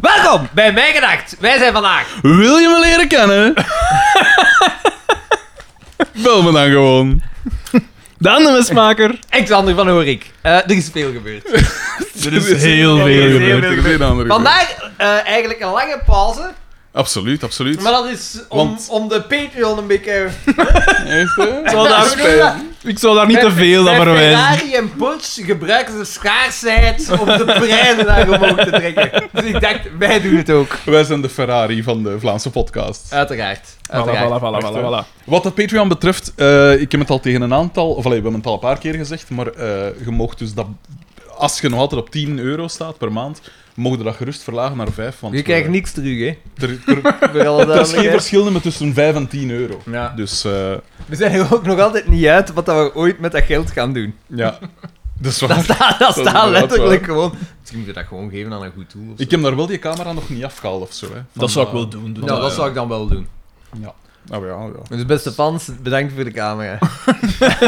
Welkom bij Mijn Gedacht. Wij zijn vandaag. Wil je me leren kennen? Bel me dan gewoon. Dan de mesmaker. Alexander van Horik. Eh, er is veel gebeurd. Er is heel veel Er is gebeurd. heel veel gebeurd. Vandaag eh, eigenlijk een lange pauze. Absoluut, absoluut. Maar dat is om, Want- om de Patreon een beetje... Echt, hè? Zal daar- Hoe noem je dat? Ik zal daar niet te Bij- veel aan bij verwijzen. Ferrari en Porsche gebruiken ze schaarsheid om de prijzen naar omhoog te trekken. Dus ik dacht, wij doen het ook. Wij zijn de Ferrari van de Vlaamse podcast. Uiteraard. Voilà, uiteraard. voilà, voilà, Wacht, hè. voilà, voilà. Wat de Patreon betreft, eh, ik heb het al tegen een aantal, of allee, we hebben het al een paar keer gezegd, maar eh, je mocht dus dat, als je nog altijd op 10 euro staat per maand, mogen we dat gerust verlagen naar 5. Want Je we- krijgt niks terug, hè. Er, er, Voor alle er is geen duidelijkheid. verschil meer tussen 5 en 10 euro. Ja. Dus eh, We zijn er ook nog altijd niet uit wat dat we ooit met dat geld gaan doen. ja, Dus dat is Dat waar. staat, dat is staat inderdaad letterlijk waar. gewoon. Misschien moet je dat gewoon geven aan een goed doel. of zo. Ik heb daar wel die camera nog niet afgehaald of zo. Hè, Van, Dat zou ik eh, wel doen. doen. Nou, dat zou ik dan wel doen. Ja. Nou ja, ja. Dus beste fans, bedankt voor de camera.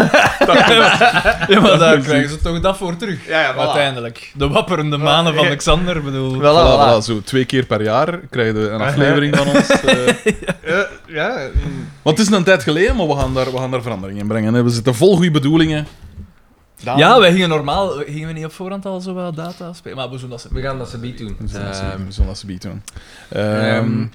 Ja, maar daar krijgen ze toch dat voor terug. Ja, ja, voilà. Uiteindelijk. De wapperende manen van Alexander, bedoel. Voilà, Voilà, voilà. voilà, zo twee keer per jaar krijg je een aflevering van ons. eh. Eh, ja, mm. want het is een tijd geleden, maar we gaan daar, we gaan daar verandering in brengen. Hè. We zitten vol goede bedoelingen. Daan- Ja, wij gingen normaal, gingen we niet op voorhand al zo wel data spelen, maar we zullen dat ze... we gaan dat ze niet doen. We zullen dat ze- Ehm, we zullen dat ze bieden. ehm. Ehm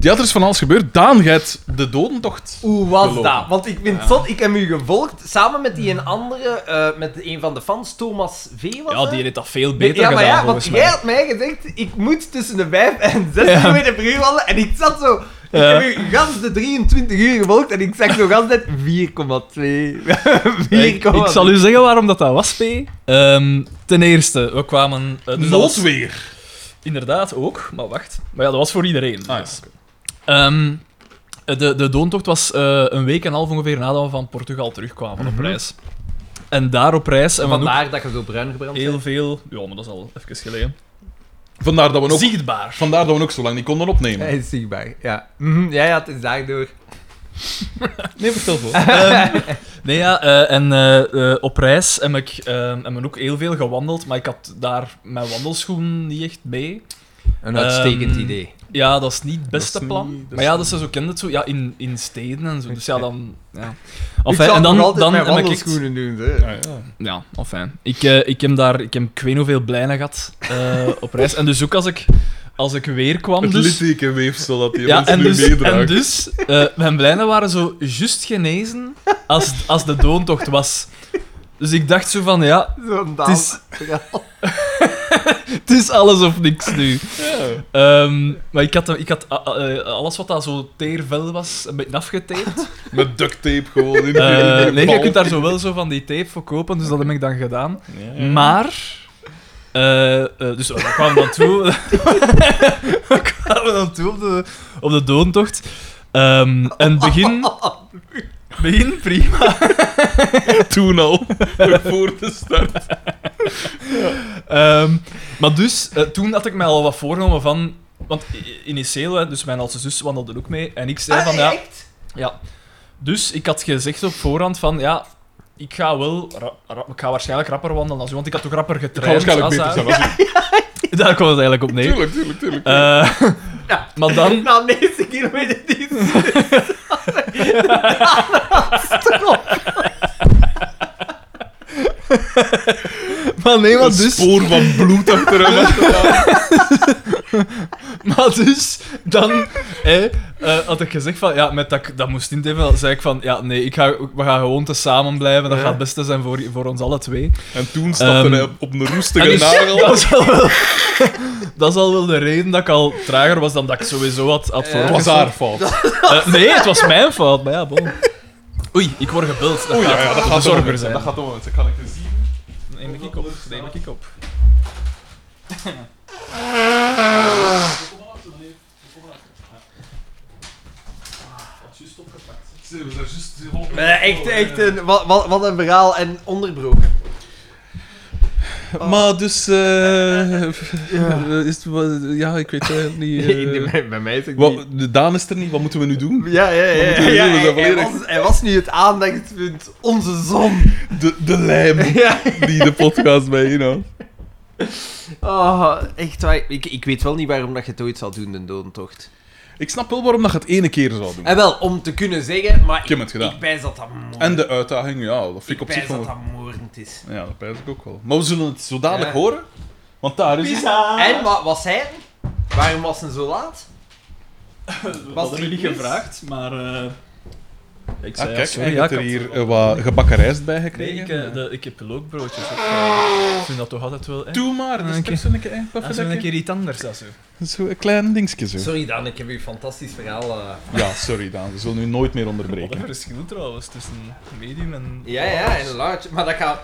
ja, er is van alles gebeurd. Daan, jij hebt de dodentocht. Hoe was Gelopen. dat? Want ik vind het zot, ik heb u gevolgd samen met die een andere, eh, met een van de fans, Thomas V. Was Ja, het? die heeft dat veel beter ja, maar gedaan, ja, want volgens jij mij. had mij gezegd, ik moet tussen de 5 en 6 Ja. kilometer per uur wandelen. En ik zat zo... Ik Ja. heb u gans de 23 uur gevolgd en ik zag zo gans net 4,2. 4,2. Ik, ik zal u zeggen waarom dat, dat was, P. Ehm, ten eerste, we kwamen... eh, dus dat was- Noodweer. Inderdaad, ook. Maar wacht. Maar ja, dat was voor iedereen. Ah, ja, Dus. Ehm, de, de doontocht was eh, een week en een half ongeveer nadat we van Portugal terugkwamen op reis. En daar op reis... En we hadden ook Vandaar dat je zo bruin gebrand bent. heel veel... Ja, maar dat is al even geleden. Vandaar dat, we ook, Zichtbaar. vandaar dat we ook zo lang niet konden opnemen. Hij is zichtbaar, ja. Mhm, ja, ja, het is daardoor. Nee, vertel voor. Ehm, nee, ja, eh, en eh, eh, op reis heb ik, eh, heb ik ook heel veel gewandeld, maar ik had daar mijn wandelschoen niet echt mee. Een uitstekend Ehm, idee. Ja, dat is niet het beste Dat is plan. niet- dat is maar ja, dat niet- is zo kent het zo, ja, in, in steden en zo. Dus ja, dan... Ja. ik Enfin, zal en dan, nog altijd dan mijn heb ik echt- wandelschoenen doen. Hè. Ah, ja. Ja, enfin. Ik, eh, ik heb daar, ik heb ik weet niet hoeveel blijnen gehad eh, op reis. En dus ook als ik, als ik weer kwam... Het dus, littekenweefsel dat die ja, mensen en nu dus, meedraagt. en dus eh, mijn blijnen waren zo juist genezen als, als de doontocht was. Dus ik dacht zo van, ja, Zo'n Het is- daal. het is alles of niks nu. Ja. Ehm, maar ik had, ik had a- a- eh, alles wat daar zo teervel was, een beetje afgetaped. Met duct tape gewoon. In de- in Eh, de nee, je bal. kunt daar zo wel zo van die tape voor kopen, dus dat heb ik dan gedaan. Ja, ja. Maar. eh, eh, dus we kwamen dan toe. we kwamen dan toe op de, op de doontocht. Ehm, en begin. Begin prima. toen al voor de start. Ehm, maar dus, eh, toen had ik mij al wat voorgenomen van. Want initieel, hè, dus mijn oudste zus wandelde ook mee. En ik Ah, zei van ja. ja. Dus ik had gezegd op voorhand van ja. Ik ga wel. ra- ra- ik ga waarschijnlijk rapper wandelen als u, want ik had toch rapper Ik ga getraind. waarschijnlijk als beter haar. zijn als ik. Daar kwam het eigenlijk op neer. Tuurlijk, tuurlijk, tuurlijk. Eh, Ja. maar dan. Na 90 kilometer die Maar nee, Een dus- spoor van bloed achter hem. Maar dus, dan hè, eh, had ik gezegd van, ja, met dat, ik dat moest niet hebben, dan zei ik van, ja, nee, ik ga, we gaan gewoon te samen blijven, dat gaat het beste zijn voor, voor ons alle twee. En toen stapte Ehm, hij op, op een En roestige dus, dat, nagel. is al wel, dat is al wel de reden dat ik al trager was dan dat ik sowieso had, had voor. Het was haar fout. nee, het was mijn fout, maar ja, bon. Oei, ik word gebeld. Dat Oei, ja, gaat- ja, dat de gaat zorger zorgen zijn. zijn. Dat gaat om mensen, kan ik het zien. Neem ik op, neem ik op. Ze hebben daar juist- Eh, echt, echt een, wat, wat, wat een verhaal en onderbroken. Ah. Maar dus, eh, is het wat- ja, ik weet het niet. eh, bij, bij mij is het wat, de Daan is er niet, wat moeten we nu doen? Ja, ja, ja. ja, moeten we ja, doen? We hij, zijn hij volledig- was, hij was nu het aandachtspunt. Onze zon. De, de lijm Ja. die de podcast bij inhoudt. Oh, echt waar. Ik, ik weet wel niet waarom dat je het ooit zal doen, de dodentocht. Ik snap wel waarom dat je het ene keer zou doen. En wel, om te kunnen zeggen, maar Ik ik, heb het gedaan. ik pijs dat dat moordend En de uitdaging, ja, dat vind ik ik op zich pijs dat wel... dat moordend is. Ja, dat pijs ik ook wel. Maar we zullen het zo dadelijk Ja. horen, want daar is het. En wat was hij? Waarom was hij zo laat? Dat Was hadden er we niet iets? gevraagd, maar... eh, ik Ah, zei kijk, sorry, sorry, je ja, hebt ik er had- hier eh, wat gebakken rijst bij Nee, ik, gekregen. eh, de- ik heb lookbroodjes. ook, eh, Ik vind dat toch altijd wel... Hè? Doe maar, dat is Oké. persoonlijke eigen Dat is wel een paffertje. keer iets anders dan zo. Zo een klein dingetje zo. Sorry Daan, ik heb u een fantastisch verhaal. eh. Ja, sorry Daan, we zullen nu nooit meer Wat een onderbreken. verschil trouwens tussen medium en... Ja, ja, en large. Maar dat gaat...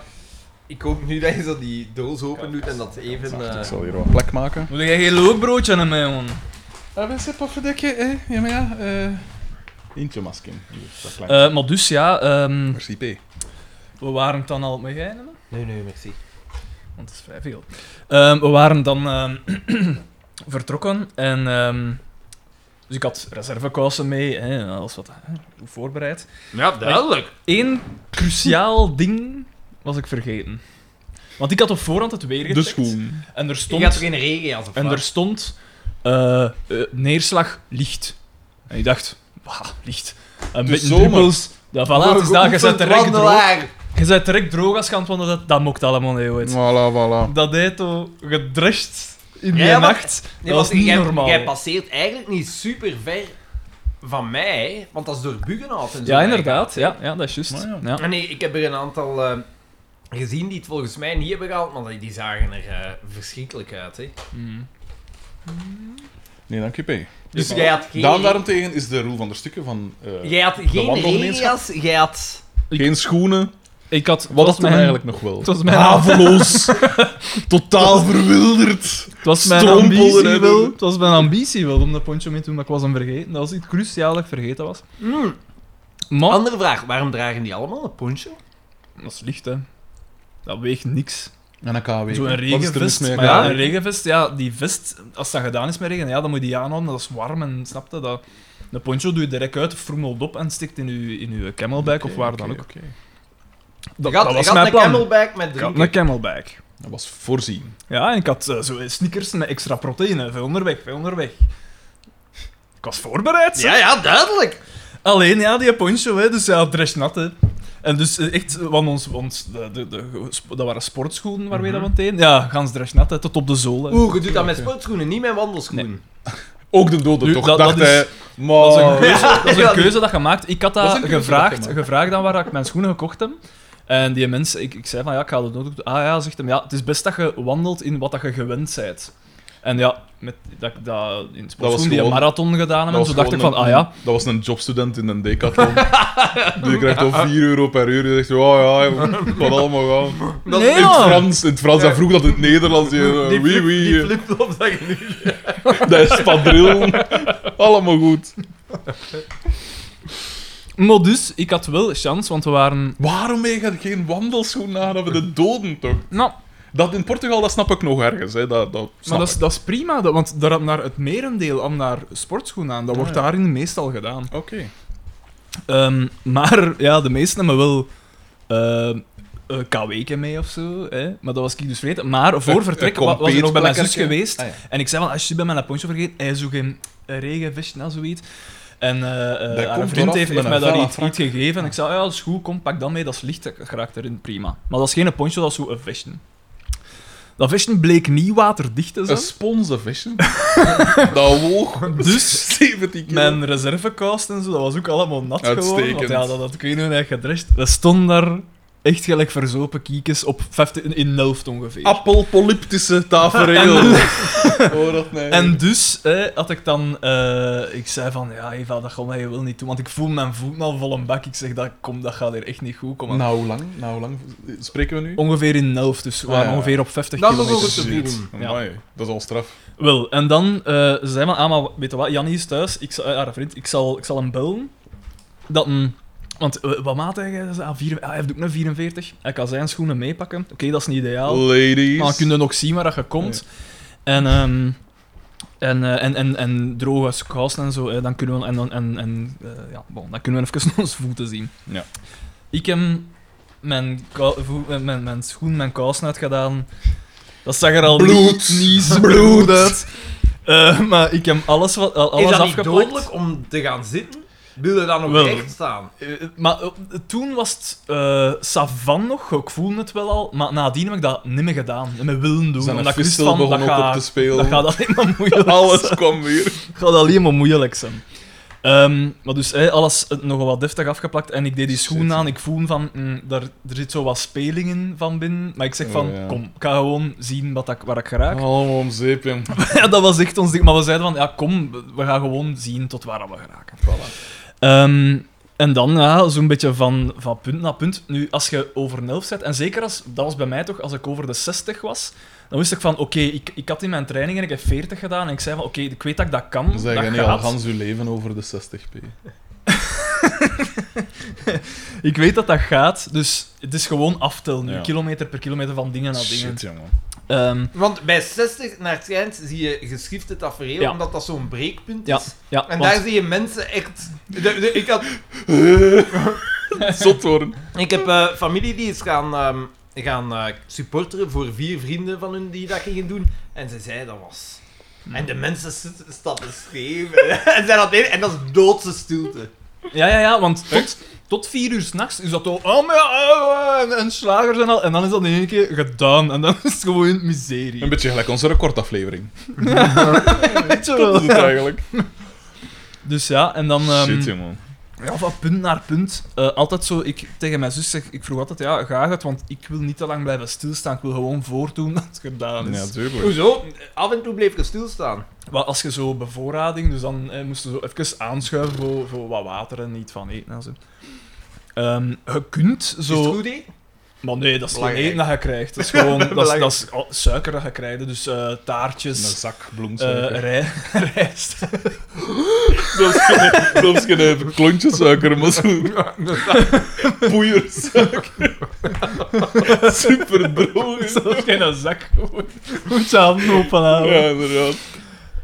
Ik hoop nu dat je zo die doos open doet en dat even... Wacht, eh, ik zal hier wat plek maken. Moet jij geen lookbroodje aan mij, man? Ah, wat is het paffertje? Eh? Ja, maar ja. eh Intje masking. Hier, dat klein. Eh, maar dus ja, ehm, Merci P. we waren dan al met jij, hè? Nee, nee, merci. want dat is vrij veel. Ehm, we waren dan ehm, vertrokken en ehm, dus ik had reservekousen mee hè, en alles wat hè, goed voorbereid. Ja, duidelijk. Eén cruciaal ding was ik vergeten. Want ik had op voorhand het weer De gecheckt. schoen. En Je er gaat er stond, geen regenjas op en er vouwen. stond eh, eh, neerslag licht. En ik dacht, wauw, licht. En De met zomer. druppels. Ja, voilà, het is daar. Je bent Geoefend direct droog. wandelaar. Je bent direct droog als je aan het wandelen bent. Dat mocht allemaal niet, ooit. Voilà, voilà. Dat hij toch gedrust in die Ja, maar- nacht. Nee, dat want was niet jij, normaal. Jij passeert eigenlijk niet super ver van mij, hè, want dat is door Buggenhout en zo. ja, inderdaad. Ja, ja, dat is juist. Maar Ja. ja. En nee, ik heb er een aantal eh, gezien die het volgens mij niet hebben gehaald, maar die- die zagen er eh, verschrikkelijk uit. Hè. Mm. Nee, dank je P. Dus Ja, jij had geen, Daan daarentegen is de rol van de stukken van... eh, jij had geen wandelgemeenschap. regenjas, jij had... Geen schoenen. Ik had... Ah, Wat was dat dan eigenlijk nog wel? Het was mijn, Haveloos. Totaal verwilderd. het was mijn Strompelen ambitie en- wel. Het was mijn ambitie wel om dat poncho mee te doen, maar ik was hem vergeten. Dat was iets cruciaal dat ik vergeten was. Hmm. Mm. Maar... Andere vraag, waarom dragen die allemaal een poncho? Dat is licht, hè. Dat weegt niks. En een KW. Zo'n regenvest. Maar ja, een regenvest, ja, die vest, als dat gedaan is met regen, ja, dan moet je die aanhouden, dat is warm en snap je dat. Een poncho doe je direct uit, frommelt op en stikt in je, in je camelback of waar dan ook. Dat, je had, dat je was had mijn een plan. camelback met Ik had drinken. een camelback. Dat was voorzien. Ja, en ik had eh, zo sneakers met extra proteïne. Veel onderweg, veel onderweg. Ik was voorbereid. zeg. Ja, ja, duidelijk. Alleen ja, die poncho, hè, dus ja, dress nat. Hè. En dus eh, echt, eh, want ons, ons de, de, de, sp- dat waren sportschoenen waarmee Mhm. dat we meteen. Ja, gans dress nat, hè, tot op de zolen. Oeh, je doet dat met sportschoenen, niet met wandelschoenen. Ook de doden Nu, toch? dat- dacht dat is- hij. Dat is Maar... een keuze, Ja, dat is ja, een keuze dat je maakt. Ik Oh. had Dat dat, is een keuze dat gevraagd, je maakt. gevraagd aan waar ik mijn schoenen gekocht heb. En die mensen, ik, ik zei van ja, ik ga dat nodig doen. Ah ja, zegt hem, ja, het is best dat je wandelt in wat dat je gewend bent. En ja, met, dat ik dat in sportschoen die een gewoon- marathon gedaan heb, en was zo dacht ik gewoon van, een- ah ja, Dat was een jobstudent in een decathlon. Die krijgt al 4 euro per uur. Die zegt, oh ja, het kan allemaal gaan. Dat- Nee, In het Ja. Frans, in het Frans. Hij vroeg dat in het Nederlands. Die, eh, Die, wie, flip, die wie, eh, flip-flop dat je nu... dat is padril. Allemaal goed. maar dus, ik had wel chance, want we waren... Waarom heb je geen wandelschoenen aan hebben de doden toch? Nou, Dat in Portugal, dat snap ik nog ergens. Hè. Dat, dat maar snap dat is, ik. dat is prima, dat- want daar, naar het merendeel aan naar sportschoenen aan, dat Ah, wordt ja. daarin meestal gedaan. Oké. Ehm, maar ja, de meesten hebben wel ehm een KW'tje mee of zo. Hè? Maar dat was ik dus vergeten. Maar voor Een- vertrek een wa- was ik nog bij mijn zus compleet Ah, geweest. plekkertje. En ik zei van, als je bij mijn poncho vergeet, hij zoekt geen regenvestje of zoiets. En eh, eh, Dat haar komt vriend vooraf heeft, met heeft een mij daar vella iets, frak. iets gegeven. En ik zei, ja, dat is goed, kom, pak dat mee, dat is licht, dat raakt erin, prima. Maar dat is geen poncho, dat is zo een vestje. Dat vestje bleek niet waterdicht te zijn. Een sponsenvisje. dat woog Dus 17 kilo. Mijn reservekast en zo, dat was ook allemaal nat gewoon. Want Uitstekend. ja, dat had ik weet niet hoe hij gedrest. Dat stond daar echt gelijk verzopen kiekes op 50, in- in Nelft ongeveer. dus, Appelpolyptische tafereel. Hoor dat nou? nee. En dus hè, had ik dan... eh, ik zei van, ja Eva, dat gaan wij wel niet doen. Want ik voel mijn voeten al vol een bak. Ik zeg, dat, kom, dat gaat hier echt niet goed komen. Nou, hoe lang, nou, hoe lang spreken we nu? Ongeveer in Nelft, dus Ah, we waren ja. Nou, ongeveer op 50 Dan kilometer. begon het te Shit. bieden. Ja. Amai, Dat is al straf. Wel, en dan eh, ze zei maar, ah, maar weet je wat, Jannie is thuis, ik, zal- eh, haar vriend, ik zal, ik zal hem bellen. Dat een... Want eh, wat maat hij? Hij zei, ah, vier- ah, hij heeft ook een 44. Hij kan zijn schoenen meepakken. Oké, dat is niet ideaal. Ladies. Maar dan kun je nog zien waar dat je komt. En, ehm, en, eh, en, en, en droge kousen en zo, eh, dan kunnen we, en, dan- en, en, eh, ja, bon, dan kunnen we even onze voeten zien. Ja. Ik heb mijn, kou- voe- eh, mijn, mijn schoen, mijn kousen uitgedaan. Dat zag er al Bloed. niet, niet zo Bloed. goed uit. Eh, maar ik heb alles, wat, al- alles Is dat niet afgeplakt. dodelijk om te gaan zitten? Wil je dan nog Wel. recht staan? Eh, maar eh, toen was het eh savan nog, ik voelde het wel al, maar nadien heb ik dat niet meer gedaan. En met willen doen, Zijn omdat ik wist fistel van, dat begon ook gaat, op te spelen. dat gaat alleen maar moeilijk Alles kwam weer. gaat alleen maar moeilijk zijn. Ehm, maar dus hé, alles eh, nogal wat deftig afgeplakt. En ik deed die schoen Shit. aan. Ik voel van, mm, daar, er zit zo wat spelingen van binnen. Maar ik zeg van, Oh, ja. kom, ik ga gewoon zien wat ik, waar ik geraak. Allemaal om zeep, jong. Ja, dat was echt ons ding. Maar we zeiden van, ja, kom, we gaan gewoon zien tot waar we geraken. Voilà. Ehm, en dan ja, zo'n beetje van, van punt naar punt. Nu, als je over een helft zet, en zeker als, dat was bij mij toch, als ik over de 60 was, dan wist ik van, oké, ik, ik had in mijn training en ik heb 40 gedaan. En ik zei van, oké, ik weet dat ik dat kan. Dan zeg dat je niet al gaat. gans je leven over de 60p. Ik weet dat dat gaat, dus het is gewoon aftellen nu. Ja. Kilometer per kilometer van dingen naar dingen. Shit, jongen. Ehm, Want bij 60 naar het schijnt zie je geschifte tafereel, Ja. omdat dat zo'n breekpunt is. ja, ja. En want- daar zie je mensen echt... De- de- ik, had, Zot worden. ik heb eh, familie die is gaan, ehm, gaan eh, supporteren voor vier vrienden van hun die dat gingen doen. En ze zei dat was... En de mensen zitten- staan te schreeuwen. en, zijn dat en dat is doodse stilte. Ja, ja, ja, want tot, tot vier uur s'nachts is dat al... Oh, maar ja, oh, en, en slagers en al. En dan is dat in één keer gedaan. En dan is het gewoon miserie. Een beetje gelijk onze recordaflevering. Weet je Dat wel. is het eigenlijk. Dus ja, en dan... ehm, Shit, jongen. ja, van punt naar punt. Eh, altijd zo, ik, tegen mijn zus zeg... Ik vroeg altijd, ja, ga het? Want ik wil niet te lang blijven stilstaan. Ik wil gewoon voordoen dat het gedaan is. Ja, tuurlijk. Hoezo? Af en toe bleef ik stilstaan. Wat als je zo bevoorrading, dus dan eh, moesten ze zo even aanschuiven voor, voor wat water en niet van eten en zo. Ehm, je kunt Is het zo... goed, hè? Maar nee, dat is geen Belangrijk. eten dat je krijgt. Dat is gewoon dat is, Belangrijk. dat is al- suiker dat je krijgt. Dus eh, Een taartjes, zak eh bloemsuiker. rij- rijst. Zelfs geen- Zelfs geen klontje suiker, maar zo... Poeiersuiker. Super droog. is dat. Zelfs geen zak. Moet je handen openhouden. Ja, inderdaad.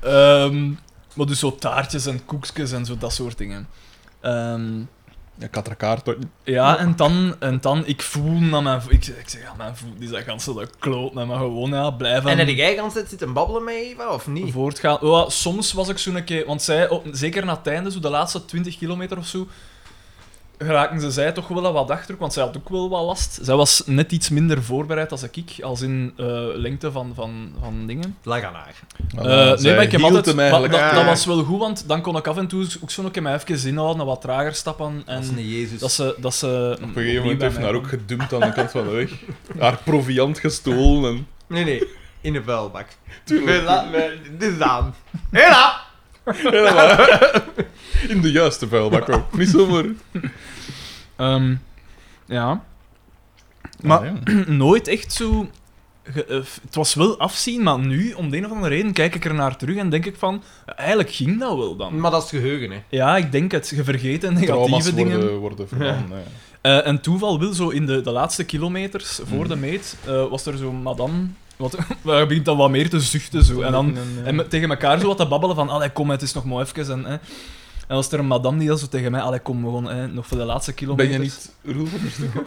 Ehm, maar dus zo taartjes en koekjes en zo, dat soort dingen. Ehm, Ja, katrakaar Eh, tot... Ja, en dan, en dan ik voel naar mijn voet. Ik, ik zeg, ja, mijn voet is dat ganse dat kloot, maar gewoon ja, blijven En heb jij de hele tijd zitten babbelen met Eva, of niet? voortgaan. Oh, ja, soms was ik zo'n keer, want zij, op, zeker na het einde, zo de laatste 20 kilometer of zo, geraken ze zij toch wel wat achter, want zij had ook wel wat last. Zij was net iets minder voorbereid als ik, als in eh, lengte van, van, van dingen. Lag aan haar. Ah, Eh, nee, zij maar ik heb hield altijd... hem maar dat, eigenlijk. Ja, dat ja. was wel goed, want dan kon ik af en toe ook zo'n keer mij even inhouden, en wat trager stappen. En Dat is een Jezus. dat ze... Dat ze Op een gegeven moment heeft hij haar ook ook gedumpt aan de kant van de weg. Haar proviant gestolen en... Nee, nee. In de vuilbak. Tuurlijk. Dit is aan. Hela! Helemaal. In de juiste vuilbak ook. Niet zomaar. Ehm, ja. Maar Ah, ja. nooit echt zo. ge- eh, f- het was wel afzien, maar nu, om de een of andere reden, kijk ik er naar terug en denk ik van. eh, Eigenlijk ging dat wel dan. Maar dat is geheugen, hè. Ja, ik denk het. Je vergeet en negatieve Mm. Trauma's dingen. worden, worden verbannen. Ja. Eh, en toeval wil zo in de, de laatste kilometers Mm. voor de meet. eh, was er zo'n madame. Wat, waar begint dan wat meer te zuchten zo. En dan en me- tegen elkaar zo wat te babbelen van. Allee, kom, het is nog maar even. En, eh. en was er een madame die dan zo tegen mij. Allee, kom, gewoon eh, nog voor de laatste Ben kilometers. je niet Roel van der Stoel?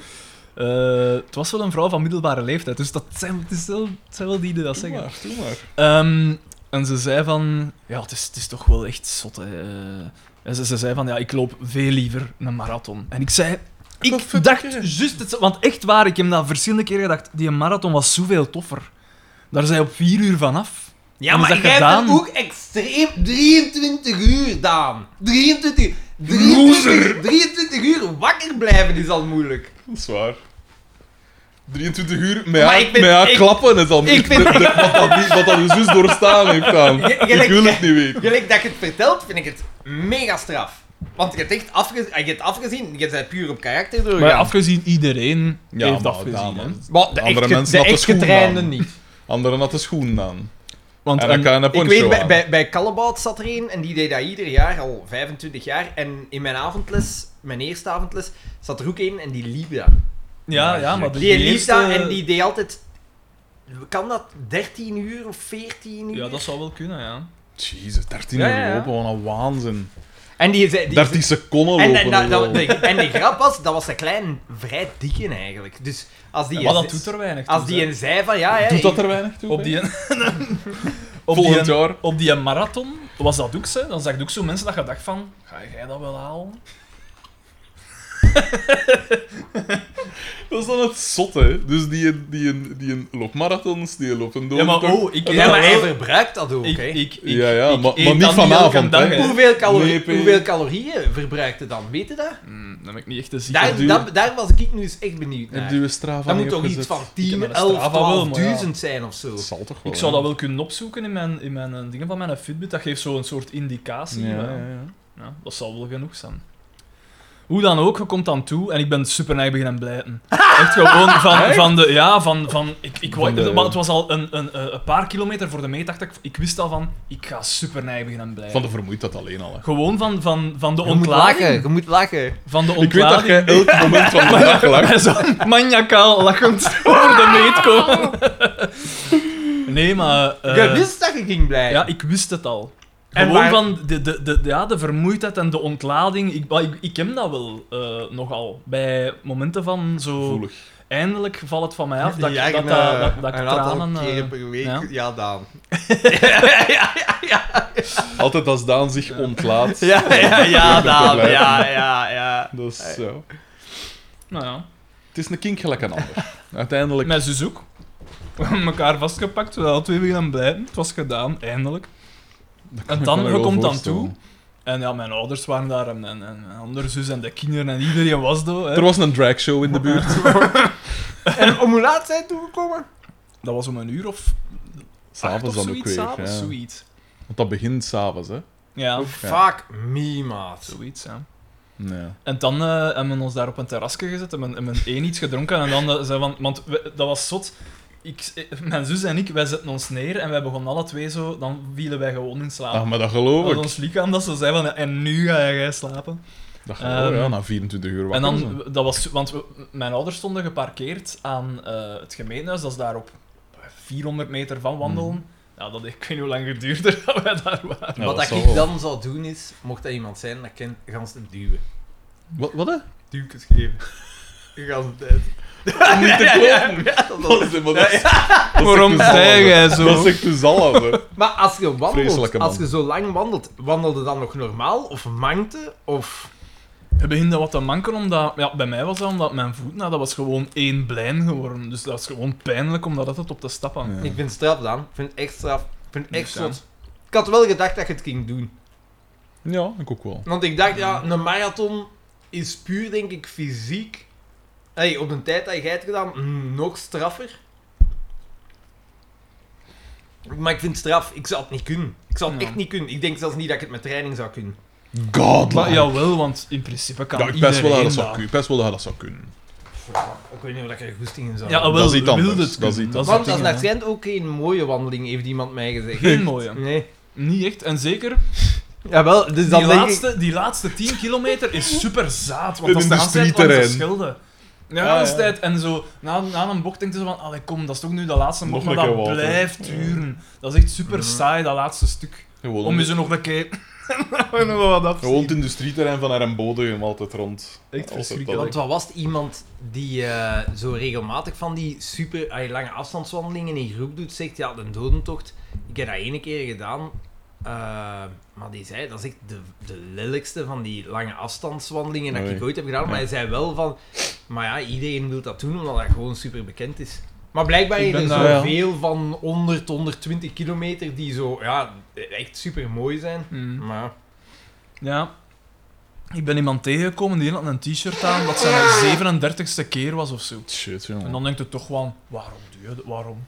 Eh, het was wel een vrouw van middelbare leeftijd, dus dat zijn, het, is wel, het zijn wel die die dat Doe zeggen. maar, doe maar. Ehm, en ze zei van... Ja, het is, het is toch wel echt zot, hè. Eh, En ze, ze zei van, ja, ik loop veel liever een marathon. En ik zei... Oh, Ik fuck, dacht ja. juist... Het, want echt waar, ik heb dat verschillende keren gedacht. Die marathon was zoveel toffer. Daar zijn op vier uur vanaf. Ja, Hoe is maar dat jij hebt gedaan? ook extreem 23 uur, Daan. 23 uur. 23, Loser. 23 uur wakker blijven is al moeilijk. Dat is waar. 23 uur met haar, ik ben- met haar ik- klappen is dan ik echt ben- de- de- wat, dat, die- wat dat je zus doorstaan heeft aan. Je- je Ik lijkt- wil het niet weten. Gelijk dat je het vertelt, vind ik het mega straf. Want je hebt echt afge je hebt afgezien, je bent puur op karakter Maar doorgegaan. afgezien, iedereen Ja, heeft maar afgezien. daarom. Hè. Maar de Andere echt, ge- mensen de hadden echt schoenen getrainde aan. niet. Anderen had de schoenen aan. Want En dan een- kan je een Ik poncho weet, bij, aan. bij, bij Callebout zat er een en die deed dat ieder jaar, al 25 jaar. En in mijn avondles, mijn eerste avondles, zat er ook een en die liep dat. ja, ja, maar de Die liep eerste- dat en die deed altijd... Kan dat 13 uur of 14 uur? Ja, dat zou wel kunnen, ja. Jezus, 13 Ja, uur ja, ja. lopen, wat een waanzin. En die zei... Die 30 seconden en, lopen. en, dat- al. dat- de, en de grap was, dat was een klein, vrij dikke eigenlijk. Dus als die... Maar dat doet er weinig. als toe, die hè. een zei van, ja... hè, Doet dat ik- er weinig toe? op hè? die, op, die, Volgend jaar. op die marathon was dat ook zo. Dan zag ik ook zo mensen dat je dacht van, ga jij dat wel halen? Dat is dan het zotte, hè. Dus die, die, die, die loopt marathons, die loopt een dood. Ja, maar oh, ik, Ja, maar hij ik, verbruikt dat ook, ik, hè. ik, Ja, ja, ik maar- eet maar niet dat vanavond, elke dag, hè. hoeveel, calorie- Nee, P. hoeveel calorieën verbruikte dan? Weet je dat? Hmm, Mm, dat ben ik niet echt te zien. Daar, duur. daar, daar was ik nu eens echt benieuwd Heb naar. je Strava Dat niet moet toch iets opgezet? van Ik 10, heb 11, een Strava wel, 12.000 maar ja. zijn of zo. Dat zal toch wel. Ik zou hè? dat wel kunnen opzoeken in mijn, in mijn eh, dingen van mijn Fitbit. Dat geeft zo'n soort indicatie. eh, Ja, maar- ja, ja. Ja, dat zal wel genoeg zijn. Hoe dan ook, je komt aan toe en ik ben super naar beginnen blijten. Echt gewoon van, van de... Ja, van... van ik, ik, Van de- maar het was al een, een, eh, een paar kilometer voor de meet, dacht ik. Ik wist al van, ik ga super naar beginnen blijten. Van de vermoeidheid alleen al, hè. Gewoon van, van, van de Je moet lachen, ontlading. je moet lachen. Van de Ik weet dat ontlading. jij elk moment van de dag lacht. Bij zo'n maniacaal lachend over de meet komen. Nee, maar... eh, je wist dat je ging blij. ja, ik wist het al. En Gewoon waar- van de, de, de, de- ja, de vermoeidheid en de ontlading. Ik, maar ik, ik ken dat wel eh, nogal. Bij momenten van zo... Gevoelig. Eindelijk valt het van mij af dat, ik- Ja, dat, ik, dat, eh, dat, dat ik een aantal tranen... eh, keren per week. ja. Ja, Daan. Altijd als Daan zich ontlaat. Ja, ja, ja, Ja, Daan. blijven. Ja, ja, ja. Dus ja. nou ja, Het is een kink gelijk een ander. Uiteindelijk. mijn zus ook. We hebben elkaar vastgepakt, we hadden twee beginnen blijven. Het was gedaan, eindelijk. En Ik kan me dan, je wel komt dan voorstellen. toe. En ja, mijn ouders waren daar en, en, en mijn andere zus en de kinderen en iedereen was daar. Er hè. was een dragshow in de buurt. En om hoe laat zijn toegekomen? Dat was om een uur of acht of S'avonds dan ook zoiets, weer. s'avonds, ja. zoiets. Want dat begint s'avonds, hè? Ja, Fuck me, maat. zoiets, ja. Nee. En dan eh, hebben we ons daar op een terrasje gezet, hebben hebben we één iets gedronken en dan eh, zei van... Want we- dat was zot. Ik, eh, mijn zus en ik, wij zetten ons neer en wij begonnen alle twee zo... Dan vielen wij gewoon in slaap. Ah, maar dat dat geloof was ik. ons lichaam dat ze zei van... En nu ga jij slapen. Dat geloof ik, Ehm, ja, na 24 uur En wakker zijn. dan, dat was, want we- mijn ouders stonden geparkeerd aan eh, het gemeentehuis, dat is daar op 400 meter van wandelen. Ja, dat, ik weet niet hoe lang geduurd dat wij daar waren. Ja, Wat dat dat zal ik wel. dan zou doen is, mocht dat iemand zijn, dat kan gans het duwen. Wat, wat hè? Duwtjes geven. Gans het tijd. Om niet te kloppen. Dat is- maar dat is- dat is echt de zalige. Dat is echt de zalige. Maar als je wandelt, Vreselijke man. als je zo lang wandelt, wandelde dan nog normaal? Of mankte? Of... Het beginde wat te manken, omdat... Ja, bij mij was dat omdat mijn voet, nou, dat was gewoon één blijn geworden. Dus dat is gewoon pijnlijk om dat altijd op te stappen. Ja. Ik vind het straf, Daan. Ik vind het echt straf. Ik vind het echt Dus ja. zot. Ik had wel gedacht dat je het ging doen. Ja, ik ook wel. Want ik dacht, ja, een marathon is puur, denk ik, fysiek. Hey, op een tijd dat jij het gedaan, mm, nog straffer. Maar ik vind het straf. Ik zou het niet kunnen. Ik zou het Ja. echt niet kunnen. Ik denk zelfs niet dat ik het met training zou kunnen. God, Maar man. jawel, want in principe kan Ja, ik iedereen best wel dat dat dat. zou kunnen. Best wel dat dat zou kunnen. Ik weet niet of ik er goesting in zou Ja, wel, hebben. Dat is iets wilde anders. het Dat is kunnen. iets Dat is Want dat het is ding, naar hè. Trent ook geen mooie wandeling, heeft iemand mij gezegd. Geen mooie. Nee. Niet echt. En zeker, Jawel, dus dan die denk ik... laatste, die laatste 10 kilometer is super zaad. Want Een dat is de aanzet langs de industrieterrein. Ah, schilden. Ja, Ja, dat is ja. tijd. En zo, na, na een bocht denkt ze van, allee, kom, dat is toch nu de laatste bocht, Nog maar een keer Mhm. dat wat, hè. blijft duren. Dat is echt super saai, dat laatste stuk. Gewoon, Om je zo nog een keer... nog wat af te gewoon het industrieterrein van Herrenbode altijd rond. Echt Want verschrikkelijk. wat was het iemand die eh, zo regelmatig van die super ah, lange afstandswandelingen in groep doet, zegt ja, de dodentocht. Ik heb dat ene keer gedaan, eh, maar die zei dat is echt de, de lelijkste van die lange afstandswandelingen dat Oei. ik ooit heb gedaan. Maar Ja. hij zei wel van, maar ja, iedereen wil dat doen omdat dat gewoon super bekend is. Maar blijkbaar Ik is ben er daar- zoveel van 100, 120 kilometer die zo, ja, echt super mooi zijn. Hmm. Maar Ja. Ik ben iemand tegengekomen die had een t-shirt aan dat zijn 37ste keer was of zo. Shit, En jongen. dan denkt je toch wel, waarom doe je dat? Waarom?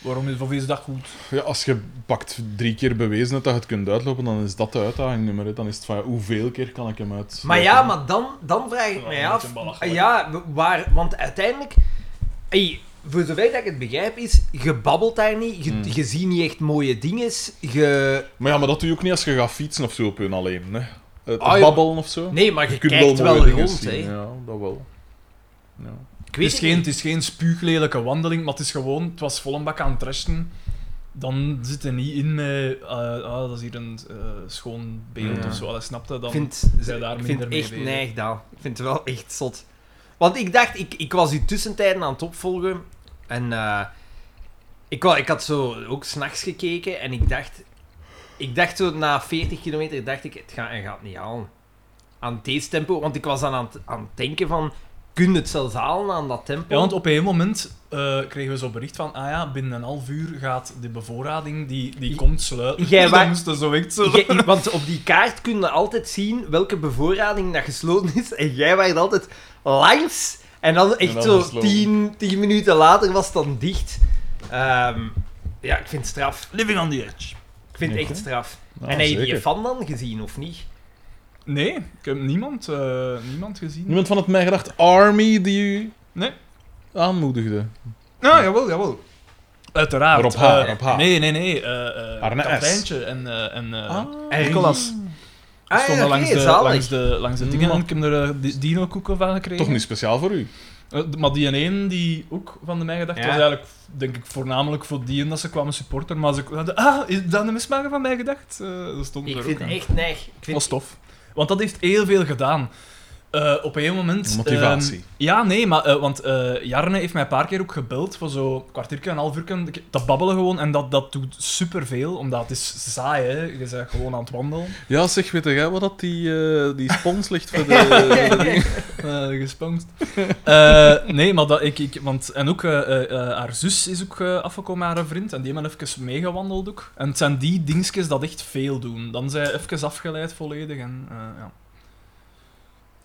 Waarom is, of is dat goed? Ja, als je pakt drie keer bewezen hebt dat je het kunt uitlopen, dan is dat de uitdaging nummer. hè. Dan is het van ja, hoeveel keer kan ik hem uit. Maar ja, maar dan, dan vraag ik Ja, mij een af. beetje belachelijk. Ja, w- waar, want uiteindelijk, ey, voor zover dat ik het begrijp, is je babbelt daar niet, je, Hmm. je ziet niet echt mooie dingen. Je, Maar ja, maar dat doe je ook niet als je gaat fietsen of zo op hun alleen. Hè. Het Ah, ja. babbelen of zo. nee, maar je, je kunt wel kijkt mooie wel, dingen rond. zien. hè. Ja, dat wel. Ja. Ik Het weet is, geen, het is geen spuuglelijke wandeling, maar het is gewoon, het was vol een bak aan het trashen. dan zit er niet in met... eh, ah, dat is hier een eh, schoon beeld Ja. of zo. Dat snapte dan. Ik vind, zij daar ik vind minder mee echt bezig. neig dan. Ik vind het wel echt zot. Want ik dacht, ik, ik was die tussentijden aan het opvolgen. En eh, ik, wa- ik had zo ook s'nachts gekeken. En ik dacht, ik dacht zo na 40 kilometer, dacht ik, het gaat, hij gaat het niet halen. Aan deze tempo. Want ik was dan aan het, aan het denken van, kun je het zelfs halen aan dat tempo? Ja, want op een gegeven moment eh, kregen we zo'n bericht van, ah ja, binnen een half uur gaat de bevoorrading, die, die J- komt sluiten. jij dus wa- dan moesten zo echt zo... Jij- want op die kaart kun je altijd zien welke bevoorrading dat gesloten is. En jij waait altijd langs. En dan echt dan zo gesloten. tien, tien minuten later was het dan dicht. Ehm, ja, ik vind het straf. Living on the edge. Ik vind het Oké. echt straf. Nou, en heb je zeker. die fan dan gezien, of niet? Nee, ik heb niemand, eh, niemand gezien. Niemand van het mijgedacht Army die u Nee. aanmoedigde. Nou, jawel, jawel. Uiteraard. Rob H, eh, Rob H. Nee, nee, nee. eh eh Arne S. Ah. Kapiteintje en, eh en eh en- Nicolas Ah, stonden ja, langs, oké, de, zalig. langs, de, langs de dingen. Mm. Ik heb er eh, di- dino-koeken van gekregen. Toch niet speciaal voor u. Eh, d- maar die en één die ook van de mij gedacht Ja. was eigenlijk, denk ik, voornamelijk voor die en dat ze kwamen supporter. Maar ze hadden, ah, is dat de mismaker van mij gedacht? Eh, dat stond er Ik ook vind aan. het echt neig. Ik vind was tof. Want dat heeft heel veel gedaan. Eh, op een gegeven moment... Motivatie. ehm, ja, nee, maar, eh, want eh, Jarne heeft mij een paar keer ook gebeld voor zo'n kwartiertje, een half uur te babbelen gewoon. En dat, dat doet superveel, omdat het is saai, hè. Je bent gewoon aan het wandelen. Ja, zeg, weet jij wat dat die, eh, die spons ligt voor de... de dingen? Eh gesponst. Eh, nee, maar dat, ik, ik... Want, en ook eh, eh, eh, haar zus is ook eh, afgekomen, haar vriend. En die hebben even meegewandeld ook. En het zijn die dingetjes dat echt veel doen. Dan zijn ze even afgeleid volledig en... eh, ja.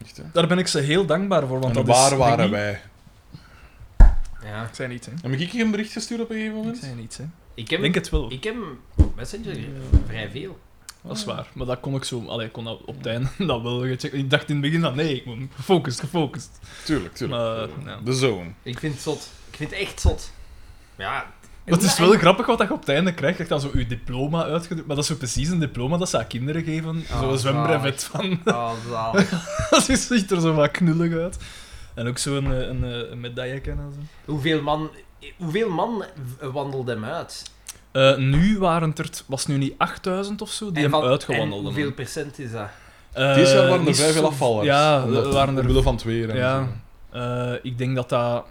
Echt, hè? Daar ben ik ze heel dankbaar voor, want en dat waar is... waren denk ik- wij? Ja. Ik zei niet, hè. Heb ik je een bericht gestuurd op een gegeven Ik moment? zei niet, hè. Ik Ik heb, denk het wel. ik heb Messenger vrij veel. Dat is waar. Maar dat kon ik zo... Allee, ik kon dat op het einde dat wel gecheckt. Ik dacht in het begin dat nee, ik moet gefocust, gefocust. Tuurlijk, tuurlijk. Maar, eh, ja. De zone. Ik vind het zot. Ik vind het echt zot. Ja. Maar het is wel grappig wat dat je op het einde krijgt. Je krijgt dan zo je diploma uitgedrukt. Maar dat is zo precies een diploma dat ze aan kinderen geven. Ah, Zo'n zwembrevet van... Oh, zalig. dat is- ziet er zo wat knullig uit. En ook zo'n een, een, eh, een medaille en zo. Hoeveel man, hoeveel man wandelde hem uit? Eh, nu waren het er... Was het nu niet 8000 of zo? Die En hem van- uitgewandeld en hebben. hoeveel procent is dat? Eh, Dit jaar waren er niet vrij veel zo- afvallers. Ja, Omdat- er waren er omwille van het weer en Ja, zo. eh, ik denk dat dat.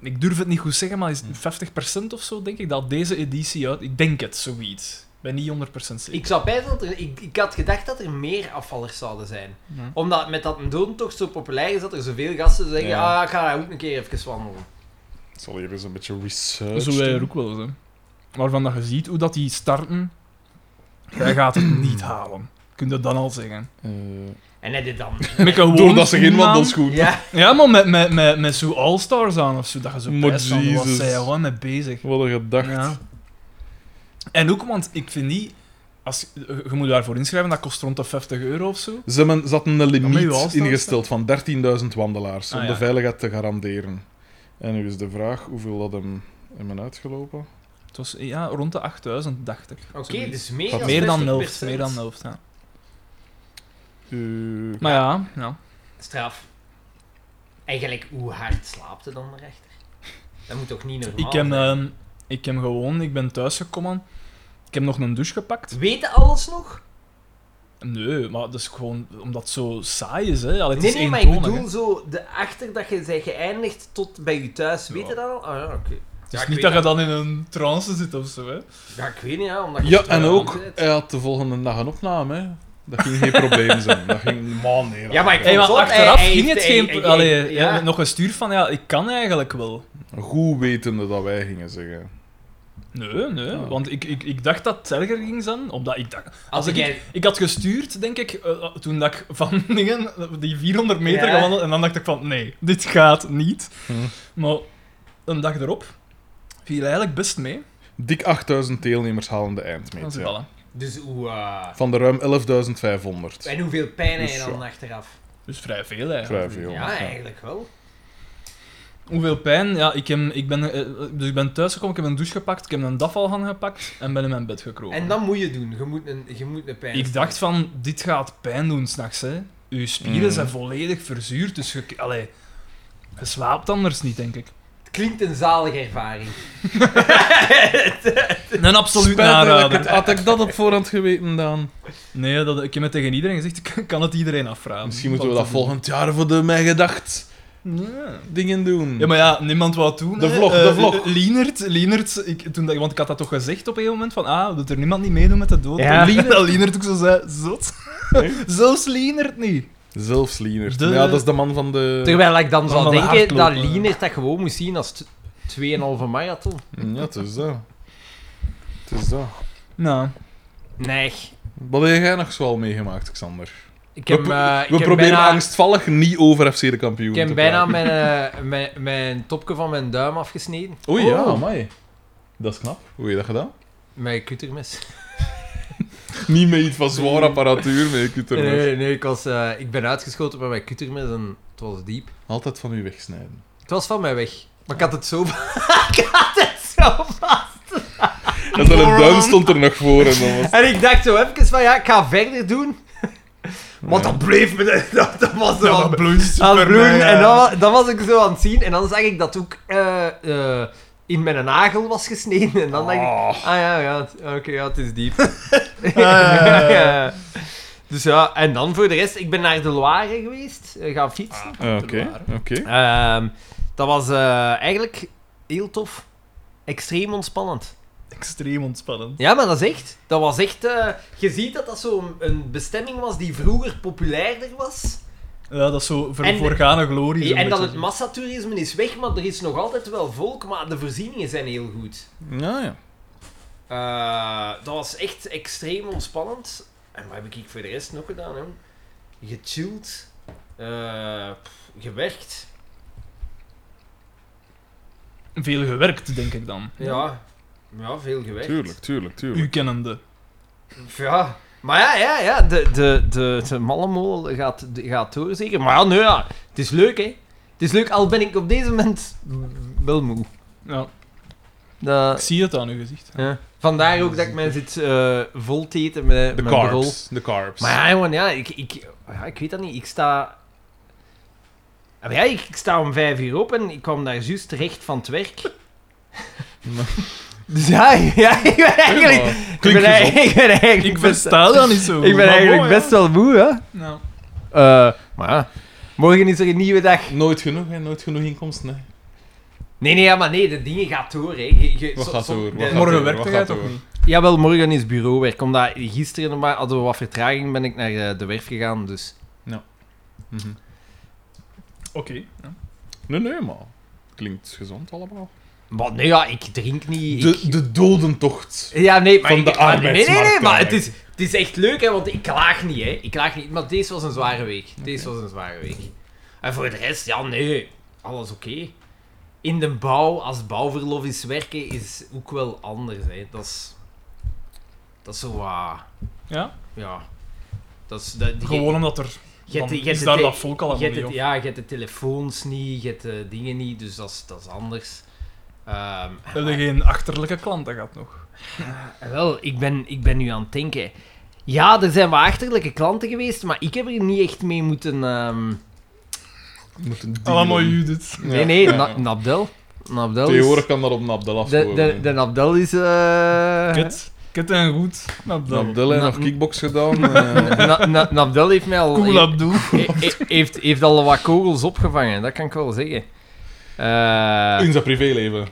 Ik durf het niet goed zeggen, maar is het 50% of zo, denk ik, dat deze editie uit. Ik denk het, zoiets. Ik ben niet 100% zeker. Ik zou bijna dat er, ik, ik had gedacht dat er meer afvallers zouden zijn. Ja. Omdat met dat een toch zo populair is dat er zoveel gasten zeggen: Ja. Ah, ik ga ook een keer even wandelen. Ik zal hier eens een beetje research Zo wij doen. er ook wel eens, hè. Waarvan dat je ziet hoe dat die starten. Jij gaat het niet halen. Kun je dat dan al zeggen? Eh, En heb je dan. Met een Doordat ze geen schoen aan. wandelschoen ja, Ja, maar met, met, met, met zo'n All-Stars aan of zo. Dat je zo Maar pijst van, Wat Jesus. zijn we mee bezig? Wat een gedacht. Ja. En ook, want ik vind niet... Als, je je moet daarvoor inschrijven, dat kost rond de 50 euro of zo. Ze men, zat een maar uw limiet afstand- ingesteld van 13.000 wandelaars om Ah, ja. de veiligheid te garanderen. En nu is de vraag hoeveel dat hem, hem is uitgelopen. Het was ja, rond de 8000, dacht ik. oké, Zoiets. dus meer Wat dan meer dan 50%. helft. Meer dan helft, ja. Eh, Maar ja, ja. Straf. Eigenlijk, hoe hard slaapt je dan de rechter? Dat moet toch niet normaal Ik, heb, zijn? ehm, ik heb gewoon, ik ben thuisgekomen. Ik heb nog een douche gepakt. Weet je alles nog? Nee, maar dat is gewoon omdat het zo saai is, hè. Allee, het Nee, is nee, maar ik eentonig, bedoel hè. zo, de achter dat je bent geëindigd tot bij je thuis. Weet je dat al? Ah ja, oké. Het Ja, is ik niet weet dat je dat. dan in een trance zit of zo, hè. Ja, ik weet niet, ja, omdat je Ja, te en laat ook, eh, bent. hij had de volgende dag een opname. Hè. Dat ging geen probleem zijn. Dat ging... Man, nee. dat- Ja, maar ik- Hey, maar Zot, achteraf hij- hij ging het heeft- geen... hij- hij- allee, ja. ja, nog een stuur van, ja, ik kan eigenlijk wel. Goed wetende dat wij gingen zeggen. Nee, nee, Oh. Ah. want ik, ik, ik dacht dat het erger ging zijn, omdat ik dacht... Als, ik, jij- ik had gestuurd, denk ik, eh, toen dat ik van dingen, die 400 meter Ja. gewandeld, en dan dacht ik van, nee, dit gaat niet. Hm. Maar een dag erop viel eigenlijk best mee. Dik 8000 deelnemers halen de Dan eindmeet. zit ja. ballen. Dus hoe... eh, Van de ruim 11.500. En hoeveel pijn heb je Dus dan ja. achteraf? Dus vrij veel, eigenlijk. Vrij veel. ja, eigenlijk wel. Hoeveel pijn? Ja, ik, heb, ik ben, eh, dus ik ben thuisgekomen, ik heb een douche gepakt, ik heb een dafalhan gepakt en ben in mijn bed gekropen. En dat moet je doen. Je moet een, je moet een pijn... Ik dacht van, dit gaat pijn doen s'nachts, hè. Uw spieren Mhm. zijn volledig verzuurd, dus je... Allee, je slaapt anders niet, denk ik. Het Klinkt een zalige ervaring. Eh, Een absoluut Spijt me dat ik aanrader. het- Had ik dat op voorhand geweten, Daan? Nee, dat, ik heb het tegen iedereen gezegd. Ik kan het iedereen afvragen. Misschien moeten we Wat dat te doen. volgend jaar voor de Mijn Gedacht Ja. dingen doen. Ja, maar ja, niemand wou toen. De hè. vlog, de Eh, vlog. Lienert, Lienert ik, toen, dat- want ik had dat toch gezegd op een moment, van ah, doet er niemand niet meedoen met de dood. Ja. En Lienert, dat Lienert ook zo zei, zot. Nee? Zelfs Lienert niet. Zelfs Lienert. De- Ja, dat is de man van de... Terwijl ik dan Dan zou van de denken dat hardlopen. Lienert dat gewoon moest zien als t- 2,5 marathon. Mm, Ja, het is dat. Het is dat. Nou, Nee. Wat heb jij nog zoal meegemaakt, Xander? Ik heb, we eh, ik we heb proberen bijna, angstvallig niet over FC de kampioen Ik heb te bijna praten. mijn, eh, mijn, mijn topje van mijn duim afgesneden. Oei, ja, Oh. amai. Dat is knap. Hoe heb je dat gedaan? Mijn kuttermes. Niet met iets van zwaar apparatuur, maar ik er Nee, nee, nee, ik, was, eh, ik ben uitgeschoten met mijn kuttermes en het was diep. Altijd van u wegsnijden. Het was van mij weg. Maar ik had het zo... ik had het zo En dan een duim stond er nog voor en dan was... En ik dacht zo even van, ja, ik ga verder doen. Want dat bleef me... Dat, dat, was zo aan, bloeit. aan het bloeden. En dan, Ah, wa- dan was ik zo aan het zien. En dan zag ik dat ook eh, eh, in mijn nagel was gesneden. En dan dacht ik... Oh. Ah ja, ja het- oké, ja, het is diep. Eh. ja, ja. dus ja, en dan voor de rest, ik ben naar de Loire geweest, eh, gaan fietsen. Ah, Oké, oké. Ehm, dat was eh, eigenlijk heel tof. Extreem ontspannend. Extreem ontspannend. Ja, maar dat is echt. Dat was echt. eh, je ziet dat dat zo'n een bestemming was die vroeger populairder was. Ja, dat is zo voor, En- voorgane glorie. zo'n en dat beetje het zo. massatoerisme is weg, maar er is nog altijd wel volk, maar de voorzieningen zijn heel goed. Ja, ja. Eh, dat was echt extreem ontspannend. En wat heb ik voor de rest nog gedaan? Hè? Gechilled, eh, pff, gewerkt. Veel gewerkt, denk ik dan. Ja. ja, veel gewerkt. Tuurlijk, tuurlijk, U tuurlijk. kennende. Ja, maar ja, ja, ja de, de, de, de mallenmool gaat, de- gaat door zeker. Maar ja, nou ja, het is leuk, hè. Het is leuk, al ben ik op deze moment wel moe. Ja, ik Dat, zie het aan uw gezicht. ja. Vandaar ook dat ik mij zit eh vol te eten met De mijn brol. carbs. De carbs. Maar ja, jongen, ja, ik, ik, ja, ik weet dat niet. Ik sta... Ah, maar Ja, ik, ik sta om vijf uur op en ik kwam daar juist terecht van het werk. Dus ja, ja ik ben eigenlijk... Ik ben, Klinkt gezond. eigenlijk- ik ben eigenlijk... Ik best- versta dat niet zo. ik ben eigenlijk best wel moe, hè. Nou, Eh, maar ja, morgen is er een nieuwe dag. Nooit genoeg, hè. Nooit genoeg inkomsten, hè. Nee, nee, ja, maar nee, de dingen gaat door. Hè. Je- je- Wat so- gaat so- door? Wat de- gaat morgen door? werkt Wat jij gaat toch door? niet? Jawel, morgen is bureauwerk. Omdat gisteren nog maar hadden we wat vertraging, ben ik naar eh, de werf gegaan. Dus. Mhm. Oké. ja. Nee, nee, maar... Klinkt gezond allemaal. Maar nee, ja, ik drink niet. De, ik- de dodentocht. Ja, nee, maar van ik- de maar- nee, nee, nee, arbeidsmarkt maar het eigenlijk. is, het is echt leuk, hè, want ik klaag niet, hè. Ik klaag niet, maar deze was een zware week. Deze was een zware week. En voor de rest, ja, nee, alles oké. In de bouw, als bouwverlof is werken, is ook wel anders, hè. Dat is... Dat is zo wat... Ja? ja... Dat is... Dat, die- Gewoon omdat er... je hebt dan de- je hebt is de daar te- dat volk al je hebt aan het- Ja, je hebt de telefoons niet, je hebt de dingen niet, dus dat is, dat is anders. Ehm, Heb je geen achterlijke klanten gehad nog? Ah, Wel, ik ben, ik ben nu aan het denken. Ja, er zijn wel achterlijke klanten geweest, maar ik heb er niet echt mee moeten. ehm, Moet een deal Allemaal doen. Judith. Nee, nee, Na- Nabdel. Nabdel is... Tegenwoordig kan dat op Nabdel De, afkomen. de, de Nabdel is... eh, Kut. Kut en goed. Abdel. Nabdel heeft Na- nog kickbox gedaan. eh. Na- Na- Nabdel heeft mij al... Cool Abdul. he- he- heeft, heeft al wat kogels opgevangen, dat kan ik wel zeggen. Eh, in zijn privéleven.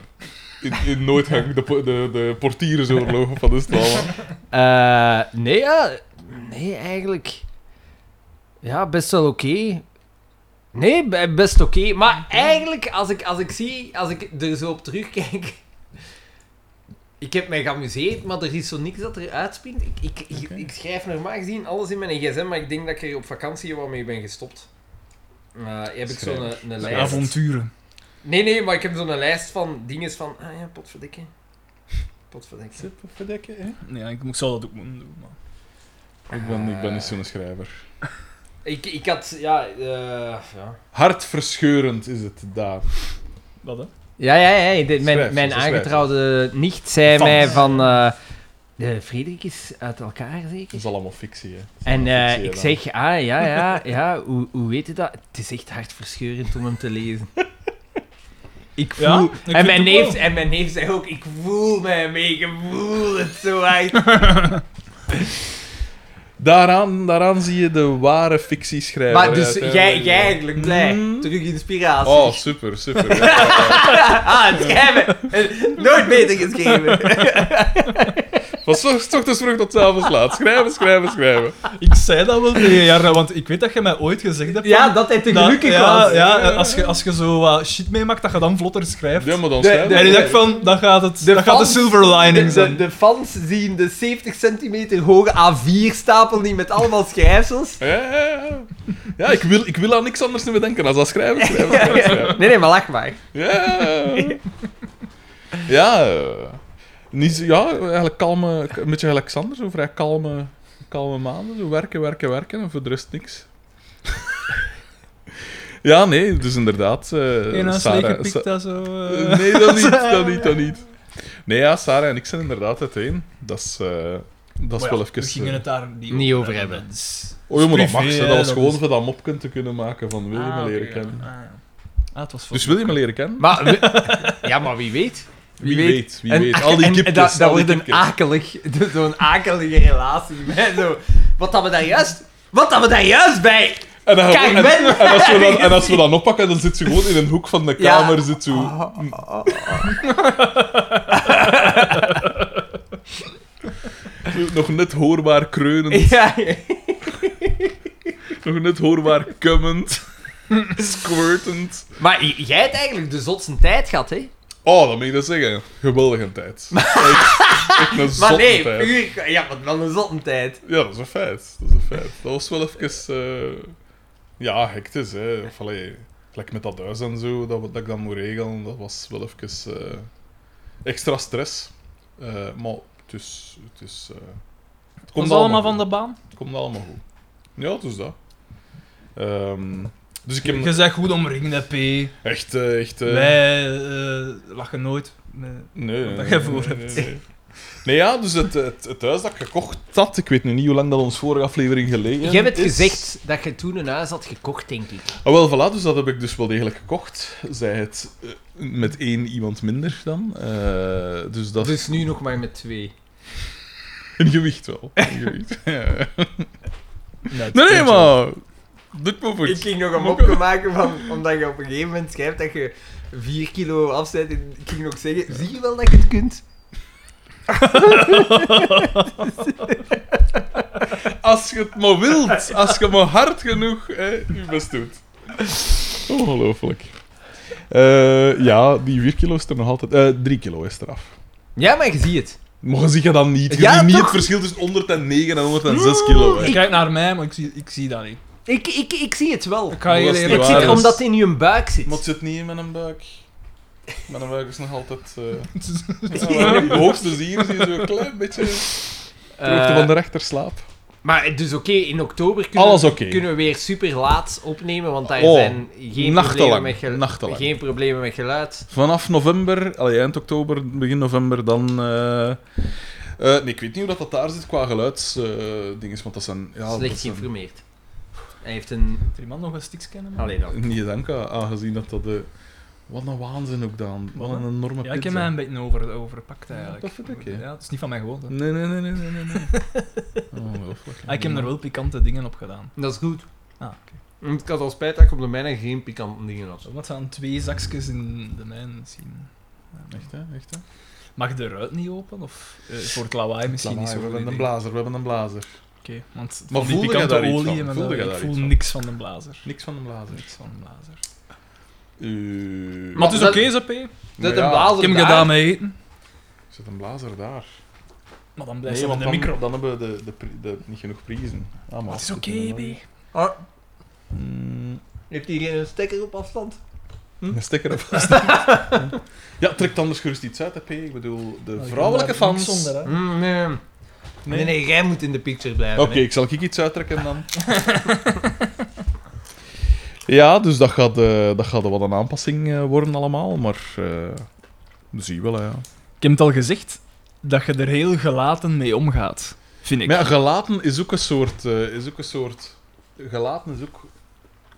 In, in Nooitgang, de, po- de, de portiersoorlog van de stal. Eh, nee, ja. Nee, eigenlijk. Ja, best wel oké. Nee, be- best oké. Maar eigenlijk, als ik, als ik zie, als ik er zo op terugkijk. Ik heb mij geamuseerd, maar er is zo niks dat er uitspringt. Ik, ik, ik, Oké. ik schrijf normaal gezien alles in mijn gsm, maar ik denk dat ik er op vakantie wel mee ben gestopt. Eh, heb ik zo'n een, een lijst. Avonturen. Nee, nee, maar ik heb zo'n lijst van dingen van... Ah ja, potverdikke. Potverdikke. Verdekken, hè? Nee, ik moet- zou dat ook moeten doen. Maar... Ik ben, ik ben niet zo'n schrijver. Ik, ik had, ja, eh, ja. Hartverscheurend is het daar. Wat hè? Ja, ja, ja. de- Schrijf, mijn mijn schrijf. aangetrouwde nicht zei Van. mij van... eh de Frederik is uit elkaar Dat zeker? is allemaal fictie, hè. Dat is En allemaal eh, fictie, ik hè, zeg, ah ja, ja, ja, hoe, hoe weet je dat? Het is echt hartverscheurend om hem te lezen. Ik voel... Ja, ik en, vind mijn het neef, wel. en mijn neef zei ook, ik voel mij mee, ik voel het zo uit. Daaraan, daaraan zie je de ware fictieschrijver. maar dus, uiteindelijk. jij, jij eigenlijk blij. Mm. Terug inspiratie. Oh, super, super. ja. ah, het schrijven. Eh, Nooit beter geschreven. Van zo- s ochtends vroeg tot 's avonds laat. Schrijven, schrijven, schrijven. Ik zei dat wel tegen Jarre, want ik weet dat je mij ooit gezegd hebt... ja, van- dat hij te dat- gelukkig ja, was. Ja, als je, als je zo wat shit meemaakt, dat je dan vlotter schrijft. Ja, maar dan De- schrijven. de- en ik dacht van, dan gaat het, De dan gaat de fans- silver lining De, de, zijn. de fans zien de 70 centimeter hoge A4-stapel die met allemaal schrijfsels. Ja, ja, ja. ja ik, wil, ik wil aan niks anders meer denken als dat schrijven, schrijven, schrijven. schrijven. Nee, nee, maar lach maar. Ja. Ja. eh, Niet, zo- ja, eigenlijk kalme... Een beetje gelijk Sander, zo vrij kalme, kalme maanden. Zo werken, werken, werken en voor de rest niks. Ja, nee, dus inderdaad... eh Eén als Sarah- lege piek, Sa- dat zo... eh. Eh, Nee, dat niet, dat niet, dat niet. Nee, ja, Sarah en ik zijn inderdaad uiteen. Dat is, eh, dat is Maar wel ja, even... We gingen eh, het daar niet, niet over hebben. Dus- Oh jongen, dat privé, mag ze. hè, Dat was dat gewoon is- voor dat mopje te kunnen maken van wil je me leren kennen. Ah, ja. Ah, het was voor... Dus wil je me leren kennen? Maar, we- ja, maar wie weet. Wie weet, wie En- weet. Al die en- en kipjes, dat- Dat al die wordt een kipjes. akelig, dus zo'n akelige relatie. Met zo, wat dat we daar juist... Wat dat we daar juist bij... En, dan, Kijk, en, Ben! en als we dan, en als we dan oppakken, dan zit ze gewoon in een hoek van de Ja. Oh, kamer. Zit zo... Nog net hoorbaar kreunend, Ja, nog net hoorbaar kummend, squirtend. maar j- jij hebt eigenlijk de zotste tijd gehad, hè? Oh, dat moet ik dat zeggen. Geweldige tijd. Echt, echt een Maar zotte nee, tijd. puur... Ja, wat wel een zotte tijd. Ja, dat is een feit. Dat is een feit. Dat was wel even... eh, ja, hectisch, hè. Of, allee, gelijk met dat huis en zo, dat, dat ik dan moet regelen, dat was wel even eh, extra stress. Eh, maar het is... Het, is, eh, het Komt allemaal van goed. de baan? Het komt allemaal goed. Ja, het is dat. Ehm, dus ik heb Je zegt goed omringd, P. echt... eh, echt eh, Wij eh, lachen nooit. Nee. Nee, nee, dat nee, jij nee, voor nee, hebt. nee, nee. Nee, ja, dus het, het, het huis dat ik gekocht had, ik weet nu niet hoe lang dat ons vorige aflevering geleden Jij hebt is. gezegd dat je toen een huis had gekocht, denk ik. Ah, wel, voilà, dus dat heb ik dus wel degelijk gekocht. Zij het eh, met één iemand minder dan. Eh, dus dat Dus nu nog maar met twee. in gewicht wel. In gewicht. Ja. nee, nee, maar... Doet me Ik goed. ging nog een mopje maken van, omdat je op een gegeven moment schrijft dat je 4 kilo afzet. En ik ging nog zeggen, zie je wel dat je het kunt? Als je het maar wilt, als je maar hard genoeg hè, je best doet. Ongelooflijk. Eh, ja, die 4 kilo is er nog altijd... eh 3 kilo is eraf. Ja, maar je ziet het. Maar zie je dan niet? Je Ja, ziet niet toch? het verschil tussen 109 en 106 kilo. Hè. Kijk naar mij, maar ik zie, ik zie dat niet. Ik, ik, ik zie het wel. Ik ga je Dat is niet leren Het waar, zit dus- omdat het in je buik zit. Maar het zit niet in mijn buik. Mijn buik is dus nog altijd... eh, ja, maar de hoogste zier is hier zo'n klein beetje... De hoogte Eh, van de rechterslaap. Maar dus oké, in oktober kunnen, Alles oké. kunnen we weer super laat opnemen, want daar Oh, zijn geen problemen, nachtenlang, met gelu- nachtenlang. geen problemen met geluid. Vanaf november, allee, eind oktober, begin november, dan... eh, eh, nee, ik weet niet hoe dat, dat daar zit qua geluidsdinges, want dat zijn... Ja, dat Slecht zijn- geïnformeerd. Hij heeft een... Drie man nog een stiks kennen. Allee dan. Niet dank, ah, aangezien dat dat... eh, wat een waanzin ook dan. Wat een enorme Ja, ik heb pizza. mij een beetje over, overpakt eigenlijk. dat vind ik, hè. Ja, het is niet van mij gewoonte. Nee, nee, nee, nee, nee, nee. nee. Oh, Ongelooflijk. Ah, ik heb er wel pikante dingen op gedaan. Dat is goed. Ah, oké. Want Ik had al spijt dat ik op de mijne geen pikante dingen had. Wat zijn twee zakjes in de mijn misschien? Echt, hè? Echt, hè? Mag de ruit niet open? Of eh, voor het lawaai misschien Lawaai, niet we zo goed hebben een idee. blazer, we hebben een blazer. Oké, want Maar van die voelde jij pikante daar iets olie... van? en Voelde dat- jij ik daar voel iets van? niks van de blazer. Niks van een blazer. Niks van de blazer. Uh, Maar het is dat- oké, zo, P. Dat ja, een blazer Ik heb daar- gedaan met eten. Zit een blazer daar? Maar dan blijft Nee, ze want met de dan, micro. dan hebben we de, de, pri- de, niet genoeg prijzen. Ah, maar Het is zit oké, er nog- B. Ah, Mm, heeft hij geen stekker op afstand? Een sticker op vast. ja, trekt anders gerust iets uit, hè, P. Ik bedoel, de vrouwelijke fans... Zonder, hè. Mm, nee. Nee. nee, jij moet in de picture blijven. Oké, hè. ik zal ik iets uittrekken dan. ja, dus dat gaat, eh, dat gaat wel een aanpassing eh, worden allemaal, maar... eh zie je wel, hè, ja. Ik heb het al gezegd, dat je er heel gelaten mee omgaat. Vind ik. Maar ja, gelaten is ook een soort... eh, is ook een soort... Gelaten is ook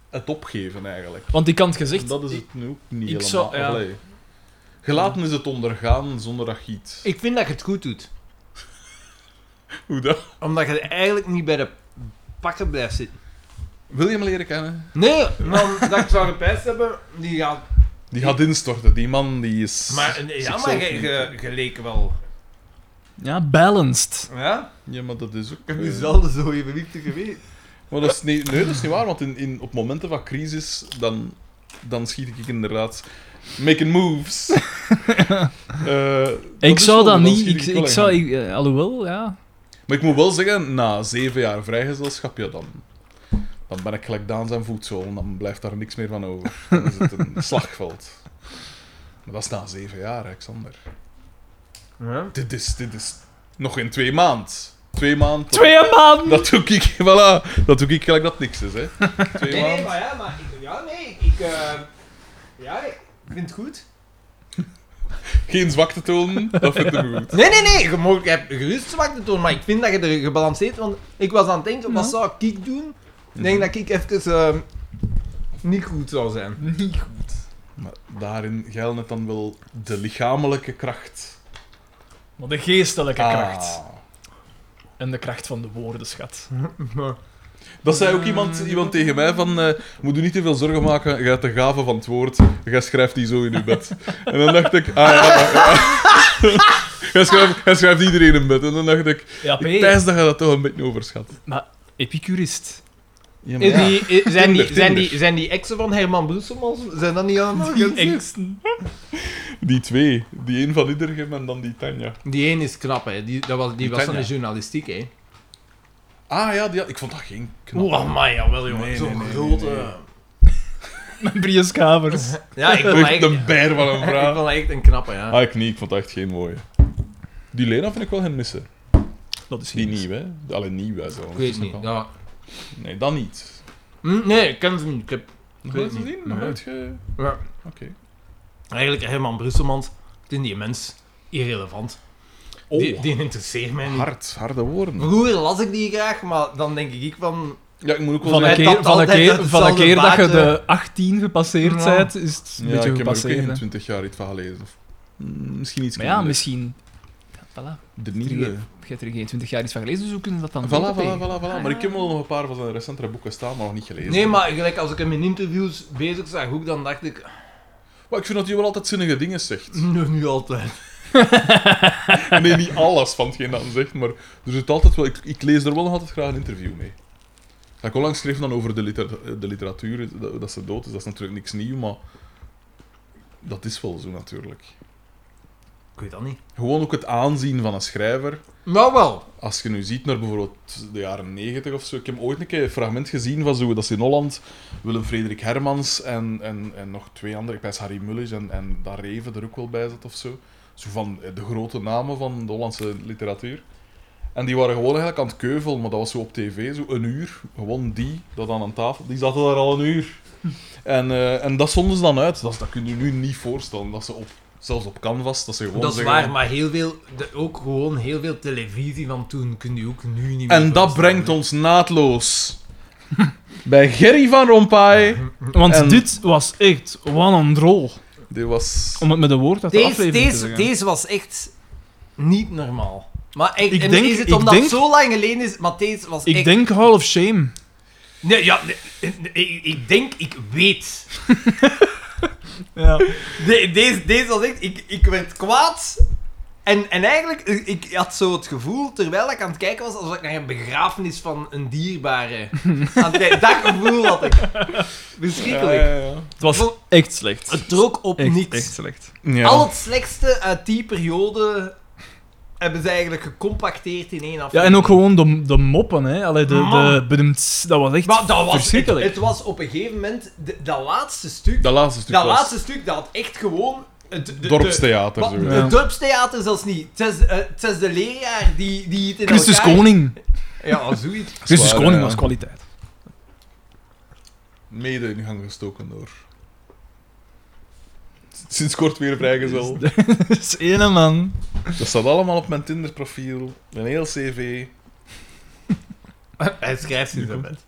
het opgeven, eigenlijk. Want ik kan het gezegd... dat is het nu ook niet ik helemaal. zou- ja. Allee. Gelaten is het ondergaan zonder achiet. Ik vind dat je het goed doet. Hoe dat? Omdat je eigenlijk niet bij de pakken blijft zitten. Wil je hem leren kennen? Nee, man, dat ik zou gepijst hebben, die gaat... Die gaat instorten. Die man die is. Maar, nee, ja, maar zichzelf je, niet- je, je leek wel. Ja, balanced. Ja? Ja, maar dat is ook. Ik heb eh, zelden zo evenwichtig geweest. Maar dat is niet, nee, dat is niet waar, want in, in, op momenten van crisis dan, dan schiet ik inderdaad making moves. Eh, Ik is zou wel- dat dan niet. schiet Ik, ik wel ik in zou, gang. ik, eh, alhoewel, ja. Maar ik moet wel zeggen, na zeven jaar vrijgezelschap, ja, dan, dan ben ik gelijk Daan zijn voedsel en dan blijft daar niks meer van over. Dan is het een slagveld. Maar dat is na zeven jaar, hè, Xander. Ja? Dit is, dit is nog in twee maanden. Twee maanden. Twee man! Dat doe ik, voilà. Dat doe ik gelijk dat niks is, hè. Nee, Twee nee, maanden. maar ja, maar... Ik, ja, nee, ik... eh, ja, ik vind het goed. Geen zwakte tonen, dat vind ik goed. Nee, nee, nee. Je, mag, je hebt gerust zwakte toon, maar ik vind dat je er gebalanceerd... Want ik was aan het denken, wat Ja. zou ik doen? Ik Mhm. denk dat ik even ehm, niet goed zou zijn. Niet goed. Maar daarin geldt net dan wel de lichamelijke kracht. Maar de geestelijke Ah. kracht. En de kracht van de woorden, schat. Hm. Dat zei ook iemand, iemand tegen mij van, eh, moet je niet te veel zorgen maken, je hebt de gave van het woord, jij schrijft die zo in je bed. En dan dacht ik, ah ja, ja, ja. Jij schrijft, jij schrijft iedereen in bed. En dan dacht ik, Ja, E P. ik pijs dat je dat toch een beetje overschat. Maar epicurist. Ja, Is ja. Eh, die, i- zijn, die, Tinder, zijn, die, Tinder. zijn die exen van Herman Brusselmans, zijn dat niet Oh, allemaal mensen? Engsten. Die twee, die één van Iedergem en dan die Tanja. Die één is knap, hè. Die, dat was, die Die was van de Tanja. journalistiek, hè. Ah ja, die had- ik vond dat geen knap. Oh, Oeh, man, jawel, jongen. Nee, nee, Zo'n nee, grote... nee, nee. Met Brius Kavers. Ja, ik vond Echt echt, ik een bijr van een vond vrouw. dat echt een knappe, ja. Ah, ik niet, ik vond dat echt geen mooie. Die Lena vind ik wel geen missen. Dat is Die niet. nieuw, hè? Alleen nieuw, hè, zo. ik weet niet. Ja. Nee, dan niet. Hm, nee, ik ken ze niet. Ik heb Nog weet nooit niet. gezien? Nog Nee. nooit ge... ja, Oké. eigenlijk Herman Brusselmans, ik vind die mens irrelevant. Oh, Die, die Hm? interesseert mij niet. hard, harde woorden. Vroeger las ik die graag, maar dan denk ik van... Ja, ik moet ook wel Van een Hij keer, tapt van een altijd keer, van een hetzelfde keer dat je baadje. de 18 gepasseerd Ja. bent, is het een Ja, beetje ik heb er ook gepasseerd. hè. 21 jaar iets van gelezen. Of, mm, misschien iets Maar ja, minder. misschien... Ja, voilà. De nieuwe. Je hebt er geen 20 jaar iets van gelezen, dus hoe kunnen ze dat dan Voilà, weten, voilà, P? voilà, voilà. Maar ik heb wel nog een paar van zijn recentere boeken staan, maar nog niet gelezen. Ah. Nee, maar gelijk als ik hem in interviews bezig zag, ook, dan dacht ik... Maar ik vind dat hij wel altijd zinnige dingen zegt. Nee, niet altijd. Nee, niet alles van hetgeen dat hij zegt, maar er zit altijd wel... Ik, ik lees er wel nog altijd graag een interview mee. Ja, Ik onlangs schreef dan over de, liter- de literatuur, dat, dat ze dood is. Dat is natuurlijk niks nieuws, maar... Dat is wel zo, natuurlijk. Ik weet dat niet. Gewoon ook het aanzien van een schrijver. Nou wel. Als je nu ziet naar bijvoorbeeld de jaren negentig of zo. Ik heb ooit een keer een fragment gezien van zo, dat ze in Holland Willem Frederik Hermans en, en, en nog twee andere, ik wijs Harry Mullis en, en daar Reven er ook wel bij zat of zo. Zo van eh, de grote namen van de Hollandse literatuur. En die waren gewoon eigenlijk aan het keuvel, maar dat was zo op tv, zo een uur. Gewoon die, dat aan een tafel, die zaten daar al een uur. En, eh, en dat zonden ze dan uit. Dat, dat kun je nu niet voorstellen. Dat ze op, zelfs op canvas, dat ze gewoon Dat is zeggen waar, van- maar heel veel, de- ook gewoon heel veel televisie van toen kun je ook nu niet meer En dat voorstellen. brengt ons naadloos bij Gerry van Rompuy. Want En- dit was echt, wat een drol. Dit was. Om het met een woord uit de Deze, aflevering te deze, zeggen. deze was echt niet normaal. Maar echt, Ik en denk- is het ik omdat denk- het zo lang geleden is, maar deze was Ik echt... denk Hall of Shame. Nee, ja, nee, nee, ik, ik denk, ik weet. Ja. De- deze, deze was echt... Ik, ik werd kwaad. En, en eigenlijk, eh, ik had zo het gevoel, terwijl ik aan het kijken was, alsof ik naar een begrafenis van een dierbare... aan het kijken- dat gevoel had ik. Ja, Verschrikkelijk. ja, ja. Het was Wel- echt slecht. Het trok op echt, niks. echt slecht. Ja. Al het slechtste uit die periode hebben ze eigenlijk gecompacteerd in één Ja, aflevering. en ook gewoon de, de moppen, hè. Allee, de, de, Man. bedemts, dat was echt Ah. Maar dat was, verschrikkelijk. Het, het was op een gegeven moment, de- dat laatste stuk, dat, Dat laatste stuk. was laatste stuk, dat had echt gewoon... Het de- de- Dorpstheater. maar zo. Ja. Het dorpstheater zelfs niet. Het is, eh, het is de leraar die, die het in Christus elkaar- Koning. Ja, zoiets. Christus Zwaar, Koning ja. was kwaliteit. Mede in gang gestoken door. Sinds kort weer vrijgezel. Dat is ene man. Dat staat allemaal op mijn Tinder-profiel. Mijn heel CV. Hij schrijft in zijn bed.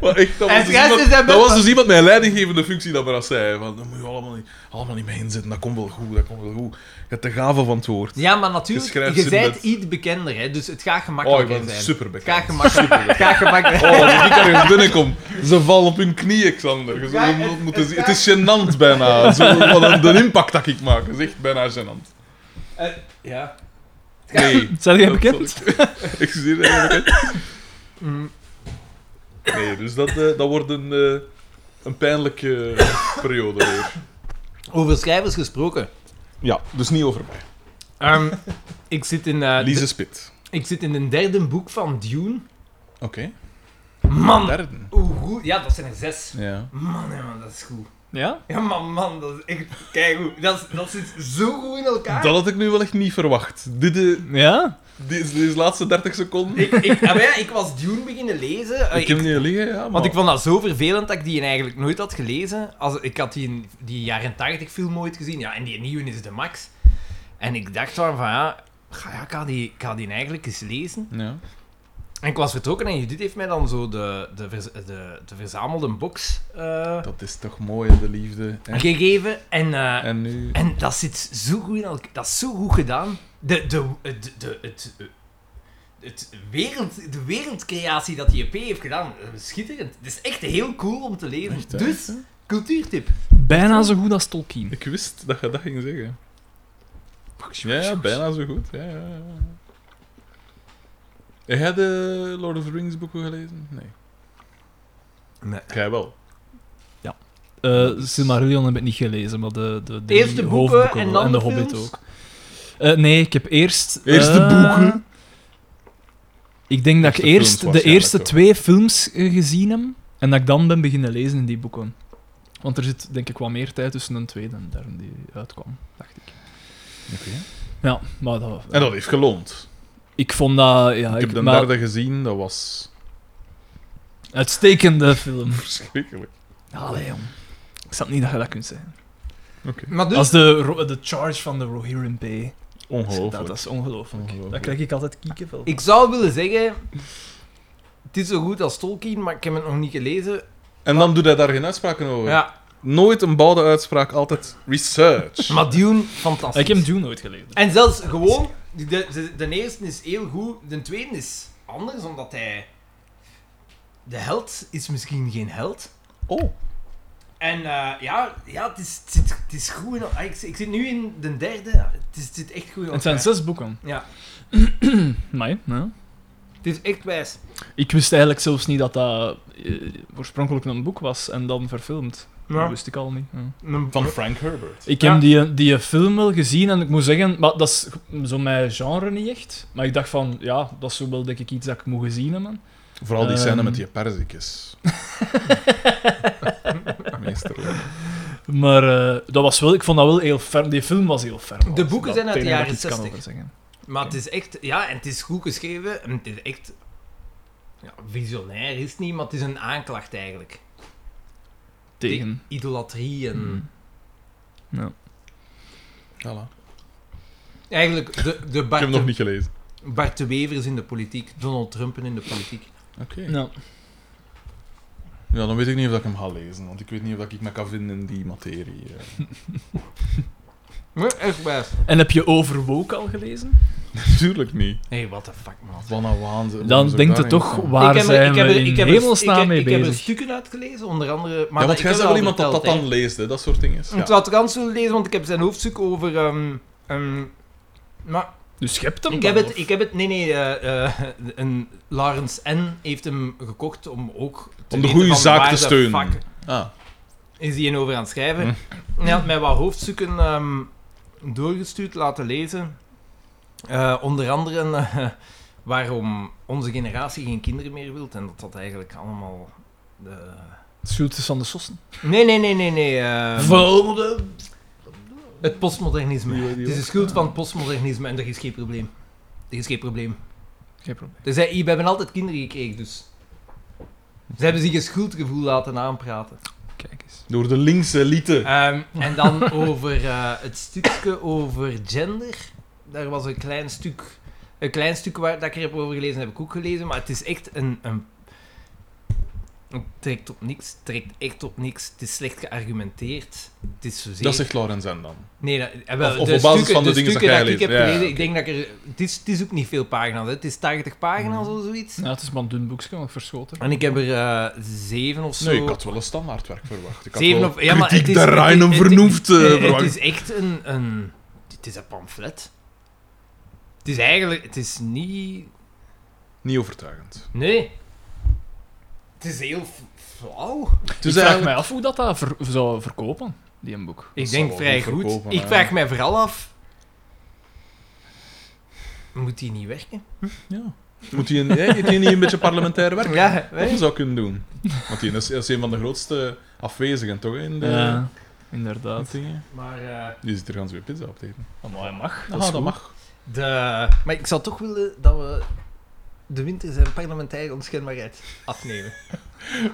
Maar echt, dat En was, dus juist iemand, is hij dat met- was dus iemand mijn leidinggevende functie dat maar dat zei. Van, dat moet je allemaal niet, allemaal niet mee inzetten, dat komt wel goed, dat komt wel goed. Je hebt de gave van het woord. Ja, maar Je natuurlijk, schrijft je ze bent met- iets bekender, hè, dus het gaat Oh, ik gemakkelijker ben zijn. super Het gaat bekend. gemakkelijker. Het gaat gemakkelijker. Oh, als ik er binnenkom, ze vallen op hun knieën, Xander. Je zult Ja, het het- moeten het zien. het is gênant bijna. Zo, wat een, de impact dat ik maak is echt bijna gênant. Oh. Eh, ja. Nee. Zijn jij Dat bekend? zal Ik Excuseer, ben jij bekend? Nee, dus dat, eh, dat wordt een, eh, een pijnlijke periode weer. Over schrijvers gesproken. Ja, dus niet over mij. Ehm, ik, zit in, eh, Ah, Lise Spit. de- ik zit in een derde boek van Dune. Oké. Man, Derde. hoe goed. Ja, dat zijn er zes. Ja. Man, ja, man, dat is goed. Ja? Ja, man, man, dat is echt keigoed. Dat, is- dat zit zo goed in elkaar. Dat had ik nu wel echt niet verwacht. Dit, eh, Ja? deze, deze laatste 30 seconden. Ik, Ik, ik, ah, maar ja, ik was Dune beginnen lezen. Eh, heb hem niet liggen, ja. Maar... Want ik vond dat zo vervelend dat ik die eigenlijk nooit had gelezen. Als, ik had die, die jaren 80 film ooit gezien. Ja, en die nieuwe is de max. En ik dacht van, van ja, ga- ja, ik ga, die, ik ga die eigenlijk eens lezen. Ja. En ik was vertrokken en Judith heeft mij dan zo de, de, verz- de, de verzamelde box eh, Dat is toch mooi, de liefde. hè? gegeven. En, eh, en... En nu... dat zit zo goed in elkaar. Dat is zo goed gedaan. De, de, de, de, het, eh, het wereld, de wereldcreatie dat die EP heeft gedaan, eh, schitterend. Het is echt heel cool om te lezen. Echt, hè? dus... Cultuurtip. Bijna zo goed als Tolkien. Ik wist dat je dat ging zeggen. Ja, ja, bijna zo goed. Ja, ja, ja. Heb jij de Lord of the Rings boeken gelezen? Nee. Nee. Jij wel. Eh, Silmarillion heb ik niet gelezen, maar de, de, de Eerst de boeken en dan en de de Hobbit films? ook. Eh, nee, ik heb eerst... Eerst de eh, boeken? Ik denk dat Eerst ik de films eerst waarschijnlijk de eerste ook. twee films eh, gezien heb en dat ik dan ben beginnen lezen in die boeken. Want er zit denk ik wat meer tijd tussen een tweede en de derde die uitkwam, dacht ik. Ja, maar dat... En dat heeft geloond. Ik vond dat... Ja, ik ik heb de maar- derde gezien, dat was Uitstekende film. verschrikkelijk. Allee, jong. Ik snap niet dat je dat kunt zeggen. Maar dus, Als de, ro- de charge van de Rohirrim Bay. Dat, Ongelooflijk. dat is ongelooflijk. Ongelooflijk. Daar krijg ik altijd kiekenvel. ik zou willen zeggen... Het is zo goed als Tolkien, maar ik heb het nog niet gelezen. En dan doet hij daar geen uitspraken Oh over. Ja, Nooit een bouwde uitspraak, altijd research. maar Dune, fantastisch. Ik heb Dune nooit gelezen. En zelfs gewoon... De, de, de eerste is heel goed, de tweede is anders, omdat hij... De held is misschien geen held. Oh, En eh, ja, ja het, is, het, zit, het is goed. in- ah, ik, zit- ik zit nu in de derde. Het, is, het zit echt goed. in Het zijn elkaar. zes boeken. Ja, Maar ja. het is echt wijs. Ik wist eigenlijk zelfs niet dat dat eh, oorspronkelijk een boek was en dan verfilmd. Dat Ja. wist ik al niet. ja. Een- van Frank Herbert. Ik Ja. heb die, die film wel gezien en ik moet zeggen, maar dat is zo mijn genre niet echt. Maar ik dacht van, ja, dat is zo wel denk ik iets dat ik moet gezien hebben. Vooral die Ehm. scène met die perzikus. Meesterlijk. Maar eh, dat was wel, ik vond dat wel heel ferm. Die film was heel ferm. De boeken Dat zijn uit de het enige wat jaren ik iets kan 60. over zeggen. Maar het is echt, ja, en het is goed geschreven. En het is echt, ja, visionair is het niet, maar het is een aanklacht eigenlijk. Tegen. Idolatrie en. Mm. Ja. Voilà. Eigenlijk de, de Ik heb Bart, hem nog niet gelezen. Bart de Wevers in de politiek, Donald Trumpen in de politiek. Oké. Ja. Ja, dan weet ik niet of ik hem ga lezen, want ik weet niet of ik me kan vinden in die materie. eh. Ja, Echt best. En heb je Overwoke al gelezen? Natuurlijk niet. Hé, hey, what the fuck, man. Wat een waanzin. Dan denkt het toch, waar ik heb er, zijn ik heb we er, in ik heb er- hemelsnaam ik heb- mee Ik heb er bezig? stukken uitgelezen, onder andere. Maar Maar ja, dat- want ik jij heb bent al wel iemand dat dat verteld, hè. dan leest, hè, dat soort dingen. Ik Ja. zou het trouwens willen lezen, want ik heb zijn hoofdstuk over. ehm, ehm, maar Dus je hebt hem Ik dan, heb, het, of- ik heb het, nee, nee, eh, eh, een Lawrence N. heeft hem gekocht om ook. te Om de weten goede van zaak waar te de steunen. fuck Ah, Is hij over aan het schrijven? Hm. En Hij had mij wat hoofdstukken ehm, doorgestuurd, laten lezen. Eh, onder andere eh, waarom onze generatie geen kinderen meer wil. En dat dat eigenlijk allemaal. de- Schultes van de Sossen. Nee, nee, nee, nee, nee. eh, Volde. het postmodernisme. Die- die Het is de ook. schuld van het postmodernisme en er is geen probleem. Er is geen probleem. Geen probleem. Dus zij, we hebben altijd kinderen gekregen, dus... Ze hebben zich een schuldgevoel laten aanpraten. Kijk eens. door de linkse elite. Ehm, en dan over eh, het stukje over gender. Daar was een klein stuk, een klein stuk waar, dat ik er heb over gelezen, heb ik ook gelezen. Maar het is echt een, een, Het trekt op niks, het trekt echt op niks. Het is slecht geargumenteerd. Het is zozeer... Dat zegt Laurens en dan. Nee, dat, eh, wel, Of- of de op basis stukken- van de dingen stukken dat dat jij ik heb leest. Ja, gelezen, ja, ik denk dat ik er... Het is, het is ook niet veel pagina's, hè. Het is 80 pagina's Mm. of zoiets. Ja, het is maar een dun boekje, want ik verschoten. En ik heb er eh, zeven of zo... Nee, ik had wel een standaardwerk verwacht. Ik had Zeven wel of- ja, maar kritiek het is- der het is- Reinen het is- vernoemd eh, Nee, verwacht. het is echt een, een... Het is een pamflet. Het is eigenlijk... Het is niet... Niet overtuigend. Nee. Het is heel f- flauw. Het is ik vraag Dus eigenlijk... mij af hoe dat, dat ver- zou verkopen, die een boek. Ik Dat zal denk wel vrij goed goed. verkopen, ik hè. vraag mij vooral af... Moet die niet werken? Ja. Moet hij een, hè, heeft hij niet een beetje parlementair werk? Ja, hè? Dat zou kunnen doen. Want die is, is een van de grootste afwezigen, toch? hè, In de, Ja, inderdaad. dingen. Maar, eh, Die zit er gans weer pizza op te eten. Oh, maar hij mag. Ah, is dat goed. mag. de... maar ik zou toch willen dat we de winter zijn parlementaire onschendbaarheid afnemen.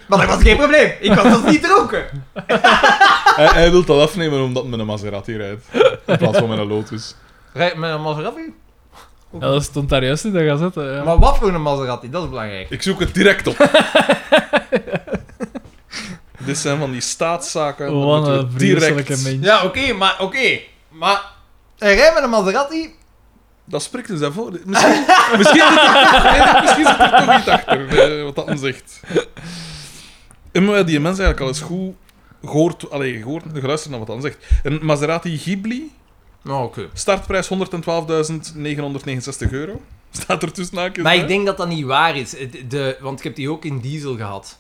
Maar dat was geen probleem. Ik was dus niet dronken. hij, hij wil dat afnemen omdat men een Maserati rijdt. In plaats van met een Lotus. Rijd me een Maserati? Ja, dat stond daar juist in de gazette. Ja. Eh, Maar wat voor een Maserati? Dat is belangrijk. Ik zoek het direct op. Dit zijn van die staatszaken. dan Wat moeten een we vreselijke mens. Ja, oké, maar oké. Maar hij rijdt met een Maserati. Dat spreekt dus daarvoor. Misschien, misschien, zit er, misschien zit er toch iets achter, eh, wat dat hem zegt. En maar die mensen eigenlijk al eens goed gehoord, allee, gehoord, geluisterd naar wat dat hem zegt. Een Maserati Ghibli, Nou, oké. startprijs 112.969 euro. Staat er tussen haakjes Maar bij. ik denk dat dat niet waar is. Het- De, want ik heb die ook in diesel gehad.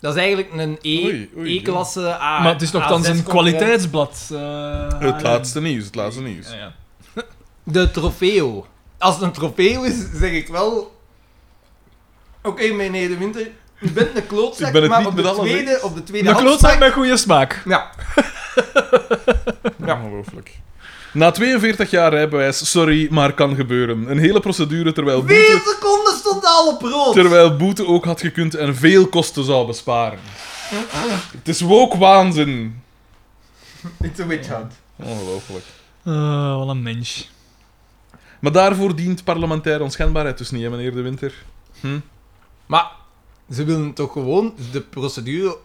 Dat is eigenlijk een E- Oei, oei, ja. E-klasse A. Maar het is nogthans A6 een concurrent. kwaliteitsblad. eh, Het laatste nieuws, het laatste nieuws. Ja, ja. De trofeo. Als het een trofeo is, zeg ik wel... Oké, meneer De Winter, u bent een klootzak, Ik ben het maar niet op, met de alles tweede, eens. op de tweede Een klootzak afspraak- met goede smaak. Ja, Ja. Ongelooflijk. Na 42 jaar rijbewijs, sorry, maar kan gebeuren. Een hele procedure terwijl vier boete, seconden stond al op rood. terwijl boete ook had gekund en veel kosten zou besparen. Het is woke waanzin. It's a witch hunt. Ongelooflijk. Eh, wat een mens. Maar daarvoor dient parlementaire onschendbaarheid dus niet, hè, meneer De Winter? Hm? Maar ze willen toch gewoon de procedure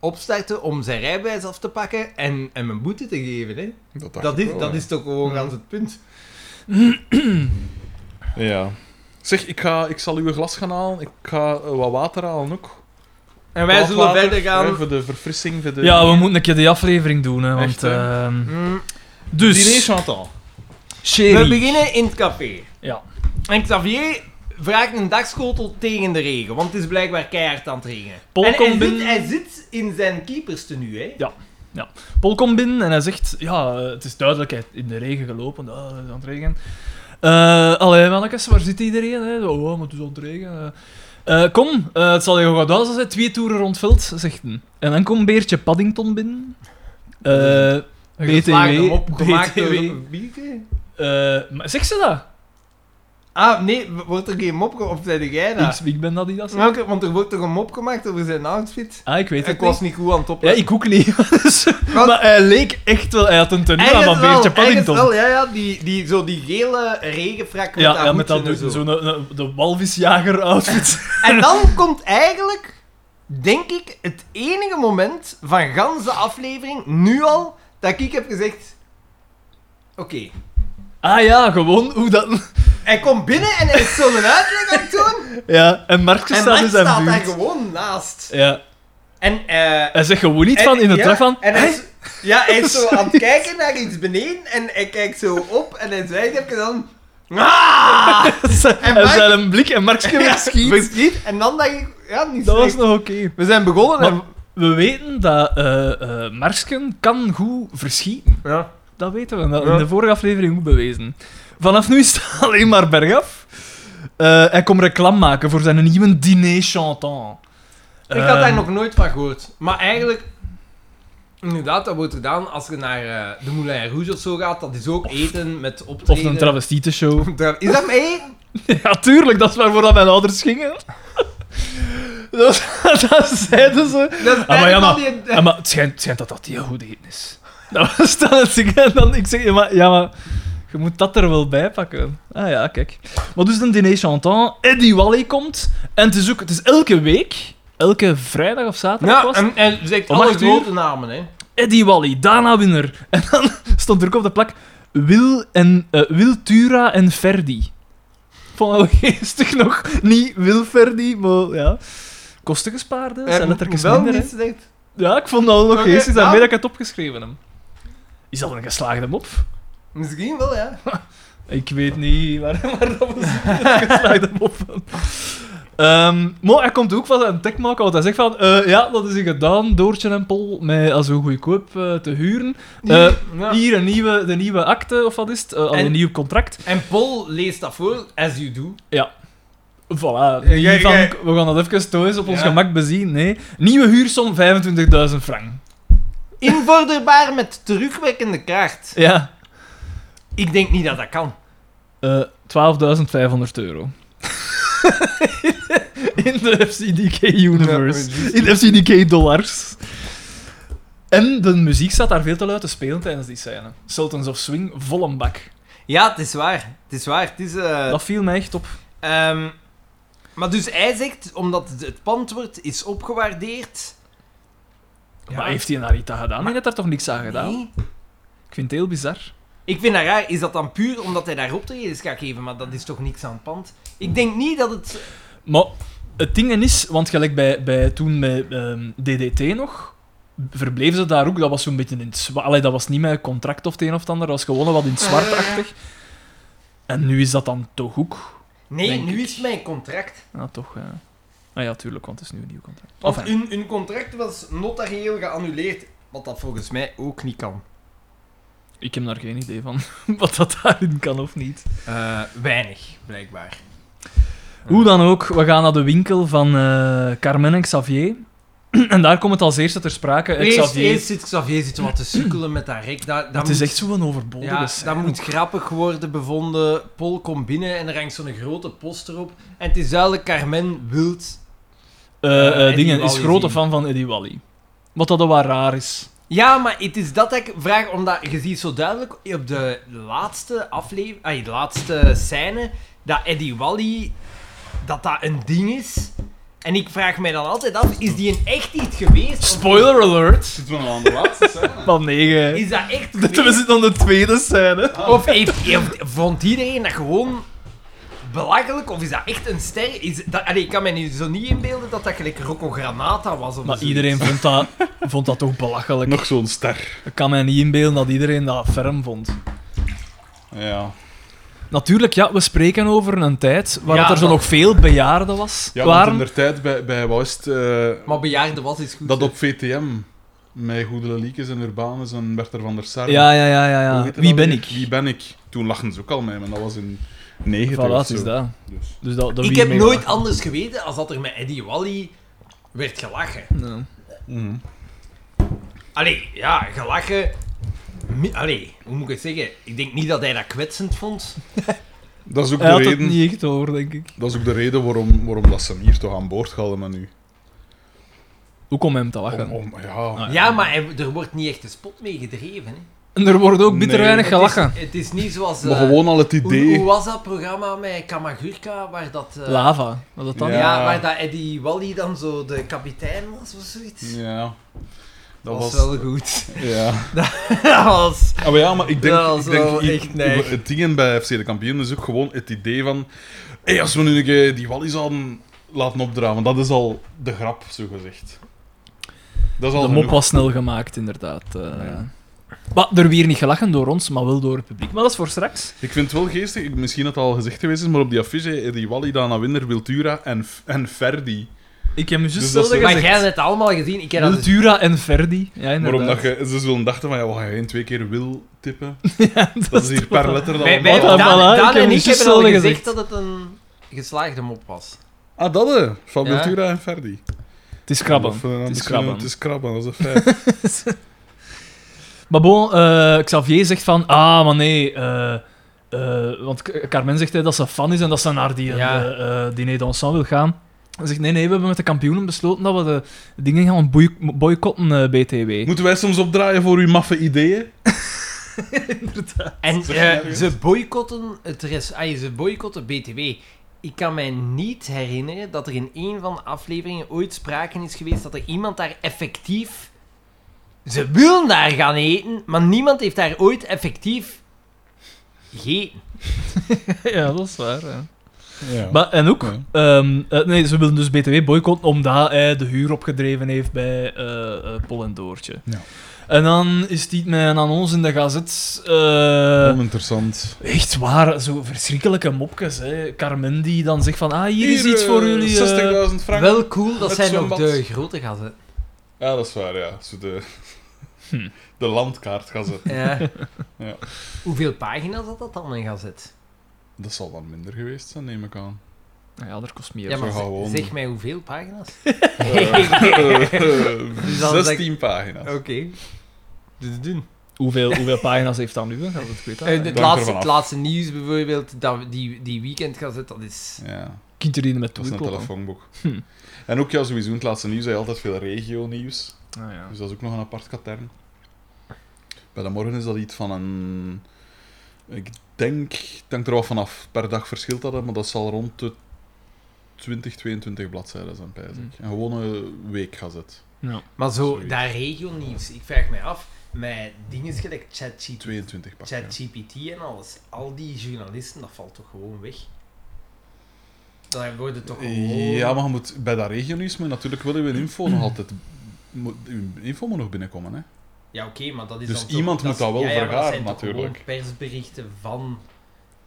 opstarten om zijn rijbewijs af te pakken en, en een boete te geven, hè? dacht Dat ik is, wel, dat hè. Mm. is toch gewoon gans het punt. Ja. Zeg, ik, ga, ik zal uw glas gaan halen. Ik ga eh, wat water halen ook. En wij Wat zullen water, verder hè, gaan. voor de verfrissing, voor de... Ja, we moeten een keer die aflevering doen, hè, Echt, want... hè? ehm, Mm, Diner dus, Chantal. We Sherry. beginnen in het café. Ja. En Xavier vraagt een dagschotel tegen de regen, want het is blijkbaar keihard aan het regenen. Paul en hij, komt binnen- zit, hij zit in zijn keeperstenu, hè? Paul komt binnen en hij zegt... Ja, eh, het is duidelijk, hij heeft in de regen gelopen. Ah, het is aan het regenen. Eh allee, mannetjes, waar zit iedereen? Hè? Zo, Oh, maar het is aan het regenen. Eh, eh, kom, eh, het zal je goed uit zijn. Twee toeren rond veld, zegt hij. En dan komt Beertje Paddington binnen. Eh Een geslaagde BTW. mop gemaakt door BTW. een bieke. Eh, maar zeg ze dat? Ah, nee, wordt er geen mop gemaakt? Of zei jij dat? Ik, ik ben dat die dat zegt. Welke- Want er wordt toch een mop gemaakt over zijn outfit? Ah, ik weet het Ik was niet goed aan het Ja, opletten. ik ook niet. Dus- maar hij leek echt wel... Hij had een tenue aan Ergens van wel, Beertje ergens Paddington. wel, ja, ja, die, die, zo die gele regenfrak met ja, dat ja, met dat hoedje en zo'n zo. zo de walvisjager-outfit. En dan komt eigenlijk, denk ik, het enige moment van ganse aflevering, nu al, dat ik heb gezegd... Oké. ah ja, gewoon hoe dat... Hij komt binnen en hij is zo'n uitleg aan het doen. Ja, en Marcus En staat Max in zijn staat daar buurt. gewoon naast. Ja, En... eh, hij zegt gewoon niet En- van in de ja, trap van... En hij "Hey, is, ja, hij is zo aan het kijken naar iets beneden en hij kijkt zo op en hij zwijgt even dan... Ah! en Mark- zijn een blik en Marcus weer schiet. Verschiet. En dan dacht ik, ja, niet Dat was slecht. nog oké. We zijn begonnen Maar we weten dat eh eh, Marsken kan goed verschieten. en... Ja. Dat weten we. Dat Ja. in de vorige aflevering ook bewezen. Vanaf nu is het alleen maar bergaf. Eh, hij komt reclame maken voor zijn nieuwe diner chantant. Ehm, Ik had daar nog nooit van gehoord. Maar eigenlijk... Inderdaad, dat wordt gedaan als je naar eh, de Moulin Rouge of zo gaat. Dat is ook eten met Of optreden. een travestietenshow. Tra- Is dat mee? Ja, tuurlijk, dat is waarvoor dat mijn ouders gingen. Dat, dat zeiden ze. Dat is Ah, maar ja, maar- eigenlijk al die- Ja, maar het schijnt, het schijnt dat dat heel goed eten is. Dat was dan het ding. En dan, ik zeg, ja maar, ja, maar je moet dat er wel bij pakken. Ah ja, kijk. Maar dus een diner chantant, Eddie Wally komt. En het is ook, het is elke week. eh, elke vrijdag of zaterdag Ja, was. en hij zegt Om alle acht uur? grote namen, hè. Eddie Wally, Dana Winner. En dan stond er ook op de plak Wil en, eh, Wil Tura en Ferdi. Vond dat wel geestig nog. Niet Wil Ferdi, maar ja. Kosten gespaard, hè. zijn letterlijk wel minder, hè. niets, zegt. Ja, ik vond dat wel nog Eh, Oké, geestig. ja. Daarmee dat ik het opgeschreven heb. Is dat een geslaagde mop? Misschien wel, ja. Ik weet niet waar, waar dat was. geslaagde mop van. Ehm, maar hij komt ook van zijn techmaker, want hij zegt van... eh, ja, dat is hier gedaan, Doortje en Pol, met als zo goedkoop eh, te huren. Eh, Ja. Hier een nieuwe, de nieuwe akte, of wat is het? Eh, al En- een nieuw contract. En Paul leest dat voor, as you do. Voilà, Eh, niet jij- van, jij- we gaan dat even thuis op ons Ja. gemak bezien. Nee, nieuwe huursom 25.000 frank. Invorderbaar met terugwekkende kracht. Ja, Ik denk niet dat dat kan. Eh, 12.500 euro. In de FCDK universe. In FCDK dollars. En de muziek staat daar veel te luid te spelen tijdens die scène. Sultans of Swing, vol een bak. Ja, het is waar. Het is waar. Het is... eh, Dat viel mij echt op. Ehm, maar dus hij zegt, omdat het- het pandwoord is opgewaardeerd... Ja. Maar heeft hij daar iets aan gedaan? hij heeft daar toch niks aan gedaan? Nee. Ik vind het heel bizar. Ik vind dat raar. Is dat dan puur omdat hij daar optredens gaat geven? Maar dat is toch niks aan het pand? Ik denk niet dat het... Maar het ding is, want gelijk bij, bij toen met ehm, DDT nog, verbleven ze daar ook. Dat was zo'n beetje in het zwa- Allee, dat was niet met een contract of het een of het ander, dat was gewoon wat in het zwartachtig. En nu is dat dan toch ook. Nee, Denk nu ik. is mijn contract. Ja, toch. eh. Ah ja, tuurlijk, want het is nu een nieuw contract. Want Enfin. hun, hun contract was nota geheel geannuleerd. Wat dat volgens mij ook niet kan. Ik heb daar geen idee van wat dat daarin kan of niet. Eh, weinig, blijkbaar. Hoe dan ook, we gaan naar de winkel van eh, Carmen en Xavier. en daar komt het als eerste ter sprake. Eh, Eerst, Xavier, eerst zit Xavier zitten wat te sukkelen met dat rek. Dat, dat het moet, is echt zo'n overbodige ja, scène. dat moet grappig worden bevonden. Paul komt binnen en er hangt zo'n grote poster op. En het is duidelijk, Carmen wilt... eh Eh, eh, Eddie dingen is Wally grote zien. fan van Eddie Wally. Wat dat dan wel raar is. Ja, maar het is dat ik vraag, omdat je ziet zo duidelijk op de laatste aflevering... Ah, de laatste scène, dat Eddie Wally... Dat dat een ding is. En ik vraag mij dan altijd af, is die een echt iets geweest? Of Spoiler alert! Zitten we nog aan de laatste scène? Van 9. Is dat echt We geweest? zitten aan de tweede scène. Oh. Of heeft, heeft- vond iedereen dat gewoon belachelijk? Of is dat echt een ster? Is dat, allee, ik kan mij nu zo niet inbeelden dat dat gelijk Rocco Granata was of Maar zoiets. iedereen vond dat, vond dat toch belachelijk. Nog zo'n ster. Ik kan mij niet inbeelden dat iedereen dat ferm vond. Ja. Natuurlijk, ja, we spreken over een tijd waar Ja, dat er zo dat- nog veel bejaarden was. Ja, want waren. in der tijd bij, bij wat is het, eh, Maar bejaarde was is goed. dat hè. op VTM, met Goede Leliekes en Urbanus en Bert van der Sar. Ja, ja, ja, ja. Hoe ja. heet het Wie dan ben weer? ik? Wie ben ik? Toen lachten ze ook al mee, maar dat was in 90 Voilà, of het zo. is dat. Dus. Dus dat, dat Ik wie heb mee- nooit anders geweten als dat er met Eddie Wally werd gelachen. Nee. Mhm. Allee, ja, gelachen... Mi- Allee, hoe moet ik het zeggen? Ik denk niet dat hij dat kwetsend vond. Dat is ook Hij de had het reden. niet echt hoor, denk ik. Dat is ook de reden waarom, waarom dat ze hem hier toch aan boord hadden met nu. Hoe kon hem te lachen? Om, om, ja. Ja, maar hij- er wordt niet echt een spot mee gedreven. Hè. En er wordt ook bitter Nee. weinig gelachen. Het is, het is niet zoals... Maar eh, gewoon al het hoe, idee. hoe was dat programma met Kamagurka, waar dat... eh, Lava, was dat dan? Ja. Ja, waar dat Eddie Wally dan zo de kapitein was of zoiets. Ja. dat Dat was, was. wel goed. Ja. dat was... Ah, maar ja, maar ik denk. Dat was ik denk wel ik- echt neig. het ding bij FC de kampioen is ook gewoon het idee van. Hé, als we nu een keer die Wallis hadden laten opdraven, dat is al de grap, zo gezegd. Dat is al De mop genoeg. was snel gemaakt, inderdaad. eh. Maar er weer niet gelachen door ons, maar wel door het publiek. Maar dat is voor straks. Ik vind het wel geestig, ik- misschien dat het al gezegd geweest is, maar op die affiche, eh, die Wally, Dana Winder, Wiltura en, F- en Ferdi. Ik heb me Dus juist dat zelden is- Maar gezegd. jij hebt het allemaal gezien. Ik heb dat dus- Wiltura en Verdi. Ja, Maar inderdaad. omdat je, ze zullen dachten van, ja, we gaan geen twee keer Wil tippen. ja, Dat is hier per letter dan... Wij, wij, Wat Daan, een bala, ik Daan heb en het ik juist hebben al zelden gezegd, gezegd. dat het een geslaagde mop was. Ah, dat hè? Van Ja. Wiltura en Ferdi. Het is krabben. Of, eh, Het is misschien- krabben. Het is krabben, dat is een feit. Maar bon, eh, Xavier zegt van... Ah, maar nee... eh, eh, want K- Carmen zegt hè, dat ze fan is en dat ze naar die Ja. eh, eh, diner dansant wil gaan. Hij zegt, nee, nee, we hebben met de kampioenen besloten dat we de dingen gaan boy- boycotten, eh, BTW. Moeten wij soms opdraaien voor uw maffe ideeën? En Zeg maar eh, eens. ze boycotten het res... ah, ze boycotten BTW. ik kan mij niet herinneren dat er in een van de afleveringen ooit sprake is geweest dat er iemand daar effectief. Ze willen daar gaan eten, maar niemand heeft daar ooit effectief gegeten. ja, dat is waar. hè. Ja. Maar, en ook, Ja. ehm, eh, nee, ze willen dus BTW boycotten omdat hij de huur opgedreven heeft bij eh, eh, Pol en Doortje. Ja. En dan is die met een ons in de gazet. eh, Oninteressant. echt waar, zo verschrikkelijke mopjes. Hè. Carmen die dan zegt van, ah, hier, is iets eh, voor jullie. eh, 60.000 frank. Wel cool dat Het zij nog zwembad. de grote gaan zetten. Ja, dat is waar, ja. Zo de, Hm. de landkaart gaan zetten. Ja. Ja. Hoeveel pagina's had dat dan in gazet? Dat zal dan minder geweest zijn, neem ik aan. nou ja, dat kost meer. Ja, maar zo gewoon. zeg, zeg mij hoeveel pagina's? Eh, Dus dan zeg- 16 pagina's. Oké. Dus doen. Hoeveel, hoeveel pagina's heeft dat nu? hè? Gaat het, ik weet dat, Eh, het, hè. hangt laatste, ervan af. het laatste nieuws bijvoorbeeld, dat, die, die weekendgazet, dat is... Ja, Kinderen met dat is een toerkloppen. telefoonboek. Hm. En ook, ja, sowieso in het laatste nieuws heb je altijd veel regio-nieuws. Ah, ja. Dus dat is ook nog een apart katern. Bij de morgen is dat iets van een... Ik denk... Ik denk er wel vanaf. Per dag verschilt dat, hè, maar dat zal rond de 20, 22 bladzijden zijn, pijs ik. Een gewone weekgazet. Ja. Maar zo, Zoiets. dat regionieuws, ik vraag mij af, met dingen gelijk ChatGPT 22 pak. ja. ChatGPT en alles, al die journalisten, dat valt toch gewoon weg? Daar worden toch gewoon... Ja, maar je moet, bij dat regionieuws moet je natuurlijk wel je info nog altijd... moet- uw info moet nog binnenkomen, hè. Ja, oké, maar dat is Dus dan iemand toch, moet dat is- wel ja, ja, maar vergaren, zijn toch natuurlijk. gewoon persberichten van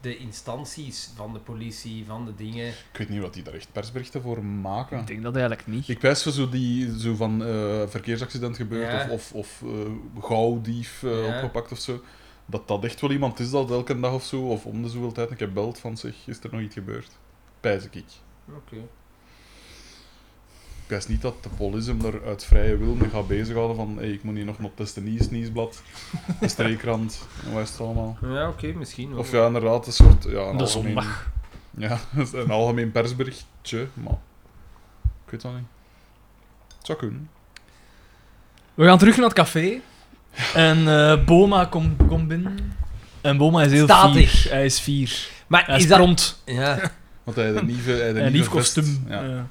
de instanties, van de politie, van de dingen. Ik weet niet wat die daar echt persberichten voor Ik maken. denk dat eigenlijk niet. Ik wijs voor zo, die, zo van eh, verkeersaccident gebeurd Ja. of, of, of eh, gauwdief eh, Ja. opgepakt of zo. Dat dat echt wel iemand is dat elke dag of zo, of om de zoveel tijd een keer belt van zich, is er nog iets gebeurd? Pijs ik. Ik Oké. wijs niet dat de police hem er uit vrije wil mee gaat bezighouden van hey, ik moet hier nog een testen nieuws, nieuwsblad, de streekrand en wat is het allemaal. Ja, oké, misschien wel. Of ja, inderdaad, een soort... Ja, een de algemeen- zondag. Ja, dat is een algemeen persberichtje, maar... Ik weet dat niet. Het zou kunnen. We gaan terug naar het café. En eh, Boma komt komt binnen. En Boma is heel Statig. fier. Hij is fier. Maar Hij is, is dat... prompt. Ja, Want hij had een nieuwe... Hij had een Een lief nieuwe vest. kostuum. Ja. Ja.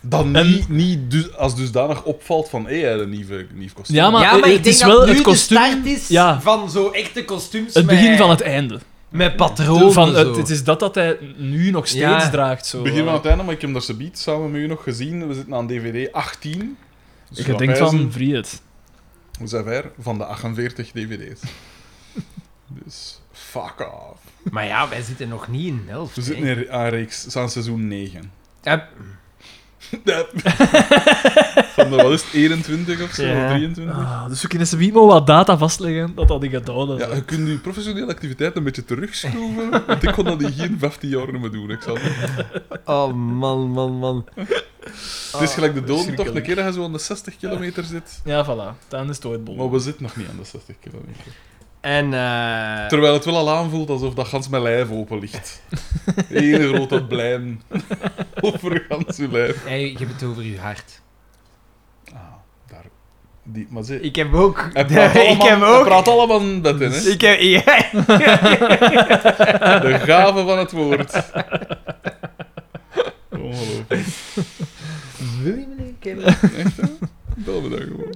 Dan En- niet, niet dus, als dusdanig opvalt van, hé, hij had een nieuwe, nieuw kostuum. Ja, maar- ja, maar het ik denk is dat wel nu het kostuum- de start is ja. van zo echte kostuums Het begin met- van het einde. Met patronen zo. van, het, het is dat dat hij nu nog steeds Ja. draagt. Zo. Begin van het einde, maar ik heb hem daar zo biedt samen met u nog gezien. We zitten aan DVD 18. Dus Ik dat denk wij van, zijn- vriend. We zijn ver van de 48 DVD's. dus, fuck off. Maar ja, wij zitten nog niet in de helft. We hè. zitten in aan reeks, aan seizoen 9. Ja, Ja. Van de, wat is het, 21 of zo? Ja. of 23? Ah, dus we kunnen ze niet maar wat data vastleggen dat dat niet gedaan is. Ja, je kunt je professionele activiteit een beetje terugschroeven, want ik kon dat in geen 15 jaar meer doen. Ik zal... Oh man, man, man. het Ah, is gelijk de doden toch, een verschrikkelijk. keer dat je zo aan de 60 kilometer zit. Ja, voilà. Dan is het ooit Oh. bol. Maar we zitten nog niet aan de 60 kilometer. En, eh Terwijl het wel al aanvoelt alsof dat gans mijn lijf open ligt. Eén grote blijn over gans je lijf. hey, je hebt het over je hart. Ah, daar. Die, maar ze... Ik heb ook... Hij praat ik allemaal, heb hij ook... Dus praat allemaal dat in, hè? ik heb... Ja. De gave van het woord. Ongelooflijk. Wil je me niet kennen? Echt, hè? Bel me dan gewoon.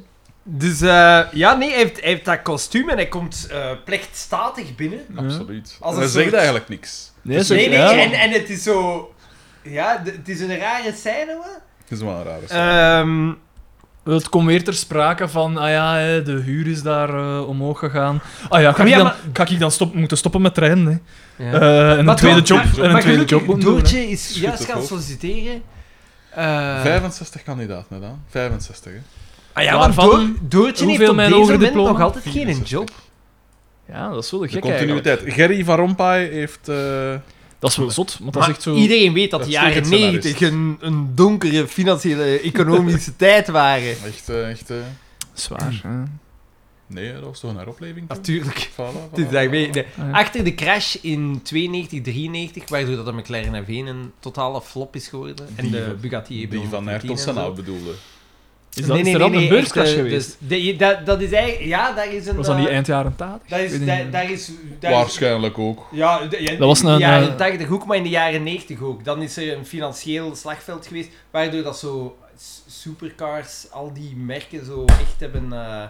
Dus eh, ja, nee, hij heeft, hij heeft dat kostuum en hij komt eh, plechtstatig binnen. Absoluut. Als En een hij soort- zegt eigenlijk niks. Nee, zo- nee, nee, ja. en, en het is zo... Ja, d- het is een rare scène, hoor. Het is wel een rare scène. Ehm, Het komt weer ter sprake van, ah ja, hè, de huur is daar eh, omhoog gegaan. Ah ja, ga Maar ik ja, dan, maar- ga ik dan stop, moeten stoppen met trainen? Hè? ja. Eh, en een Maar tweede toch- job. maar- En een maar tweede gelukkig, job moeten doen, hè. Doortje is Schudt juist het gaan hoofd. solliciteren. Eh, 65 kandidaat net aan. 65, hè? Ah ja, want Waarvan- Door- Doortje heeft hoeveel op mijn deze moment hogerdiploma? nog altijd geen 64. job. Ja, dat is wel De gek eigenlijk. continuïteit. Gerry van Rompuy heeft... eh, Dat is wel zot, want dat Maar is echt zo... Iedereen weet dat de Dat is jaren tegen het 90 scenario. een, een donkere financiële economische tijd waren. echt... eh, echt eh, Zwaar. hè. Nee, dat was toch een heropleving? toen? Natuurlijk. Voilà, voilà, Het is daarmee- voilà. nee. Achter de crash in 92, 93, waardoor dat de McLaren F1 een totale flop is geworden. En Die de van- Bugatti Die van Ayrton Ayrton Senna bedoelde. Is dat, is er al een beurscrash echt, eh, geweest? Dus, de- dat, dat is eigenlijk... Ja, daar is een... was dat niet eh, eind jaren 80? Daar is... Ik weet Daar, niet. daar is daar is- Waarschijnlijk ook. Ja, de- ja, Dat was in de een, jaren eh, 80 ook, maar in de jaren 90 ook. Dan is er een financieel slagveld geweest, waardoor dat zo s- supercars, al die merken zo echt hebben eh,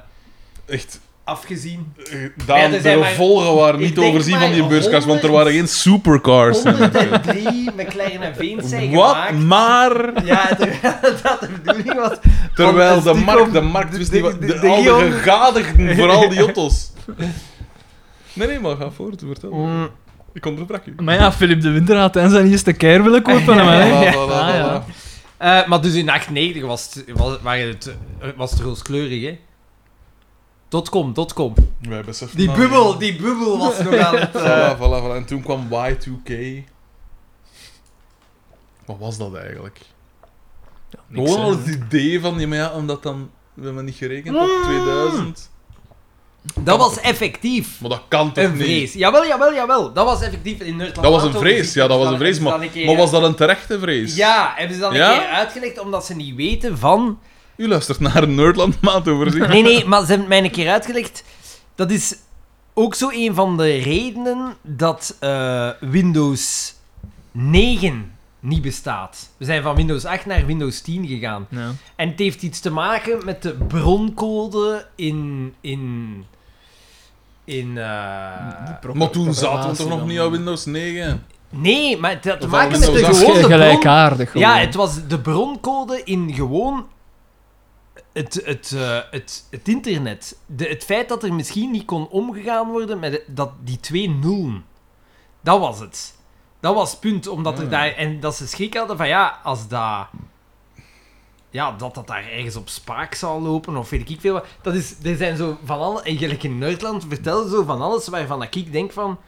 Echt, afgezien. eh, Ja, Daan, er de zijn maar- gevolgen waren Ik niet denk overzien van maar die beurskaars, want er honderd- waren geen supercars. 103 McLaren en Veens zijn Wat? gemaakt. Maar... Ja, terwijl dat de bedoeling was. Terwijl Want de als die markt, komt- de markt wist de- niet wat... de- De, de al die Guillaume- gegadigden voor al die otto's. Nee, nee, maar ga voort, vertel. Mm, Ik onderbrak u. Maar ja, Philip de Winter had en zijn eerste keer willen kopen. La, hè, la, la, man. la, Ah, ja. la. eh, maar dus in 98 was het, was, waren het, eh, was het rooskleurig, hè? Dotcom, dotcom. Wij beseften Die dat bubbel, niet. die bubbel was nog aan het... eh, Voilà, voilà, voilà. En toen kwam Y2K. Wat was dat eigenlijk? Niks, Gewoon al hè. het idee van, ja, maar ja, omdat dan... We hebben niet gerekend op Mm. 2000. Dat was effectief. Maar dat kan toch Een niet? vrees. Jawel, jawel, jawel. Dat was effectief in Nerdland. Dat was een Auto vrees, gezien. ja, dat was Dan een vrees. hebben ze Maar, dan een maar keer- was dat een terechte vrees? Ja, hebben ze dan Ja? een keer uitgelegd omdat ze niet weten van... U luistert naar een Nerdland maandoverzicht. Nee, nee, maar ze hebben het mij een keer uitgelegd. Dat is ook zo een van de redenen dat eh, Windows 9 niet bestaat. We zijn van Windows 8 naar Windows 10 gegaan. Ja. En het heeft iets te maken met de broncode in. in. in. eh, Maar toen zaten we toch nog niet aan Windows 9? Nee, maar het had te Of maken met Windows de acht. gewone bron- gelijkaardig. Ja, het was de broncode in gewoon. Het, het, eh, het, het internet. De, het feit dat er misschien niet kon omgegaan worden met dat, die twee nullen. Dat was het. Dat was het punt. Omdat Ja. er daar, en dat ze schrik hadden van ja, als dat. Ja, dat dat daar ergens op spaak zou lopen of weet ik veel wat. Dat is, er zijn zo van alles. En gelijk in Nerdland vertellen zo van alles waarvan dat ik denk van.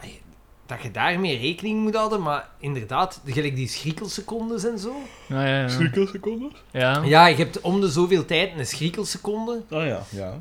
ai, Dat je daarmee rekening moet houden, maar inderdaad, gelijk die schrikkelsecondes en zo. Ja, ja, ja. Schrikkelseconde? Ja. Ja, je hebt om de zoveel tijd een schrikkelseconde. Ah ja. ja.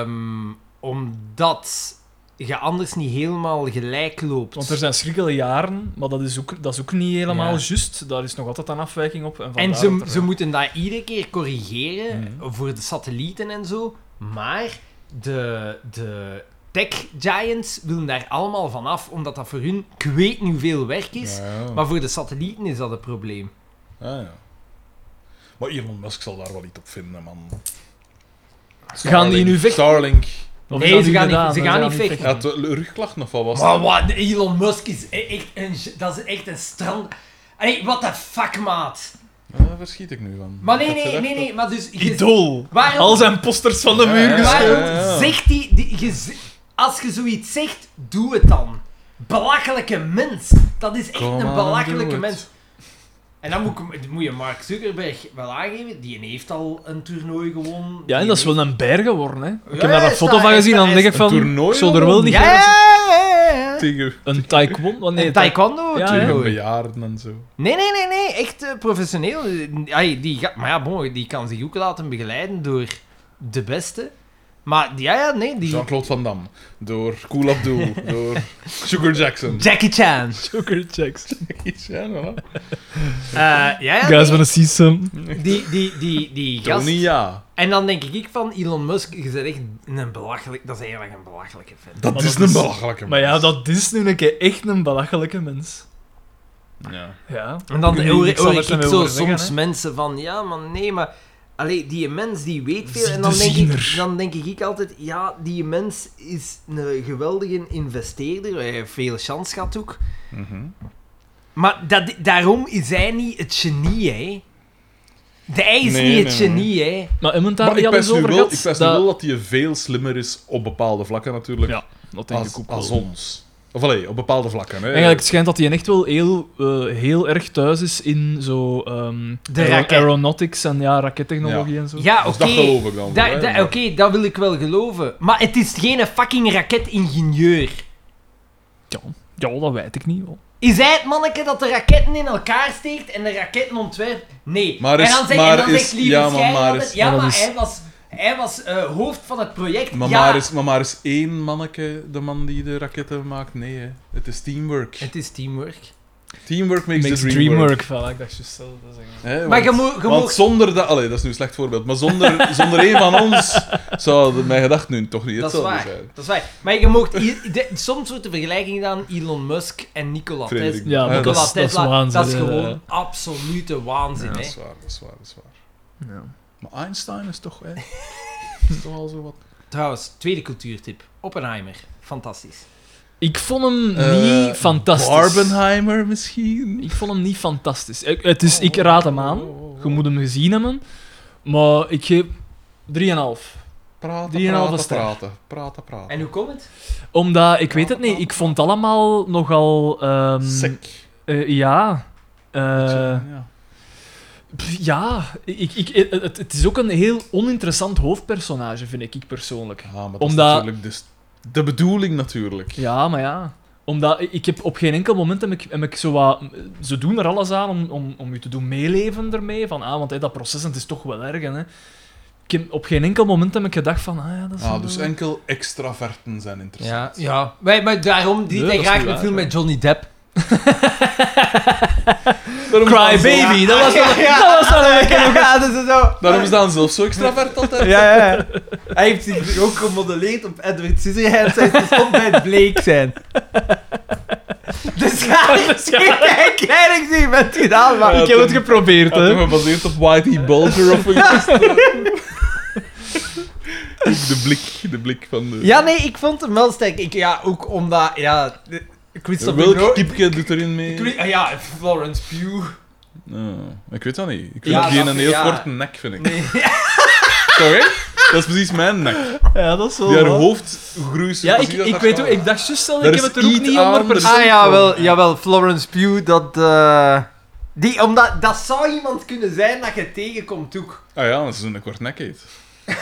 Ehm, omdat je anders niet helemaal gelijk loopt. Want er zijn schrikkelijke jaren, maar dat is ook, dat is ook niet helemaal Ja. juist. Daar is nog altijd een afwijking op. En, En vandaar ze, dat er- ze moeten dat iedere keer corrigeren Mhm. voor de satellieten en zo. Maar de, de tech giants willen daar allemaal van af, omdat dat voor hun, ik weet niet hoeveel werk is. ja. Maar voor de satellieten is dat een probleem. Ah, ja. Maar Elon Musk zal daar wel iets op vinden, man. Gaan die nu vechten? Starlink. Of Nee, is dat ze gaan niet- gedaan? ze Dan gaan zijn niet we Hij had wel rugklachten of wat was Maar het? wat, Elon Musk is e- echt een, ge- dat is echt een strand... Hey, what the fuck, maat? Ah, Daar verschiet ik nu van. Maar nee, Ik had nee, gedacht nee, nee, maar dus... je- Idool. Waarom- Al zijn posters van de Ja, muur ja, ja. geschilderd. Waarom zegt hij... Die, je z- als je zoiets zegt, doe het dan. Belachelijke mens. Dat is echt Come een on, belachelijke doe mens. het. En dan moet, ik- moet je Mark Zuckerberg wel aangeven. Die heeft al een toernooi gewonnen. Ja, en Die dat is heeft- wel een berg geworden, hè. Ik heb Ja, daar een is foto dat- van is gezien dat- en dan denk ik is- van, Een toernooi ik zou er wel gewonnen? niet Ja, graag- ja, ja, ja. Tegen, Een taekwondo? Nee, Een taek- taekwondo Ah, Ja, tegen toernooi. bejaarden en zo. Nee, nee, nee, nee. Echt eh, professioneel. Eh, ai, die ga- maar ja, bon, die kan zich ook laten begeleiden door de beste. Maar ja, ja, nee. Die... Jean-Claude Van Damme. Door Cool Abdul. door Sugar Jackson. Jackie Chan. Sugar checks. Iets, ja, nou. Eh, ja, ja. Guys, nee. wanna see some? Die, die, die, die gast. Tony, ja. En dan denk ik van Elon Musk, je bent echt een belachelijk... Dat is eigenlijk een belachelijke vent. Dat Maar is dat een is- belachelijke Maar ja, mens. dat is nu een keer echt een belachelijke mens. Ja. Ja. En dan Ik- hoor ik ik, zal hoor het ik ermee zo horen zeggen, soms hè. mensen van, ja, maar nee, maar... Allee, die mens die weet veel. Zie En dan de denk, ziener. ik, dan denk ik altijd, ja, die mens is een geweldige investeerder. Hij heeft veel chance gehad ook. Mhm. Maar dat, daarom is hij niet het genie, hè. De, hij is Nee, niet nee, het nee. genie, hè. Maar hebben we het daar Maar niet ik al eens pers nu over wel, gehad? ik pers nu Dat- wel dat hij veel slimmer is op bepaalde vlakken natuurlijk. Ja, dat denk als, ik ook wel. als ons. Of allee, op bepaalde vlakken. Hè. Eigenlijk het schijnt dat hij echt wel heel, eh, heel erg thuis is in zo ehm, De aero- raket. aeronautics en ja, rakettechnologie en zo. Ja, Dus oké. dat geloof ik dan Da- wel, hè, da- Oké, maar- dat wil ik wel geloven. Maar het is geen fucking raketingenieur. Ja, ja, dat weet ik niet. hoor. Is hij het manneke dat de raketten in elkaar steekt en de raketten ontwerpt? Nee. Maar is- en dan, zeg- maar en dan is- zegt Lieve ja, ja, maar maar is- ja, maar maar, dat is- hij was, hij was eh, hoofd van het project. Maar, ja. maar is, maar maar is één manneke de man die de raketten maakt? Nee, hè. het is teamwork. Het is teamwork. Teamwork makes, Makes the dream, work. dreamwork. Voilà, ik dacht juist zelf dat zeggen. Hè, Maar want- je moet... Je Want moet- zonder dat... Allee, dat is nu een slecht voorbeeld. Maar zonder, zonder één van ons zou de- mijn gedachten nu toch niet dat is hetzelfde waar. zijn. Dat is waar. Maar je mocht... i- de- Soms wordt de vergelijking gedaan Elon Musk en Nikola Frederik. Tesla. Ja, Ja, maar dat, Nikola is, dat is Tesla, waanzin. dat is hè. gewoon absolute waanzin, Dat hè. is waar, dat is waar, dat is waar. Ja. Maar Einstein is toch... Hè, is toch al zo wat... Trouwens, tweede cultuurtip. Oppenheimer. Fantastisch. Ik vond hem Eh, niet fantastisch. Barbenheimer misschien? Ik vond hem niet fantastisch. Ik, het is, Dus ik Oh, raad hem oh, aan. oh, oh, oh. Je moet hem gezien hebben. Maar ik geef 3,5. Praten, Drieënhalve praten, ster. praten. Praten, praten. En hoe komt het? Omdat, ik weet het niet, ik vond het allemaal nogal... ehm, Sec. eh, ja. Eh, ja. pff, ja, ik, ik, het, het is ook een heel oninteressant hoofdpersonage, vind ik, ik persoonlijk. Ja, maar dat is omdat- natuurlijk dus de bedoeling natuurlijk. Ja, maar ja. Omdat ik- ik heb op geen enkel moment heb ik, heb ik zo wat... Ze doen er alles aan om, om, om je te doen meeleven ermee. Van, ah, want hé, dat proces het is toch wel erg, hè. Ik heb op geen enkel moment heb ik gedacht van, ah ja, dat is... wel- Ah, dus enkel extraverten zijn interessant. Ja, ja. Maar, maar daarom die Nee, hij dat is graag niet een waar, film hè. met Johnny Depp. Cry Baby, dat was wel... dat was wel een Ja, dat is zo. Daarom is dan zelf zo extravert altijd. Ja, ja, ja. Hij heeft zich ook gemodelleerd op Edward Scissorhands. Hij is stond bij het bleek zijn. Dus ga ik Dus ja. ik ken ik niet met die naam, maar... Ik heb het geprobeerd, Had hem hè. gebaseerd op Whitey Bulger of een De blik, de blik van de... Ja, nee, ik vond hem wel sterk. Ik, ja, ook omdat... Ja, de- Christopher Welk Nolan- typje doet erin mee? Cri- ah, Ja, Florence Pugh. Ah, ik weet dat niet. Ik vind Ja, geen dat- een heel ja. korte nek, vind ik. Nee. Oh, Toch, hè? Dat is precies mijn nek. Ja, dat is wel Die haar waar. hoofdgroei Ja, ik, ik weet ook, ik dacht juist al, Er ik heb is het er ook iets niet aan, 100 er Ah ja, wel, jawel, Florence Pugh, dat... eh, die, omdat, dat zou iemand kunnen zijn dat je tegenkomt ook. Ah ja, dat is een kort nek heet.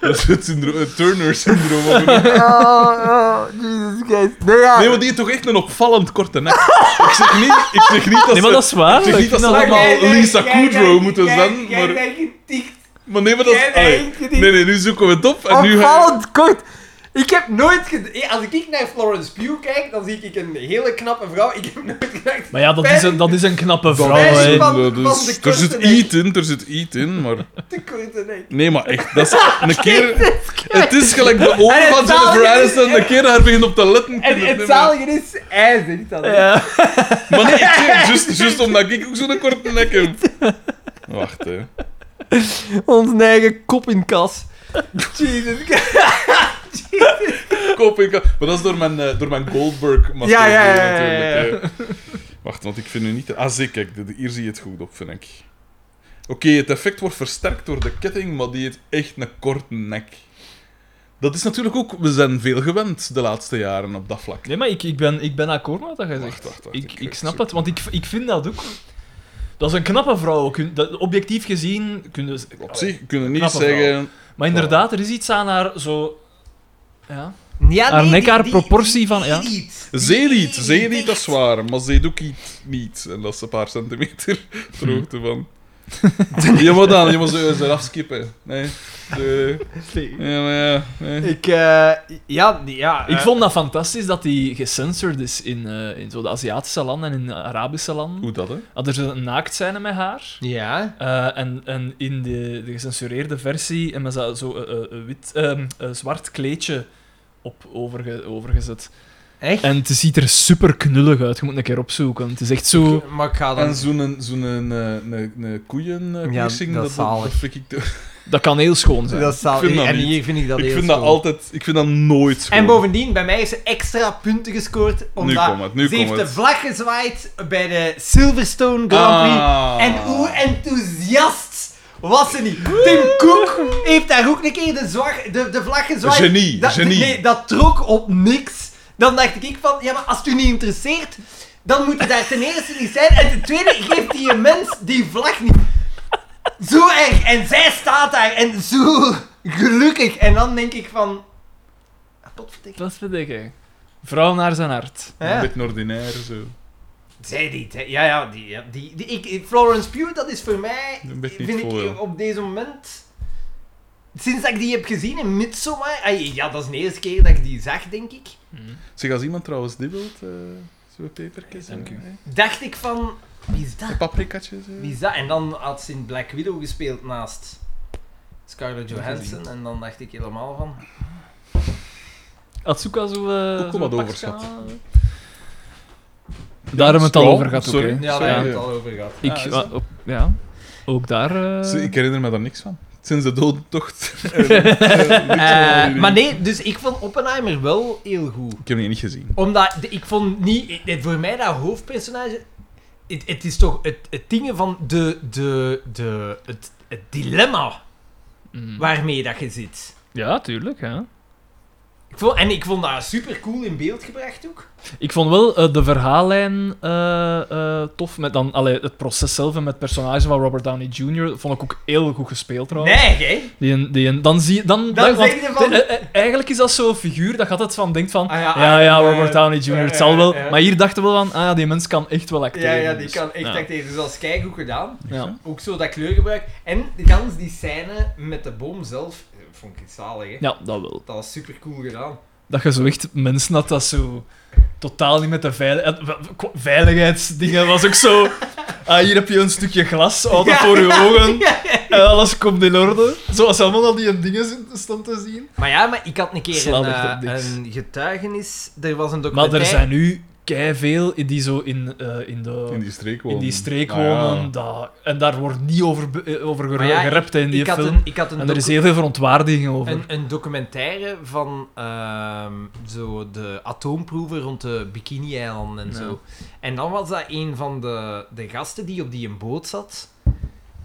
dat is het, syndroom, het Turner-syndroom. of een- Oh, oh, Jesus Christ. Nee, ja. Nee, want die heeft toch echt een opvallend korte nek. ik zeg niet, ik zeg niet dat Nee, ze- maar dat is waar. Ik zeg niet dat ze Maar allemaal jij denkt- Lisa jij Kudrow denkt- moeten jij- zijn, Jij maar... bent getikt. Maar nee, maar dat is... Jij allee. denkt het niet. Nee, nee, nu zoeken we het op en nu... ga- Opvallend kort. Ik heb nooit... ged- Als ik naar Florence Pugh kijk, dan zie ik een hele knappe vrouw. Ik heb nooit gedacht... Maar ja, dat is een, dat is een knappe Dat vrouw, is hè. van- dat van de is- dus er zit korte iets in, er zit iets in, maar... Te korte nek. Nee, maar echt, dat is een keer... Het is gelijk de oren En van het Jennifer zalige is- Aniston, de keer daar begint op te letten. En Nee, het maar- zalige is... Hij zegt dat. hè. Ja. Maar nee, ik zeg, juist- juist omdat ik ook zo'n korte nek heb. Wacht, hè. Onze eigen kop in kas. Jesus Christ. Koop ik... Maar dat is door mijn, eh, door mijn Goldberg Ja, ja, ja, ja, ja, ja. natuurlijk. hè. Wacht, want ik vind nu niet... Ah, zie, kijk, dit- hier zie je het goed op, vind ik. Oké, het effect wordt versterkt door de ketting, maar die heeft echt een korte nek. Dat is natuurlijk ook... We zijn veel gewend de laatste jaren op dat vlak. Nee, maar ik, ik, ben, ik ben akkoord met wat jij Wacht, zegt. wacht, wacht, Ik, ik- eh, ik ik snap zoek het, want ik, ik vind dat ook... Dat is een knappe vrouw. ook. Kun- dat- Objectief gezien kunnen ze... Op zich kunnen we niet Knappe zeggen... Maar inderdaad, er is iets aan haar zo... Ja. Ja, Haar nee, nek, die- haar die- proportie van- die ja. niet. Die Zeelied, zeelied, niet. dat is waar, maar zeedoekiet niet. En dat is een paar centimeter de hoogte van. Je moet dan, je moet ze ze afskippen. Nee. De, ja, maar ja. Nee. Ik, eh, ja, die- ja. Ik eh, vond dat fantastisch dat die gecensored is in, eh, in zo de Aziatische landen en in de Arabische landen. Hoe dat, hè? Had er zo een naaktscène met haar. Ja. Eh, en, en in de, de gecensureerde versie hebben ze zo eh, eh, een wit, ehm, een zwart kleedje op overge, overgezet. Echt? En het ziet er super knullig uit. Je moet een keer opzoeken. Het is echt zo. Maar ik ga En dan... zo'n zo'n een, een, een koeien eh, Ja, piercing, dat dat, is dat, zalig. dat vind ik... te- Dat kan heel schoon zijn. Dat zal, Ik vind dat en niet. hier vind ik dat Ik heel vind dat schoon. altijd... Ik vind dat nooit schoon. En bovendien, bij mij is ze extra punten gescoord, omdat komt het, ze nu komt heeft de het. vlag gezwaaid bij de Silverstone Grand Prix. Ah. En hoe enthousiast was ze niet. Tim Cook heeft daar ook een keer de, zwa- de, de vlag gezwaaid. Genie, dat, genie. Nee, dat trok op niks. Dan dacht ik van, ja maar als het u niet interesseert, dan moet je daar ten eerste niet zijn. En ten tweede geeft die mens die vlag niet. Zo erg. En zij staat daar en zo gelukkig. En dan denk ik van... ah, Potverdikke. Dat vind ik. hè. Vrouw naar zijn hart. Een Hè? beetje ordinair, zo. Zij niet, hè? Ja, ja, die, ja, die, die ik, Florence Pugh, dat is voor mij, Een beetje vind niet voor, ja. ik op deze moment, sinds dat ik die heb gezien in Hmm. Midsommar, ai, ja, dat is de eerste keer dat ik die zag, denk ik. Zeg, als iemand trouwens dit wilt, eh, Zo peperkes. Dank en- u. hè. Dacht ik van, wie is dat? En paprikatjes. hè. Wie is dat? En dan had ze in Black Widow gespeeld naast Scarlett Johansson. En dan dacht ik helemaal van... Atsuka zo... eh, Ook zo'n wat pak overschat. schaal. Daar hebben we het al Scroll, over gehad, ook, sorry. hè. Ja, Zo, daar ja. hebben we het al over gehad. Ik, Ah, is wa- dat? op- ja, ook daar... eh, Ze- Ik herinner me daar niks van. Sinds de doodtocht. Eh, maar nee, dus ik vond Oppenheimer wel heel goed. Ik heb die niet gezien. Omdat de- ik vond niet, ik- het- voor mij dat hoofdpersonage, het, het is toch het, het ding van de, de, de, het, het dilemma Hmm. mm. waarmee dat je zit. Ja, tuurlijk, ja. Ik vond, en ik vond dat super cool in beeld gebracht ook. Ik vond wel eh, de verhaallijn eh, eh, tof. Met dan, allee, het proces zelf en met het personage van Robert Downey Jr. vond ik ook heel goed gespeeld trouwens. Nee, hè? Die, een- die, een- dan zie je... Dan, Dan want zeg je van- de- eh, eh, eigenlijk is dat zo'n figuur dat gaat het van denkt van... Ah, ja, ja, ah, ja, eh, Robert Downey Jr. het zal wel. eh, eh. Maar hier dachten we wel van... Ah ja, die mens kan echt wel acteren. Ja, ja, die dus, kan echt ja. acteren. Dus dat is keigoed gedaan. Ja. Ook zo dat kleurgebruik. En de gans die scène met de boom zelf, eh, vond ik zalig, hè? ja, dat wel. Dat was super cool gedaan. Dat je zo echt mensen had dat zo totaal niet met de eh, veiligheid. Veiligheidsdingen was ook zo. Ah, hier heb je een stukje glas, houd dat Ja, voor je ja, ogen. ja, En alles komt in orde. Zoals allemaal al die dingen zin- stond te zien. Maar ja, maar ik had een keer een, Slaat echt op eh, niks. een getuigenis. Er was een Maar documentaire. er zijn nu veel die zo in, eh, in, de, In die streek wonen. in die streek Ah, ja. wonen. dat- en daar wordt niet over, be- eh, over Maar gere- ja, gerept hè, in die ik had film. een, ik had een, en er is docu- heel veel verontwaardiging over. een, een documentaire van ehm, zo de atoomproeven rond de Bikini-eilanden en Ja. zo. En dan was dat een van de, de gasten die op die een boot zat.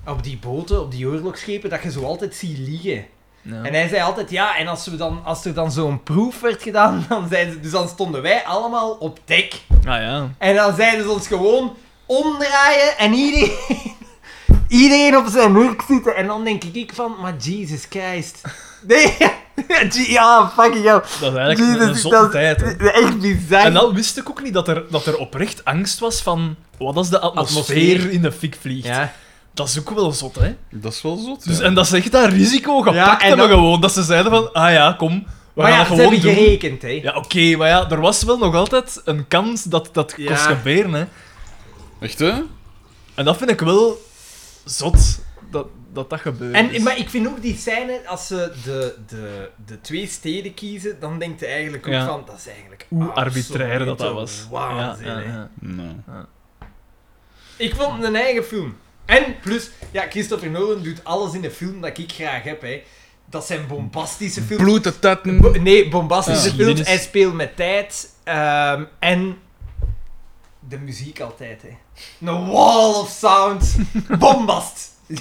Op die boten, op die oorlogsschepen, dat je zo altijd ziet liegen. Ja. En hij zei altijd, ja, en als, we dan, als er dan zo'n proef werd gedaan, dan zeiden ze... Dus dan stonden wij allemaal op dek. Ah ja. En dan zeiden ze ons gewoon omdraaien en iedereen, iedereen op zijn rug zitten. En dan denk ik van, maar Jesus Christ. Nee, ja, fucking hell. Dat is eigenlijk een, een Jesus, zotte tijd. hè. dat is echt bizar. En dan wist ik ook niet dat er, dat er oprecht angst was van wat als de atmosfeer, Atmosfeer. in de fik vliegt. ja. Dat is ook wel zot, hè? Dat is wel zot. Dus, ja. En dat ze echt dat risico gepakt Ja, en hebben dan- gewoon. Dat ze zeiden van, ah ja, kom, we Maar gaan ja, dat ze gewoon hebben doen. gerekend, hè. Ja, oké, maar ja, er was wel nog altijd een kans dat dat Ja. kon gebeuren, hè? Echt hè? En dat vind ik wel zot, dat dat, dat gebeurt. En, maar ik vind ook die scène, als ze de, de, de twee steden kiezen, dan denkt je eigenlijk ook Ja. van, dat is eigenlijk Hoe arbitrair dat dat absolute was. Waanzin, ja, hè. ja. Nee. Ik vond het een eigen film. En plus, ja, Christopher Nolan doet alles in de film dat ik graag heb. Hè. Dat zijn bombastische films. Bloed de tetten. Bo- nee, bombastische Ja. films. Geschiedenis. Hij speelt met tijd. ehm, en de muziek altijd. Hè. Een wall of sound. Bombast.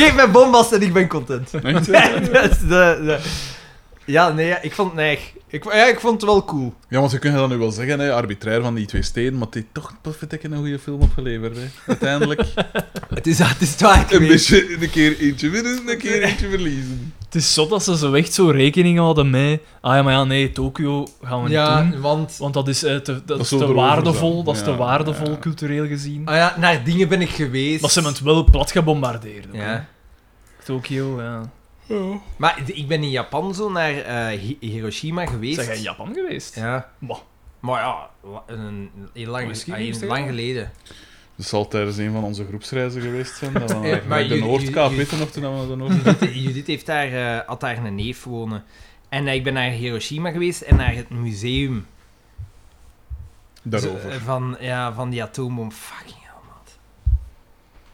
Geef mij bombast en ik ben content. Echt, hè? Ja, dat is de, de- ja nee, ja, ik vond het neig. Ik, vo- ja, ik vond het wel cool. Ja, want je kunt dat nu wel zeggen, hè, arbitrair van die twee steden, maar die heeft toch perfect een goede film opgeleverd. Hè. Uiteindelijk. Het is, het is het waard een geweest. beetje een keer eentje winnen, een keer eentje verliezen. Het is zot dat ze zo echt zo rekening hadden met, ah ja, maar ja, nee, Tokio gaan we niet doen. Ja, want Want dat is, eh, te, dat is is zo te erover waardevol, zijn. dat is te Ja, waardevol ja. cultureel gezien. ah ja, naar dingen ben ik geweest. Maar ze hebben het wel plat gebombardeerd. hoor. Ja. Tokio, ja. Maar d- ik ben in Japan zo naar eh, Hi- Hiroshima geweest. Zijn jij in Japan geweest? Ja. Bah. Maar ja, la- een, heel lang, Misschien ah, heel is het lang heel- geleden. Dat zal tijdens een van onze groepsreizen geweest zijn. Dat we Eh, naar maar de jullie- Noordkaap jullie- weten nog toen we naar de Noordkaap Judith, Judith heeft daar, eh, had daar een neef wonen. En eh, ik ben naar Hiroshima geweest en naar het museum Daarover. Zo, eh, van, ja, van die atoombom. Fucking hell, man.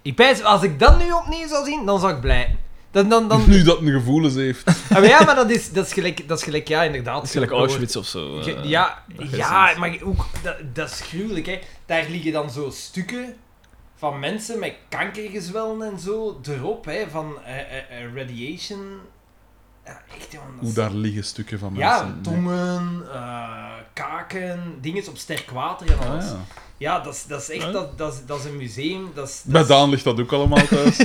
Ik pijs, als ik dat nu opnieuw zou zien, dan zou ik blij. Dan, dan, dan, Nu dat een gevoelens heeft. Ah, maar ja, maar dat is, dat is, gelijk, dat is gelijk, ja, inderdaad. Dat is gelijk Gewoon- Auschwitz of zo. Je- eh. ja, dat is ja iets. maar ook, dat, dat is gruwelijk, hè. Daar liggen dan zo stukken van mensen met kankergezwellen en zo erop, hè, van eh, eh, eh, radiation. Ja, echt, jongen, dat Hoe is- daar liggen stukken van mensen. Ja, tongen, eh, kaken, dingen op sterk water en Ah, alles. ja. ja. dat is, dat is echt, Ja. dat, dat, is, dat is een museum, dat is... dat Bij is- Daan ligt dat ook allemaal thuis.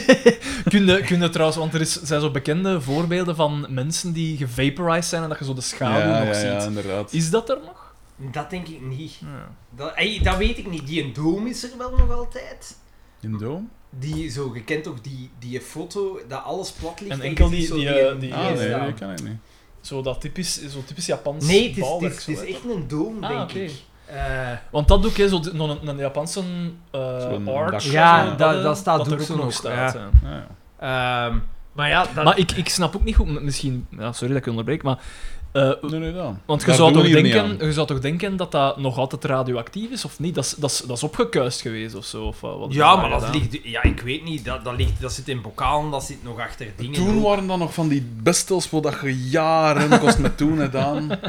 Kun je, kun je trouwens, want er is, zijn zo bekende voorbeelden van mensen die gevaporized zijn en dat je zo de ja, schaduw ja, nog ja, ziet. inderdaad. Is dat er nog? Dat denk ik niet. Ja. Dat, ey, dat weet ik niet. Die een dome is er wel nog altijd. In Doom? Die, zo, je kent toch die, die foto dat alles plat ligt? En je enkel ziet die- zo die, eh, die- Ah, die- nee, ja. dat kan ik niet. Zo dat typisch, zo typisch Japans Nee, het is, het bouwwerk. is, zo, het is hè. echt een doom, Ah, denk oké. ik. Eh, Want dat doek is zo, nog een, een Japanse eh, Zo'n arch. dak. Ja, zo, dat- eh, dat staat er doek zo nog, ja. hè. Ah, ja. ehm, maar ja, dat, Maar ik, ik snap ook niet goed, m- misschien, ja, sorry dat ik je onderbreek, maar. eh, Nee, nee, dan. want je Daar zou, doen toch we hier niet denken, aan. je zou toch denken dat dat nog altijd radioactief is, of niet? Dat is, dat is, dat is opgekuist geweest of zo. Of, eh, wat ja, maar gedaan? dat ligt... Ja, ik weet niet. Dat, dat, ligt, dat zit in bokalen, dat zit nog achter dingen. Toen waren dat nog van die bestels voor dat je jaren kost met toen gedaan. dat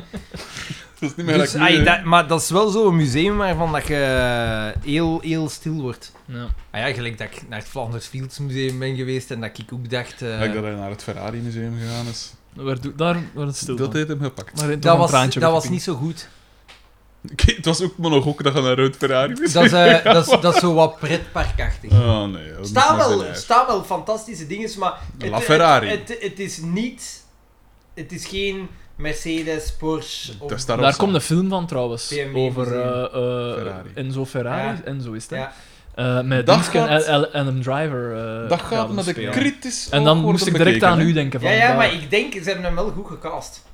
is niet meer Dus, gelijk nu, ai, hè. dat, maar dat is wel zo'n museum waarvan dat je eh, heel, heel stil wordt. Ja. Ah ja, gelijk dat ik naar het Flanders Fields Museum ben geweest en dat ik ook dacht... eh, Ja, ik dat hij naar het Ferrari Museum gegaan is. Waar, doe- daar wordt het stil. dat van. heeft hem gepakt. Maar toch dat een was, traantje dat was wegpinkt. niet zo goed. Oké, het was ook maar nog ook dat je naar het Ferrari Dat is, Museum eh, dat is, dat is zo wat pretparkachtig. Oh nee. dat staan, moet maar wel, zijn eigen. staan wel fantastische dingen, maar... La Ferrari. Het, het, het is niet... Het is geen Mercedes, Porsche... of- Dat is daarop Daar staan. komt een film van trouwens. BMW over museum. eh, eh, Ferrari. Enzo Ferrari. Ja. Enzo is het. hè? Ja. Eh, met Dat Dingsken gaat- en en Adam Driver. eh, Dat gaat gaan met een spelen. kritisch En dan oog worden moest ik direct bekeken, aan hè. u denken. Van, ja, ja, dat- maar ik denk, ze hebben hem wel goed gecast.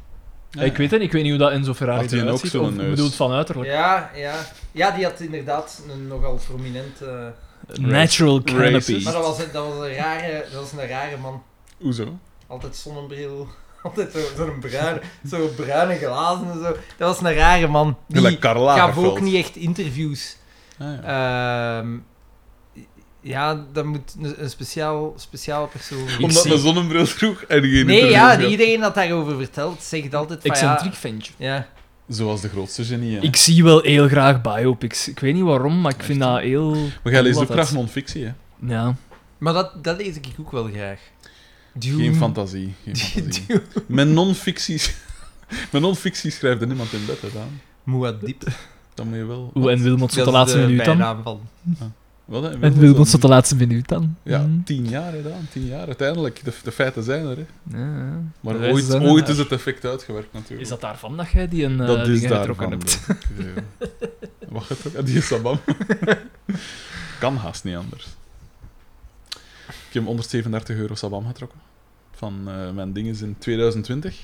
Ja. Ik weet het niet, ik weet niet hoe dat Enzo Ferrari Had hij eruit ook ziet. zo'n eh, Of neus? bedoeld van uiterlijk. Ja, ja. Ja, die had inderdaad een nogal prominent... eh, Natural Racist. canopy. Maar dat was, een- dat was, een, rare, dat was een rare man. Hoezo? Altijd zonnebril. Altijd zo- zo'n bruine, zo bruine glazen en zo. Dat was een rare man. Die Gelijk Karl gaf Lagerfeld. ook niet echt interviews. Ah, ja. Ehm, ja, dat moet een, een speciaal, speciale persoon zijn. Omdat zie- een zonnebril droeg en geen Nee, interview ja, gaf. iedereen dat daarover vertelt zegt altijd van Excentriek ja... ventje. Ja, Zoals de grootste genie. hè. Ik zie wel heel graag biopics. Ik weet niet waarom, maar ik vind dat heel... Maar jij leest Wat ook dat- graag non-fictie, hè? Ja. maar dat, dat lees ik ook wel graag. Dune. Geen fantasie. Geen fantasie. Met non-fictie... Met non-fictie schrijft er niemand in bed, hè, Daan. Muad'Dib. Dan moet je wel... Oeh, en Wilmot Dat tot is de laatste eh, minuut dan. bijnaam van... Wat, hè? En Wilmot tot de laatste minuut dan. Ja, Mm. tien jaar, hè, Daan. Tien jaar. Uiteindelijk, de, de feiten zijn er, hè. Ja, ja. Maar De rest ooit, zijn er. ooit is het effect uitgewerkt, natuurlijk. Is dat daarvan dat jij die een eh, dat is dingen getrokken daarvan. hebt? denk ik, ja. Wacht even, ah, die is sabam. kan haast niet anders. Ik heb 137 euro sabam getrokken. Van eh, mijn dingen in 2020.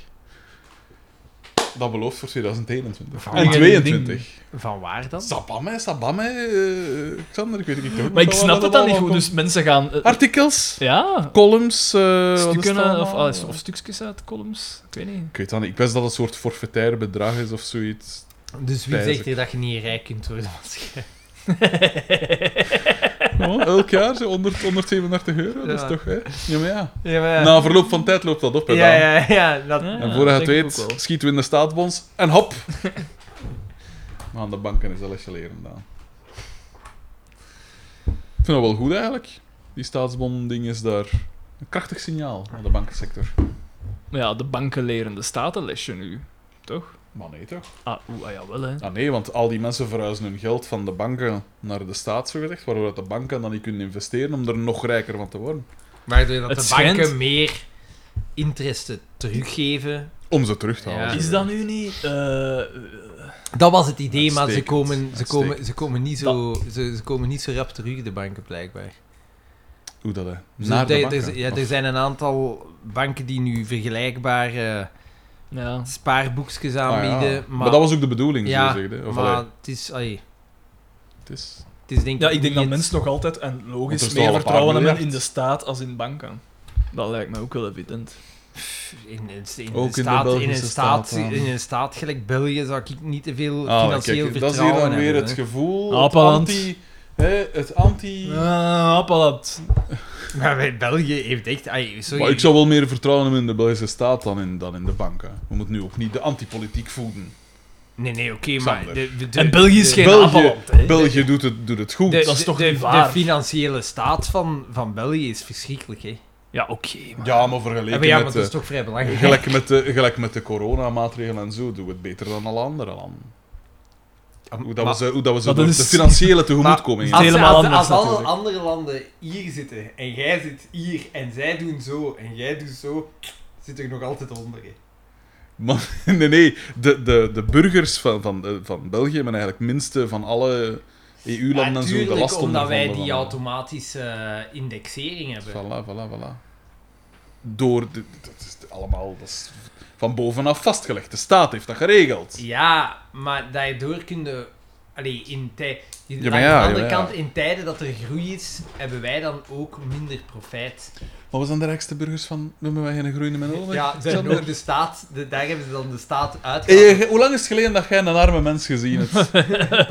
Dat belooft voor 2021. Van en mijn 22. Van waar dan? Sabam, hè, sabam, hè, eh, Xander, ik weet het niet. Maar ik snap het dan niet goed, dus mensen gaan... eh, Artikels, ja, columns, eh, wat is het stukken of, allemaal? ah, of stukjes uit columns. Ik weet niet. Ik weet dat niet. Ik wist dat het een soort forfaitair bedrag is of zoiets. Dus wie Pijs zegt ik. hier dat je niet rijk kunt worden als jij- Oh, elk jaar zo 100, 137 euro, dat Ja. is toch, hè? Ja, maar ja. Ja, maar... Nou, Na verloop van tijd loopt dat op, hè, ja, Daan. ja, ja, dat... Ja. En voordat je denk het ik ook wel. weet, schieten we in de staatsbonds en hop! Maar aan de banken is dat lesje leren, Daan. Ik vind dat wel goed, eigenlijk. Die staatsbond-ding is daar een krachtig signaal aan de bankensector. Maar ja, de banken leren de statenlesje nu, toch? Maar nee, toch? Ah, oeh, ah, jawel, hè. Ah nee, want al die mensen verhuizen hun geld van de banken naar de staat, zogezegd, waardoor dat de banken dan niet kunnen investeren om er nog rijker van te worden. Waardoor dat Het de schijnt- banken meer interesse teruggeven. Om ze terug te halen. Ja. Is dat nu niet... eh, Dat was het idee, maar ze Uitstekend. komen, ze, komen, ze, komen niet zo, ze, ze komen niet zo rap terug, de banken, blijkbaar. Hoe dat, hè? Dus Naar de er- banken. er, ja, Of- er zijn een aantal banken die nu vergelijkbare ja. spaarboekjes Ah, ja. aanbieden. maar... dat was ook de bedoeling, Ja, zo gezegd. hè. Of maar allee, het is... allee, het is... het is denk ja, ik denk dat niet mensen nog altijd, en Want er logisch, is al meer een paar vertrouwen hebben in miljard. de staat als in banken. Dat lijkt mij ook wel evident. In, in, in, Ook in een staat, de in, een Belgische staat, staat, ja. in een staat gelijk België zou ik niet te veel Ah, financieel kijk, dat is hier vertrouwen dan weer hebben, het hè. gevoel, het Appelant. anti... Hè, het anti... Ah, appalat. Maar bij België heeft echt... ai, sorry. Maar ik zou wel meer vertrouwen hebben in de Belgische staat dan in, dan in de banken. We moeten nu ook niet de antipolitiek voeden. Nee, nee, oké, Xander. maar... De, de- de- En België is de- geen België, appalat, hè. België doet, het, doet het goed. de- dat is toch de, niet de- waar? De financiële staat van, van België is verschrikkelijk, hè. Ja, oké, maar... Ja, maar Ja, vergeleken maar, ja, maar met... dat is de- toch vrij belangrijk. eh, Gelijk met, de, gelijk met de coronamaatregelen en zo, doen we het beter dan alle andere landen. Hoe dat Ah, Maar- we ze, hoe dat we ze Maar door dat de is- financiële als, tegemoetkoming Het is helemaal als, anders als alle natuurlijk. andere landen hier zitten, en jij zit hier, en zij doen zo, en jij doet zo, zit er nog altijd onder, hè. Maar, nee, nee. De, de, de burgers van, van, eh, van België hebben eigenlijk minste van alle EU-landen en zo de Natuurlijk, last omdat wij ondervonden die van- automatische eh, indexering hebben. Voilà, voilà, voilà. Door... De, dat is allemaal... Dat is van bovenaf vastgelegd. De staat heeft dat geregeld. Ja, maar daardoor kun je eh, Allee, in tij, die- Ja, maar aan ja, de andere ja, ja. kant, in tijden dat er groei is, hebben wij dan ook minder profijt. Maar we zijn de rijkste burgers van... Noemen wij geen groeiende Menno? Ja, ze hebben ook de staat, de, daar hebben ze dan de staat Eh, uitgehaald. ge- hoe lang is het geleden dat jij een arme mens gezien hebt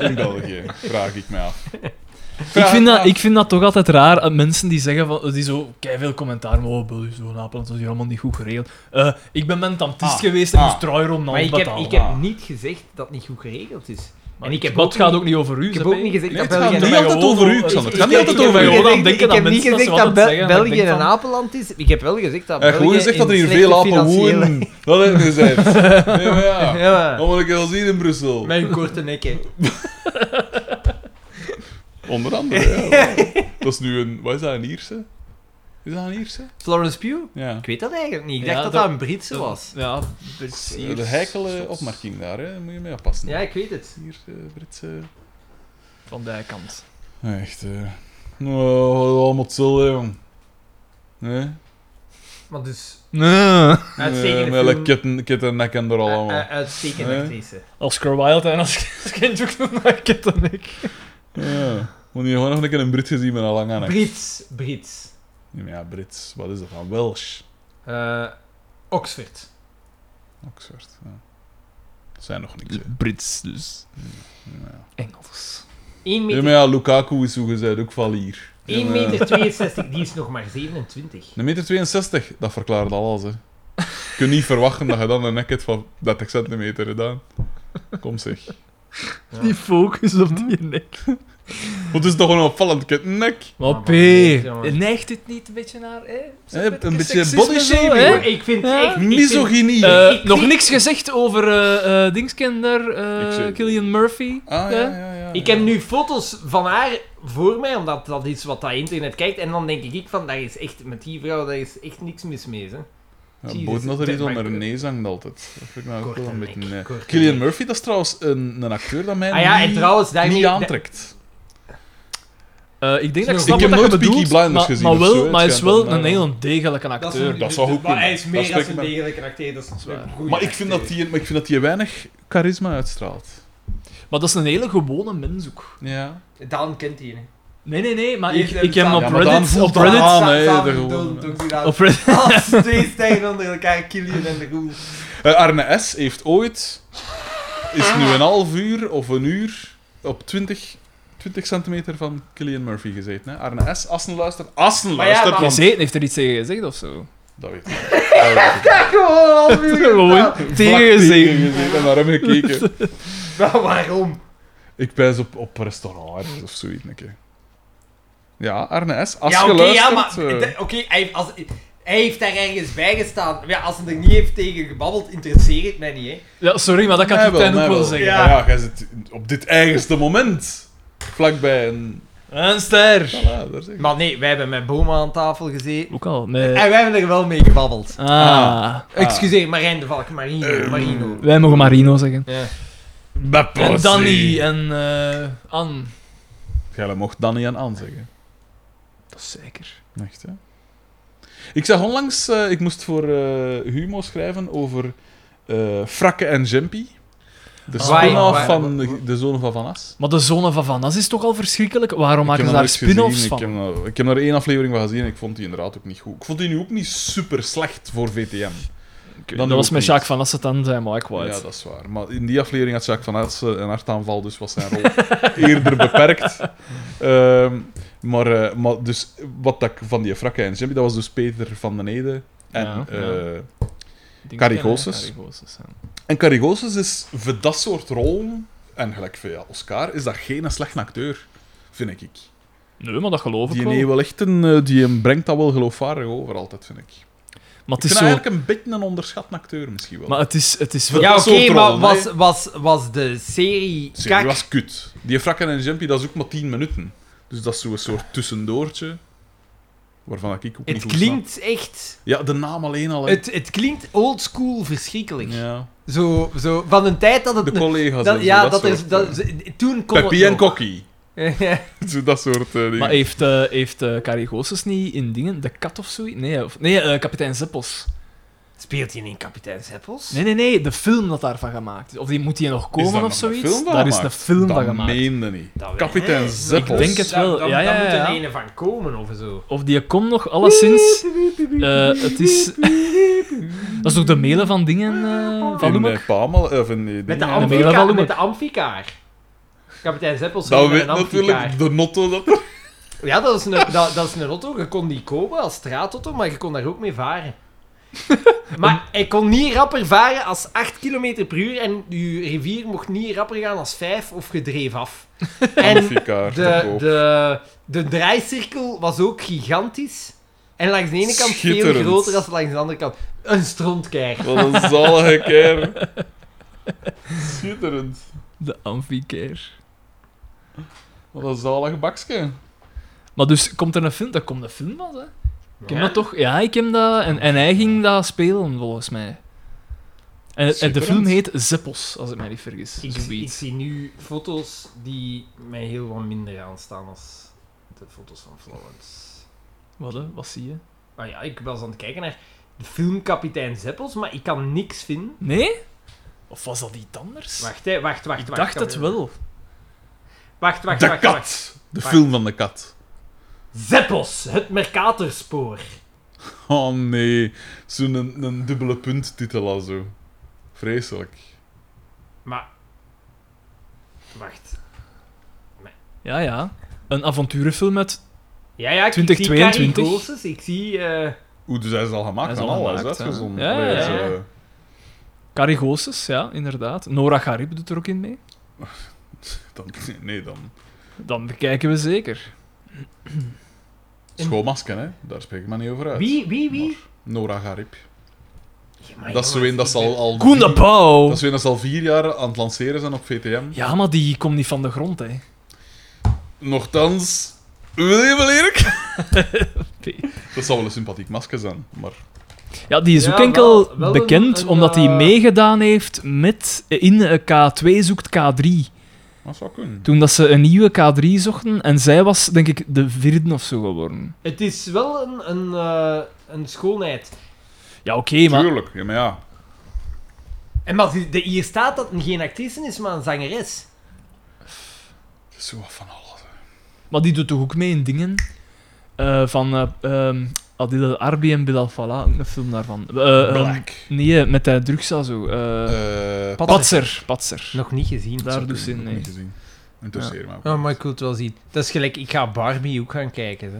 in België? Vraag ik mij af. Ik Vraag vind, me dat, af. ik vind dat toch altijd raar, eh, mensen die zeggen van, die zo veel commentaar mogen, oh, Bel is zo'n apel, dat is hier allemaal niet goed geregeld. Eh, ik ben mentantist Ah, geweest en ah. moest trui om Maar ik heb, betalen. ik heb Ah. niet gezegd dat het niet goed geregeld is. Maar en ik heb maar ook het gaat niet- ook niet over u, Ik heb Seppe. ook niet gezegd Nee, dat het gaat België... niet een- altijd Gewoon- over u, Xander. Het gaat niet Ik- altijd ik- over ik- jou. ik- Dan ik- denken Ik dat heb niet mensen dat gezegd ze dat altijd Bel- zeggen, maar ik België denk een van- apenland is. Ik heb wel gezegd dat Hij België... heeft Eh, gewoon gezegd dat er in hier veel slechte apen financiële- wonen. Dat heb ik gezegd. Nee, maar ja. Ja, Dan moet ik wel zien in Brussel. met hun korte nekken. Onder andere, ja. Dat is nu een... Wat is dat, een Ierse? Is dat een Ierse? Florence Pugh? Ja. Ik weet dat eigenlijk niet. Ik Ja, dacht dat dat- dat een Britse was. Ja, Eh, De precies. heikele opmerking daar, hè. Daar moet je mee oppassen. Ja, ik weet het. Ierse, Britse... Van die kant. Echt, eh. Nou, we hadden allemaal chill, hè, jong. Nee? Maar dus... Nee. Nee, Uitstekende met film. Eh, een kitten, kittennek en er al u- allemaal. u- Uitstekende Nee. actrice. Oscar Wilde en als als kind ook nog naar Kit en ik. Ja. Moet je gewoon nog een keer een Brit gezien met een lange nek. Brits. Brits. Nee, maar Ja, Brits. Wat is dat van? Welsh. Eh, Oxford. Oxford. Ja. Dat zijn nog niks, hè. Brits dus. Ja. Engels. 1 Nee, meter, maar ja, Lukaku is zo gezegd ook van hier. Ja, 1 maar- meter 62, die is nog maar 27. Een meter 62, dat verklaart alles, hè. Je kunt niet verwachten dat je dan een nek hebt van 30 centimeter gedaan. Kom zeg. Die focus op die nek. Want het is toch een opvallend kittennek. Maar maar P, nee, jongen. neigt dit niet een beetje naar... Hè? Zo'n Hè, Eh, een beetje seksisme body zo, shaming, hè? hoor. Maar Ik vind Ja. echt... ik vind- Misogynie. Ah, Eh, Ik- nog ik- niks gezegd over eh eh Dingskender, eh, Ik zie- Killian Murphy. Ah, ja, hè? ja, ja, ja. eh, Ik heb nu foto's van haar voor mij, omdat dat is wat dat internet kijkt. En dan denk ik van, daar is echt, met die vrouw, daar is echt niks mis mee. Hè. Ja, Jezus, boten dat er dat iets maakt- onder een neus hangt altijd. Dat vind ik nou ook wel een Korte beetje... nek, nee. korte Cillian nek. Murphy, dat is trouwens een, een acteur dat mij Ah ja, en niet, trouwens, daarmee... niet aantrekt. Eh, ik denk dat ik Ik snap heb wat nooit je bedoelt, Peaky Blinders maar, gezien maar, of wel, zo, hè. maar hij Het is schijnt wel dat een daar heel degelijke acteur. dat zou goed Maar hij kunnen. is meer Dat als spreekt een me- degelijke acteur. Dat is waar. een goeie Maar ik, vind dat acteur. die, maar ik vind dat die weinig charisma uitstraalt. Maar dat is een hele gewone mens ook. Ja. Daan kent die, hè. Nee, nee, nee, maar Die ik, heeft hem ik heb hem staan. op Ja, maar dan Reddit... voelt Op dat Reddit, aan. op Ah, nee, Samen de gewoon- doen, doen die dat. Reddit- Als twee stijgen onder elkaar, Killian en de Roel. Eh, Arne S. heeft ooit... Is nu een half uur of een uur op 20, 20 centimeter van Cillian Murphy gezeten. Hè? Arne S. Assen luistert. Assen Maar ja, luistert, maar- want- gezeten, heeft er iets tegen gezegd of zo? Dat weet ik. Dat weet ik. Gewoon half uur Gewoon gestaan. tegen gezeten. gezeten en naar hem gekeken. Maar Nou, waarom? Ik pijs op, op restaurant hè, of zoiets. een keer. Ja, Arne S. Als ja, je oké, ja, luistert... maar... eh, d- Oké, hij, heeft- als- hij heeft daar ergens bij gestaan. Ja, als hij er niet heeft tegen gebabbeld, interesseert het mij niet, hè. Ja, sorry, maar dat kan mij ik dan mij ook wel zeggen. Ja. Maar ja, jij zit op dit eigenste moment vlakbij een... Een ster. Voilà, daar zeg ik. Maar nee, wij hebben met Boma aan tafel gezeten. Ook al, nee. En wij hebben er wel mee gebabbeld. Ah, Eh. Ah. Ehm, Excuseer, Marijn de Valk, Marino. Marino. wij mogen Marino zeggen. Ja. Bah, En pussy. Danny en eh Anne. Jij mocht Danny en Anne zeggen. Dat is zeker. Echt, hè? Ik zag onlangs... eh, ik moest voor eh, Humo schrijven over eh Frakke en Jumpy. De Ah, spin-off waar- van de, de zoon van Van As. Maar de zone van Van As is toch al verschrikkelijk? Waarom maken ze heb daar dat nooit spin-offs gezien. van? Ik heb, nou- ik heb er één aflevering van gezien en ik vond die inderdaad ook niet goed. Ik vond die nu ook niet super slecht voor VTM. Ik- Dan dat was ook met niet. Jacques Van Assen dan zijn Mike White. Ja, dat is waar. Maar in die aflevering had Jacques van Aertsen een hartaanval, dus was zijn rol eerder beperkt. Ehm, maar, eh, maar dus wat dat ik van die frakken en Jimmy, dat was dus Peter van den Ede. En, Ja, ja. eh, Dingen Carrie kennen, Goossens. Carrie Goossens, ja. en Carrigosus is voor dat soort rollen, en gelijk via Oscar, is dat geen slechte acteur, vind ik. Nee, maar dat geloof ik Die wel. nee wel echt een, eh, die hem brengt dat wel geloofwaardig over altijd, vind ik. Maar Ik het is vind zo... eigenlijk een beetje een onderschatte acteur misschien wel. Maar het is... Het is wel... Voor Ja, dat oké, soort maar rollen, was, hè. was, was de serie Serie kak? was kut. Die frakken en jumpy, dat is ook maar 10 minuten. Dus dat is zo'n soort tussendoortje. Waarvan ik ook niet Het goed klinkt echt... snap. Ja, de naam alleen al. hè. Het, het klinkt oldschool verschrikkelijk. Ja. Zo, zo, van een tijd dat het... De collega's dat, en zo, ja, dat, dat, soort, is... Dat, eh, ze- toen kon Peppy het en nog. Kokkie. Ja. Zo dat soort eh, dingen. Maar heeft, eh heeft eh, Carrie Goossens niet in dingen... De kat of zoiets? Nee, of, nee eh, kapitein Zeppels. Speelt hij in Kapitein Zeppels? Nee, nee, nee, de film dat daarvan gemaakt is. Of die moet die nog komen of zoiets? daar is een film van gemaakt. Dat meende niet. Dat weet- Kapitein Nee, Zeppels. Ik denk het wel, Dan, ja, ja, dan ja, moet ja. er een van komen of zo. Of die komt nog, alleszins. eh, het is. dat is ook de mailen van dingen eh, van In Loemak. eh, Pamela, of in die Met de dingen. ambt- mailen van amfikaar. Loemer. Met de amfikaar. Kapitein Zeppels Dat met weet een amfikaar. natuurlijk de notto dat er... Ja, dat is, een, dat, dat is een auto. Je kon die kopen als straatauto, maar je kon daar ook mee varen. maar hij kon niet rapper varen als 8 km per uur en je rivier mocht niet rapper gaan als 5 of gedreven af. en Amfikaar te de, koop. de, de draaicirkel was ook gigantisch. En langs de ene kant veel Schitterend. groter dan langs de andere kant. Een strontkeer. Wat een zalige keer. Schitterend. De Amphicare. Wat een zalig bakje. Maar dus komt er een film? Daar komt een film van, hè? Ik heb Ja. dat toch? Ja, ik heb dat. En, en hij ging dat spelen, volgens mij. En, en de Schitterend. film heet Zeppels, als ik mij niet vergis. Ik, ik Zoiets. zie nu foto's die mij heel wat minder aanstaan als de foto's van Florence. Wat, hè? Wat zie je? Ah ja, ik was aan het kijken naar de film Kapitein Zeppels, maar ik kan niks vinden. Nee? Of was dat iets anders? Wacht, hè, wacht, wacht. ik wacht, dacht kan- het wel. Wacht, wacht, De wacht. wacht. kat. De film van de kat. Zeppels, het Mercatorspoor. Oh nee. Zo'n een, een dubbele punttitel al zo. Vreselijk. Maar. Wacht. Ja, ja. Een avonturenfilm uit... Ja, ja, ik 2022. 2022. zie Carrie Goossens, ik zie. eh, Oeh, dus hij is al gemaakt Hij is en al. al Hij is gemaakt, hè. uitgezonden. Ja, Allee, ja, zo, ja. eh, Carigoses, ja, inderdaad. Nora Garib doet er ook in mee. eh, dan, nee, dan. Dan bekijken we zeker. Schoonmasken, hè. Daar spreek ik maar niet over uit. wie, wie, wie? Nora Garib. Ja, maar Dat is zo jongens, een dat ik zal ben- al... Koen de vier- Pauw! Dat is zo een dat zal vier jaar aan het lanceren zijn op VTM. Ja, maar die komt niet van de grond, hè. Nochtans... Wil je wel eerlijk? Nee. Dat zal wel een sympathiek masker zijn, maar... Ja, die is Ja, ook enkel wel- wel bekend een- een, omdat hij eh, meegedaan heeft met in eh, K2 zoekt K3. Dat zou kunnen. Toen dat ze een nieuwe K3 zochten en zij was denk ik de vierde of zo geworden. Het is wel een, een, eh, een schoonheid. Ja, oké, maar Tuurlijk, ja, maar ja. En maar die- de, hier staat dat het geen actrice is, maar een zangeres. Het is zo wat van alles. hè. Maar die doet toch ook mee in dingen? Eh, van eh ehm Adil Arbi en Bilal Fallah, ook een film daarvan. Eh, ehm, Black. nee, met de drugs en zo. eh Eh, Patser. Patser. Nog niet gezien. Daar doet Patser, ze in, heb ik nee. niet gezien. Interesseer me ook. Oh, maar ik wil het wel zien. Dat is gelijk, ik ga Barbie ook gaan kijken. Hè.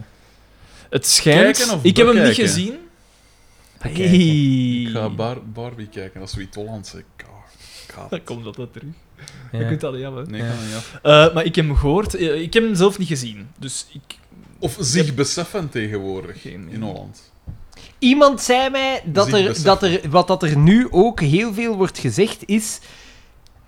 Het schijnt... Kijken of ik heb hem niet bekijken? gezien. Bekijken. Hey. Ik ga Bar- Barbie kijken, dat is zoiets Hollandse. Ik ga- Dan komt dat wel terug. Ja. Je kunt dat niet hebben. Nee, ik ga dat niet af. Eh, maar ik heb hem gehoord. Eh, ik heb hem zelf niet gezien. Dus ik... Of zich beseffen tegenwoordig Geen in idee. Holland. Iemand zei mij dat Zich er, dat beseffen. er, wat dat er nu ook heel veel wordt gezegd is.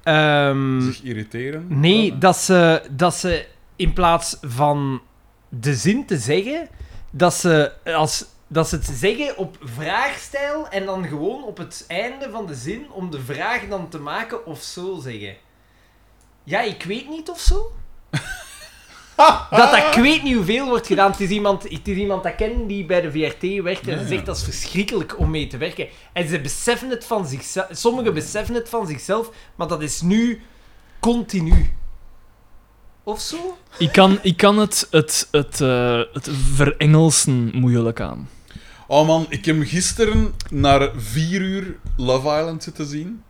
Mm. ehm, Zich irriteren. nee, Ja. dat ze, dat ze in plaats van de zin te zeggen, dat ze, als, dat ze het zeggen op vraagstijl en dan gewoon op het einde van de zin om de vraag dan te maken of zo zeggen. Ja, ik weet niet of zo. dat dat ik weet niet hoeveel wordt gedaan. Het is iemand, het is iemand dat ik ken die bij de VRT werkt en Ja. ze zegt dat is verschrikkelijk om mee te werken. En ze beseffen het van zichzelf. Sommigen beseffen het van zichzelf, maar dat is nu continu. Of zo? Ik kan, ik kan het, het, het, eh, het verengelsen moeilijk aan. Oh man, ik heb gisteren naar vier uur Love Island zitten zien.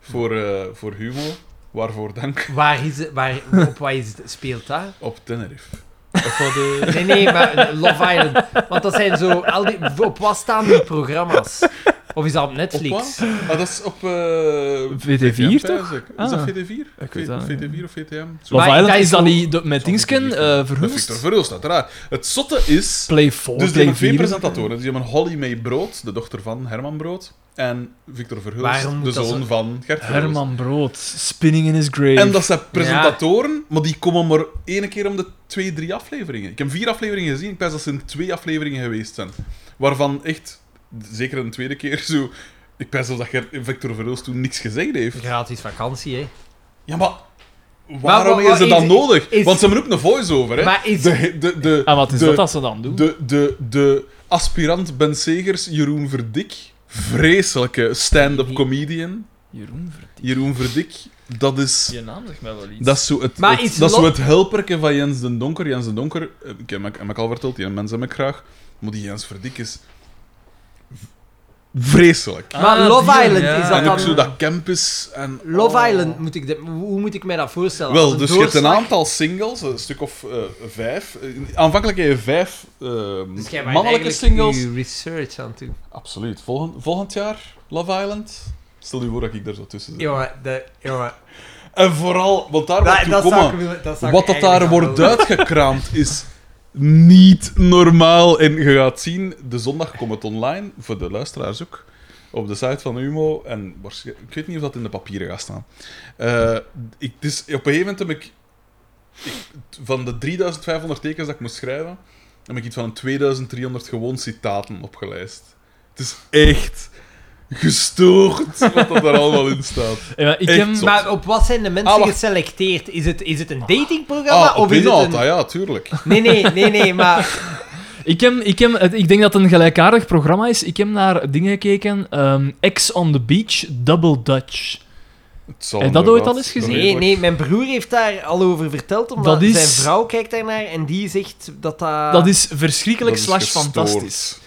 Voor, eh, voor Humo. Waarvoor dank. Waar is het, waar, op wat is het, speelt dat? Op Tenerife. Of wat, eh, Nee, nee, maar Love Island. Want dat zijn zo... Al die, op wat staan die programma's? Of is dat op Op Netflix? wat? Ah, dat is op... eh, VT4 VTM, toch? pijs ik. Is Ah. dat VT4? Ik weet dat niet. VT4 of VTM? Zo. Maar Love Island dat is is dan zo- niet do- met Dingsken eh Met verhulst? Victor Verhulst, uiteraard. Het zotte is... Play 4, Dus die Play hebben twee 4. presentatoren. Dus die hebben Holly May Brood, de dochter van Herman Brood, en Victor Verhulst, Waarom moet de dat zoon zo- van Gert Verhulst. Herman Brood, spinning in his grave. En dat zijn presentatoren, maar die komen maar één keer om de twee, drie afleveringen. Ik heb vier afleveringen gezien, ik denk dat ze in twee afleveringen geweest zijn. Waarvan echt, zeker een tweede keer, zo... Ik pijs zelfs dat Gert- Victor Verhulst toen niks gezegd heeft. Gratis vakantie, hè. Ja, maar waarom wa- is wa- het dan is- nodig? is- Want ze hebben ook een voice-over, hè? Maar Ah, is- De, de, de, En Ah, wat is de, dat dat ze dan doen? De, de, de aspirant Ben Segers, Jeroen Verdik, vreselijke stand-up comedian, Jeroen Verdiep. Jeroen Verdik. Dat is, Je naam zegt mij wel iets. dat is zo het, Maar het- is dat is zo Lot- het helperke van Jens den Donker. Jens den Donker, eh, ik heb hem- hem al verteld, die mensen heb ik graag. Maar die Jens Verdik is vreselijk. Ah, Maar Love die, Island ja. is dat en ook dan- zo dat campus en... Love oh. Island, moet ik dit- hoe moet ik mij dat voorstellen? Als Wel, een dus je hebt een doorslag? aantal singles, een stuk of eh, vijf. Eh, aanvankelijk heb je vijf eh, Dus jij bent mannelijke eigenlijk singles. je research aan toe. Absoluut. Volgend, volgend jaar Love Island. Stel je voor dat ik daar zo tussen zit. Jongen, de, jongen. En vooral, want daar Dat, wordt dat toe zou ik komen. willen. Dat zou ik Wat dat daar eigenlijk aan wordt willen. uitgekraamd is niet normaal. En je gaat zien, de zondag komt het online, voor de luisteraars ook, op de site van Humo. En waarsch- ik weet niet of dat in de papieren gaat staan. Eh, ik, dus op een gegeven moment heb ik, ik- van de 3500 tekens dat ik moest schrijven, heb ik iets van een 2300 gewoon citaten opgelijst. Het is echt gestoord wat dat er allemaal in staat. Ja, Eh, maar ik Echt heb... zo. Maar op wat zijn de mensen Ah, wacht. geselecteerd? Is het, is het een datingprogramma? Ah, of op is inhoud, het ah een... ja, tuurlijk. Nee, nee, nee, nee, maar... Ik, heb, ik, heb, het- ik denk dat het een gelijkaardig programma is. Ik heb naar dingen gekeken. ehm, Ex on the Beach, Double Dutch. Het zal Heb je dat ooit al inderdaad eens gezien? Dus Nee, redelijk- nee, mijn broer heeft daar al over verteld, omdat Dat is- zijn vrouw kijkt daarnaar en die zegt dat dat... Dat is verschrikkelijk Ah. Dat is slash gestoord. fantastisch.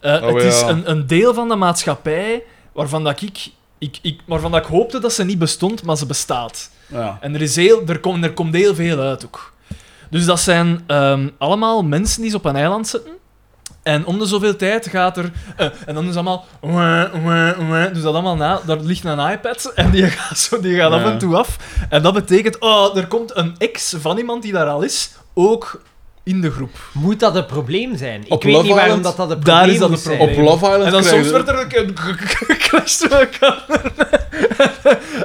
Eh, Oh, het is ja. een, een deel van de maatschappij waarvan dat ik, ik, ik, waarvan dat ik hoopte dat ze niet bestond, maar ze bestaat. Ja. En er, is heel, er, komt er komt heel veel uit ook. Dus dat zijn ehm, allemaal mensen die ze op een eiland zitten. En om de zoveel tijd gaat er... eh, en dan is allemaal... wah, wah, wah. dus dat allemaal na. Daar ligt een iPad en die gaat, zo, die gaat af Ja. en toe af. En dat betekent... Oh, er komt een ex van iemand die daar al is, ook in de groep. Moet dat een probleem zijn? Ik Op weet Love niet waarom Island? dat dat een probleem Daar is dat moest een Op zijn. probleem. Love Island En dan krijg soms je- werd er ook een crash door elkaar.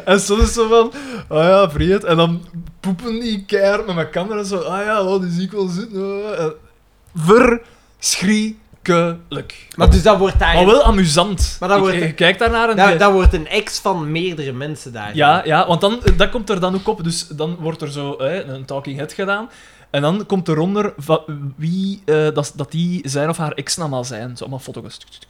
En soms zo van, ah ja, vriend. En dan poepen die keihard met mijn camera zo, ah ja, oh, die zie ik wel zitten. Eh, Verschrikkelijk. Maar dus dat wordt daar... Maar wel amusant. Maar dat Ik- wordt- je, kijkt daarnaar en je- Dat, dat wordt een ex van meerdere mensen daar. ja, ja, want dan, eh, dat komt er dan ook op. Dus dan wordt er zo hè, een talking head gedaan. En dan komt eronder va- wie, eh, dat, dat die zijn of haar ex nou maar zijn. Zo allemaal foto's. Tuk, tuk, tuk.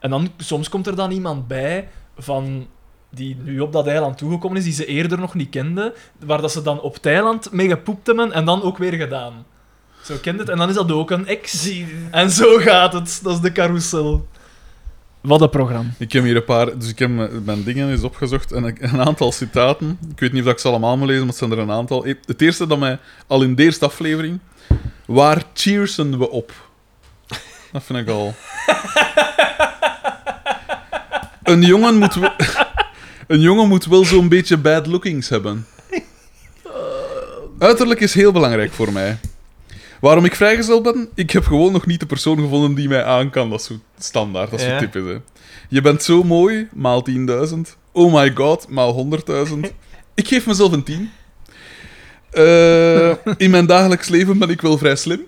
En dan, soms komt er dan iemand bij van die nu op dat eiland toegekomen is, die ze eerder nog niet kende, waar dat ze dan op Thailand mee gepoept hebben en dan ook weer gedaan. Zo kent het. En dan is dat ook een ex. En zo gaat het. Dat is de carousel. Wat een programma. Ik heb hier een paar, dus ik heb mijn- mijn dingen eens opgezocht en ik- een aantal citaten. Ik weet niet of dat ik ze allemaal moet lezen, maar het zijn er een aantal. E- Het eerste dat mij, al in de eerste aflevering, waar cheersen we op? Dat vind ik al. Een jongen moet, we- een jongen moet wel zo'n beetje bad lookings hebben. Uiterlijk is heel belangrijk voor mij. Waarom ik vrijgezel ben? Ik heb gewoon nog niet de persoon gevonden die mij aan kan. Dat is zo standaard, dat is Ja. zo typisch. Hè. Je bent zo mooi, maal 10.000. Oh my god, maal 100.000. Ik geef mezelf een 10. Eh, in mijn dagelijks leven ben ik wel vrij slim.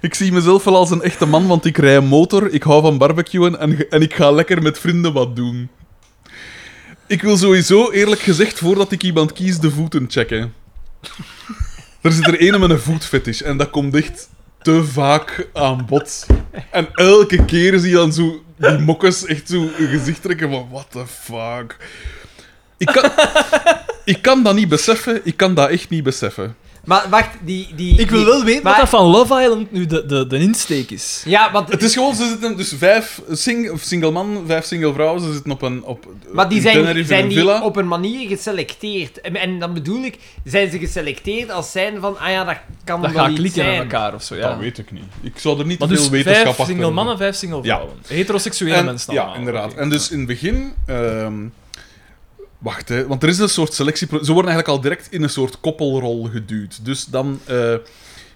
ik zie mezelf wel als een echte man, want ik rij motor, ik hou van barbecuen en, ge- en ik ga lekker met vrienden wat doen. Ik wil sowieso, eerlijk gezegd, voordat ik iemand kies, de voeten checken. Er zit er een met een voetfetish en dat komt echt te vaak aan bod. En elke keer zie je dan zo die mokkes echt zo hun gezicht trekken van what the fuck. Ik kan, ik kan dat niet beseffen, ik kan dat echt niet beseffen. Maar wacht, die... die Ik wil die- wel weten maar- wat dat van Love Island nu de, de, de insteek is. Ja, want... Het is gewoon, ze zitten dus vijf sing, of single man, vijf single vrouwen, ze zitten op een op, Maar die in zijn, Tenerife in zijn een die villa. op een manier geselecteerd. En, en dan bedoel ik, zijn ze geselecteerd als zijn van, ah ja, dat kan Dat wel gaat iets klikken zijn. met elkaar of zo, ja. Dat weet ik niet. Ik zou er niet te Maar veel dus wetenschap vijf achter single hebben. mannen, vijf single Ja. vrouwen. Heteroseksuele En- mensen Ja, allemaal. inderdaad. Oké. En dus in het begin... ehm, wacht, hè. Want er is een soort selectie... Ze worden eigenlijk al direct in een soort koppelrol geduwd. Dus dan... eh,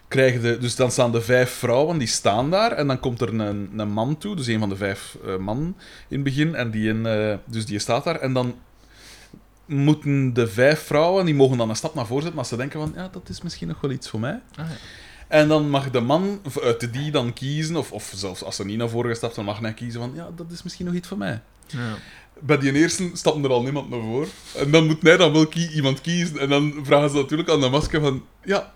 Krijgen de, dus dan staan de vijf vrouwen, die staan daar. En dan komt er een, een man toe, dus een van de vijf eh, man in het begin. En die, een, eh, dus die staat daar. En dan moeten de vijf vrouwen, die mogen dan een stap naar voren zetten. Maar ze denken van, ja, dat is misschien nog wel iets voor mij. Ah, ja. En dan mag de man v- uit die dan kiezen, of, of zelfs als er niet naar voren gestapt, dan mag hij kiezen van, ja, dat is misschien nog iets voor mij. Ja. Bij die eerste stapt er al niemand naar voren. En dan moet hij dan wel kie- iemand kiezen. En dan vragen ze natuurlijk aan de masker van, ja,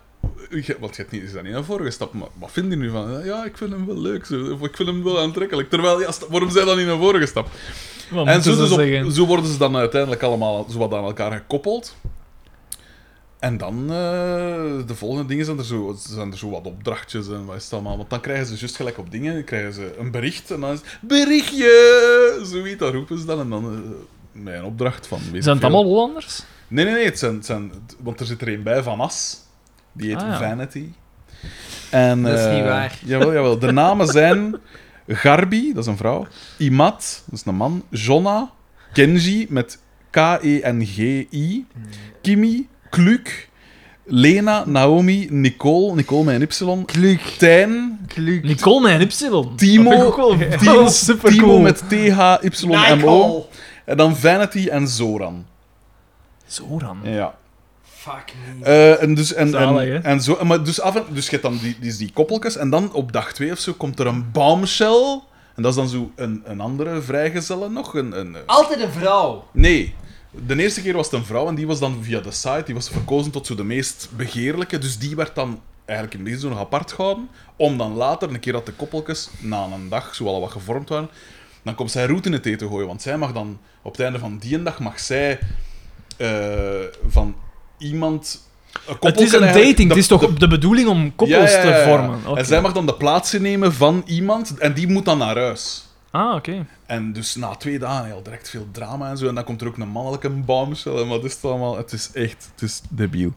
je- want je hebt niet, is daar niet naar voren gestapt, maar wat vind je nu van? Ja, ik vind hem wel leuk, zo, of ik vind hem wel aantrekkelijk. Terwijl, ja, sta- waarom zijn dan niet naar voren gestapt? Wat en zo, moeten ze dus op- zeggen? zo worden ze dan uiteindelijk allemaal zo wat aan elkaar gekoppeld. En dan, eh, de volgende dingen zijn er, zo, zijn er zo wat opdrachtjes en wat is het allemaal. Want dan krijgen ze juist gelijk op dingen, dan krijgen ze een bericht en dan is het, berichtje! Zoiets, dat roepen ze dan. En dan eh, mijn opdracht van... weet ik Zijn het veel. allemaal Hollanders? Nee, nee, nee. Het zijn, het zijn, het- want er zit er een bij van As. Die heet Ah, ja. Vanity. En, Dat is eh, niet waar. Jawel, jawel. De namen zijn Garbi, dat is een vrouw. Imat, dat is een man. Jonna. Kenji, met E K-E-N-G-I. Kimi. Kluk. Lena, Naomi, Nicole, Nicole met een Y. Kluk. Tijn, Nicole met een Y. Timo. Dat vind ik ook wel- Timo, wel supercool. Timo met T-H-Y-M-O. Nightcall. En dan Vanity en Zoran. Zoran. Ja. Fuck me. Eh, en dus, en, Zalig, hè? en, en zo, maar dus, af en, dus je hebt dan die, die, die koppeltjes en dan op dag 2 of zo komt er een bombshell. En dat is dan zo een, een andere vrijgezelle nog. Een, een, eh, Altijd een vrouw. nee, de eerste keer was het een vrouw en die was dan via de site, die was verkozen tot zo de meest begeerlijke. Dus die werd dan eigenlijk in het begin zo nog apart gehouden. Om dan later, een keer dat de koppeltjes na een dag zo al wat gevormd waren, dan komt zij roet in het eten gooien. Want zij mag dan, op het einde van die dag, mag zij eh, van iemand... Het is een dating, het is toch de bedoeling om koppels Ja, ja, ja, ja. te vormen? Oké. En zij mag dan de plaats innemen van iemand en die moet dan naar huis. Ah, oké. En dus na twee dagen heel direct veel drama en zo. En dan komt er ook een mannelijke bombshell en wat is het allemaal. Het is echt, het is debiel.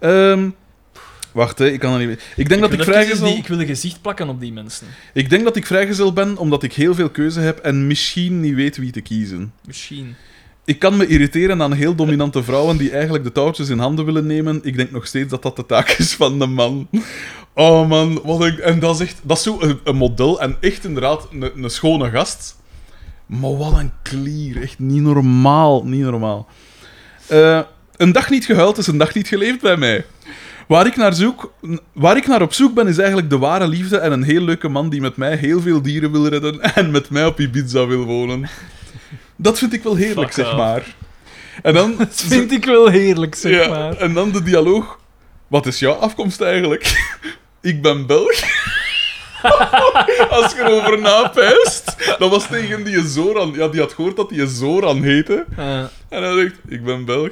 Ehm, wacht, hè, ik kan dat niet meer. Ik denk dat ik wil even vrijgezel... die- ik wil een gezicht plakken op die mensen. Ik denk dat ik vrijgezel ben omdat ik heel veel keuze heb en misschien niet weet wie te kiezen. Misschien. Ik kan me irriteren aan heel dominante vrouwen die eigenlijk de touwtjes in handen willen nemen. Ik denk nog steeds dat dat de taak is van de man. Oh man, wat een... En dat is echt... Dat is zo een, een model en echt inderdaad een, een schone gast. Maar wat een klier. Echt niet normaal. Niet normaal. Eh, een dag niet gehuild is een dag niet geleefd bij mij. Waar ik, naar zoek, waar ik naar op zoek ben, is eigenlijk de ware liefde en een heel leuke man die met mij heel veel dieren wil redden en met mij op Ibiza wil wonen. Dat vind ik wel heerlijk, Fuck zeg off. maar. En dan, Dat vind ik wel heerlijk, zeg ja, maar. en dan de dialoog. Wat is jouw afkomst eigenlijk? ik ben Belg. Als je erover napijst, dat was tegen die Zoran. Ja, die had gehoord dat die Zoran heette. Eh, En hij zegt, ik ben Belg.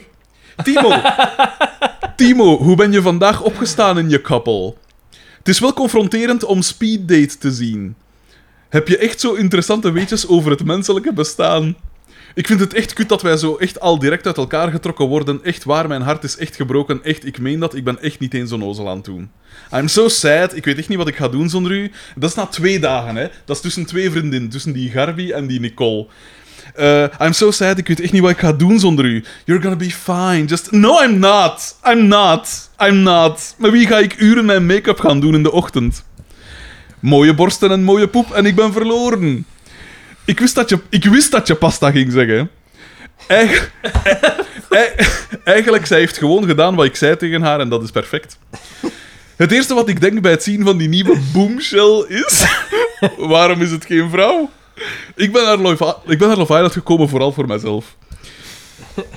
Timo! Timo, hoe ben je vandaag opgestaan in je koppel? Het is wel confronterend om speeddate te zien. Heb je echt zo interessante weetjes over het menselijke bestaan? Ik vind het echt kut dat wij zo echt al direct uit elkaar getrokken worden. Echt waar, mijn hart is echt gebroken. Echt, ik meen dat. Ik ben echt niet eens zo'n ozel aan het doen. I'm so sad. Ik weet echt niet wat ik ga doen zonder u. Dat is na twee dagen, hè. Dat is tussen twee vriendinnen. Tussen die Garbi en die Nicole. Eh, I'm so sad, ik weet echt niet wat ik ga doen zonder u. You're gonna be fine. Just... No, I'm not. I'm not. I'm not. Met wie ga ik uren mijn make-up gaan doen in de ochtend? Mooie borsten en mooie poep en ik ben verloren. Ik wist dat je, ik wist dat je pasta ging zeggen. Eigen- Ei- Eigenlijk, zij heeft gewoon gedaan wat ik zei tegen haar en dat is perfect. Het eerste wat ik denk bij het zien van die nieuwe boomshell is... waarom is het geen vrouw? Ik ben naar Love, ik ben naar Love Island gekomen vooral voor mezelf.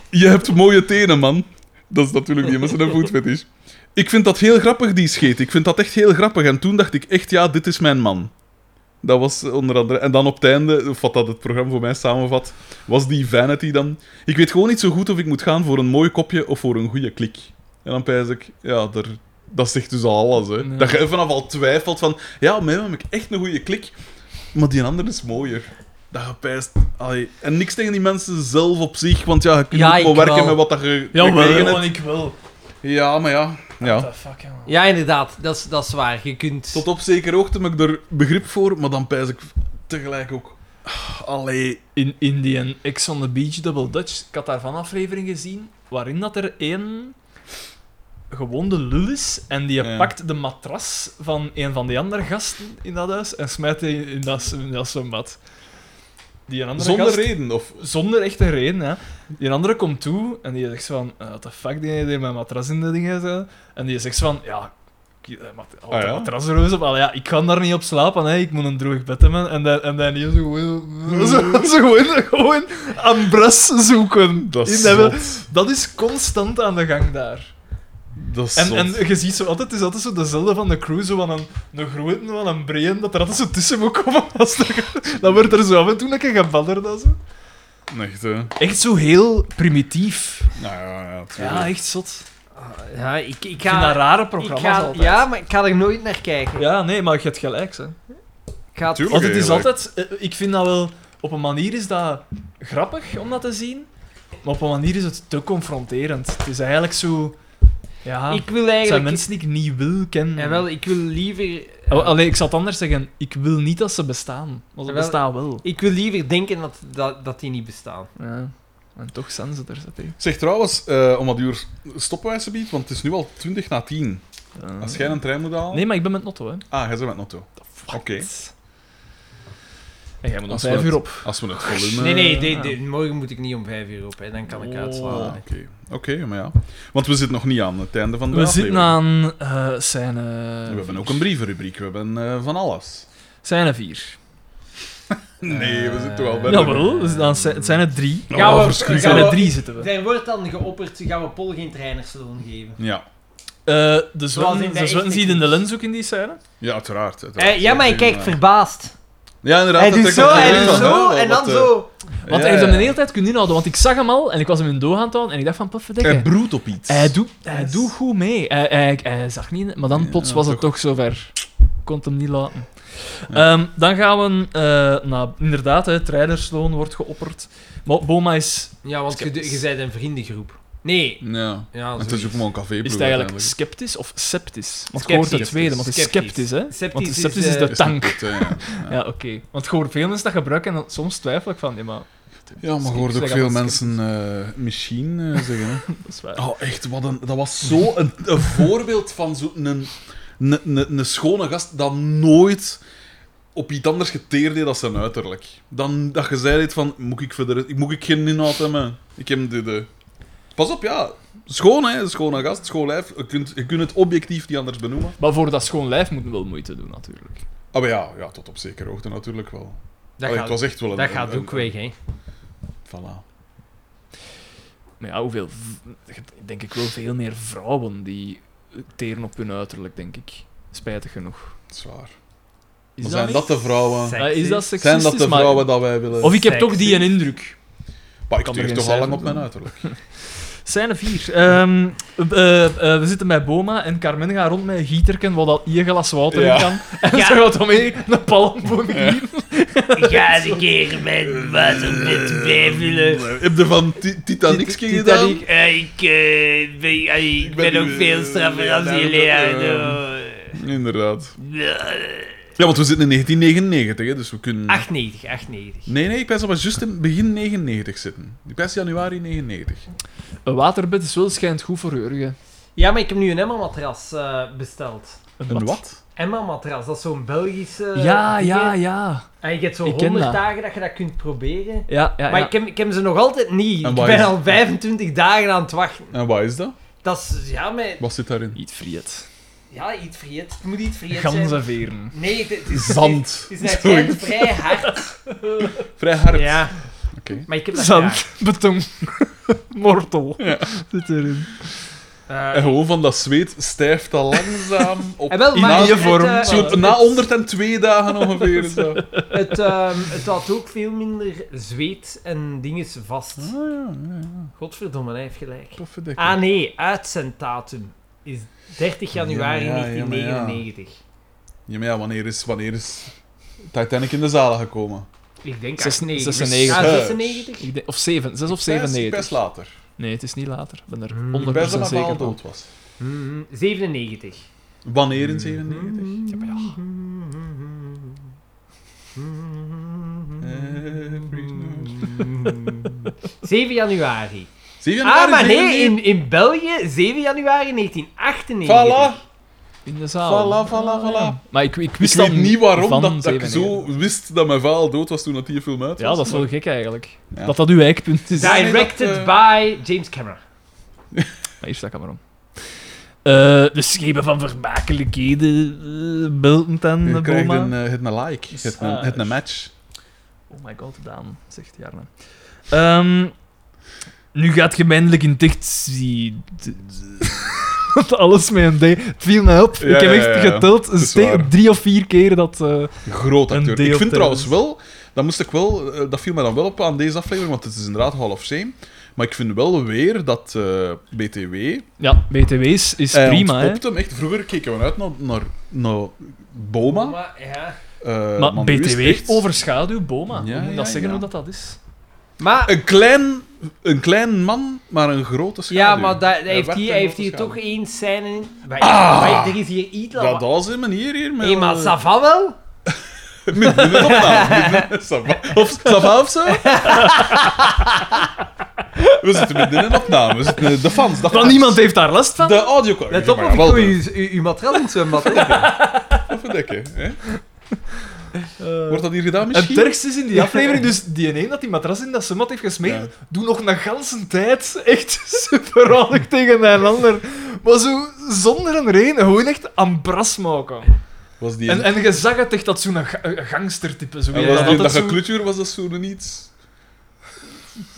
Je hebt mooie tenen, man. Dat is natuurlijk die mensen een voetfetish. Ik vind dat heel grappig, die scheet. Ik vind dat echt heel grappig. En toen dacht ik echt, ja, dit is mijn man. Dat was eh, onder andere... En dan op het einde, of wat dat het programma voor mij samenvat, was die vanity dan. Ik weet gewoon niet zo goed of ik moet gaan voor een mooi kopje of voor een goede klik. En dan pijs ik, ja, daar, dat zegt dus al alles, hè. Ja. Dat je vanaf al twijfelt van, ja, met hem heb ik echt een goede klik. Maar die andere is mooier. Dat gepijst. Allee. En niks tegen die mensen zelf op zich, want ja, je kunt Ja, ook wel ik werken wel. met wat dat je gekregen Jawel, hebt. want ik wil. Ja, maar ja. ja. What the fuck, jongen. Ja, inderdaad. Dat is, dat is waar. Je kunt... Tot op zekere hoogte heb ik er begrip voor, maar dan pijs ik tegelijk ook... Allee. In Indian X on the Beach Double Dutch, ik had daarvan een aflevering gezien, waarin dat er één gewoon de lul is en die Ja. pakt de matras van een van die andere gasten in dat huis en smijt die in dat, in dat zwembad. Die andere Zonder gast- reden, of... zonder echte reden, hè. Die andere komt toe en die zegt zo van, eh, what the fuck, die deed mijn matras in de dingen. Zo. En die zegt zo van, ja, ik- eh, mat Ah, ja? matras er eens op. Allee, ja, ik kan daar niet op slapen, hè. ik moet een droog bed hebben. En dan, en dan hier zo Mm. gewoon, zo, zo gewoon, gewoon aan bras zoeken. Dat is In dat, zot. dat is constant aan de gang daar. Dat is En, zot. en je ziet zo altijd, het is altijd zo dezelfde van de crew, zo van een, een grote, van een breien, dat er altijd zo tussen moet komen. Als er- dan wordt er zo af en toe een keer gebadderd. en zo. Echt, hè? Nou Echt zo heel primitief. ja, ja, Ja, tuurlijk. echt zot. Ja, ik, ik Ik vind dat ga... rare Ik programma's ga altijd. ja, maar ik ga er nooit naar kijken. Ja, nee, maar je hebt gelijk, hè. Ik ga het- Tuurlijk. Want het is eigenlijk. altijd... eh, Ik vind dat wel... Op een manier is dat grappig om dat te zien, maar op een manier is het te confronterend. Het is eigenlijk zo... Ja, Ik wil het zijn eigenlijk... mensen die ik niet wil kennen. Jawel, ik wil liever... eh, Oh, allee, ik zal het anders zeggen. Ik wil niet dat ze bestaan, maar ze Jawel. bestaan wel. Ik wil liever denken dat, dat, dat die niet bestaan. Ja. En toch zijn ze er, zat Zeg trouwens, eh om dat uur stoppen wij biedt, want het is nu al 20 na 10. Als jij een trein moet halen. Nee, maar ik ben met Notto, hè. Ah, jij bent met Notto. Oké. En jij moet om Als we vijf het- uur op. Als we het volume. Nee, nee, ja. de- de- morgen moet ik niet om vijf uur op, hè. dan kan ik Oh. Ah, uitslaan. Oké, Oké, maar ja. Want we zitten nog niet aan het einde van de We aflevering. zitten aan eh scène... We hebben ook een brievenrubriek, we hebben eh, van alles. Scène 4. Eh, Nee, we zitten toch al bij de- Jawel, we zitten aan scè- het zijn er drie. Oh, Gaan we- verschrikkelijk. gaan Scène we- 3 zitten we. Er wordt dan geopperd, gaan we Paul geen trainersloon geven. Ja. Eh de Zoals in zwetten de de zwetten echte ziet in de clips. lens ook in die scène. ja, uiteraard. uiteraard. Eh, ja, maar ik kijk Ja. verbaasd. Ja, inderdaad. Hij dat doet trekt zo, ook hij wel doet van, zo, hè, en wat, dan eh, zo. Want ja, hij heeft hem ja. de hele tijd kunnen inhouden, want ik zag hem al en ik was hem in doog aan het houden en ik dacht van, pufferdikke. Hij broedt op iets. Hij doet hij Yes. doet goed mee. Hij, hij, hij zag niet, maar dan Ja, plots was het toch. toch zover. Kon het hem niet laten. Ehm, dan gaan we eh naar, inderdaad, hè, Treidersloon wordt geopperd. Maar Boma is, Ja, want je, Sceptisch. je bent een vriendengroep. Nee. Ja. Ja, Het is ook gewoon een café. is het eigenlijk sceptisch of sceptisch? Want ik hoor Sceptisch. het tweede, want het is Sceptisch. sceptisch, hè? Sceptisch Want de is, sceptisch is, eh, de tank. ja. Ja, oké. Want ik hoor veel mensen dat gebruiken en dan- soms twijfel ik van, nee, maar ja, maar je hoort ook Zeg veel altijd mensen eh machine eh, zeggen. hè. dat is waar. Oh, echt, wat een, dat was zo een, een voorbeeld van zo'n een, een, een, een schone gast dat nooit op iets anders geteerd deed dan zijn uiterlijk. Dan dat je zei dit van, moet ik verder, moet ik geen inhoud hebben? Ik heb de, de... Pas op, ja. Schoon, hè. Schone gast, schoon lijf. Je kunt, je kunt het objectief niet anders benoemen. Maar voor dat schoon lijf moeten we wel moeite doen, natuurlijk. Ah, maar ja, ja, tot op zekere hoogte natuurlijk wel. Dat Allee, gaat, het Oh, was echt wel een... dat een- gaat een- ook weg, hè. Voilà. Maar ja, hoeveel... v- Denk ik wel veel meer vrouwen die teren op hun uiterlijk, denk ik. Spijtig genoeg. Zwaar. Is Maar zijn niet- Eh, dat de vrouwen? Zijn Ja, is dat seksistisch? Zijn dat de maar- vrouwen dat wij willen? Of ik heb toch Sexy. die een indruk. Maar ik kan er tuur geen toch al lang cijfer op mijn doen. uiterlijk. Zijn er vier. Ehm, eh, eh, we zitten bij Boma en Carmen gaat rond met een gieterken wat al één glas water Ja. in kan. En Ja. ze gaat omheen een palmboom gieten. Ga eens een keer mijn waterpet bijvullen. Ehm, Heb je van Ti- Titanic gedaan? Titanic, eh, ik, eh, ben, eh, ik ben ben ook nu, veel eh, straffer als Leonardo, Leonardo. Inderdaad. Eh, Ja, want we zitten in 1999, hè, dus we kunnen... 98, 98. Nee, nee, ik ben pas juist in begin 99 zitten. Ik ben januari 99. Een waterbed is wel schijnt goed voor Jurgen. Ja, maar ik heb nu een Emma-matras eh, besteld. Een wat? Emma-matras, dat is zo'n Belgische... Ja, ding, ja, hè. ja. En je hebt zo'n Ik ken 100 dat. dagen dat je dat kunt proberen. Ja, ja, Maar ja. ik heb, ik heb ze nog altijd niet. En Ik wat ben is- al 25 dagen aan het wachten. En wat is dat? Dat is, ja, maar, Wat zit daarin? Niet vriet. ja iets vergeet. Het moet iets vergeten zijn. Ganzenveren. Nee, het, het is... Zand. Het is net vrij hard. Vrij hard. Ja. Oké. Maar ik heb dat graag. Zand, beton, mortel. Zit erin. Eh, En gewoon van dat zweet stijft dat langzaam op. En wel, in maar na- het, je vorm. eh, een soort het- na 102 dagen ongeveer. is dat. Het, ehm, het had ook veel minder zweet en dinges vast. Ah, ja, ja, ja. Godverdomme, hij heeft gelijk. Toffe dekking. Ah nee, uitzenddatum is 30 januari Ja, ja, ja, maar ja. 1999. Ja, maar ja, wanneer is, wanneer is Titanic in de zalen gekomen? Ik denk Zes- 98. dus 96. Ah, 96? Ik denk- Of 7, 6 of Best- 97. Best later. Nee, het is niet later. Ik ben er 100% Hmm. Ik ben dat mijn zeker vader van. dood was. Hmm. Mhm, 97. Wanneer in 97? Ja, maar ja. Mm, mm, Eh, Every Ah, night. Eh, 7 januari. Zie je Ah, nou, maar zie je nee, niet? in, in België 7 januari 1998. Voilà, In de zaal. voilà, voilà, voilà. Maar ik, Ah, ik Ik wist weet dan niet waarom van dat, dat ik 97. zo wist dat mijn vader dood was toen dat die film uit was. Ja, dat is wel gek eigenlijk. Ja. Dat dat uw eikpunt is. Ja. Maar nee, Directed dat, eh, by James Cameron. hier staat camera om. Eh, de schepen van vermakelijkheden eh, beltend aan Je de krijgt Boma. een, eh, het een like, het ah, een, het een match. Oh my god, Daan, zegt Jarne. Ehm, nu gaat je eindelijk in dicht zien. Want alles met een D. Het viel mij op. Ja, ik heb echt ja, ja, ja. geteld is ste- waar. drie of vier keer dat... eh, Groot Een acteur. deel Ik terwijl- vind trouwens wel, dat moest ik wel, eh, dat viel mij dan wel op aan deze aflevering, want het is inderdaad Hall of Shame. Maar ik vind wel weer dat eh, BTW. ja. BTW is, is hij prima, hè. ontpopt hem echt. Vroeger keken we uit naar, naar, naar Boma. Maar, ja. eh, Maar nu is het BTW echt overschaduw Boma. Ja, Hoe moet ik ja, dat zeggen ja. hoe dat, dat is? maar, Een klein, een klein man, maar een grote schaduw. ja, maar daar Hij heeft werd hij een heeft grote hier schaduw. toch één scène in. Maar, Ah! maar er is hier iets Ja, aan. dat is een manier hier. Met, eh, Hé, maar ça va wel? Met binnenopname. Binnen- Of Sava of zo? We zitten met in een opname. We zitten, eh, de fans. De fans. Want niemand heeft daar last van. De audio Let op of ik gooi dus. je- je je matras in het zwembad. Even dekken. Hè? Eh, Wordt dat hier gedaan het misschien? ergste is in die aflevering dus die ene dat die matras in dat zwembad heeft gesmeerd, Ja. doet nog een ganse tijd echt super handig tegen een ander. Maar zo zonder een reden, gewoon echt aan bras maken. Was die En, en je zag het echt dat zo'n ga- een gangstertype. Zo, en ja, was die dat in dat altijd zo- geklutuur was dat zo'n iets...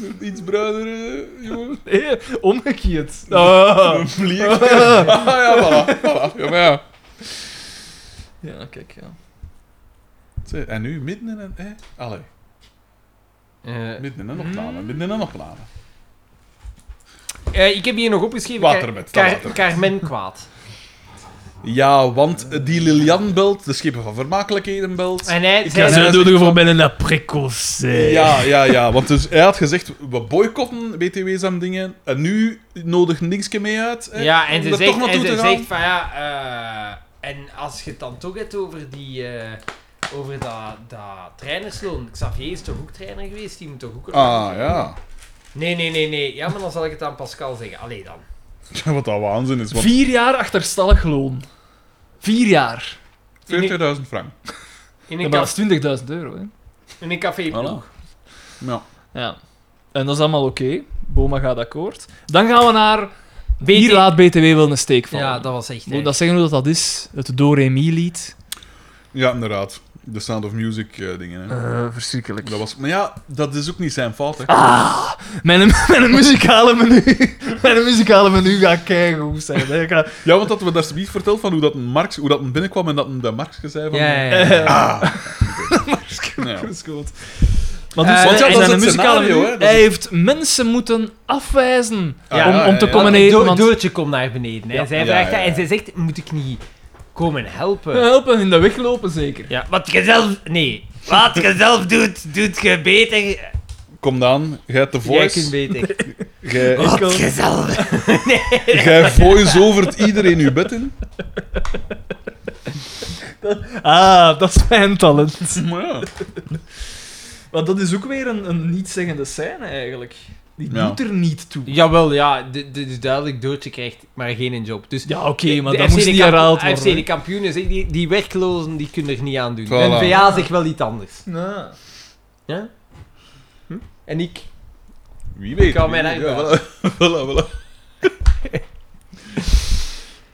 een Iets bruinere, eh, jongen. Nee, omgekeerd. Ah. Een vlieg. Ah, ja, voilà. voilà. Ja, maar ja. Ja, kijk, ja. Zeg, En nu midden in een... Hè? Allee, Eh, midden in een opname. Midden in een opname. eh, ik heb hier nog opgeschreven... Waterbed, dat Car- waterbed. Carmen kwaad. Ja, Eh, want die Lilian belt, de schepen van vermakelijkheden belt. En hij Ja, zei... ze doen voor mij een precoce. Ja, ja, ja. Want dus hij had gezegd, we boycotten BTW's en dingen. En nu nodig niks mee uit. Hè, Ja, en om ze er zegt, toch en naartoe ze te gaan. zegt van ja, eh, en als je het dan toch hebt over die, eh, over dat, dat trainersloon. Xavier is toch ook trainer geweest? Die moet toch ook... een- Ah, ja. Nee, nee, nee, nee. Ja, maar dan zal ik het aan Pascal zeggen. Allee dan. Ja, Wat dat waanzin is. want Vier jaar achterstallig loon. Vier jaar. 40.000 frank. In Ja, een, maar caf- dat is 20.000 euro, hè. in een café. Voilà. Ja. Ja. En dat is allemaal oké. Boma gaat akkoord. Dan gaan we naar... BT Hier laat BTW wel een steek vallen. Ja, dat was echt... Moet ik dat zeggen hoe dat, dat is? Het Do-Re-Mi-lied. ja, inderdaad. De Sound of Music eh, Ah, dingen. Hè. verschrikkelijk. Dat was... Maar ja, dat is ook niet zijn fout. Hè. Mijn, mijn muzikale menu... Mijn muzikale menu gaat keigoed zijn. Hè. Ik ga- Ja, want dat we daar zoiets verteld van hoe dat Marx, hoe dat binnenkwam en dat hem de Marx zei van... Ja, ja, ja. Eh, Nou ja. Goed. Maar dus, Eh, want want ja, ja, dat is zijn het muzikale scenario, menu, hè, dat is Hij het- heeft mensen moeten afwijzen Ja, om, ja, om te ja, ja. komen Do- eten. Want Doortje komt naar beneden. Hè. Ja. Zij Ja, vraagt ja, dat ja. en zij zegt, moet ik niet komen helpen? helpen in de weg lopen, zeker. Ja, wat je zelf... Nee. Wat je zelf doet, doet je beter. Kom dan, jij hebt de Jij voice. kunt Oh, beter. Jij- Wat je zelf... Jij voice-overt iedereen uw bed in. Ah, dat is mijn talent. Maar ja. Want dat is ook weer een, een niet-zeggende scène, eigenlijk. Die Ja. doet er niet toe. Jawel, ja, dit dit is duidelijk. Doortje krijgt maar geen job. Dus Ja, oké, de- maar de dat FC moest de niet kamp- herhaald worden. FC de kampioenen, zeg, die, die werklozen, die kunnen er niet aan doen. Voilà. N-VA zegt wel iets anders. Ja. Ja? En ik... Wie weet. Ik hou wie mijn weet. eigen Ja, voilà. voilà, voilà.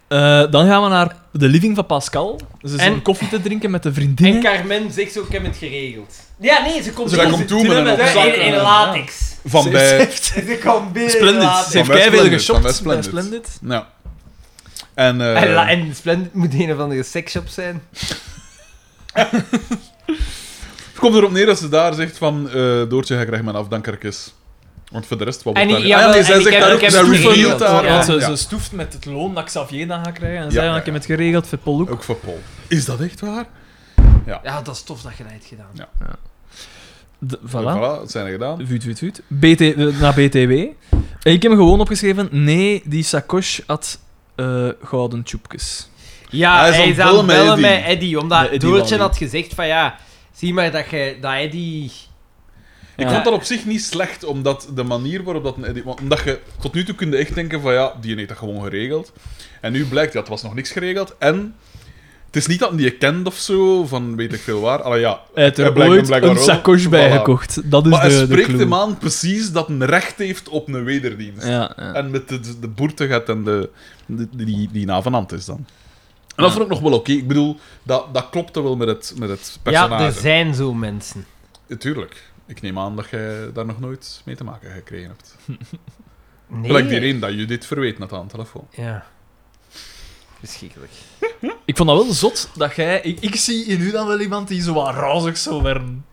Eh, dan gaan we naar de living van Pascal. Ze zijn En- koffie te drinken met de En vriendin. Carmen zegt zo, ik heb het geregeld. Ja, nee, ze komt Ze binnen. komt toe met een Ja, opzak. in, in latex. Van bij... Ze komt binnen in Splendid. latex. Ze heeft Van bij keiveel Splendid, geshopt. van bij bij Splendid. Splendid. Nou. En... eh, En, la- en Splendid moet een of andere seksshop zijn. Het komt erop neer dat ze daar zegt van... eh Doortje, jij krijgt mijn afdankerkis. Want voor de rest, wat En wordt daar... die- jawel, Ah, nee, en zij ik zegt heb- daar ik ook... heb Zij het revealed geregeld, daar... ja. Want ze, Ja. ze stoeft met het loon dat Xavier dan gaat krijgen. En Ja, zij, ja, ja, ik heb ja. het geregeld, voor Polloek. Ook voor Paul. Is dat echt waar? Ja, dat is tof dat je dat hebt gedaan. Ja. De- voilà. Voilà, het zijn er gedaan. Vuut, vuut, vuut. BT, eh, naar BTW. En ik heb hem gewoon opgeschreven. Nee, die sacoche had eh, gouden tjoepjes. Ja, Hij is aan hij is het aan het bellen bellen met met Eddie, omdat Met Eddie Doortje Wally. had gezegd van ja, zie maar dat, je, dat Eddie... Ik Ja. vond dat op zich niet slecht, omdat de manier waarop dat... een edit- want Omdat je tot nu toe kunde echt denken van ja, die heeft dat gewoon geregeld. En nu blijkt, ja, het was nog niks geregeld. En het is niet dat hij je kent of zo, van weet ik veel waar. Allee, ja, Hij heeft Hij er blijkt ooit hem blijkbaar een wel. sacoche bij Voilà. gekocht. Dat is maar de, hij de spreekt clue. hem aan precies dat een recht heeft op een wederdienst. Ja, ja. En met de, de boerte gaat en de, de- die, die navenant is dan. En dat vond ik nog wel oké. Ik bedoel, dat, dat klopte wel met het, met het dus Ja, er personage. zijn zo mensen. Tuurlijk. Ik neem aan dat jij daar nog nooit mee te maken gekregen hebt. Nee. Gelijk die reden dat je dit verweet net aan de telefoon. Ja. Verschrikkelijk. Ik vond dat wel zot dat jij. Ik, ik zie in u dan wel iemand die zo wat razig zou werden.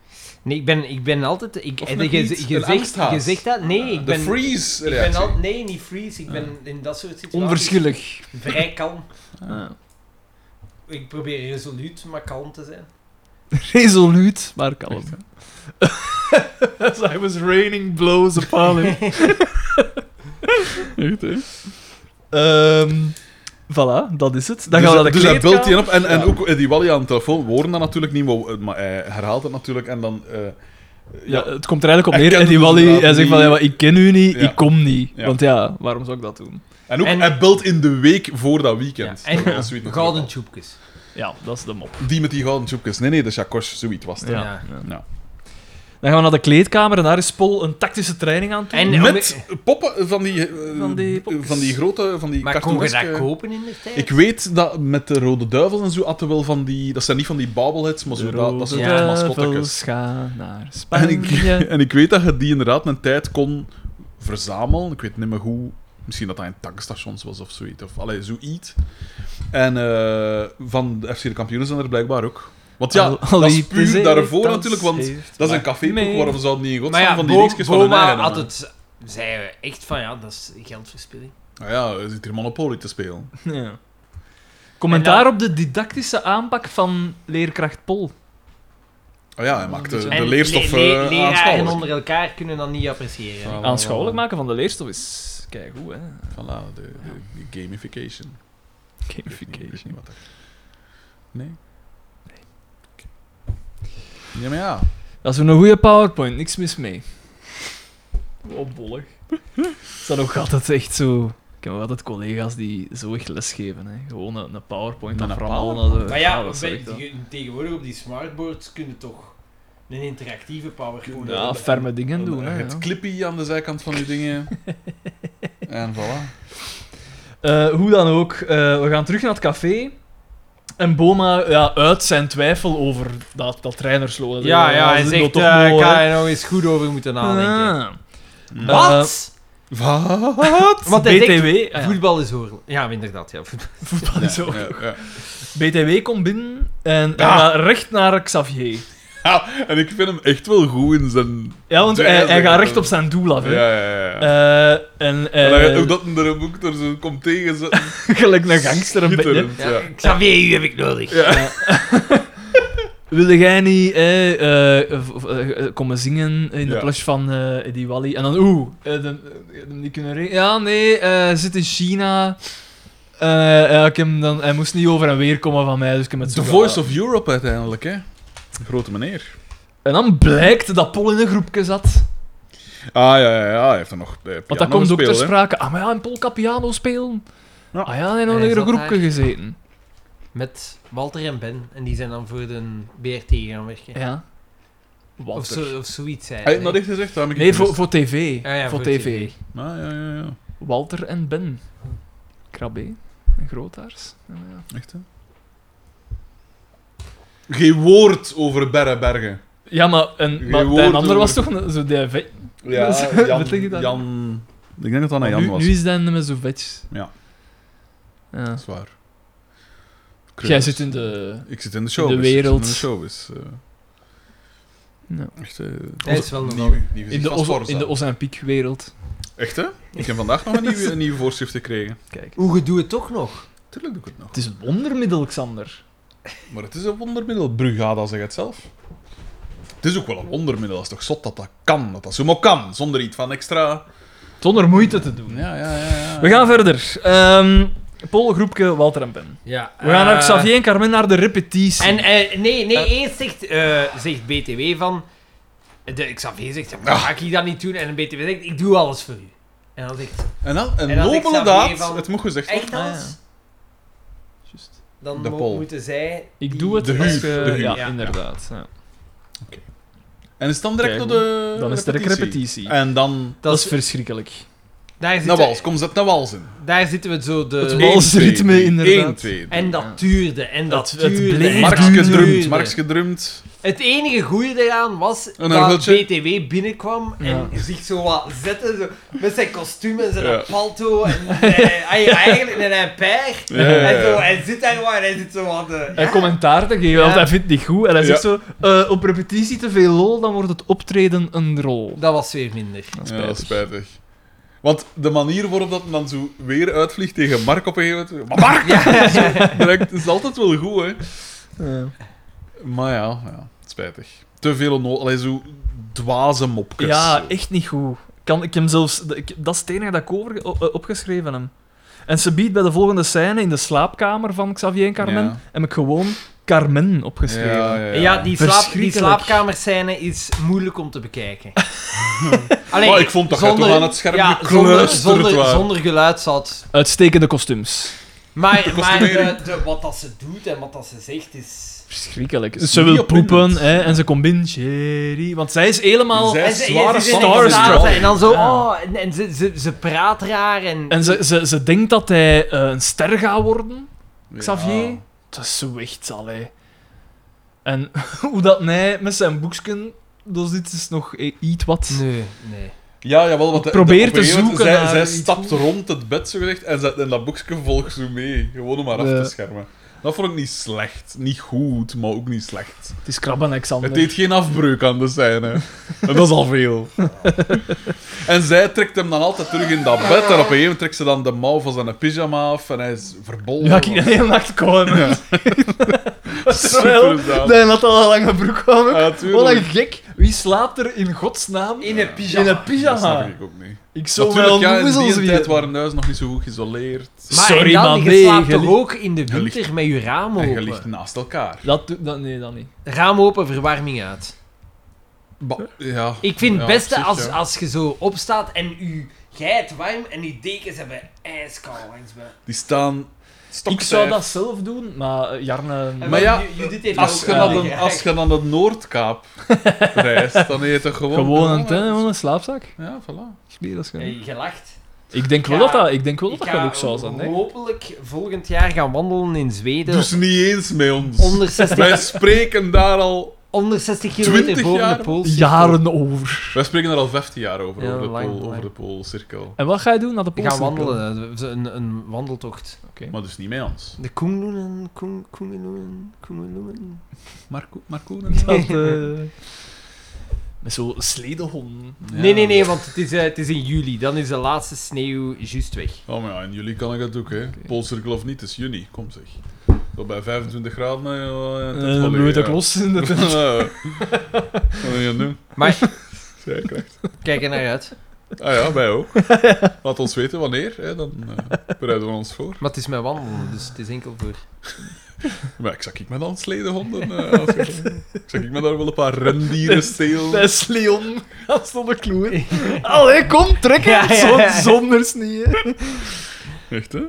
Nee, ik ben, ik ben altijd... Ik, Of eh, nog je- niet, je een zegt- angsthaas. je zegt dat? Nee, ik De ben... freeze ik ben reactie. al, nee, niet freeze. Ik ben in dat soort situaties... Onverschillig. Vrij kalm. Ah. Ik probeer resoluut, maar kalm te zijn. Resoluut, maar kalm. As I was raining blows upon him. Echt, hè? Ehm, voilà, dat is het. Dan dus gaan we naar de dus hij kleedkamer. belt die op en, en Ja. ook eh, die Wally aan de telefoon horen dat natuurlijk niet, maar, eh, maar hij herhaalt het natuurlijk en dan... eh, Ja, het komt er eigenlijk op Hij neer. En kent die hem dus Wally, inderdaad hij zegt van, niet. ja, maar ik ken u niet, Ja. ik kom niet. Ja. Want ja, waarom zou ik dat doen? En ook, En- hij belt in de week voor dat weekend. Ja, en- Dat was zoiets natuurlijk Gouden al. tjoepjes. Ja, dat is de mop. Die met die gouden tjoepjes. Nee, nee, de Chakos, zoiets was het. Ja. Ja. Ja. Dan gaan we naar de kleedkamer en daar is Paul een tactische training aan toe. En- Met poppen van die, eh, Van die popjes. van die grote, van die Maar kon je dat cartooneske- kopen in de tijd? Ik weet dat met de Rode Duivels en zo hadden wel van die... Dat zijn niet van die bobbleheads, maar zo, dat, dat zijn Rode ja, mascottekes. duivels gaan eh, naar En ik, Spanje. en ik weet dat je die inderdaad een tijd kon verzamelen. Ik weet niet meer hoe. Misschien dat hij in tankstations was of zoiets. Of allee, zoiets. En eh, van de FC de kampioenen zijn er blijkbaar ook. Want ja, Al- dat al is die puur pezee, daarvoor dans natuurlijk, want heeft dat is maar een café mee. waarom ze dat niet in Maar godsnaam ja, van Bo die dingetjes van hun Boma eigen had hadden. het... Zeiden we echt van, ja, dat is geld verspilling. Nou ja, hij zit hier Monopoly te spelen. Ja. Commentaar op de didactische aanpak van leerkracht Pol. Oh ja, hij maakte de, En leerstof le- le- eh, leraren aanschouwelijk. onder elkaar kunnen dat niet appreciëren. Voilà, Aanschouwelijk maken van de leerstof is kijk hoe hè. Voilà, nou, de, de- de gamification. Ik weet niet Gamification. wat er- Nee? Oké. Ja, maar ja. Dat is een goede PowerPoint, niks mis mee. Opbollig. Is dat ook altijd echt zo? Ik heb wel altijd collega's die zo echt lesgeven, hè. Gewoon een, een PowerPoint Een aframmelen. PowerPoint? eh, Maar ja, dat is bij- echt, hè. die- tegenwoordig op die smartboards kunnen toch een interactieve PowerPoint Ja, ja, hebben. ferme dingen doen. Hè, Het ja. clippy aan de zijkant van die dingen. en voilà. Eh, hoe dan ook, eh, we gaan terug naar het café. En Boma ja, uit zijn twijfel over dat, dat trainersloon. Ja, Eh, ja, dat hij is zegt, toch eh, ik mooi, ga hè. er nog eens goed over moeten nadenken. Ah. Mm. Eh, Wat? Wat? Want hij zegt, BTW, ah, ja. voetbal is oorlog. Ja, inderdaad. Ja, voetbal. voetbal is ook. Ja, ja. BTW komt binnen en hij Ah. gaat recht naar Xavier. Ja, en ik vind hem echt wel goed in zijn... Ja, want Ja, hij, ja, hij ja. gaat recht op zijn doel af. Ja, Hè. ja, ja. Eh, en eh, en hij- ook dat hij er een boek er zo komt tegen. Zo, gelijk een gangster een beetje. schitterend, ja. Xavier, u heb ik nodig. Wilde jij niet eh, eh, v- v- eh, komen zingen in de Ja. plush van eh, die Wally? En dan, oeh, eh, de- eh, die kunnen re- Ja, nee, eh, hij zit in China. Eh, ja, ik heb hem dan, hij moest niet over en weer komen van mij, dus ik heb het The Voice of Europe uiteindelijk, hè. Grote meneer. En dan blijkt dat Paul in een groepje zat. Ah, ja, ja, ja. Hij heeft er nog eh, Want dat piano komt ook ter gespeeld, hè. sprake. Ah, maar ja, en Paul kan piano spelen. Ja. Ah ja, hij heeft nog Hij in een zat groepje daar. gezeten. Met Walter en Ben. En die zijn dan voor de BRT gaan werken. Ja. Wat Of, eh, zo, of zoiets zijn. Hij heeft dat echt gezegd, dat heb ik Nee, niet voor, gemist. voor tv. Ja, ja, voor voor tv. TV. Ah, ja, ja, ja. Walter en Ben. Krabbe en Grootaars. Ja, ja. Echt, hè? Geen woord over Berrebergen. Ja, maar, en, Geen maar woord de ander over- was toch een- zo die vet. Ja, Dus, wat denk je Jan, dan? Jan... Ik denk dat dat aan Jan nu, was. nu is dat met zo'n vetjes. Ja. Ja. Dat is waar. Dus Jij Kreukels. zit in de... Ik zit in de show. in de wereld. in de show is. eh, Ja. Echt, eh, Hij is wel nieuw, nog nieuw In gezicht de, van Oz- Sforza. in de Ozampiek-wereld. Echt, hè? Ik heb vandaag nog een nieuwe, een nieuwe voorschrift gekregen. Kijk. Hoe je doet het toch nog? Tuurlijk doe ik het nog. Het is een wondermiddel, Xander. Maar het is een wondermiddel. Brugada zegt het zelf. Het is ook wel een wondermiddel. Dat is toch zot dat dat kan. Dat dat zomaar kan. Zonder iets van extra... Zonder moeite te doen. Ja, ja, ja. ja. We gaan verder. Ehm Paul, groepje, Walter en Ben. Ja. We gaan naar eh, Xavier en Carmen naar de repetitie. En eh, nee, nee Eh. eerst zegt, eh, zegt BTW van... De Xavier zegt, ja, ga ik hier dat niet doen? En BTW zegt, ik doe alles voor u. En dan zegt, En dan een En dan ik nobele zou daad. zeggen van- Het moet gezegd worden. echt alles? Ah, ja. Juist. Dan De mo- pol. moeten zij... Ik die- doe het De als huur, ge- de huur. Ja, Ja. inderdaad. ja. En is het dan direct Kijk, naar de Dan is het direct repetitie. En dan... Dat is verschrikkelijk. Daar Naar zitten, Nou, wals, kom zet naar wals in. daar zitten we zo Het wa- de... Walsritme, 1, inderdaad. 2, En dat duurde, en dat Het- het duurde, bleef en Marx dat gedrumd, duurde. Marx gedrumd. Het enige goede eraan was Een dat argeltje. BTW binnenkwam en zich zo wat zette, zo, met zijn kostuum en zijn Ja. palto en hij, hij, eigenlijk en hij pijg. Ja, ja, En zo, ja. hij zit daar gewoon en hij zit zo eh. aan de... En commentaar te geven, want hij vindt het niet goed. En hij Ja. zegt zo... Eh, op repetitie te veel lol, dan wordt het optreden een rol. Dat was weer minder. Dat is Ja, dat is spijtig. spijtig. Want de manier waarop dat men dan zo weer uitvliegt tegen Mark op een gegeven moment... Maar Mark! Zo, direct, is altijd wel goed, hè. Ja. Maar ja, ja spijtig. Te veel onno- Allee, zo dwaze mopjes. Ja, zo. echt niet goed. Kan, ik hem zelfs, ik- dat is het enige dat ik over, o- eh, opgeschreven heb. En ze biedt bij de volgende scène in de slaapkamer van Xavier en Carmen, Ja. heb ik gewoon Carmen opgeschreven. Ja, ja, Ja, ja. die, slaap, die Verschrikkelijk. slaapkamerscène is moeilijk om te bekijken. Alleen, Maar ik vond dat jij toch aan het scherm zonder, gekluisterd zonder, was. zonder geluid zat. Uitstekende kostuums. Maar, maar de, kostumering. de- wat dat ze doet en wat dat ze zegt is... Verschrikkelijk. Is Ze niet wil opwindend. poepen hè, en ze komt binnen. Jerry. Want zij is helemaal... Zij- En ze, zware ja, ze zit in starstruck. staat En dan zo, Ja. oh, en, en ze, ze, ze praat raar en... En ze, ze, ze denkt dat hij eh, een ster gaat worden. Xavier. Ja. Dat is zo echt, allee. En hoe dat hij met zijn boeksken... Dus dit is nog i- iets wat... Nee, nee. Ja, jawel, want de- probeer de- op een te gegeven moment, zoeken Zij, naar zij iets stapt rond het bed, zo gezegd, en, zij- en dat boekje volgt zo mee. Gewoon om haar af Ja. te schermen. Dat vond ik niet slecht. Niet goed, maar ook niet slecht. Het is krabben, Alexander. Het deed geen afbreuk aan de scène. En dat is al veel. en zij trekt hem dan altijd terug in dat bed. En op een gegeven moment trekt ze dan de mouw van zijn pyjama af. En hij is verbolgen. Nu ga ik de hele nacht komen. Ja. Terwijl Super zaad. hij had al een lange broek kwam. Ja, Wat een tuurlijk. gek. Wie slaapt er in godsnaam In een in pyjama. een Dat snap pyjama? ik ook niet. Ik zou wel Natuurlijk, ja, in noezels die tijd weer. waren huizen nog niet zo goed geïsoleerd. Maar Sorry, en dan, maar je nee, slaapt je toch ligt- ook in de winter ligt- met je raam En je open? ligt naast elkaar. Dat doet... Dat, nee, dat niet. Raam open, verwarming uit. Ba- ja. Ik vind het Ja, beste precies, als, ja. als je zo opstaat en u jij het warm en die dekens hebben ijskoud langs me. Die staan... Ik zou stokstijf. dat zelf doen, maar eh, Jarne... En Maar wel, ja, Ju- Judith heeft Als je, ook, Ja. naar eh, de, als je naar de Noordkaap reist, dan eet je gewoon... Gewoon een, hè, gewoon een slaapzak. Ja, voilà. Smeer als je- eh, gelacht. Ik denk wel Ja, dat dat, ik denk wel dat, Ik dat ga gaat ook zo zijn. hè. hopelijk volgend jaar gaan wandelen in Zweden. Dus niet eens met ons. onder, 60, Wij spreken daar al... onder 60 20 kilometer boven jaar? de Poolse. Jaren over. Wij spreken daar al 15 jaar over, Ja, over, de lang, pool, lang. over de poolcirkel. En wat ga je doen? Naar de We post? gaan wandelen, eh, een, een wandeltocht. Maar dus niet met ons. De Koenloenen, Koen- Koengeloenen, Koengeloenen. Marco, Marco Dat, eh, met zo'n sledehonden. Nee, nee, nee, want het is, eh, het is in juli. Dan is de laatste sneeuw juist weg. Oh, maar ja, in juli kan ik dat ook, hè. Poolcirkel of niet, het is juni. Kom zeg. Zo bij 25 graden... eh, eh, Eh, tent Dan volledig, moet je dat ja. los in de Ja. Wat wil je doen? Maar Zij krijgt. kijk er naar uit. Ah ja, wij ook. Laat ons weten wanneer, hè, dan eh, bereiden we ons voor. Maar het is mijn wandelen, dus het is enkel voor. Maar ik zag ik met dan sledehonden. eh, als je- ik zag ik met daar wel een paar rendieren stelen. is Leon. Dat stond een kloer. Allee, kom, trek Ja, ja, ja. Zo- Zonder sneeuw. Echt, hè?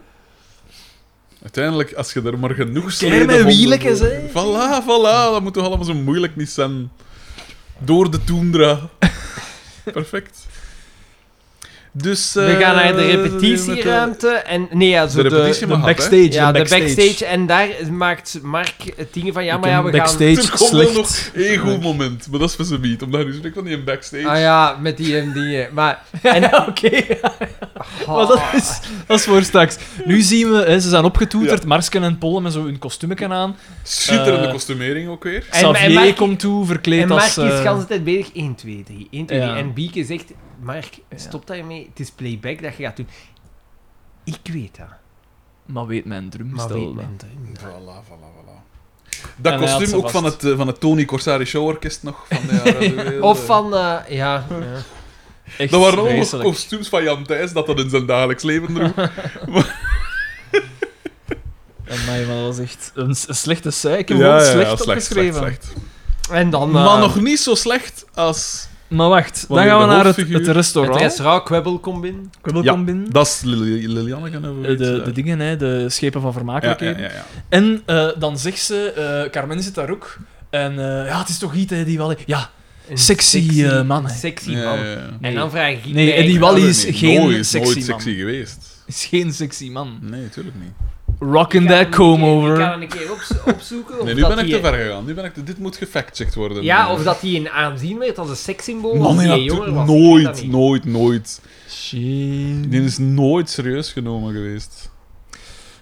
Uiteindelijk, als je er maar genoeg Kijk, sledehonden... mijn wielekes, voor- hè. Voilà, voilà. Dat moet toch allemaal zo moeilijk niet zijn. Door de toendra. Perfect. Dus... We eh, gaan naar de met repetitieruimte en... Nee, ja, zo De de... repetitie mag af, hè. Backstage, ja, de de backstage. backstage. En daar maakt Mark het ding van... Ja, Ik maar ja, heb we gaan... backstage Er komt wel slecht. nog één goed moment, maar dat is voor ze niet. Omdat nu spreekt van die backstage... Ah ja, met die en die... eh, Maar... En, Ja, oké. Oh. Maar dat is, dat is voor straks. Nu zien we, hè, ze zijn opgetoeterd, Marsken en Pollen met zo hun kostuumeken aan. Schitterende Eh, kostumering ook weer. En- Xavier en Mark- komt toe, verkleed en Mark als... is eh, de hele tijd bezig. 1, 2, 3. 1, 2, 3. Ja. En Bieke zegt... Mark, stop daarmee. Het is playback dat je gaat doen. Ik weet dat. Maar weet mijn Maar drumstel weet dat? men dat niet. Voilà, voilà, voilà. En hij Dat had kostuum ze ook vast. van het, eh, van het Tony Corsari Showorkest nog. Van de jaren Of van... eh, ja. ja. Echt Dat waren ook nog vreselijk. kostuums van Jan Thijs dat dat in zijn dagelijks leven droeg. Amai, Oh maar dat was echt een, s- een slechte zeik. Ik heb gewoon slecht opgeschreven. En dan... eh, Maar nog niet zo slecht als... Maar wacht, Wanneer dan gaan we de naar het, hoofdfiguur- het Het restaurant. restaurant Kwebbel komt binnen. Kwebbel Ja, komt binnen. Dat is Lil- Liliane gaan Eh, over De, iets de, daar. dingen, hè, de schepen van Ja, ja, vermakelijkheden. ja, ja. En eh, dan zegt ze, eh, Carmen zit daar ook. En eh, ja, het is toch Giet hè, die wel. Ja, Een Sexy, eh, man, hè. Sexy Ja, man. ja, ja. En dan vraag ik Nee, mij- Eddie Wally is Nooit, geen nooit, sexy nooit man. sexy geweest. Is geen sexy man. Nee, tuurlijk niet. Rockin' Ik ga that hem comb een keer- Ik ga over. hem een keer opzo- opzoeken. of Nee, nu dat ben ik die- te ver gegaan. Nu ben ik te- dit moet gefactcheckt worden. Ja, of dat hij een aanzien werd als een sekssymbool. Man, als Oh, nee, hij natu- jonger was. Ik weet dat nooit, niet. nooit, nooit. Shit. Die is nooit serieus genomen geweest.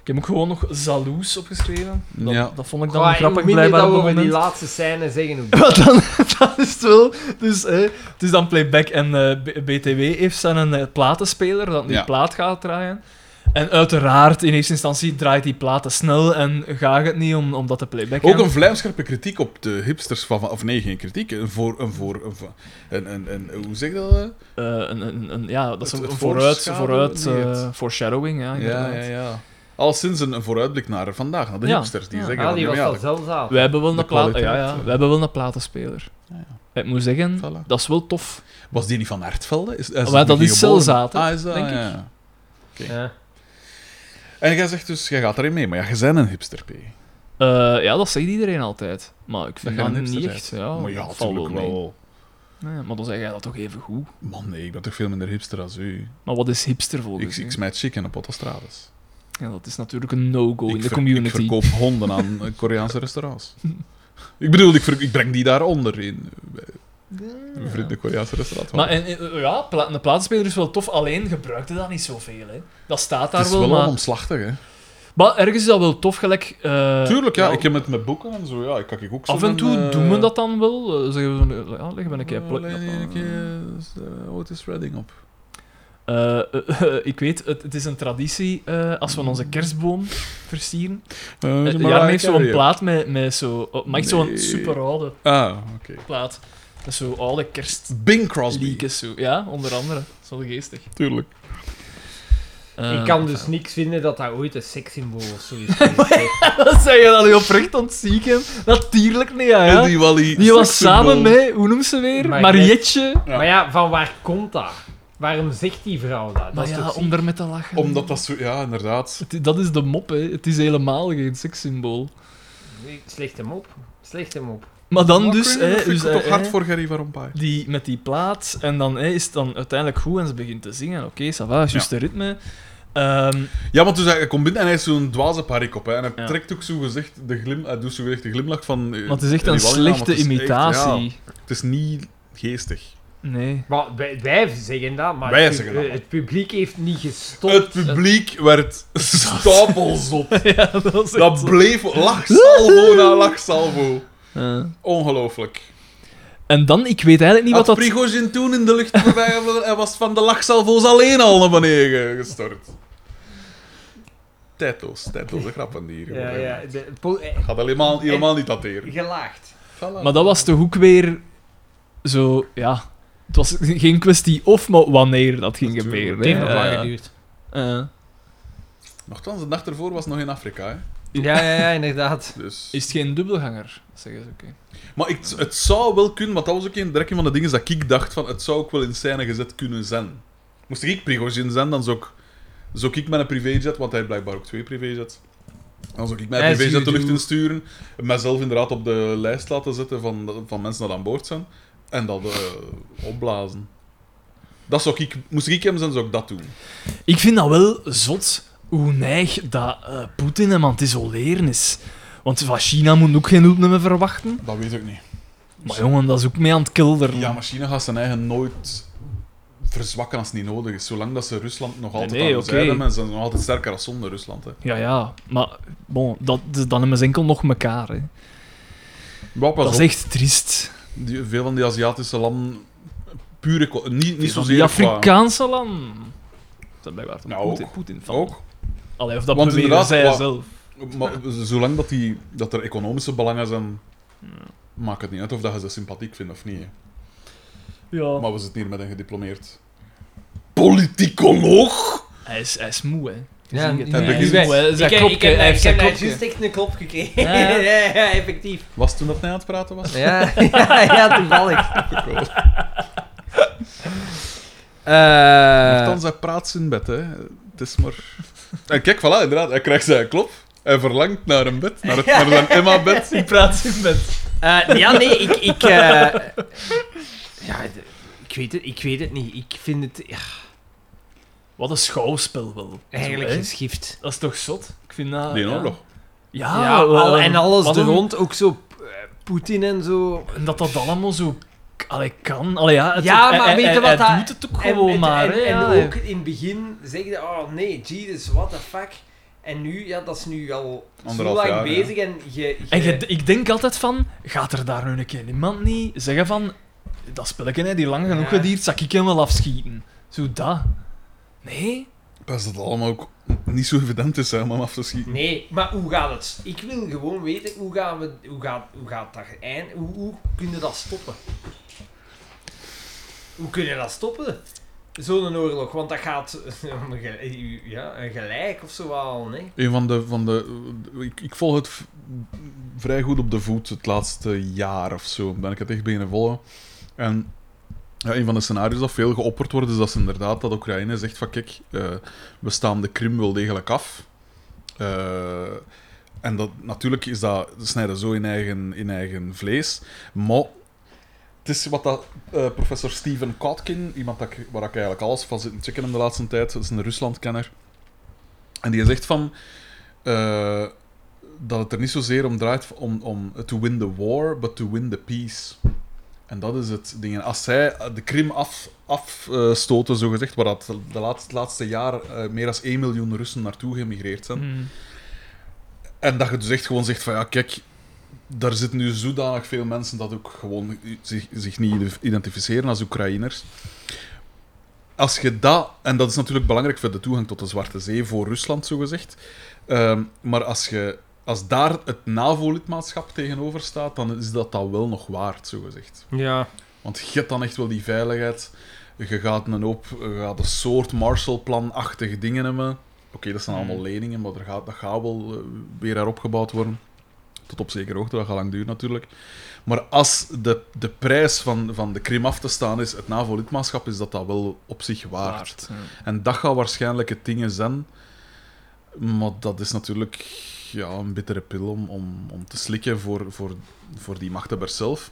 Ik heb ook gewoon nog jaloers opgeschreven. Dat, Ja. dat vond ik dan Goh, grappig minder blijkbaar dat op we dat over die moment. laatste scène zeggen hoe Maar dan, dan is het wel... Dus, hè, het is dan Playback en eh, B- BTW heeft zijn een eh, platenspeler dat nu Ja. plaat gaat draaien. En uiteraard, in eerste instantie draait die platen snel en gaat het niet om, omdat de Playback... Ook aan- een vlijmscherpe kritiek op de hipsters van... Of nee, geen kritiek. Een voor... Een voor een, va- een, een, een- hoe zeg je dat? eh? eh, een, een, een- ja, dat is Het- een het vooruit, voorschaduwen, vooruit nee, eh, het- foreshadowing, ja, Ja, inderdaad. ja, ja. Al sinds een, een vooruitblik naar vandaag, naar de Ja, hipsters. Die ja. zeggen Ah, van, die ja, was maar ja, al zelfs aan. We hebben wel De een, plaat, ja, kwaliteit, ja, eh. we hebben wel een platenspeler. Ja, ja. Ik moet zeggen, Voilà. dat is wel tof. Was die niet van Hartvelde? Is, Maar Ah, dat niet is geboren? Celzaten, Ah, is dat, denk ik. ja, ja. Ja. En jij zegt dus, jij gaat erin mee, maar ja, jij bent een hipster, P. Eh, ja, dat zegt iedereen altijd. Maar ik vind jij dat, een hipster niet bent. echt. Ja, maar ja, Oh, dat valt natuurlijk mee. wel. Nee, maar dan zeg jij dat toch even goed. Man, nee, ik ben toch veel minder hipster als u. Maar wat is hipster volgens Ik, ik u? smijt chic in een dus. pot Stratus. Ja, dat is natuurlijk een no-go Ik in de ver- Ik community. verkoop honden aan eh, Koreaanse restaurants. ik bedoel, ik, ver- ik breng die daaronder in. Een vrienden Koreaanse restaurant. Maar en, en, ja, pla een platenspeler is wel tof, alleen gebruikte dat niet zoveel. Hè. Dat staat daar het is wel wel, maar, Eh, onomslachtig, hè. maar ergens is dat wel tof, gelijk... eh, Tuurlijk, ja. nou, Ik heb het met boeken en zo, ja. Ik kan ik ook zo Af en toe eh, doen we dat dan wel. eh, zeggen we zo, ja, leggen we een keer... eh, plek- alleen een keer eh, Otis Redding op. Eh, eh, eh, ik weet, het, het is een traditie eh, als we onze kerstboom versieren. Uh, Uh, Jarm heeft zo'n plaat met, met zo... oh, maar echt zo'n Nee. super oude Ah, oké. plaat. Met zo oude kerstliedjes. Bing Crosby. zo. Ja, onder andere. Dat is wel geestig. Tuurlijk. Ik Ah, Eh, kan dus niks vinden dat dat ooit een sekssymbool of zo is. geweest, hè. Dat zei je dan nu oprecht ontzieken. Natuurlijk niet, ja. ja. Eddie Wally. Die was sekssymbool. samen met, hoe noemt ze weer? Mariette. Marietje. Ja. Maar ja, van waar komt dat? Waarom zegt die vrouw dat? Dat Maar is ja, toch om daarmee te lachen. Omdat dat zo... Ja, inderdaad. Het- Dat is de mop, hè. Het is helemaal geen sekssymbool. ziek? Slecht hem op. Slecht hem op. Maar dan Maar dus... ik weet niet, hè, dat vind dus, ik toch eh, hard hè, voor Gerry Varompai. die, met die plaat. En dan hè, is het dan uiteindelijk goed en ze begint te zingen. Oké, ça va, juist de ritme. Ehm, Ja, want dus hij hij komt binnen en hij is zo'n dwaze parik op. Hè, en hij Ja. trekt ook zo gezegd de, glim, hij doet zo gezegd de glimlach van... eh, want het is echt een Eddie Wally na, maar slechte het is echt, imitatie. ja, het is niet geestig. Nee. Maar wij, wij zeggen dat, maar Wij het, zeggen pub- dat. het publiek heeft niet gestopt. Het publiek werd stapelzot. ja, dat is Dat echt- bleef lachsalvo na lachsalvo. Eh. Ongelooflijk. En dan, ik weet eigenlijk niet Had wat dat... Prigozhin toen in de lucht voorbij gevlogen en was van de lachsalvo's alleen al naar beneden gestort. Teto's, teto's, de grappen die hier Ja, worden ja, gemaakt. de, po- eh, Gaat helemaal, helemaal niet dateren. gelaagd. Maar dat was toch ook weer zo, ja. Het was geen kwestie of, maar wanneer dat ging Natuurlijk. gebeuren. Het heeft nog hè. lang Ja. geduurd. Eh, Nochtans, de nacht ervoor was nog in Afrika, hè. Eh, Ja, ja, ja, inderdaad. Dus... is het geen dubbelganger? Zeggen ze, oké. Maar ik, het zou wel kunnen, want dat was ook een, direct een van de dingen dat ik dacht van, het zou ook wel in scène gezet kunnen zijn. Moest ik Prigozhin zijn, dan zou ik, zou ik mijn privéjet, want hij heeft blijkbaar ook twee privéjets, dan zou ik mijn As privéjet you de lucht do. insturen, mezelf inderdaad op de lijst laten zetten van, van mensen dat aan boord zijn, en dat eh, opblazen. Dat zou ik, moest ik hem zijn, zou ik dat doen. Ik vind dat wel zot hoe neig dat eh, Poetin hem aan het isoleren is. Want van China moet ook geen hulp meer verwachten. Dat weet ik niet. Maar jongen, dat is ook mee aan het kelderen. Ja, maar China gaat zijn eigen nooit verzwakken als het niet nodig is. Zolang dat ze Rusland nog altijd nee, aan de oké. zijde hebben, en ze zijn nog altijd sterker als zonder Rusland. Hè. ja, ja, maar bon, dat, dan hebben ze enkel nog elkaar. Hè. Ja, pas Dat is op. echt triest. Die- veel van die Aziatische landen, pure eco- niet, niet Van zozeer die qua- Afrikaanse land. Dat is blijkbaar toch Nou, Poetin- ook. Poetin van. ook. Allee, of dat Want proberen inderdaad, zij wat- zelf. Maar zolang dat, die, dat er economische belangen zijn, maakt het niet uit of dat je ze sympathiek vindt of niet. hè. Ja. Maar we zitten hier met een gediplomeerd politicoloog. Hij, is, hij is moe, hè. Ja, Zie je het? hij hij is begint- moe, hè. Ik Zijn heb, ik klopje, heb, hij heeft ik zijn heb daar klopje. juist echt een klop gekregen. Ja, ja. ja, ja, effectief. Was toen dat hij aan het praten was? Ja, ja, ja toevallig. Wel. Eh, Althans, hij praat zijn bed, hè. Het is maar... En kijk, voilà, inderdaad. Hij krijgt zijn klop. Hij verlangt naar een bed. Naar, het, naar zijn Emma-bed. Ik praat in bed. Eh, ja, nee, ik... ik eh, ja, d- ik weet, het, ik weet het niet. Ik vind het ja, Wat een schouwspel wel. eigenlijk Zo, hè. geschift. Dat is toch zot? Ik vind dat... Die ja. oorlog. Ja, Ja, al- wel, en alles wat er een- rond, ook zo eh, Poetin en zo. En dat dat allemaal zo... Allee, kan. Allee, ja, het, Ja, hij- maar hij- weet je hij- wat Hij dat- doet het ook En- gewoon en, maar, En, hè. en ja. ook in het begin zeg je, oh nee, Jesus, what the fuck. En nu, ja, dat is nu al zo Anderhalf lang jaar, ja. bezig en je... En je- ik denk altijd van, gaat er daar nu een keer iemand niet zeggen van, dat spelletje hè, die lang genoeg Ja. gedierd, zal ik hem wel afschieten. Zo dat. Nee? Pas dat het allemaal ook niet zo evident is hè, om hem af te schieten. Nee, maar hoe gaat het? Ik wil gewoon weten, hoe, gaan we, hoe, gaat, hoe gaat dat eind? Hoe, hoe kunnen we dat stoppen? Hoe kunnen we dat stoppen? Zo'n oorlog, want dat gaat om een ge- ja, een gelijk of zo al, nee? Een van de. Van de ik, ik volg het v- vrij goed op de voet het laatste jaar of zo. Ben ik het echt beginnen volgen. En ja, een van de scenario's dat veel geopperd wordt, is dat ze inderdaad dat Oekraïne zegt: van kijk, eh, we staan de Krim wel degelijk af. Eh, en dat, natuurlijk is dat, ze snijden zo in eigen, in eigen vlees. Maar het is wat dat, eh, professor Steven Kotkin, iemand dat ik, waar ik eigenlijk alles van zit te checken in de laatste tijd, dat is een Ruslandkenner. En die zegt van eh, dat het er niet zozeer om draait om, om to win the war, but to win the peace. En dat is het ding. En als zij de Krim afstoten, af, zo zogezegd, waar dat de laatste, laatste jaar eh, meer dan 1 miljoen Russen naartoe gemigreerd zijn, Hmm. en dat je dus echt gewoon zegt van ja, kijk, daar zitten nu zodanig veel mensen dat ook gewoon zich, zich niet ide- identificeren als Oekraïners. Als je dat, en dat is natuurlijk belangrijk voor de toegang tot de Zwarte Zee voor Rusland, zogezegd. Ehm maar als, je, als daar het NAVO-lidmaatschap tegenover staat, dan is dat dat wel nog waard, zogezegd. Ja. Want je hebt dan echt wel die veiligheid. Je gaat een hoop je gaat een soort Marshallplan-achtige dingen hebben. Oké, dat zijn allemaal leningen, maar er gaat, dat gaat wel eh, weer heropgebouwd worden. Tot op zekere hoogte, dat gaat lang duren natuurlijk. Maar als de, de prijs van, van de Krim af te staan is, het NAVO-lidmaatschap, is dat dat wel op zich waard. En dat gaat waarschijnlijk het ding zijn. Maar dat is natuurlijk ja, een bittere pil om, om, om te slikken voor, voor, voor die machthebbers zelf.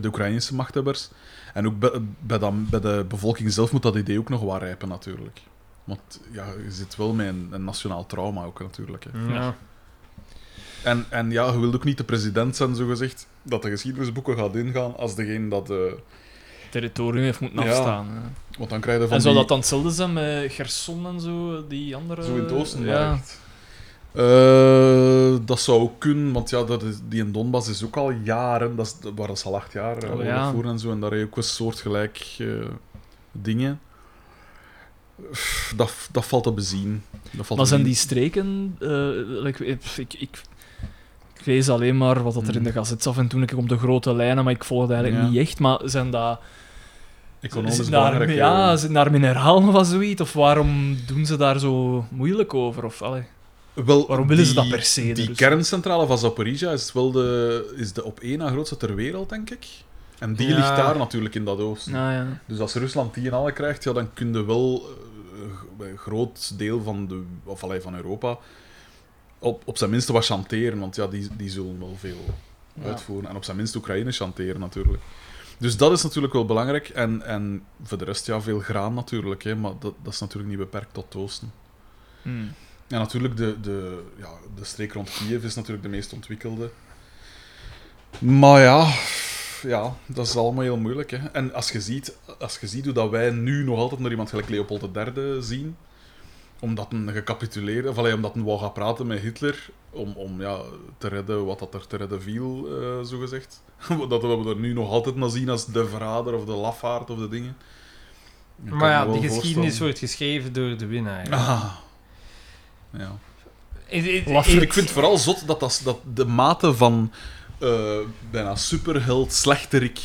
De Oekraïnse machthebbers. En ook bij, bij, dat- bij de bevolking zelf moet dat idee ook nog waar rijpen, natuurlijk. Want ja, je zit wel met een, een nationaal trauma ook, natuurlijk. Hè. Ja. En, en ja, je wilt ook niet de president zijn, zogezegd, dat de geschiedenisboeken gaat ingaan als degene dat... eh, Territorium heeft moeten Ja. afstaan. hè. want dan krijg je van En zou die- dat dan hetzelfde zijn met Gerson en zo, die andere... Zo in het oosten, daar ja. echt. Eh, dat zou ook kunnen, want ja, dat is, die in Donbass is ook al jaren, dat is, waar dat is al acht jaar eh, Oh, oorlog ja. voeren en zo, en daar heb je ook een soortgelijk eh, dingen. Pff, Dat, dat valt te bezien. Dat valt Maar te zijn bezien. die streken... eh, ik, weet- ik, ik, ik lees alleen maar wat dat er in de gazet af en toe een keer op de grote lijnen, maar ik volg het eigenlijk Hm. Ja. niet echt. Maar zijn dat... economisch Zit daar, belangrijk. ja, eh, zit daar mineralen of zoiets? Of waarom doen ze daar zo moeilijk over? Of, allee, wel, waarom willen ze die- dat per se? Die Dus- kerncentrale van Zaporizhia is wel de, is de op één na grootste ter wereld, denk ik. En die Ja. ligt daar natuurlijk in dat oosten. Nou ja. Dus als Rusland die in alle krijgt, ja, dan kun je wel eh, g- een groot deel van, de, of, allee, van Europa op, op zijn minst wat chanteren. Want ja, die, die zullen wel veel Ja. uitvoeren. En op zijn minst Oekraïne chanteren natuurlijk. Dus dat is natuurlijk wel belangrijk. En, en voor de rest, ja, veel graan natuurlijk. Hè, maar dat, dat is natuurlijk niet beperkt tot het oosten. Hmm. En natuurlijk, de, de, ja, de streek rond Kiev is natuurlijk de meest ontwikkelde. Maar ja, ja dat is allemaal heel moeilijk. Hè. En als je, ziet, als je ziet hoe dat wij nu nog altijd naar iemand gelijk Leopold III zien, omdat een gecapituleerde, of allee, omdat een wou gaan praten met Hitler, om, om ja, te redden wat dat er te redden viel, eh zogezegd. dat we er nu nog altijd naar zien als de verrader of de lafaard of de dingen. Ik kan Maar ja, me wel de geschiedenis voorstellen. wordt geschreven door de winnaar. Ah. Ja. Het- het- Wat het- Ik vind het vooral zot dat, dat, dat de mate van eh, bijna superheld, slechterik,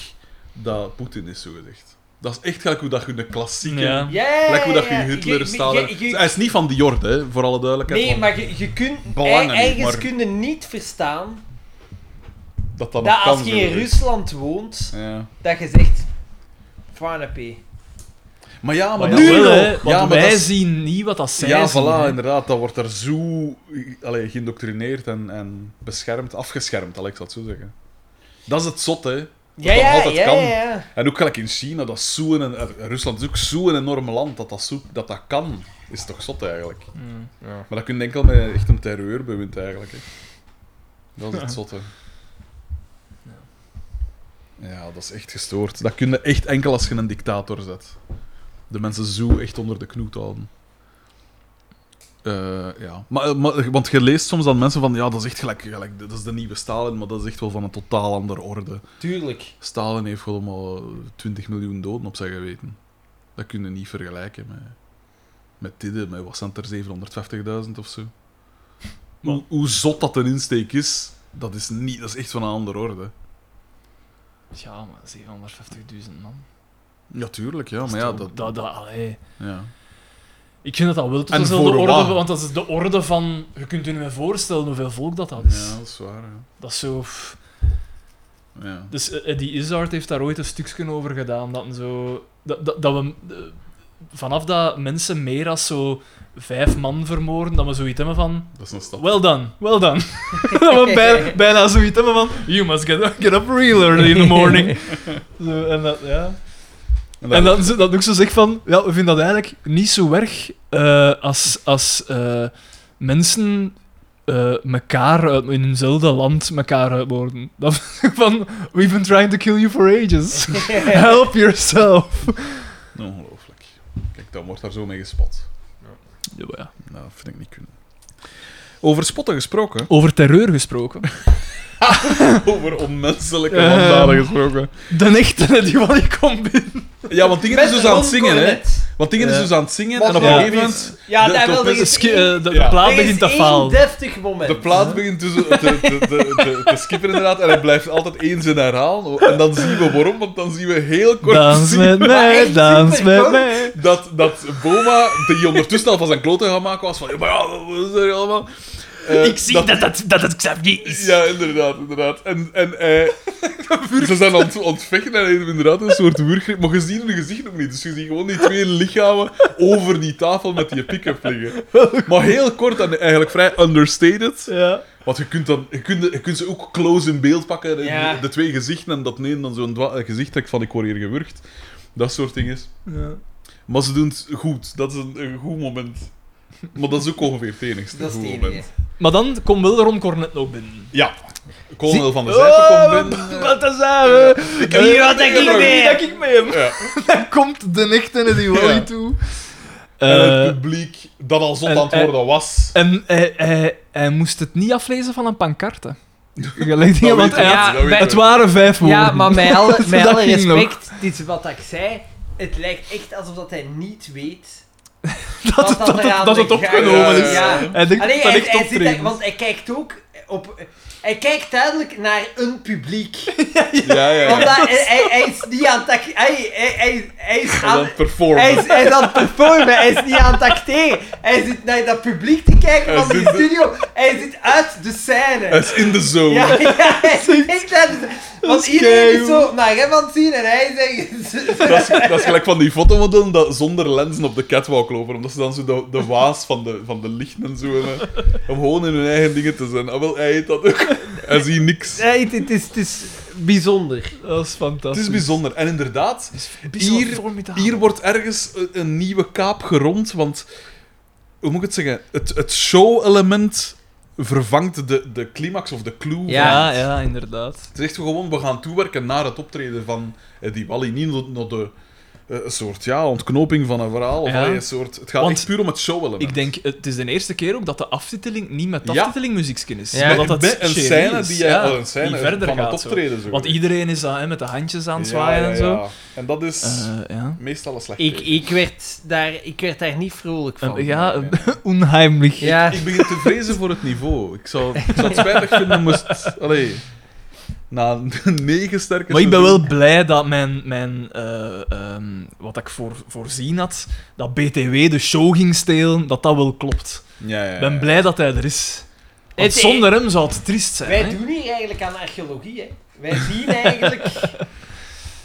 dat Poetin is zogezegd. Dat is echt gelijk hoe dat je een klassieke... Ja. Ja, ja, ja, Gelijk hoe dat je ja. Hitler staat. je- je- Hij is niet van die jorde, hè, voor alle duidelijkheid. Nee, want maar je, je kunt Belangen niet, ergens maar- kunnen niet verstaan dat, dat dat nog kan, als je in zogezegd. Rusland woont, Ja. dat je zegt... Fwanapé. Maar ja, maar... Maar dat- jawel, hè, want maar wij dat is- zien niet wat dat zij Ja, zien. voilà, hè. inderdaad. Dat wordt daar zo eh, allee, geïndoctrineerd en, en beschermd, afgeschermd, Alex, ik zal het zo zeggen. Dat is het zot, hè. Dat Ja, dat ja, altijd ja, kan. ja, ja. En ook gelijk in China, dat is zo'n... en- en Rusland is ook zo'n enorm land dat dat, zo, dat dat kan. Is toch zot, eigenlijk. Maar dat kun je enkel met echt een terreurbewind, eigenlijk. Hè. Dat is het zotte. Ja, dat is echt gestoord. Dat kun je echt enkel als je een dictator zet. De mensen zo echt onder de knoet houden. Eh, ja. Maar, maar- want je leest soms aan mensen van... Ja, dat is echt gelijk, gelijk... Dat is de nieuwe Stalin, maar dat is echt wel van een totaal andere orde. Tuurlijk. Stalin heeft gewoon maar 20 miljoen doden op zijn geweten. Dat kun je niet vergelijken met, met dit, met wat zijn het er 750.000 of zo. Hoe, hoe zot dat een insteek is, dat is, niet, dat is echt van een andere orde. Ja, maar 750.000 man. Natuurlijk, ja, maar ja, dat. dat, dat allee. Ja. Ik vind dat dat wel tot En dezelfde voor orde, wat? want dat is de orde van... Je kunt je niet meer voorstellen hoeveel volk dat, dat is. ja, dat is waar. Ja. Dat is zo... pff. Ja. Dus eh, Eddie Izzard heeft daar ooit een stukje over gedaan, dat, een zo, dat, dat, dat we... eh, vanaf dat mensen meer als zo vijf man vermoorden, dat we zoiets hebben van... Dat is een stap. Well done, well done. dat we bijna, bijna zoiets hebben van... You must get, get up real early in the morning. zo, en dat, ja... En En dat- dan, dat ook zo zeg van, ja, we vinden dat eigenlijk niet zo erg eh, als, als eh, mensen eh elkaar uit- in eenzelfde land elkaar uitmoorden. Dan van, we've been trying to kill you for ages. Help yourself. Ongelooflijk. Kijk, dan wordt daar zo mee gespot. Ja, maar ja. Nou, dat vind ik niet kunnen. Over spotten gesproken. Over terreur gesproken. Over onmenselijke Eh. wandaden gesproken. De echte, die van die komt binnen. Ja, want dingen is dus aan het zingen, hè? Want dingen is Ja. dus aan het zingen Wat en op een wel gegeven is. moment. Ja, De- daar de wel, er De, is ski- eh, één- de Ja. plaat er is begint te één falen. deftig moment. De plaat begint dus te, te, te, te, te skippen inderdaad en hij blijft altijd één zin herhalen. En dan zien we waarom, want dan zien we heel kort Dans zien met mij, echt dans super met goed. mij. dat, dat Boma, die ondertussen al van zijn kloten gaan maken was, van ja, maar ja, wat is er allemaal? Eh, dat, dat het Xavier Ja, inderdaad, inderdaad. En, en eh, ze zijn aan het ontvechten en hij heeft inderdaad een soort wurggreep. Maar je ziet hun gezicht nog niet. Dus je ziet gewoon die twee lichamen over die tafel met die pick-up liggen. Maar heel kort en eigenlijk vrij understated. Ja. Want je kunt, dan, je, kunt, je kunt ze ook close in beeld pakken, de- Ja. de, twee gezichten, en dat neemt dan zo'n dwa- eh, gezicht trekt van ik word hier gewurgd. Dat soort dingen. ja. Maar ze doen het goed, dat is een, een goed moment. Maar dat is ook ongeveer het enigste Dat is goed het enige. moment. Maar dan komt wel Ron Cornet nog binnen. Ja, Colonel Zie- van der Zijpen komt binnen. Oh, Wat is dat? Ik heb hier wat ik heb mee hier heb. dat ik mee heb. Ja. Dan komt de echte die Wally Ja. toe. En Eh, het publiek dat al zot en- aan het en- worden was. en hij, hij, hij moest het niet aflezen van een pancarte. Gelijk dingen, want weten hij we, had- ja, dat weten bij- we. het waren vijf woorden. Ja, maar met alle, met Dat alle ging nog. respect, dit is wat ik zei, het lijkt echt alsof dat hij niet weet dat, dat, dat, eraan dat het de opgenomen gang is. Ja. Hij denkt Allee, dat hij, ik hij zit daar- optreden. want hij kijkt ook op... Hij kijkt duidelijk naar een publiek. Ja, ja, Want ja. hij, hij, hij is niet aan het... act- Hij, hij, hij, hij is Aan aan... het performen. Hij is, hij is aan het performen, hij is niet aan het acteren. Hij zit naar dat publiek te kijken Hij van die zit- studio. Hij zit uit de Hij scène. is in de zone. Ja, ja, hij zit echt uit de Want is iedereen is keigoed. zo naar hem aan het zien en hij zegt... Dat is, dat is gelijk van die fotomodellen dat zonder lenzen op de catwalk lopen, omdat ze dan zo de, de waas van de, van de lichten en zo hebben. Om gewoon in hun eigen dingen te zijn. Ah, wel, hij heet dat ook. Hij ziet niks. Nee, het is, het is bijzonder. Dat is Het fantastisch. is bijzonder. En inderdaad, bijzonder hier- formidabel. hier wordt ergens een, een nieuwe kaap gerond, want... Hoe moet ik het zeggen? Het, het show-element vervangt de, de climax of de clue. van- Ja, ja, inderdaad. Het is echt gewoon, we gaan toewerken naar het optreden van die Wally. Niet naar- naar de eh, een soort ja, ontknoping van een verhaal. Of Ja. allee, een soort, het gaat Want echt puur om het show-element. Ik denk, het is de eerste keer ook dat de aftiteling niet met Ja. aftiteling muziekskin is. Ja. maar Met- dat met het een serie scène is, die, ja, oh, een scène die verder van gaat. het zo. optreden. Zo. Want iedereen is aan, hè, met de handjes aan het zwaaien en zo. En dat is Eh, ja. meestal een slecht Ik, teken. ik, werd daar, ik werd daar niet vrolijk van. Eh, ja, onheimlich. ja. Ik begin te vrezen voor het niveau. Ik zou, ik zou het spijtig vinden moest... Allee, na negen sterke Maar ik ben wel seizoenen- blij dat mijn, mijn eh, ehm, wat ik voor, voorzien had, dat BTW de show ging stelen, dat dat wel klopt. Ja, ja, ja. Ik ben blij dat hij er is. Want Het- e- zonder hem zou het triest zijn. Wij hè. doen hier eigenlijk aan archeologie, hè. Wij zien eigenlijk...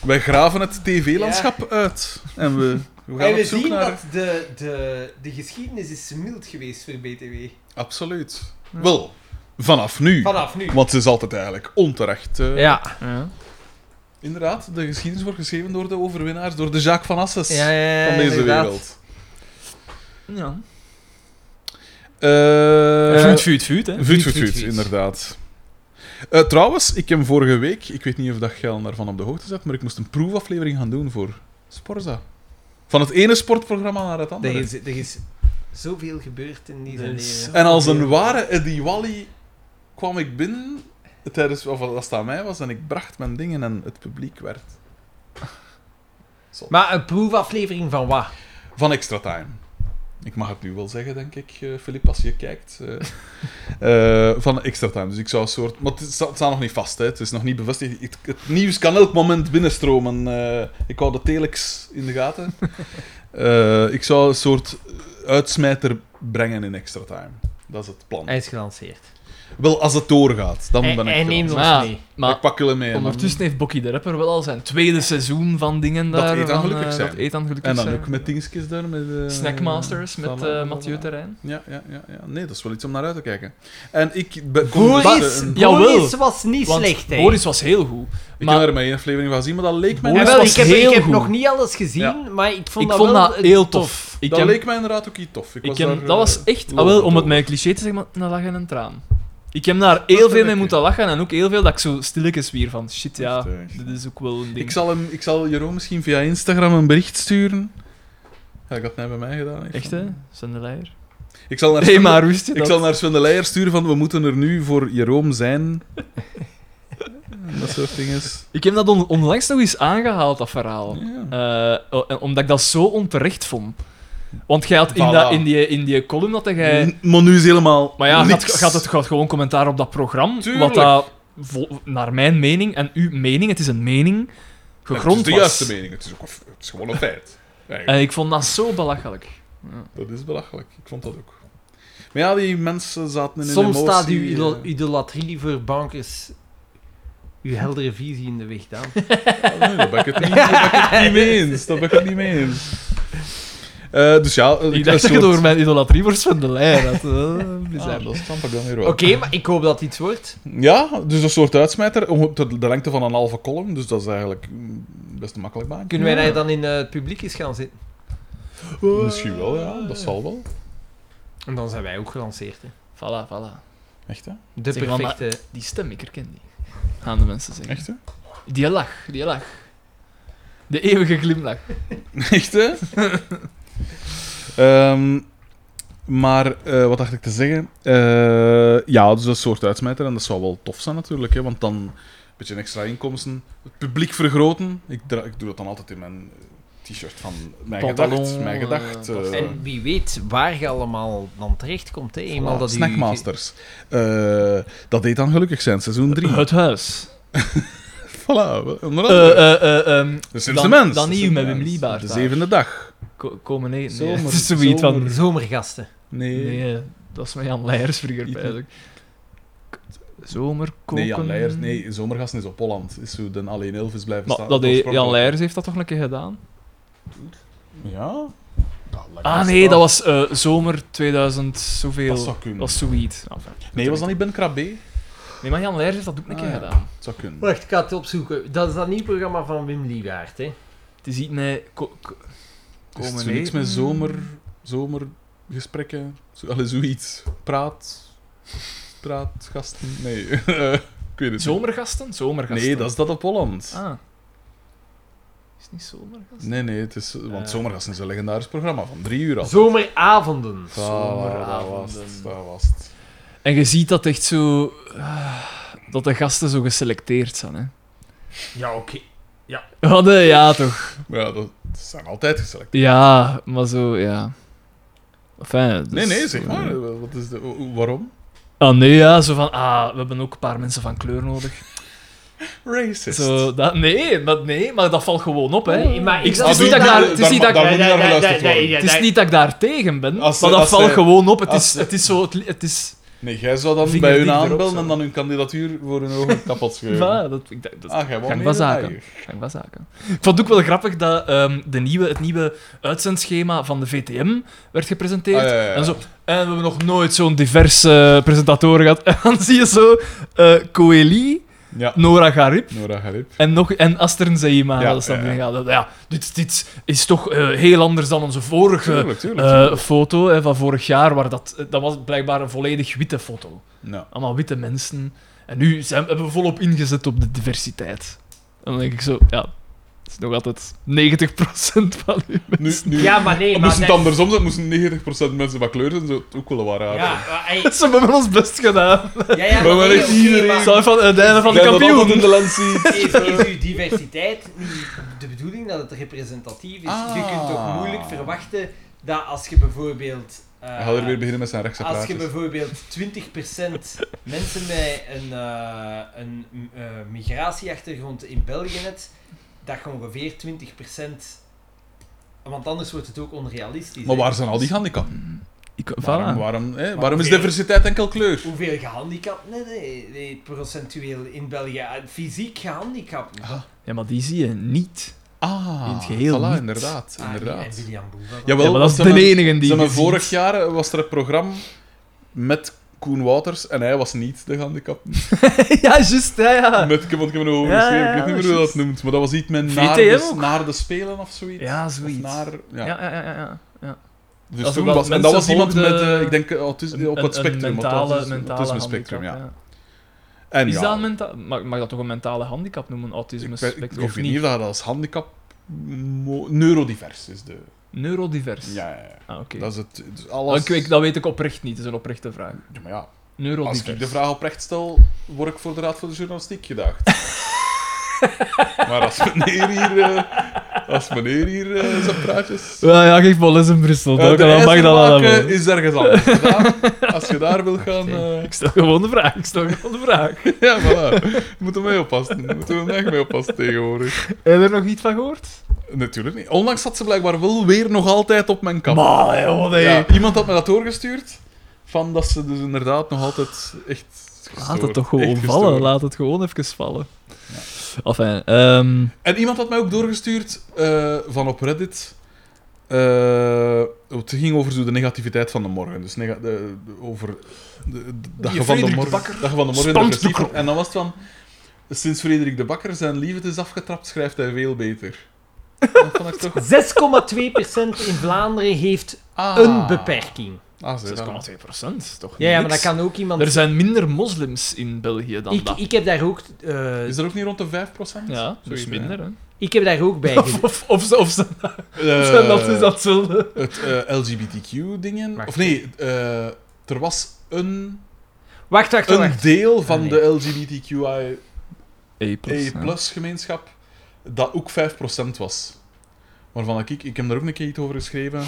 Wij graven het tv-landschap uit. En we, we gaan en we op zoek zien naar... dat de, de, de geschiedenis is mild geweest voor BTW. Absoluut. Wel, vanaf nu. Vanaf nu. Want ze is altijd eigenlijk onterecht. eh, Ja. Ja. Inderdaad, de geschiedenis wordt geschreven door de overwinnaars, door de Jacques van Asses Ja, ja, ja, van deze inderdaad. wereld. ja. Eh, vuut, vuut, vuut, hè. Vuut, vuut, vuut, vuut, vuut. inderdaad. Eh, trouwens, ik heb vorige week, ik weet niet of dat Gel daarvan op de hoogte zat, maar ik moest een proefaflevering gaan doen voor Sporza. Van het ene sportprogramma naar het Er andere. is, er is zoveel gebeurd in die Er zijn is- leven. En als een ware Eddie Wally kwam ik binnen, tijdens, of als het aan mij was, en ik bracht mijn dingen en het publiek werd. Maar een proefaflevering van wat? Van Extra Time. Ik mag het nu wel zeggen, denk ik, eh, Filip, als je kijkt. eh, eh, van Extra Time. Dus ik zou een soort... Maar het is- het staat nog niet vast, hè. Het is nog niet bevestigd. Het, het nieuws kan elk moment binnenstromen. Eh, ik hou de telex in de gaten. Eh, ik zou een soort uitsmijter brengen in Extra Time. Dat is het plan. Hij is gelanceerd. Wel, als het doorgaat, dan Hij, ben ik... hij gelanceerd. neemt ons Maar- mee. Maar ik pak jullie mee. en dan- ondertussen heeft Bokkie de Rapper wel al zijn tweede seizoen van dingen Dat daar. eet dan van, gelukkig eh, zijn. Dat eet dan gelukkig En dan zijn. ook met dingetjes daar, met... eh, Snackmasters met Samen- eh Mathieu Terrein. Ja, ja, ja, ja. Nee, dat is wel iets om naar uit te kijken. En ik... be- kom Boris, dus, eh, Jawel. Boris was niet Want slecht, hè? Boris was heel goed. Ik Maar- heb er maar één aflevering van zien, maar dat leek mij... En Boris wel, was ik heb, ik heel heb goed. nog niet alles gezien, Ja. maar ik vond ik dat vond wel dat eh, heel tof. Ik dat heb- leek mij inderdaad ook iets tof. Ik ik was heb- daar, eh, dat was echt, ah, wel, lovend om het over. mijn cliché te zeggen, maar een lach en een traan. Ik heb daar heel heb veel ik, mee hè. moeten lachen en ook heel veel dat ik zo stilletjes weer van shit, ja, Echt, echt. dit is ook wel een ding. Ik zal, hem, ik zal Jeroen misschien via Instagram een bericht sturen. Ja, ik had het net bij mij gedaan. Ik Echt hè? Zijn de leier? Ik zal naar Nee, Sven, maar roest je ik zal naar Sven de Leijer sturen van we moeten er nu voor Jeroen zijn. En dat soort dingen. Ik heb dat on- onlangs nog eens aangehaald, dat verhaal. Ja. Eh, o- en omdat ik dat zo onterecht vond. Want jij had in, Voilà. dat, in, die, in die column dat jij... N- Maar nu is helemaal Maar ja, gaat, niks. gaat het gaat gewoon commentaar op dat programma. Tuurlijk. Wat dat, vol- naar mijn mening en uw mening, het is een mening, Het is gegrond de was. juiste mening. Het is, ook, een f- het is gewoon een feit. Eigenlijk. En ik vond dat zo belachelijk. Dat is belachelijk. Ik vond dat ook. Maar ja, die mensen zaten in een Soms emotie. staat uw idol- eh. idolatrie voor bankers uw heldere visie in de weg dan. Ah, Nee, daar ben ik het niet, daar ben ik het niet mee eens. Daar ben ik het niet mee eens. Eh, dus ja, Ik dacht dat je door mijn idolatrie voor Sven de Leijer had. Eh, bizar. Ah, dat stamp ik dan weer wel. Oké, maar ik hoop dat iets wordt. Ja, dus een soort uitsmijter om op de, de lengte van een halve column. Dus dat is eigenlijk mm, best een makkelijk baantje. Kunnen wij Ja. daar dan in eh, het publiek eens gaan zitten? Misschien wel, ja. Dat zal wel. En dan zijn wij ook gelanceerd. Hè. Voilà, voilà. Echt, hè? De Zeg maar, maar- perfecte. Die stem, ik herken die. Gaan de mensen zeggen. Echt, hè? Die lach, die lach. De eeuwige glimlach. Echt, hè? Ehm, maar eh, wat dacht ik te zeggen? Eh, ja, dus een soort uitsmijter. En dat zou wel tof zijn natuurlijk. Hè, want dan een beetje extra inkomsten. Het publiek vergroten. Ik, dra- ik doe dat dan altijd in mijn eh, t-shirt van Mijn Pantalon, Gedacht. Mijn eh, Gedacht. dat- eh, En wie weet waar je allemaal dan terechtkomt. Hè. Eenmaal voilà, dat u- Snackmasters. Eh, dat deed dan gelukkig zijn. Seizoen 3. Het huis. Voilà. onder Eh, andere. eh, eh, ehm, de slimste dan- mens. dan de niet slimste met Wim mens. Liebaert De daar. zevende dag. ko- komen eten. nee. Zomer- Het is zoiets van... Zomergasten. Nee. Nee, Nee, eh, dat is met Jan Leijers vroeger Iets eigenlijk. Zomerkoken... Jan Leijers. Nee, Zomergasten is op Holland. Is zo de alleen Elvis blijven Maar staan. dat deed- Jan oorspronkelijk. Leijers heeft dat toch een keer gedaan? Ja? Dat lijkt me Ah nee, dat straf. was eh, zomer 2000 zoveel. Dat zou kunnen. was zoiets. Enfin, Nee, was dat niet Ben Krabbe? Nee, maar Jan Leijers heeft dat ook een keer Ah, ja. gedaan. Dat zou kunnen. Wacht, ik ga het opzoeken. Dat is dat nieuw programma van Wim Liebaert. Hè. Het is iets met... ko- ko- Dus het is komen niks eten. met zomer, zomergesprekken. Zo, allee, zoiets. Praat. Praatgasten. Nee, eh, ik weet het niet. Zomergasten? Zomergasten. Nee, dat is dat op Holland. Ah. Is het niet zomergasten? Nee, nee, het is, want Eh. Zomergasten is een legendarisch programma van drie uur al. Zomeravonden. dat was het. Dat was het. En je ziet dat echt zo... ah, dat de gasten zo geselecteerd zijn, hè. Ja, oké. Wat, eh, ja, toch. Maar ja, dat ze zijn altijd geselecteerd. Ja, maar zo, ja. Enfin, dus- Nee, nee, zeg maar. eh, Wat is de, o- o- waarom? Ah, nee, ja, zo van... Ah, we hebben ook een paar mensen van kleur nodig. Racist. Zo, dat, nee, maar, nee, maar dat valt gewoon op, hè. Nee, maar Ik- is het dat- is niet dat ik daar... Het is niet dat ik- Daar moet naar geluisterd worden. het is niet dat ik daar tegen ben, Als ze- maar dat als valt ze- gewoon op. Het als is, ze- het is zo... Het, li- het is... Nee, jij zou dan Vinger bij hun die erop aanbellen zou. en dan hun kandidatuur voor hun ogen kapot scheuren. Voilà, dat, ik, dat, dat Ah, jij wou gang mee, van hè? zaken. Nee. gang van zaken. Ik vond het ook wel grappig dat ehm, de nieuwe, het nieuwe uitzendschema van de VTM werd gepresenteerd. Ah, ja, ja, ja. En, zo, en we hebben nog nooit zo'n diverse presentator gehad. En dan zie je zo eh Coeli, Ja, Nora Garib Nora Garib. en, nog, en Astern Zeima. Ja, dat is dan ja, ja. ja, dat- ja, dit, dit is toch eh, heel anders dan onze vorige Tuurlijk, tuurlijk. eh, foto hè, van vorig jaar. Waar dat, dat was blijkbaar een volledig witte foto. Ja. Allemaal witte mensen. En nu zijn, hebben we volop ingezet op de diversiteit. En dan denk ik zo, ja, het is nog altijd 90% van u. Nu, nu, Ja, maar nee, Dan maar... moesten het dat- andersom zijn, moesten 90% mensen van kleur zijn, zo ook wel waar raar. Ja, maar, ey, Ze hebben ons best gedaan. ja, ja, We maar, willen nee, oké, iedereen- maar Zou van het einde van de Jij dat altijd in kampioen. de lens ziet. is, is uw diversiteit niet de bedoeling dat het representatief is? Je kunt toch Ah. moeilijk verwachten dat als je bijvoorbeeld... eh, Hij gaat er weer beginnen met zijn rechtse Als je praatjes. bijvoorbeeld 20% mensen met een, eh, een eh, migratieachtergrond in België hebt, dat je ongeveer 20%. Want anders wordt het ook onrealistisch. Maar hè. waar zijn al die handicappen? Ik, Waarom, voilà. waarom, hè? Maar waarom is oké. diversiteit enkel kleur? Hoeveel gehandicapten nee, nee, nee, procentueel in België? Eh, Fysiek gehandicapten. Ah, Ja, maar die zie je niet. Ah, In het geheel voilà, niet. inderdaad. Ah, en inderdaad. William Boeva. Jawel, Ja, maar dat is want ze de hebben- enige die ze je hebben ziet. vorig jaar eh, was er een programma met Koen Wouters en hij was niet de handicap. ja, juist, ja, ja. Met, ik heb- want ik heb een Ja, overgeschreven, ik ja, weet niet meer hoe juist. dat noemt, maar dat was iets met naar VTM de, ook. naar de spelen of zoiets. Ja, zoiets. Of naar, ja. Ja, ja, ja, ja. ja. Dus Als toen er wel was, en dat was mensen iemand met, volgden- eh, ik denk, autis- op het Een- een spectrum. want mentale, autisme- mentale autisme spectrum, ja. handicap, En Is ja, dat een menta- mag, mag dat toch een mentale handicap noemen, ik, autisme weet- ik spectrum? weet Of niet of niet? dat je dat als handicap... mo- Neurodivers is de... Neurodivers. Ja, ja, ja. Ah, oké. Dat is het... dus Oh, alles... ik, ik- dat weet ik oprecht niet, dat is een oprechte vraag. Ja, maar ja, als Neurodivers. ik de vraag oprecht stel, word ik voor de Raad voor de Journalistiek gedaagd. maar als meneer hier... eh, als meneer hier eh, zijn praatjes... Ja, ja, geef wel eens in Brussel. Eh, Dat de eh, kan, mag dat ijzermaker allemaal. is ergens anders gedaan. Als je daar wil gaan... eh, Ik stel gewoon de vraag, ik stel gewoon de vraag. Ja, voilà. Moeten we mee oppassen. Moeten we echt mee oppassen tegenwoordig. Heb je er nog niet van gehoord? Natuurlijk niet. Onlangs zat ze blijkbaar wel weer nog altijd op mijn kap. Maar, joh, nee. Ja, iemand had me dat doorgestuurd. Van dat ze dus inderdaad nog altijd echt. Gestoord, Laat het toch gewoon echt vallen, gestoord. laat het gewoon even vallen. Enfin, ehm, En iemand had mij ook doorgestuurd eh, van op Reddit. Eh, het ging over zo de negativiteit van de morgen. Dus nega- de- de- over de, de dag, van de Frederik de morgen, Bakker dag van de morgen. spant de depressief. krop. En dan was het van. Sinds Frederik de Bakker zijn liefde is afgetrapt, schrijft hij veel beter. Dat vond ik toch. 6,2% in Vlaanderen heeft Ah. een beperking. Ah, zie je dan. 6,2 procent, toch Ja, ja, maar dat niks. kan ook iemand. Er zijn minder moslims in België dan ik, dat. ik heb daar ook. eh, Is dat ook niet rond de 5%? ja, dus Zoiets, minder, hè. ik heb daar ook bij. Of, gele- of, of, ze- of ze- hè. Eh, zijn dat is datzelfde. Het eh, LGBTQ-dingen. Wacht. Of nee, eh, er was een, Wacht, wacht, wacht. een deel van Ah, de LGBTQIA E+. plus, ja. gemeenschap dat ook 5% was. Waarvan dat ik, ik heb daar ook een keer iets over geschreven,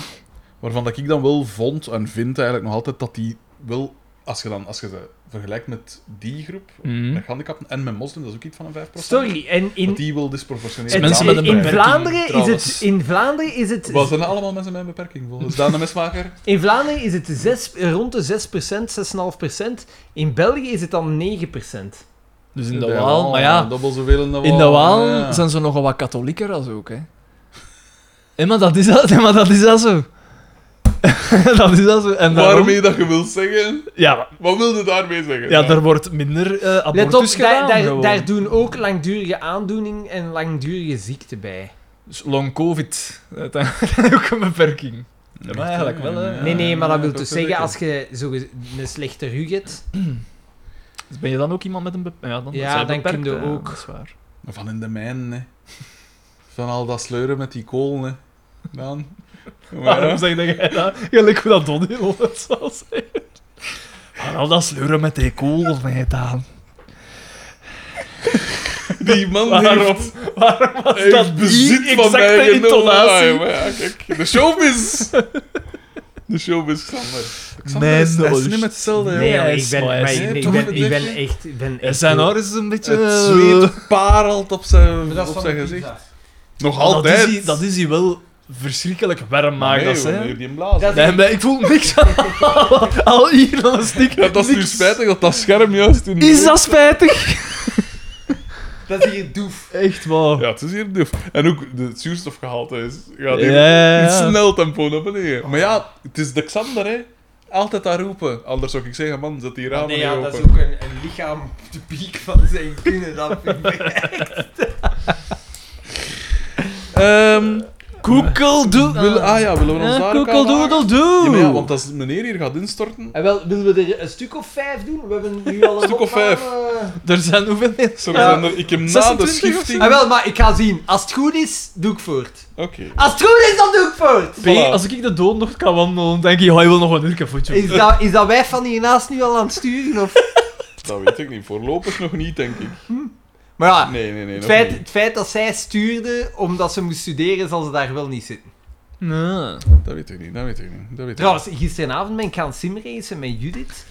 waarvan dat ik dan wel vond en vind eigenlijk nog altijd dat die wel, als je, dan, als je ze vergelijkt met die groep, Mhm. met gehandicapten en met moslims, dat is ook iets van een 5%. Sorry, en in, Dat die wel disproportioneel Het- gedaan mensen in, met een in beperking, Vlaanderen is het, trouwens. in Vlaanderen is het Wel, zijn dat allemaal mensen met een beperking, volgens Daan de Mesmaker? In Vlaanderen is het zes, rond de 6%, 6,5%. In België is het dan 9%. Dus in de Waal, maar ja, Dubbel zoveel in de Waal. in de Waal Oh, ja. zijn ze nogal wat katholieker als ook, hè. Hé, maar dat is dat, hé, maar dat is dat zo. dat is dat zo. En daarom, Waarmee dat je wilt zeggen? ja, maar- Wat wilde daarmee zeggen? ja, er wordt minder eh Let op, abortus daar, gedaan. daar, gewoon. daar doen ook langdurige aandoening en langdurige ziekte bij. Dus long covid, dat is ook een beperking. Ja, maar eigenlijk wel, hè. Nee, nee, maar dat wil dus is zeggen, zeker. als je zo ge- een slechte rug hebt... Dus ben je dan ook iemand met een beperking? Ja, dan, Ja, zijn dan beperkt, kun je hè, ook. dat is waar. Van in de mijn, hè. Van al dat sleuren met die kool, hè. Dan. Waarom zeg jij dat? Gelijk hoe dat Donnie het zal zeggen. Maar al dat sleuren met die kool net aan. Die man Waarom, heeft, waarom was heeft dat bezit die van mij exacte genomen. Ah, intonatie? ja, maar ja, kijk. De showbiz! De showbiz, Xander. Xander Mijn is, hij is neus. niet met hetzelfde, hè. Nee, maar ik ben- maar ik- ik ben- ik ben echt... Ben Ja, zijn haar is een beetje... Eh, eh, Het zweet parelt op zijn, op zijn gezicht. Nog Dat is, altijd. hij, dat is hij wel verschrikkelijk warmmaag dat nee, ze. hoor, hè. nee, die blazen. Dat- Nee, maar ik voel niks aan. Al hier al een stuk. Ja, dat is nu niks. spijtig dat dat scherm juist in... Is dat spijtig? Dat is hier doef. Echt waar. Ja, het is hier duf. En ook de zuurstofgehalte is, gaat hier Ja, in ja. snel tempo naar beneden. Maar ja, het is de Xander, hè. Altijd daar roepen. Anders zou ik zeggen, man, zet die ramen Ah, nee, niet ja, dat open. is ook een, een lichaam op de piek van zijn kunnen. Dat vind ik Ehm, Koekeldoe. wil- ah ja, willen we Eh, Eh, ons daar ook aan wagen? Ja, maar ja, want als meneer hier gaat instorten... En wel, willen we er een stuk of vijf doen? We hebben nu al een Stuk of opname. Er zijn hoeveel mensen? eh, Sorry, Ja. Xander, ik heb na de 26 of zo? schifting... Ah, En Oké. Ah, wel, maar ik ga zien. Als het goed is, doe ik voort. Als het goed is, dan doe ik voort. Voilà. P, als ik de dood nog kan wandelen, denk ik, oh, je wil nog een uurke voetje. Is dat, is dat wijf van hiernaast nu al aan het sturen? Of? Dat weet ik niet. Voorlopig nog niet, denk ik. Maar ja, Nee, nee, nee. Ah, het, nog feit, niet. het feit dat zij stuurde omdat ze moest studeren, zal ze daar wel niet zitten. Nee. Dat weet ik niet, dat weet ik niet. Dat weet ik Trouwens, gisteravond ben ik gaan simracen met Judith.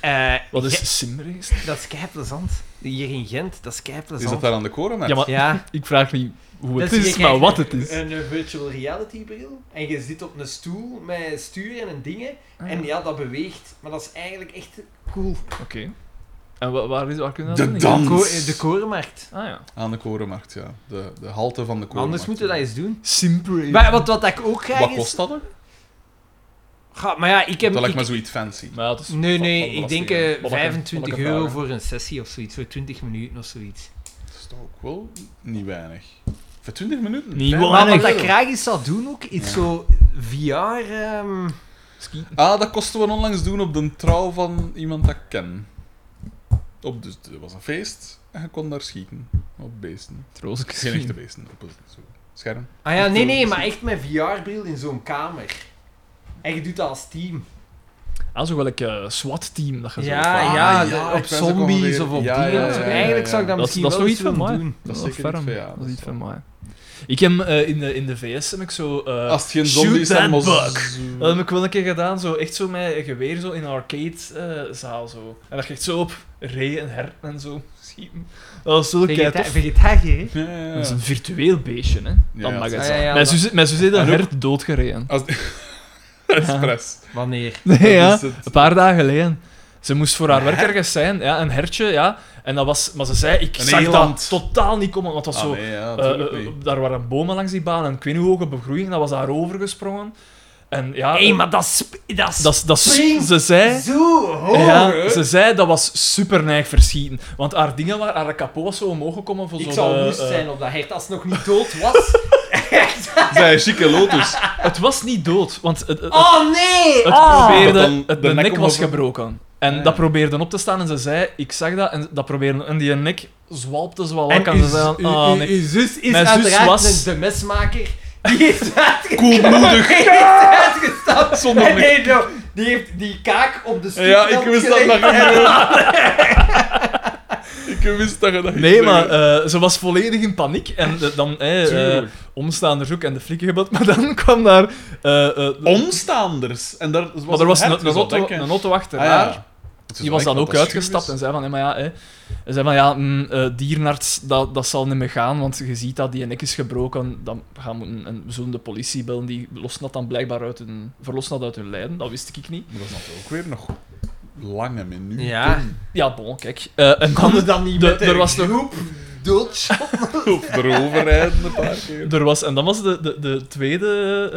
Eh, Wat Ge- is simrace? dat is kei plezant. Hier in Gent, dat is kei niet. Is dat plezant. daar aan de koren? Ja, maar Ja. ik vraag niet hoe het Dus je is, krijgt maar wat het is. Een eh, virtual reality bril. En je zit op een stoel met stuur en een dingen. Ah, En ja, dat beweegt. Maar dat is eigenlijk echt cool. Oké. En wa- waar, is, waar kunnen we De dat doen? dan- De, Dans. ko- de korenmarkt. Ah ja. Aan de korenmarkt, ja. De, de halte van de korenmarkt. Maar anders moeten we dat eens doen. Simrace. Maar wat, wat ik ook graag Wat is... kost dat er? Ga- maar ja, ik heb... Dat lijkt ik- me zoiets fancy. Maar ja, het is Nee, van- nee, van ik belasting, denk hè. eh, Wat ik- wat ik 25 ervaar, euro hè. voor een sessie of zoiets. Voor 20 minuten of zoiets. Dat is toch ook wel niet weinig. Voor 20 minuten? Niet Vijf- Maar weinig. wat ik euro. graag eens zou doen ook, is zo VR... ehm, Ah, dat kosten we onlangs doen op de trouw van iemand dat ik ken. Op, dus, er was een feest en je kon daar schieten. Op beesten. Troost. Geen echte beesten. Op een zo- scherm. Ah ja, nee, wil nee, het maar echt met VR-bril in zo'n kamer. En je doet dat als team. Ah, zo welk eh, SWAT-team dat je zo Ja, Ah, vaak- ja, ja, de- ik op wens ook zombies alweer- of op Ja, dingen. ja, of zo. ja, ja, Eigenlijk ja. zou ik dat Dat is- misschien dat is wel zoiets eens van willen mij. doen. Dat is Wel zeker niet ferm. veel, ja, Dat dat is is niet van mij. Ik heb eh, in, de, in de VS heb ik zo. eh, Als het geen shoot zombies zijn, that maar zo- bug. Dat heb ik wel een keer gedaan, zo, echt zo met een geweer zo in een arcadezaal. zo. En dat je echt zo op ree en herten en zo schieten. Dat was zo kei Vegeta- tof. Vegetariër, hè? Ja, ja, ja. Dat is een virtueel beestje, hè? Dat ja, mag dat het is- zijn. ja, ja, Mijn dat- zus- Mijn zus heeft En een ook- hert doodgereden. Als... Express. Wanneer? Nee, Dat ja. is het. Een paar dagen geleden. Ze moest voor haar werk ergens zijn, ja, een hertje, ja. En dat was, maar ze zei, ik Een zag dat eland. totaal niet komen, want het was Ah, zo... nee, ja, eh, natuurlijk eh, niet. daar waren bomen langs die baan en ik weet niet hoe hoge begroeiing, dat was daar overgesprongen. En ja... eh, Hé, maar dat is... sp- Dat is dat, is- dat is- spring. ze zei... zo hoog. ja, hè? ze zei dat was super neig verschieten. Want haar dingen waren, haar kapot was zo eh, omhoog gekomen voor Ik zo'n... zou woest zijn op dat hert als het nog niet dood was. Zij chique lotus. Het was niet dood, want het, het- Oh nee! Het Ah! probeer- probeerde, Dat dan het, de, de nek, nek was omhoog- gebroken. En Ah, ja. dat probeerde op te staan en ze zei, ik zag dat, en dat probeerde, en die nek zwalpte ze wel En wakker. En ze uw- zei, uw- ah, uw- nee. uw zus is Mijn zus uiteraard was- een de mesmaker. Die is uitge- Koelbloedig. die is uitgestapt. Zonder En nek. nee, no, die heeft die kaak op de stoep Ja, ik wist dat gelegd. nog niet. Ik wist dat je dat ging Nee, maar zeggen. eh, ze was volledig in paniek. En eh, dan, eh, eh Tuurlijk. omstaanders ook en de flikken gebeld. Maar dan kwam daar... eh, eh, Omstaanders. En daar was maar er was een, hert, een, dus dat auto, denk ik. een auto achter Ah, ja. haar. Het is Die was wel dan echt ook wat dat schuur uitgestapt is. en zei van, hé, maar ja, hè. Hij zei van, ja, mm, eh, dierenarts, dat, dat zal niet meer gaan, want je ziet dat die nek is gebroken, dan gaan we, moeten- en we zullen de politie bellen, die lossen dat dan blijkbaar uit hun, verlossen dat uit hun lijden, dat wist ik niet. Maar dat is natuurlijk ook weer nog lange minuten. Ja. Ja, bon, kijk. Eh, en Konden dan, dan niet de- met er was nog- groep doodschoppen? Of erover rijden een paar keer. er was, en dan was de, de, de tweede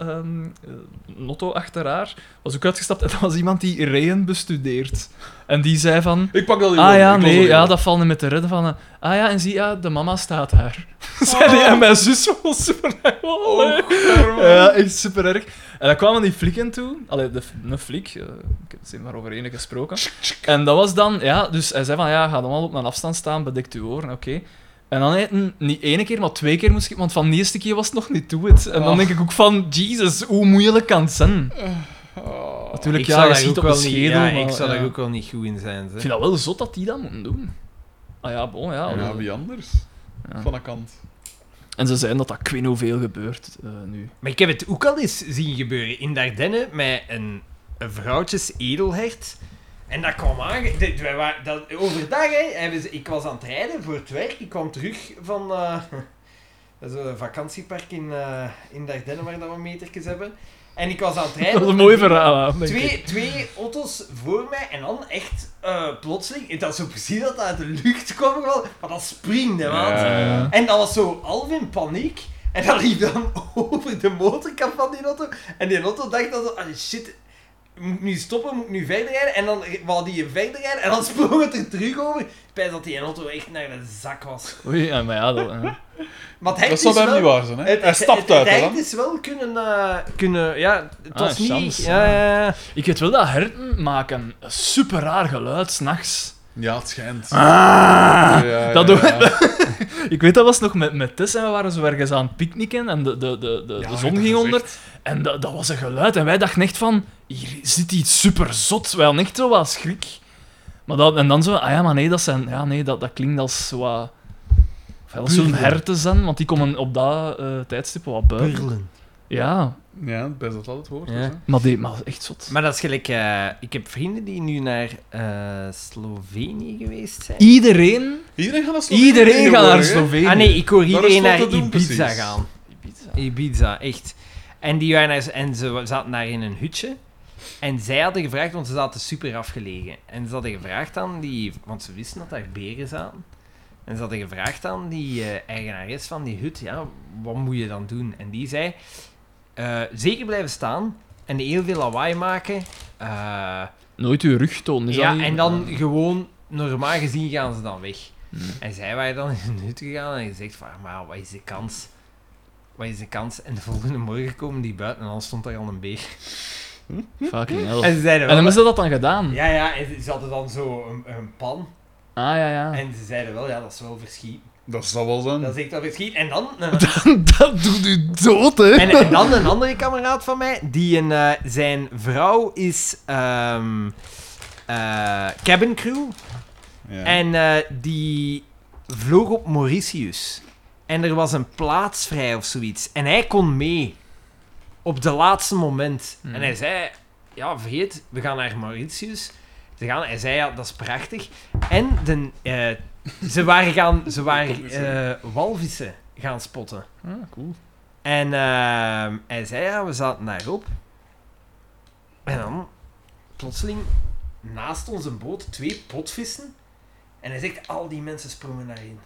eh, ehm, eh, notto achter haar, was ook uitgestapt, en dat was iemand die reën bestudeert. En die zei van... Ik pak dat hier Ah wel. ja, Ik los dat nee, hier ja, wel. dat valt niet met te redden van... eh, ah ja, en zie, ja, de mama staat daar. Oh. Zei die, en mijn zus was super erg. Oh, arme. Ja, echt super erg. En dan kwamen die flikken toe. Allee, de, een flik. eh, ik heb het maar over ene gesproken. En dat was dan... Ja, dus hij zei van, ja, ga allemaal op een afstand staan, bedekt uw oren, oké. En dan eh, n- niet één keer, maar twee keer moest ik... Want van de eerste keer was het nog niet toe. het. En Oh. dan Ah. denk ik ook van, Jesus, hoe moeilijk kan het zijn? Ah. Natuurlijk, ja, je schiet op een schedel. ja, ik maar, zou ja. daar ook wel niet goed in zijn. Ik Zeg. vind dat wel zot dat die dat moeten doen. Ah ja, bon, ja. Ja, wie anders? Van de kant. En ze zeiden dat dat ik weet niet hoeveel gebeurt eh, nu. Maar ik heb het ook al eens zien gebeuren in Dardenne met een, een vrouwtjes edelhert. En dat kwam aan. dit- wij waren- dat, overdag, hè, hebben ze- ik was aan het rijden voor het werk. Ik kwam terug van, eh, Dat is een vakantiepark in, eh in Dardenne waar dat we metertjes hebben. En ik was aan het rijden. Dat is een mooi verhaal, denk ik. Twee, twee auto's voor mij en dan echt eh, plotseling, dat is zo precies dat dat uit de lucht kwam, gewoon, maar dat springt, hè, maat. Ja, ja. En dat was zo half in paniek. En dat liep dan over de motorkap van die auto. En die auto dacht dat ah shit, moet ik nu stoppen, moet ik nu verder rijden? En dan wou die verder rijden en dan sprong het er terug over. Ik pijs dat die auto echt naar de zak was. Oei, ja, maar ja, dat... ja. Maar het hek Dat zal is bij wel- hem niet waar zijn, hè? Het, Hij het, stapt het- uit, het hè? hek dan. is wel kunnen, eh, kunnen ja, het Ah, was niet... chance, ja, ja, ja. Ik weet wel dat herten maken een super raar geluid s'nachts. Ja, het schijnt. Ah, Ja, ja, dat ja. doen we. Ik weet dat was nog met, met Tess en we waren zo ergens aan het picknicken en de, de, de, de, Ja, de dat zon ging is onder. echt- En dat, dat was een geluid en wij dachten echt van, hier zit iets super zot. Wij hadden echt zo wat schrik. Maar dat, en dan zo, ah ja, maar nee, dat, zijn, ja, nee, dat, dat klinkt als wat... Of ja, dat zullen Burlen. herten zijn, want die komen op dat eh, tijdstip wat buiten. Ja, Ja, best dat altijd hoort. Ja. dus, hè. maar, die, maar echt zot. Maar dat is gelijk... eh, ik heb vrienden die nu naar eh, Slovenië geweest zijn. Iedereen, Iedereen gaat naar Slovenië. iedereen gaat naar tegenwoordig, hè? Slovenië. Ah nee, ik hoor Daar is iedereen wat naar te doen, Ibiza precies. gaan. Ibiza. Ibiza, echt. En, die waren naar, en ze zaten daar in een hutje. En zij hadden gevraagd, want ze zaten super afgelegen. En ze hadden gevraagd aan die... Want ze wisten dat daar beren zaten. En ze hadden gevraagd aan die eh, eigenares van die hut, ja, wat moet je dan doen? En die zei, eh, zeker blijven staan en heel veel lawaai maken. Eh, Nooit uw rug tonen. is dat ja, niet? en dan gewoon, normaal gezien gaan ze dan weg. Hmm. En zij waren dan in hun hut gegaan en gezegd van, maar wat is de kans? Wat is de kans? En de volgende morgen komen die buiten en dan stond daar al een beer. Ah, Fucking hell. Hm? En ze zeiden Oh. En wel... dan is dat dan gedaan. Ja, ja, en ze- ze hadden dan zo een, een pan. Ah, ja, ja. En ze zeiden wel, ja, dat is wel verschiet. Dat zal wel zijn. Dat is echt wel verschiet. En dan... eh, dat doet u dood, hè. en, en dan een andere kameraad van mij, die een, eh, zijn vrouw is ehm eh, cabin crew. Ja. En eh, die vloog op Mauritius. En er was een plaats vrij of zoiets. En hij kon mee. Op de laatste moment. Hmm. En hij zei... Ja, vergeet, we gaan naar Mauritius. Ze gaan, hij zei, ja, dat is prachtig. En de, eh, ze waren, gaan, ze waren eh, walvissen gaan spotten. Ah, cool. En ehm, hij zei, ja, we zaten daarop. En dan, plotseling, naast onze boot twee potvissen. En hij zegt, al die mensen sprongen daarin.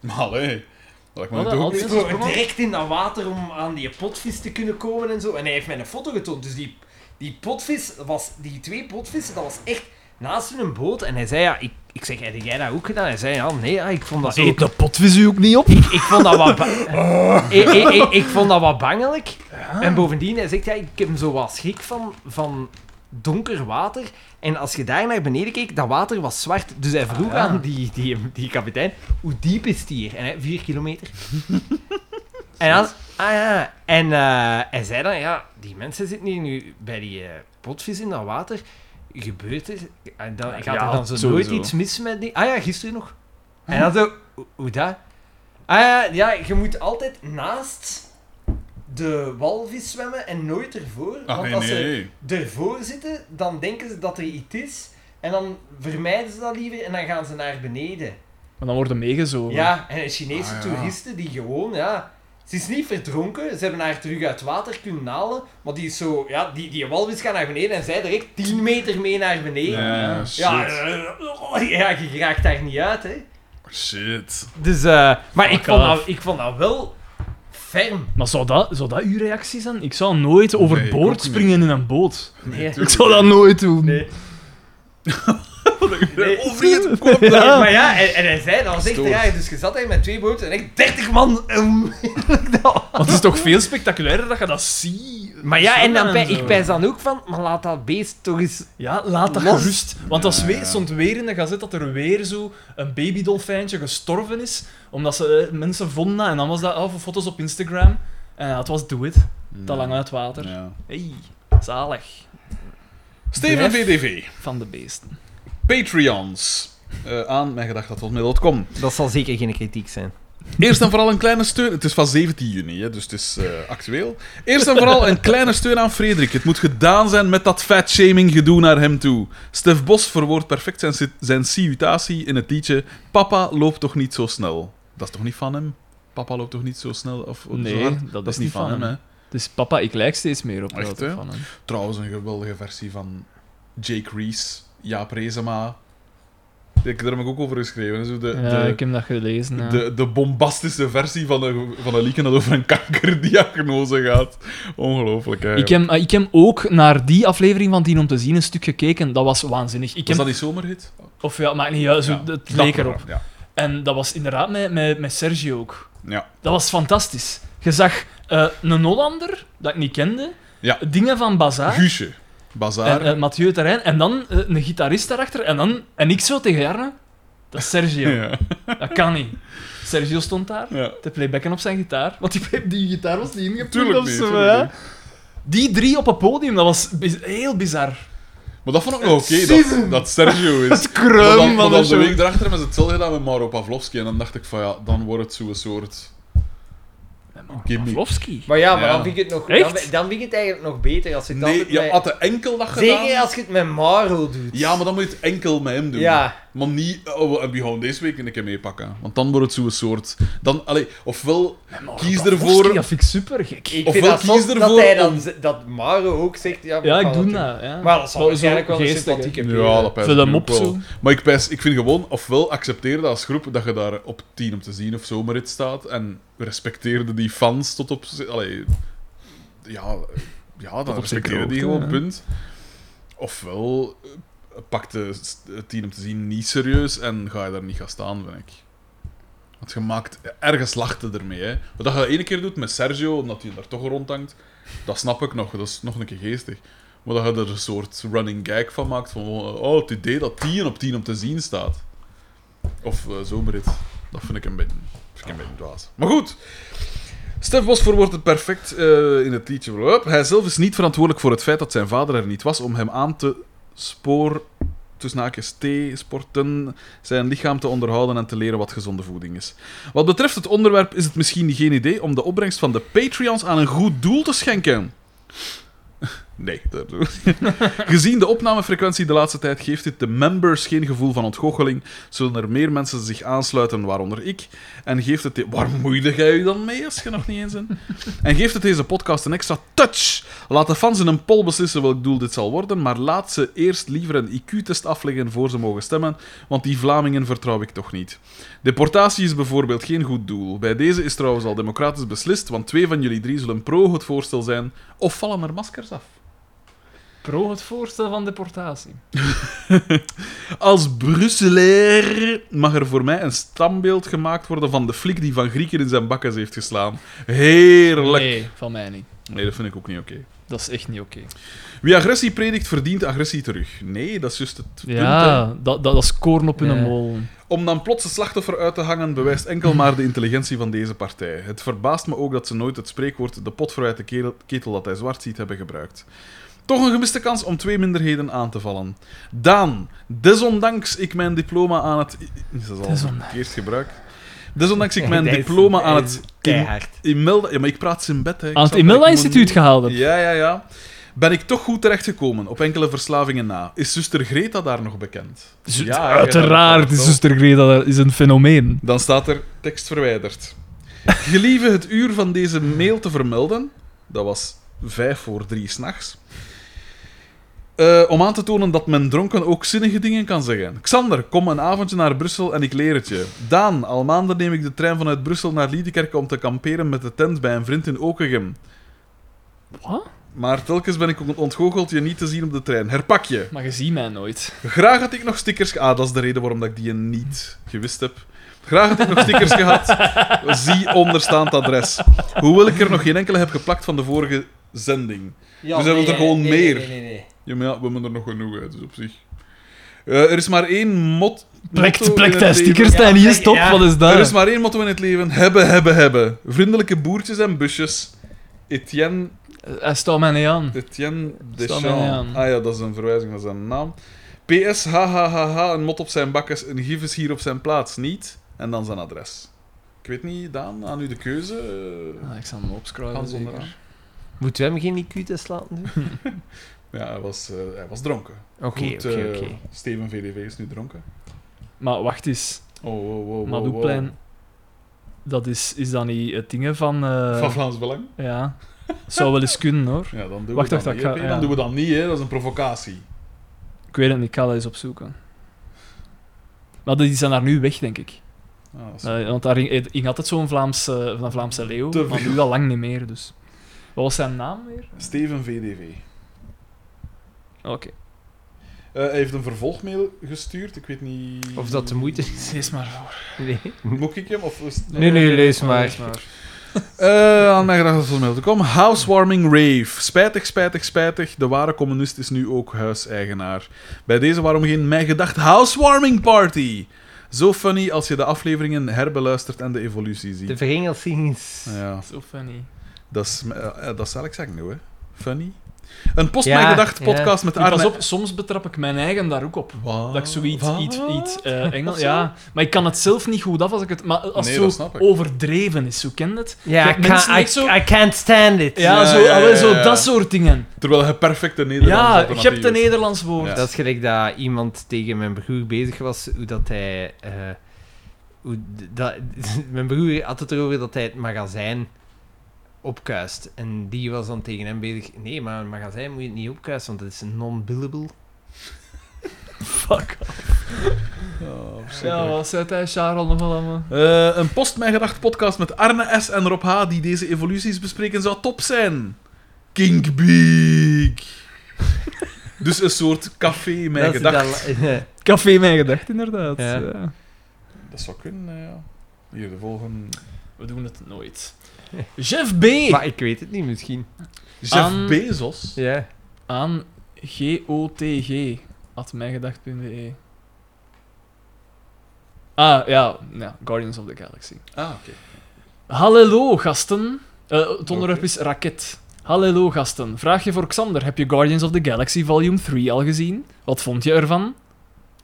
Maar allee, dat lijkt me Wat, toch al ook die Ze niet. sprongen mensen sprongen? direct in dat water om aan die potvis te kunnen komen en zo. En hij heeft mij een foto getoond. Dus die, die potvis, was, die twee potvissen, dat was echt naast hun boot. En hij zei, ja, ik, ik zeg, heb jij dat ook gedaan? Hij zei, ja, nee, ja, ik vond dat zo... Eet de potvis u ook niet op? Ik, ik vond dat wat... ba- ik, ik, ik, ik vond dat wat bangelijk. En bovendien, hij zegt, ja, ik heb zo wat schrik van, van donker water. En als je daar naar beneden keek, dat water was zwart. Dus hij vroeg Ah, ja. aan die, die, die kapitein, hoe diep is het hier? En hij, vier kilometer. en dan, ah ja. En eh, hij zei dan, ja, die mensen zitten hier nu bij die eh, potvis in dat water. Gebeurt er? En dan, gaat Ja, er dan zo sowieso. nooit iets mis met die... Ah ja, gisteren nog. En dan zo, hoe- hoe dat? Ah ja, ja, je moet altijd naast de walvis zwemmen en nooit ervoor. Ah, want nee, als nee, nee. ze ervoor zitten, dan denken ze dat er iets is. En dan vermijden ze dat liever en dan gaan ze naar beneden. Maar dan worden meegezogen. Ja, en de Chinese Ah, ja. toeristen die gewoon, ja... Ze is niet verdronken, ze hebben haar terug uit water kunnen halen. Maar die is zo... Ja, die, die walvis gaat naar beneden en zij direct 10 meter mee naar beneden. Ja, Ja, shit. ja, ja je raakt daar niet uit, hè. Oh, Shit. Dus, eh, maar ik Fuck vond, off. dat, ik vond dat wel ferm. Maar zou dat, zou dat uw reactie zijn? Ik zou nooit Nee, ik ook overboord niet. springen in een boot. Nee. Ik zou dat nooit doen. Nee. Nee. Overheid, kom Nee, Ja. Maar ja, en, en hij zei, dat was echt Stoer. raar. Dus je zat daar met twee boten en echt 30 man. ehm, dat- Want het is toch veel spectaculairder dat je dat ziet. maar ja, en dan Zwemmen bij, ik zo. pijs dan ook van, maar laat dat beest toch eens... Ja, laat dat Los. gerust. Want als Ja, we, ja. stond weer in de gazet dat er weer zo een babydolfijntje gestorven is, omdat ze eh, mensen vonden dat. En dan was dat al voor foto's op Instagram. En ja, het was do it. Te lang uit water. Hmm. Ja. Hey, zalig. Steven Blijf. VDV. Van de beesten. Patreons. Eh aan mijngedacht.com. Dat zal zeker geen kritiek zijn. Eerst en vooral een kleine steun. Het is van 17 juni, hè, dus het is eh, actueel. Eerst en vooral een kleine steun aan Frederik. Het moet gedaan zijn met dat fatshaming gedoe naar hem toe. Stef Bos verwoordt perfect zijn, si- zijn situatie in het liedje Papa loopt toch niet zo snel. Dat is toch niet van hem? Papa loopt toch niet zo snel? Of, of zo Nee, hard? dat, is niet van hem. hè. Dus papa, ik lijk steeds meer op Echt, Wouter hè? van hem. Trouwens, een geweldige versie van Jake Reese, Jaap Rezema. Ik, daar heb ik ook over geschreven. Zo de, Ja, de, ik heb dat gelezen. ja. de, de bombastische versie van een, van een liedje dat over een kankerdiagnose gaat. Ongelooflijk, hè. Ik heb, ah, ik heb ook naar die aflevering van Tien om te zien een stuk gekeken. Dat was waanzinnig. Ik Was dat heb, die zomerhit? of ja, maakt niet uit. zo, Ja, het dat leek programma, erop. Ja. En dat was inderdaad met, met, met Sergio ook. Ja. Dat was fantastisch. Je zag eh, een Hollander, dat ik niet kende, Ja. dingen van Bazaar, Guusje, Bazaar. en, eh, Mathieu Terrein, en dan eh, een gitarist daarachter, en dan... En ik zo tegen Jarne, dat is Sergio. ja. Dat kan niet. Sergio stond daar, ja. te playbacken op zijn gitaar, want die, die gitaar was niet ingepikt Tuurlijk of niet, zo, tuurlijk hè. niet. Die drie op een podium, dat was bi- heel bizar. Maar dat vond ik nog oké, dat, dat Sergio is. Maar Krum dan, van maar dan de de show. week daarachter hebben ze hetzelfde gedaan met Mauro Pavlovski. En dan dacht ik van ja, dan wordt het zo'n soort... Gimme. Pavlovski. Maar ja, maar Ja. dan vind ik het nog... Echt? Dan, dan vind ik het eigenlijk nog beter als je het Nee, altijd je met- had de enkel dat gedaan. Zeker als je het met Marvel doet. Ja, maar dan moet je het enkel met hem doen. Ja. Maar niet, oh, we- we gaan deze week een keer meepakken. Want dan wordt het zo'n soort... Dan, allee, ofwel kies ervoor... Dat vind ik super gek. Ik Ofwel vind dat kies zot dat ervoor hij dan om- z- dat Mario ook zegt... Ja, Ja, we ik gaan doe doen. dat. Ja. Maar dat zal Zo- waarschijnlijk zo wel een geestig, hè. sympathieke Ja, dat pijs Vul ik hem ook op, wel. zo. Maar ik, pijs, ik vind gewoon, ofwel accepteer dat als groep dat je daar op 10 om te zien of zomerrit staat. En respecteerde die fans tot op. ze- Allee, ja, eh, ja dan op respecteerde die zekere hoogte, gewoon, ja. punt. Ofwel eh, pakte s- het 10 om te zien niet serieus en ga je daar niet gaan staan, vind ik. Want je maakt ergens lachten ermee. Hè. Wat dat je dat ene keer doet met Sergio, omdat hij daar toch rondhangt, dat snap ik nog. Dat is nog een keer geestig. Maar dat je er een soort running gag van maakt. Van, oh, het idee dat 10 op 10 om te zien staat. Of eh zomerit. Dat vind ik een beetje, vind ik een beetje dwaas. Maar goed. Stef Bosvoor wordt het perfect eh, in het liedje. Hup. Hij zelf is niet verantwoordelijk voor het feit dat zijn vader er niet was om hem aan te spoor tussen haakjes T, sporten, zijn lichaam te onderhouden en te leren wat gezonde voeding is. Wat betreft het onderwerp is het misschien geen idee om de opbrengst van de Patreons aan een goed doel te schenken. Nee, dat doen we niet. Gezien de opnamefrequentie de laatste tijd geeft dit de members geen gevoel van ontgoocheling. Zullen er meer mensen zich aansluiten, waaronder ik. En geeft het... de- Waar moeide jij u dan mee, als je nog niet eens in? En geeft het deze podcast een extra touch. Laat de fans in een poll beslissen welk doel dit zal worden, maar laat ze eerst liever een IQ-test afleggen voor ze mogen stemmen, want die Vlamingen vertrouw ik toch niet. Deportatie is bijvoorbeeld geen goed doel. Bij deze is trouwens al democratisch beslist, want twee van jullie drie zullen pro het voorstel zijn, of vallen er maskers af. Pro het voorstel van deportatie. Als Brusselair mag er voor mij een standbeeld gemaakt worden van de flik die van Grieken in zijn bakkes heeft geslaan. Heerlijk. Nee, van mij niet. Nee, dat vind ik ook niet oké. Dat is echt niet oké. Wie agressie predikt, verdient agressie terug. Nee, dat is juist het punt. hè. Ja, dat, dat is koorn op hun Ja. mol. Om dan plots een slachtoffer uit te hangen, bewijst enkel maar de intelligentie van deze partij. Het verbaast me ook dat ze nooit het spreekwoord de pot vooruit de ketel- ketel dat hij zwart ziet hebben gebruikt. Toch een gemiste kans om twee minderheden aan te vallen. Daan, desondanks ik mijn diploma aan het... Dat is al Desondanks. verkeerd gebruikt. Desondanks ik mijn Dat is- diploma aan dat is het... keihard. Imelda... Ja, maar ik praat in bed, hè. Ik Aan snap het dat ik moet- Imelda-instituut gehaald heb. ja, ja, ja. Ben ik toch goed terechtgekomen, op enkele verslavingen na. Is zuster Greta daar nog bekend? Zu- Ja, ja, Uiteraard, dat die wel. zuster Greta is een fenomeen. Dan staat er tekst verwijderd. Gelieve het uur van deze mail te vermelden. Dat was vijf voor drie s'nachts. Eh om aan te tonen dat men dronken ook zinnige dingen kan zeggen. Xander, kom een avondje naar Brussel en ik leer het je. Daan, al maanden neem ik de trein vanuit Brussel naar Liedekerk om te kamperen met de tent bij een vriend in Okegem. Wat? Maar telkens ben ik ontgoocheld je niet te zien op de trein. Herpak je. Maar je ziet mij nooit. Graag had ik nog stickers... ge- Ah, dat is de reden waarom dat ik die niet gewist heb. Graag had ik nog stickers gehad. Zie onderstaand adres. Hoewel ik er nog geen enkele heb geplakt van de vorige zending. Ja, Dus hij wil er nee, gewoon nee, meer. Nee, nee, nee. Ja, maar ja, we hebben er nog genoeg uit, dus op zich. Eh, er is maar één mot... Plekt, motto in plekt, het hij leven. stickers, Ah. Ja, hij niet plek- is top, ja. wat is Er is dat? maar één motto in het leven. Hebben, hebben, hebben. Vriendelijke boertjes en busjes. Etienne Hij staat mij niet aan. Etienne Staat mij niet Deschamps. aan. Ah ja, dat is een verwijzing naar zijn naam. PS, hahaha, een mot op zijn bak is een gif is hier op zijn plaats, niet. En dan zijn adres. Ik weet niet, Daan, aan u de keuze. eh, Ah, ik zal hem opscrollen. Hans zeker. onderaan. Moeten we hem geen IQ-test laten doen? Ja, hij was, eh, hij was dronken. Oké, Goed, oké, eh, oké. Steven VDV is nu dronken. Maar wacht eens. Oh, wow, wow, wow, wow. Madhoeplein. dat is, is dan niet het dingen van... eh, Van Vlaams Belang? ja, zou wel eens kunnen hoor. Ja, dan doen Wacht, we wacht, dat ik niet. ga- hè. ja. Dan doen we dat niet, hè. Dat is een provocatie. Ik weet het niet, ik ga dat eens opzoeken. Maar die zijn daar nu weg, denk ik. Ah, dat is- Eh, want daar hing, hing altijd zo'n Vlaams, eh, van een Vlaamse leeuw, Te maar veel. nu al lang niet meer. Dus. Wat was zijn naam weer? Steven VDV. Oké. Eh, hij heeft een vervolgmail gestuurd. Ik weet niet... Of dat de moeite is. Lees maar voor. Nee. Moet ik hem? Of... is- Nee, nee, lees Oh, maar. Eh, aan mij graag als mail te komen. Housewarming rave. Spijtig, spijtig, spijtig. De ware communist is nu ook huiseigenaar. Bij deze waarom geen mij gedacht housewarming party. Zo funny als je de afleveringen herbeluistert en de evolutie De ziet. verengelsings. Ja, Zo funny. dat is, eh, eh, dat is eigenlijk zeggen nu, hè. Funny. Een post Ja, mij gedacht ja. podcast met Nu, pas Arne... op, soms betrap ik mijn eigen daar ook op. Wat? Dat ik zoiets Wat? iets, iets eh Engels... Of zo? Ja, maar ik kan het zelf niet goed af als ik het... Maar als Nee, het dat zo snap ik. overdreven is, zo ken het. Ja, Ja, I can't, mensen I, echt zo- I can't stand it. Ja, Ja, zo, ja, allee, ja, zo ja. dat soort dingen. Terwijl je perfecte Nederlands Ja, je alternatief hebt een is. Nederlands woord. Ja. Dat is gelijk dat iemand tegen mijn broer bezig was, hoe dat hij... eh, hoe d- dat, mijn broer had het erover dat hij het magazijn opkuist. En die was dan tegen hem bezig, nee, maar een magazijn moet je het niet opkuisen, want dat is non-billable. Fuck. Oh, Ja, verschrikkelijk. wat zei hij, Charles, nog wel allemaal? Eh, een post mijn gedacht podcast met Arne S. en Rob H. die deze evoluties bespreken zou top zijn. King Big. dus een soort café mijn Dat is gedacht. Dat... dan- eh, Café Mijn Gedacht, inderdaad. Ja. ja. zou kunnen, eh, ja. Hier, de volgende. We doen het nooit. Jeff B. maar ik weet het niet, misschien. Jeff Aan- Bezos. Ja. aan gotg. At mijgedacht.be. E. Ah, ja, ja, Guardians of the Galaxy. Ah, oké. Hallo, gasten. Eh, het onderwerp Oké. is raket. Hallo, gasten. Vraag je voor Xander. Heb je Guardians of the Galaxy Volume 3 al gezien? Wat vond je ervan?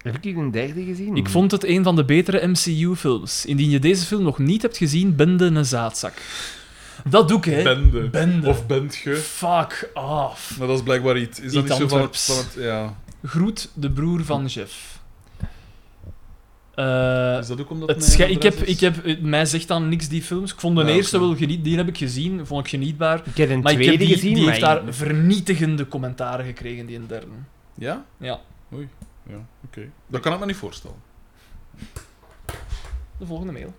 Heb ik hier een derde gezien? Hmm. Ik vond het een van de betere MCU-films. Indien je deze film nog niet hebt gezien, ben je een zaadzak. Dat doe ik, hè. Bende. Bende. Of bent ge. Fuck off. Maar dat is blijkbaar iets. Is dat Iets niet zo van het, Antwerps. van het- Ja. Groet de broer van Jeff. Eh, Is dat ook omdat het mijn scha- ik heb, adres is? ik heb, het- mij zegt dan niks die films. Ik vond de Ja, eerste oké. wel geniet, die heb ik gezien, vond ik genietbaar. Ik heb een Maar ik tweede heb die, gezien, die maar heeft ik- daar vernietigende commentaren gekregen, die een derde. Ja? Ja, Ja, oké. Dat kan ik me niet voorstellen. de volgende mail.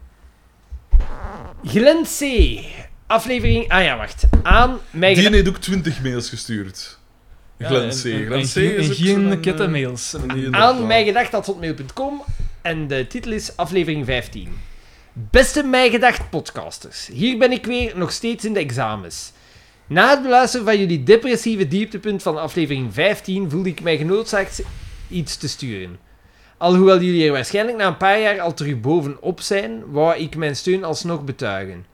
Glenn C. Aflevering... Ah ja, wacht. Aan mijn Die gedacht- heeft ook 20 mails gestuurd. Glenn Ja, C. en- en- Glenn en C. geen- is en ook zo'n, geen eh, kettenmails. die- aan mijgedacht.hotmail.com en de titel is aflevering 15. Beste Mijgedacht podcasters, hier ben ik weer nog steeds in de examens. Na het beluisteren van jullie depressieve dieptepunt van aflevering 15 voelde ik mij genoodzaakt iets te sturen. Alhoewel jullie er waarschijnlijk na een paar jaar al terug bovenop zijn, wou ik mijn steun alsnog betuigen.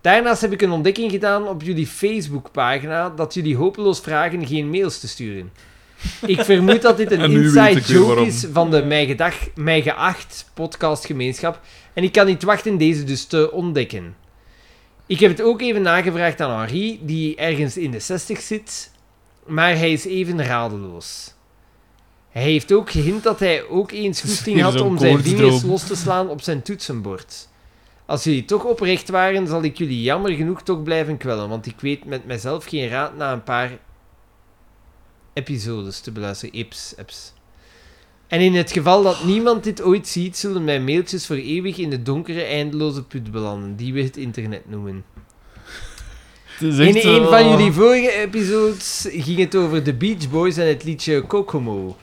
Daarnaast heb ik een ontdekking gedaan op jullie Facebookpagina dat jullie hopeloos vragen geen mails te sturen. Ik vermoed dat dit een En nu weet inside ik weer joke waarom. is van de Mij, Gedag, Mij Geacht podcastgemeenschap en ik kan niet wachten deze dus te ontdekken. Ik heb het ook even nagevraagd aan Henri, die ergens in de 60 zit, maar hij is even radeloos. Hij heeft ook gehint dat hij ook eens goesting hier had zo'n om zijn koortsdroom. vingers los te slaan op zijn toetsenbord. Als jullie toch oprecht waren, zal ik jullie jammer genoeg toch blijven kwellen, want ik weet met mezelf geen raad na een paar episodes te beluisteren. Eps, eps. En in het geval dat niemand dit ooit ziet, zullen mijn mailtjes voor eeuwig in de donkere, eindeloze put belanden, die we het internet noemen. In een van jullie vorige episodes ging het over de Beach Boys en het liedje Kokomo.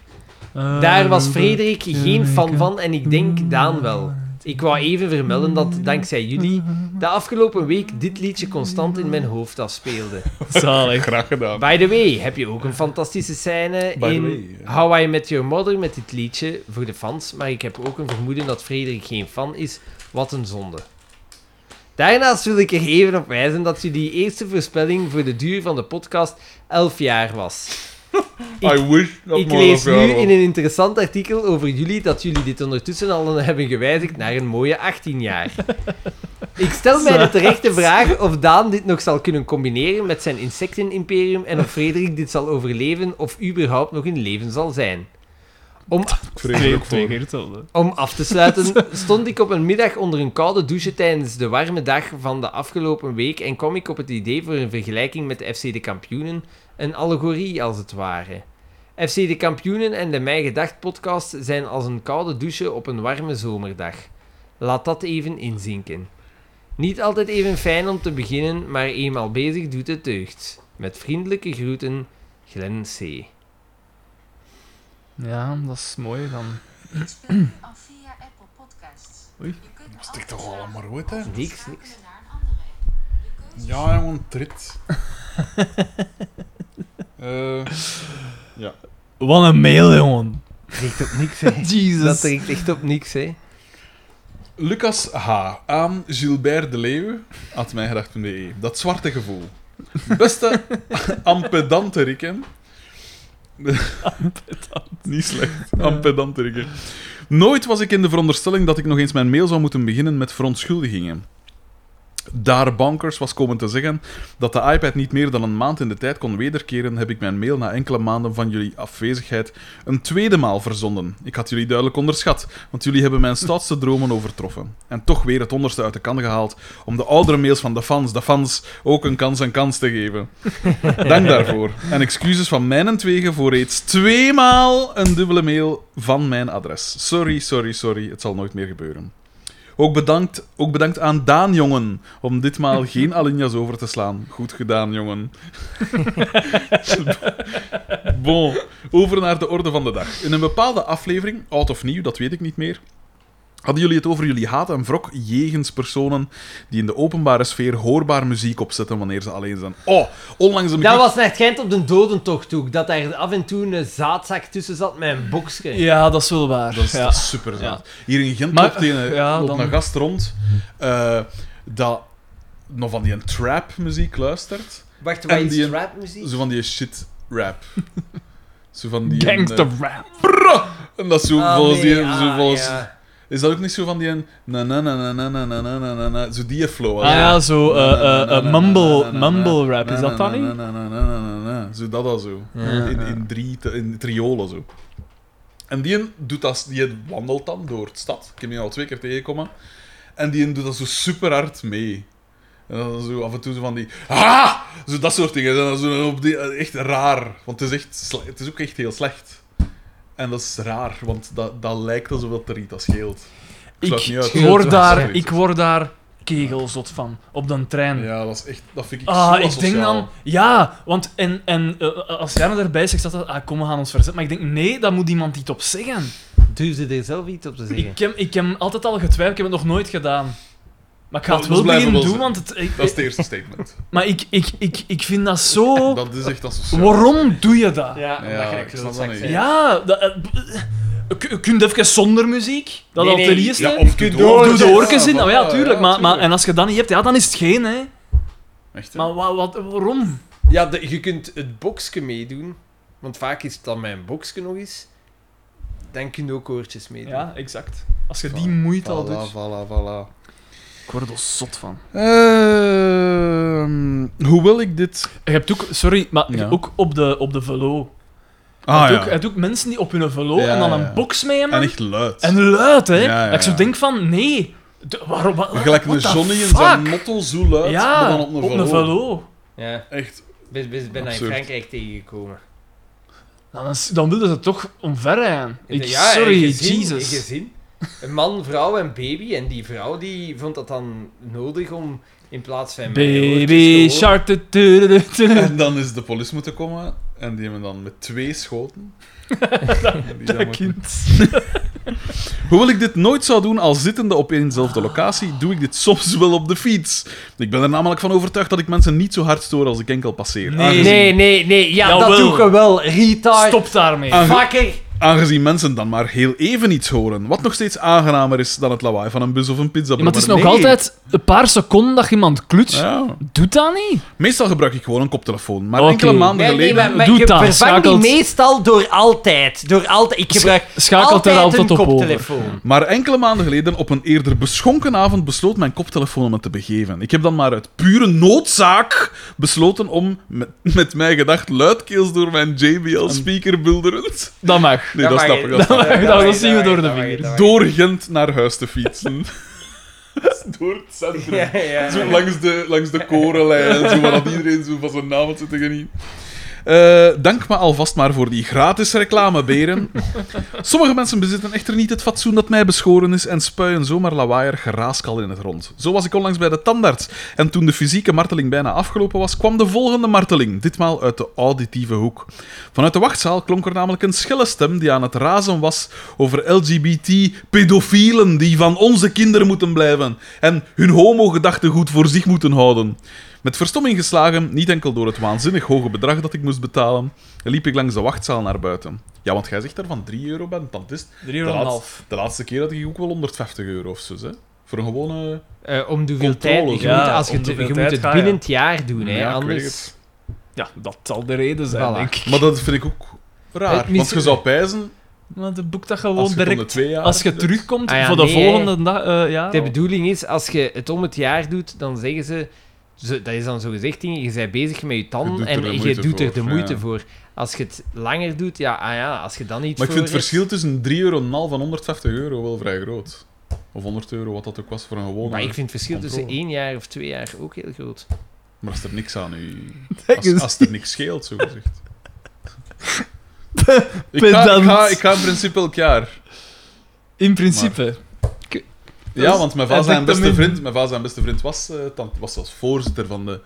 Eh, Daar was Frederik geen fan van en ik denk Daan wel. Ik wou even vermelden dat, dankzij jullie, de afgelopen week dit liedje constant in mijn hoofd afspeelde. Zalig. Graag gedaan. By the way, heb je ook een fantastische scène By the in way, eh. ja. How I Met Your Mother met dit liedje voor de fans, maar ik heb ook een vermoeden dat Frederik geen fan is. Wat een zonde. Daarnaast wil ik er even op wijzen dat jullie eerste voorspelling voor de duur van de podcast 11 jaar was. Ik- I wish dat Ik maar lees dat jaar nu was. in een interessant artikel over jullie dat jullie dit ondertussen al hebben gewijzigd naar een mooie 18 jaar. Ik stel mij de terechte vraag of Daan dit nog zal kunnen combineren met zijn insectenimperium en of Frederik dit zal overleven of überhaupt nog in leven zal zijn. Om, Ik vrees er ook twee voor. keer hetzelfde. om af te sluiten, stond ik op een middag onder een koude douche tijdens de warme dag van de afgelopen week en kwam ik op het idee voor een vergelijking met de FC de Kampioenen, een allegorie als het ware. FC de Kampioenen en de Mij Gedacht podcast zijn als een koude douche op een warme zomerdag. Laat dat even inzinken. Niet altijd even fijn om te beginnen, maar eenmaal bezig doet het deugd. Met vriendelijke groeten, Glenn C. Ja, dat is mooi dan. Instellen al via Apple Podcasts. Oei. Je kunt me Stik altijd toch vragen allemaal uit, hè? of we Niks, schakelen niks. naar een andere app. Je keuzes Ja, jongen, trit. Eh, Wat een mail, jongen. Richt op niks, hè? Jesus. Dat richt echt op niks, hè? Lucas H. aan Gilbert de Leeuwe, at mijngedacht.be. E. Dat zwarte gevoel. Beste ampedante Rikken. Niet slecht. Ampedante Rikken. Nooit was ik in de veronderstelling dat ik nog eens mijn mail zou moeten beginnen met verontschuldigingen. Daar Bankers was komen te zeggen dat de iPad niet meer dan een maand in de tijd kon wederkeren, heb ik mijn mail na enkele maanden van jullie afwezigheid een tweede maal verzonden. Ik had jullie duidelijk onderschat, want jullie hebben mijn stoutste dromen overtroffen. En toch weer het onderste uit de kan gehaald om de oudere mails van de fans, de fans, ook een kans en kans te geven. Dank daarvoor. En excuses van mijnentwege voor reeds tweemaal een dubbele mail van mijn adres. Sorry, sorry, sorry, het zal nooit meer gebeuren. Ook bedankt, ook bedankt aan Daan, jongen, om ditmaal geen Alinjas over te slaan. Goed gedaan, jongen. bon, over naar de orde van de dag. In een bepaalde aflevering, oud of nieuw, dat weet ik niet meer, hadden jullie het over jullie haat en wrok jegens personen die in de openbare sfeer hoorbaar muziek opzetten wanneer ze alleen zijn. Oh, onlangs een Dat was naar Gent op de dodentocht ook, dat daar af en toe een zaadzak tussen zat met een boksje. Ja, dat is wel waar. Dat is, ja. dat is super Ja. zaad. Hier in Gent Maar, loopt, die een, ja, loopt dan- een gast rond eh, dat nog van die trap-muziek luistert. Wacht, wat En is die- rapmuziek? Zo van die shit-rap. zo van die... Gangster eh, rap. En dat is zo Ah, volgens nee, die... ah, zo volgens- ja. Is dat ook niet zo van die... een Na na na na na na na na na na na Zo die flow. Ah hè? ja, zo eh, Na, na, eh, na, eh, na, na, mumble, na, na, mumble na, rap, is na, dat na, dan niet? na, na, na, na, na, na, na. Zo dat al zo. In, in, drie, in triolen zo. En die een doet dat, die een wandelt dan door de stad. Ik heb die al twee keer tegengekomen. En die een doet dat zo super hard mee. En dan zo af en toe zo van die. Ah! Zo dat soort dingen. En dan zo op die, eh, echt raar. Want het is, echt, sle- het is ook echt heel slecht. En dat is raar, want dat, dat lijkt alsof dat er iets aan scheelt. sluit niet uit. Ik word, Ja, daar, sorry. ik word daar kegelzot van, op de trein. Ja, dat is echt. Dat vind ik zo Ah, ik asociaal. denk dan... Ja, want en, en, eh, als Jana erbij zegt, dat dat... Ah, kom, we gaan ons verzetten. Maar ik denk, nee, daar moet iemand iets op zeggen. Duw ze er zelf iets op te zeggen. Ik heb, ik heb altijd al getwijfeld, ik heb het nog nooit gedaan. Maar ik ga Dat- het dat wel blijven beginnen wel doen, zo. want het, ik, Dat is het eerste statement. maar ik, ik, ik, ik vind dat zo... Dat is echt asociaal. Waarom doe je dat? Ja, Ja, omdat je een ik snap dat klootzak niet. bent. Ja, dat, eh, b- eh, kun- kun je even zonder muziek? Dat Nee, al ten nee. eerste? Ja, of kunt Of door- doe de oortjes Oh Ja, in? Nou ja, Ah, voilà, tuurlijk. ja, Maar, maar, tuurlijk. en als je dat niet hebt, ja, dan is het geen, hè. Echt, hè? Maar wa- wat, waarom? Ja, de- je kunt het boksje meedoen, want vaak is het dan mijn boksje nog eens. Dan kun je ook oortjes meedoen. Ja, exact. Als je Voilà, die moeite al Voilà, doet. voilà, voilà. Ik word er zot van. Ehm, hoewel ik dit... Je hebt ook, sorry, maar Ja. ook op de, op de velo. Ah, ja. je, hebt ook, je hebt ook mensen die op hun velo Ja, en dan ja, een ja. box mee hebben. En En, echt luid. luid, hè. Ja, ja, Dat ik zo ja. denk van, nee. De- waarom? Wat, Gelijk een what the Johnny in fuck? zijn motto zo luid, maar Ja, dan op een velo. velo. Ja, Echt. ben, ben, ben daar in Absurd. Frankrijk tegengekomen. Dan, is- dan wilden ze toch omver rijden. Ik, ja, sorry, een gezin, Jesus. Een gezin. Een man, vrouw en baby. En die vrouw die vond dat dan nodig om in plaats van mij oortjes te Baby horen. shark. tu- tu- tu- tu- tu- En dan is de politie moeten komen en die hebben dan met twee schoten... Die dan Dat met- kind. Hoewel ik dit nooit zou doen als zittende op éénzelfde locatie, doe ik dit soms wel op de fiets. Ik ben er namelijk van overtuigd dat ik mensen niet zo hard stoor als ik enkel passeer. Nee. Aangezien- Nee, nee, nee. Ja, dat Ah, Jawel. doe je wel. Retard. Stop daarmee. Ah. Fucker. Aangezien mensen dan maar heel even iets horen, wat nog steeds aangenamer is dan het lawaai van een bus of een pizza. Ja, maar het is nog altijd een paar seconden dat je iemand klutst. Ja. Doet dat niet? Meestal gebruik ik gewoon een koptelefoon, maar Oké. enkele maanden Nee, nee, geleden... maar, maar Doe je dat, vervangt schakelt- die meestal door altijd. Door altijd. Ik gebruik Schakelt er altijd altijd een op over. koptelefoon. Maar enkele maanden geleden, op een eerder beschonken avond, besloot mijn koptelefoon me te begeven. Ik heb dan maar uit pure noodzaak besloten om met, met mijn gedacht luidkeels door mijn JBL-speaker bulderend Dat mag. mag. Nee, dat snap ik, dat snap ik. Dat zien we door de vingers. Door Gent naar huis te fietsen. Door het centrum. Ja, ja. Zo langs de, langs de korenlijn en zo, waar dat iedereen zo van zijn naam zit te genieten. Eh, dank me alvast maar voor die gratis reclame, beren. Sommige mensen bezitten echter niet het fatsoen dat mij beschoren is en spuien zomaar lawaaier geraaskal in het rond. Zo was ik onlangs bij de tandarts en toen de fysieke marteling bijna afgelopen was, kwam de volgende marteling, ditmaal uit de auditieve hoek. Vanuit de wachtzaal klonk er namelijk een schelle stem die aan het razen was over LGBT-pedofielen die van onze kinderen moeten blijven en hun homo-gedachtegoed voor zich moeten houden. Met verstomming geslagen, niet enkel door het waanzinnig hoge bedrag dat ik moest betalen, liep ik langs de wachtzaal naar buiten. Ja, want jij zegt daar van 3 euro bij een tandist. 3,5 De, euro. laatste, de laatste keer had ik ook wel 150 euro of zo, hè? Voor een gewone. Eh, om de hoeveel Controle, tijd. Je ja, moet, als je om het, de je hoeveel moet tijd het ga je. binnen het jaar doen, hè, Ja, ik weet anders... het. Ja, dat zal de reden zijn, Voilà. denk ik. Maar dat vind ik ook Eh, raar. Want misschien- je zou pijzen Maar de boek dat gewoon als je het om de direct... twee jaar. Als je doet. terugkomt Ah ja, voor de nee, volgende dag... eh, ja, De bedoeling is, als je het om het jaar doet, dan zeggen ze... ze- dat is dan zo gezegd, ding, je bent bezig met je Je tanden doet er de en je moeite doet er voor, de ja. moeite voor. Als je het langer doet, ja, ah ja als je dan niet Maar ik voor vind het hebt- verschil tussen 3,5 euro en 150 euro wel vrij groot. Of 100 euro, wat dat ook was voor een gewone. Maar Maar, ik vind het verschil tussen Controle. één jaar of twee jaar ook heel groot. als er niks aan u. Dat Als, is- als er niks scheelt, zo gezegd. ik, ga, ik, ga, ik ga in principe elk jaar. In principe. Ja, want mijn en vader zijn ik dan beste in- vriend, mijn vader zijn beste vriend was, eh, tand- was als voorzitter van de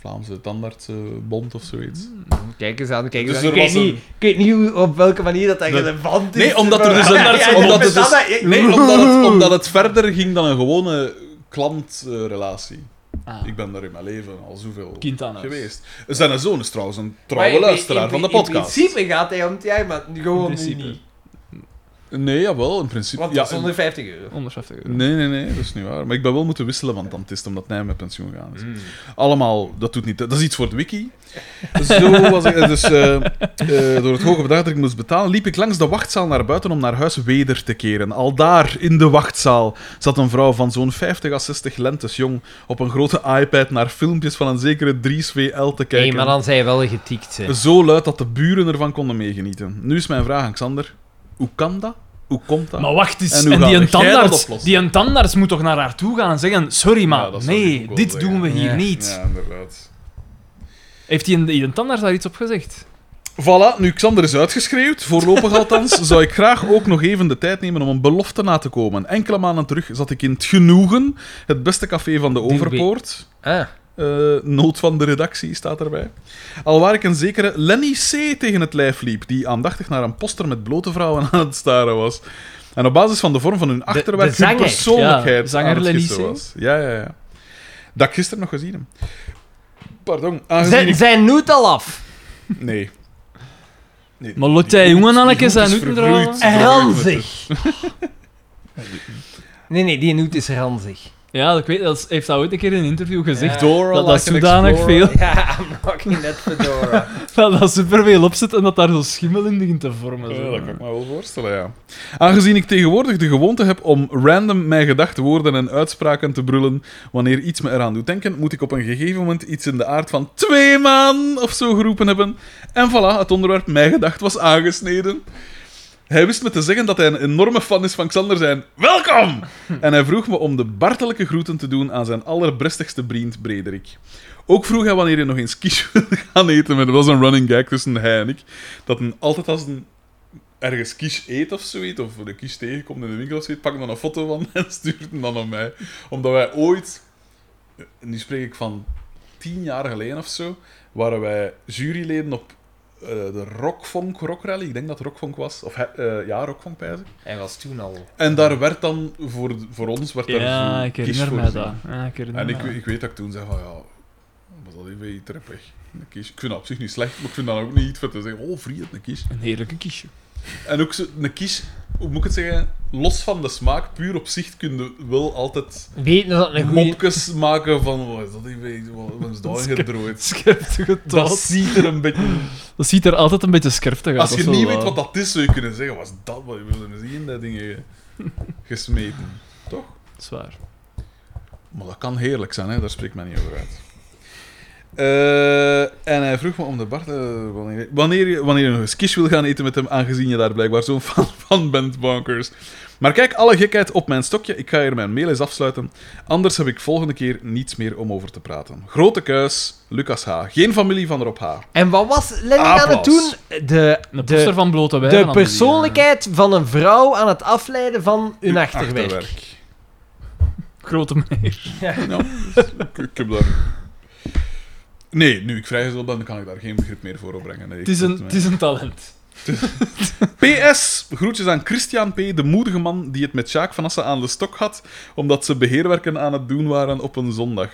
Vlaamse Tandartsbond of zoiets. Hm. Kijk eens aan, kijk eens Dus aan. er Ik weet, was niet, een- ik weet niet hoe- op welke manier dat, dat Dat- relevant is. Nee, omdat er dus Ja, ja, een. Omdat met het dat- dus, nee, omdat het, omdat het verder ging dan een gewone klantrelatie. Ah. Ik ben daar in mijn leven al zoveel Kind aan huis. geweest. Zijn zoon is trouwens een Maar trouwe in- luisteraar in- van de In podcast. principe gaat hij om het jaar, maar gewoon In nu principe. niet. Nee, jawel, in principe. Want Ja, dat is onder 50 euro. 150 euro. nee, nee, nee, dat is niet waar. Maar ik ben wel moeten wisselen van tantist, omdat hij met pensioen gegaan is. Allemaal, dat doet niet. Dat is iets voor de wiki. Zo was ik. Dus eh, eh, door het hoge bedrag dat ik moest betalen, liep ik langs de wachtzaal naar buiten om naar huis weder te keren. Al daar, in de wachtzaal, zat een vrouw van zo'n 50 à 60 lentes jong op een grote iPad naar filmpjes van een zekere Dries VL te kijken. Nee, maar dan zijn je wel getikt. hè. Zo luid dat de buren ervan konden meegenieten. Nu is mijn vraag aan Xander. Hoe kan dat? Hoe komt dat? Maar wacht eens, En hoe en, gaat die, een jij dat tandarts, oplossen? die een tandarts moet toch naar haar toe gaan en zeggen: Sorry, maar dat zou ik ook nee, wel dit zeggen. doen we hier Ja. niet. Ja, inderdaad. Heeft die een, die een tandarts daar iets op gezegd? Voilà, nu Xander is uitgeschreeuwd, voorlopig althans, zou ik graag ook nog even de tijd nemen om een belofte na te komen. Enkele maanden terug zat ik in het Genoegen, het beste café van de Duurbe- Overpoort. Ah, Eh, nood van de redactie staat erbij. Alwaar ik een zekere Lenny C. tegen het lijf liep, die aandachtig naar een poster met blote vrouwen aan het staren was. En op basis van de vorm van hun achterwerk, de zanger. hun persoonlijkheid Ja, zanger aan het Lenny gissen C. was. Ja, ja, ja. Dat ik gisteren nog gezien heb. Pardon, aangezien Zijn, ik... zijn noot al af. Nee. nee Maar Lotte, jongen, Anneke, zijn nu nu er Ranzig. Nee, nee, die noot is ranzig. Ja, ik weet, dat is- heeft dat ooit een keer in een interview gezegd. Dora, dat dat like an zodanig explorer. veel, Ja, I'm knocking that fedora. dat dat superveel opzet en dat daar zo schimmel in begint te vormen. Ja, zo. dat kan ik me wel voorstellen, ja. Aangezien ik tegenwoordig de gewoonte heb om random mijn gedachtenwoorden en uitspraken te brullen wanneer iets me eraan doet denken, moet ik op een gegeven moment iets in de aard van twee maanden of zo geroepen hebben. En voilà, het onderwerp mijn gedacht was aangesneden. Hij wist me te zeggen dat hij een enorme fan is van Xander zijn. Welkom! En hij vroeg me om de bartelijke groeten te doen aan zijn allerbrestigste vriend Brederik. Ook vroeg hij wanneer hij nog eens kies wilde gaan eten. Maar dat was een running gag tussen hij en ik. Dat een, altijd als een ergens kies eet of zoiets, of de kies tegenkomt in de winkel of zoiets, pak dan een foto van en stuurt hem dan aan mij. Omdat wij ooit, nu spreek ik van tien jaar geleden of zo, waren wij juryleden op eh, de Rockfunk Rock Rally. Ik denk dat het Rockfunk was. Of he- eh, ja, Rockfunk pijs ik. Hij was toen al. En daar werd dan, voor, voor ons, werd daar Ja, zo'n ik kies herinner voor mij zo. dat. Ja, ik herinner En mij ik, dat. ik weet dat ik toen zei van ja, was dat even iets weg. Een kies. Ik vind dat op zich niet slecht, maar ik vind dat ook niet iets voor te zeggen. Oh, vriend, een kies. Een heerlijke kiesje. En ook zo, een kies, hoe moet ik het zeggen, los van de smaak, puur op zicht kun je wel altijd Weet dat een goede. mopjes maken van wat is dat even, wat wat is dat gedrooid. Scherpte Dat dat, ziet er een beetje... dat ziet er altijd een beetje scherptig uit. Als je dat is niet wel weet eh, waar. wat dat is, zou je kunnen zeggen, was dat wat je wilde zien, dat dingen gesmeten. Toch? Dat is waar. Maar dat kan heerlijk zijn, hè? daar spreekt men niet over uit. Eh, en hij vroeg me om de Bart, eh, wanneer, wanneer, je- wanneer je nog eens kies wil gaan eten met hem, aangezien je daar blijkbaar zo'n fan van bent, bonkers. Maar kijk, alle gekheid op mijn stokje, ik ga hier mijn mail eens afsluiten. Anders heb ik volgende keer niets meer om over te praten. Grote kuis, Lucas H. Geen familie van Rob H. En wat was Lenny Applaus. aan het doen? De, Een poster de, van blote wijven. de aan eh, persoonlijkheid van een vrouw aan het afleiden van hun Uw achterwerk. die, eh, Grote meneer. Nou, dus ik, ik heb daar... Nee, nu ik vrijgezel ben, kan ik daar geen begrip meer voor opbrengen. Nee, Het is, ik- een, het is een talent. PS, groetjes aan Christian P., de moedige man die het met Sjaak van Assen aan de stok had, omdat ze beheerwerken aan het doen waren op een zondag.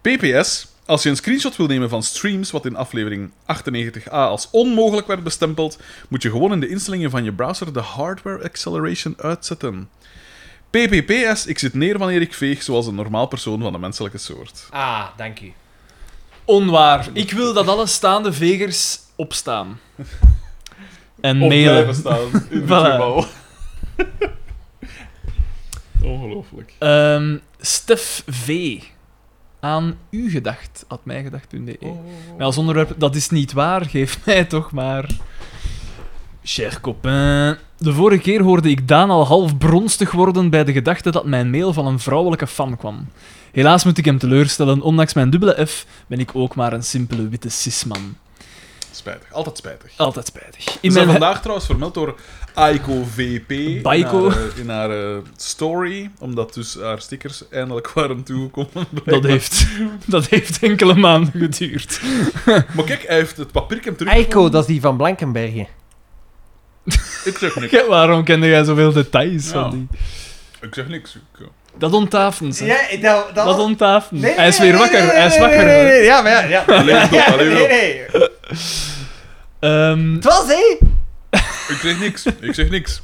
PPS, als je een screenshot wil nemen van streams, wat in aflevering 98a als onmogelijk werd bestempeld, moet je gewoon in de instellingen van je browser de hardware acceleration uitzetten. PPPS, ik zit neer wanneer ik veeg, zoals een normaal persoon van de menselijke soort. Ah, dank u. Onwaar. Ik wil dat alle staande vegers opstaan. En mailen. staan, in dit Voilà. geval. Ongelooflijk. Ehm Stef V. Aan u gedacht, at mijgedacht.de. Oh. Met als onderwerp, dat is niet waar, geef mij toch maar. Cher copain. De vorige keer hoorde ik Daan al half bronstig worden bij de gedachte dat mijn mail van een vrouwelijke fan kwam. Helaas moet ik hem teleurstellen, ondanks mijn dubbele F ben ik ook maar een simpele witte cisman. Spijtig, altijd spijtig. Altijd spijtig. We In zijn mijn vandaag trouwens vermeld door Aiko VP Baiko. in haar, eh, in haar, eh, story, omdat dus haar stickers eindelijk waren toegekomen. dat, blijkbaar. heeft, dat heeft enkele maanden geduurd. Maar kijk, hij heeft het papiertje terug. Eiko, dat is die van Blankenbergen. Ik zeg niks. Ja, Waarom kende jij zoveel details Ja. van die? Ik zeg niks. Ik, eh, Dat onttafelen ze. dat, Dat onttafelen. hij is weer wakker, hij is wakker. Ja, maar ja. ja. Allee, op, allee, op. Ehm, Het was, hé? ik zeg niks. Ik zeg niks.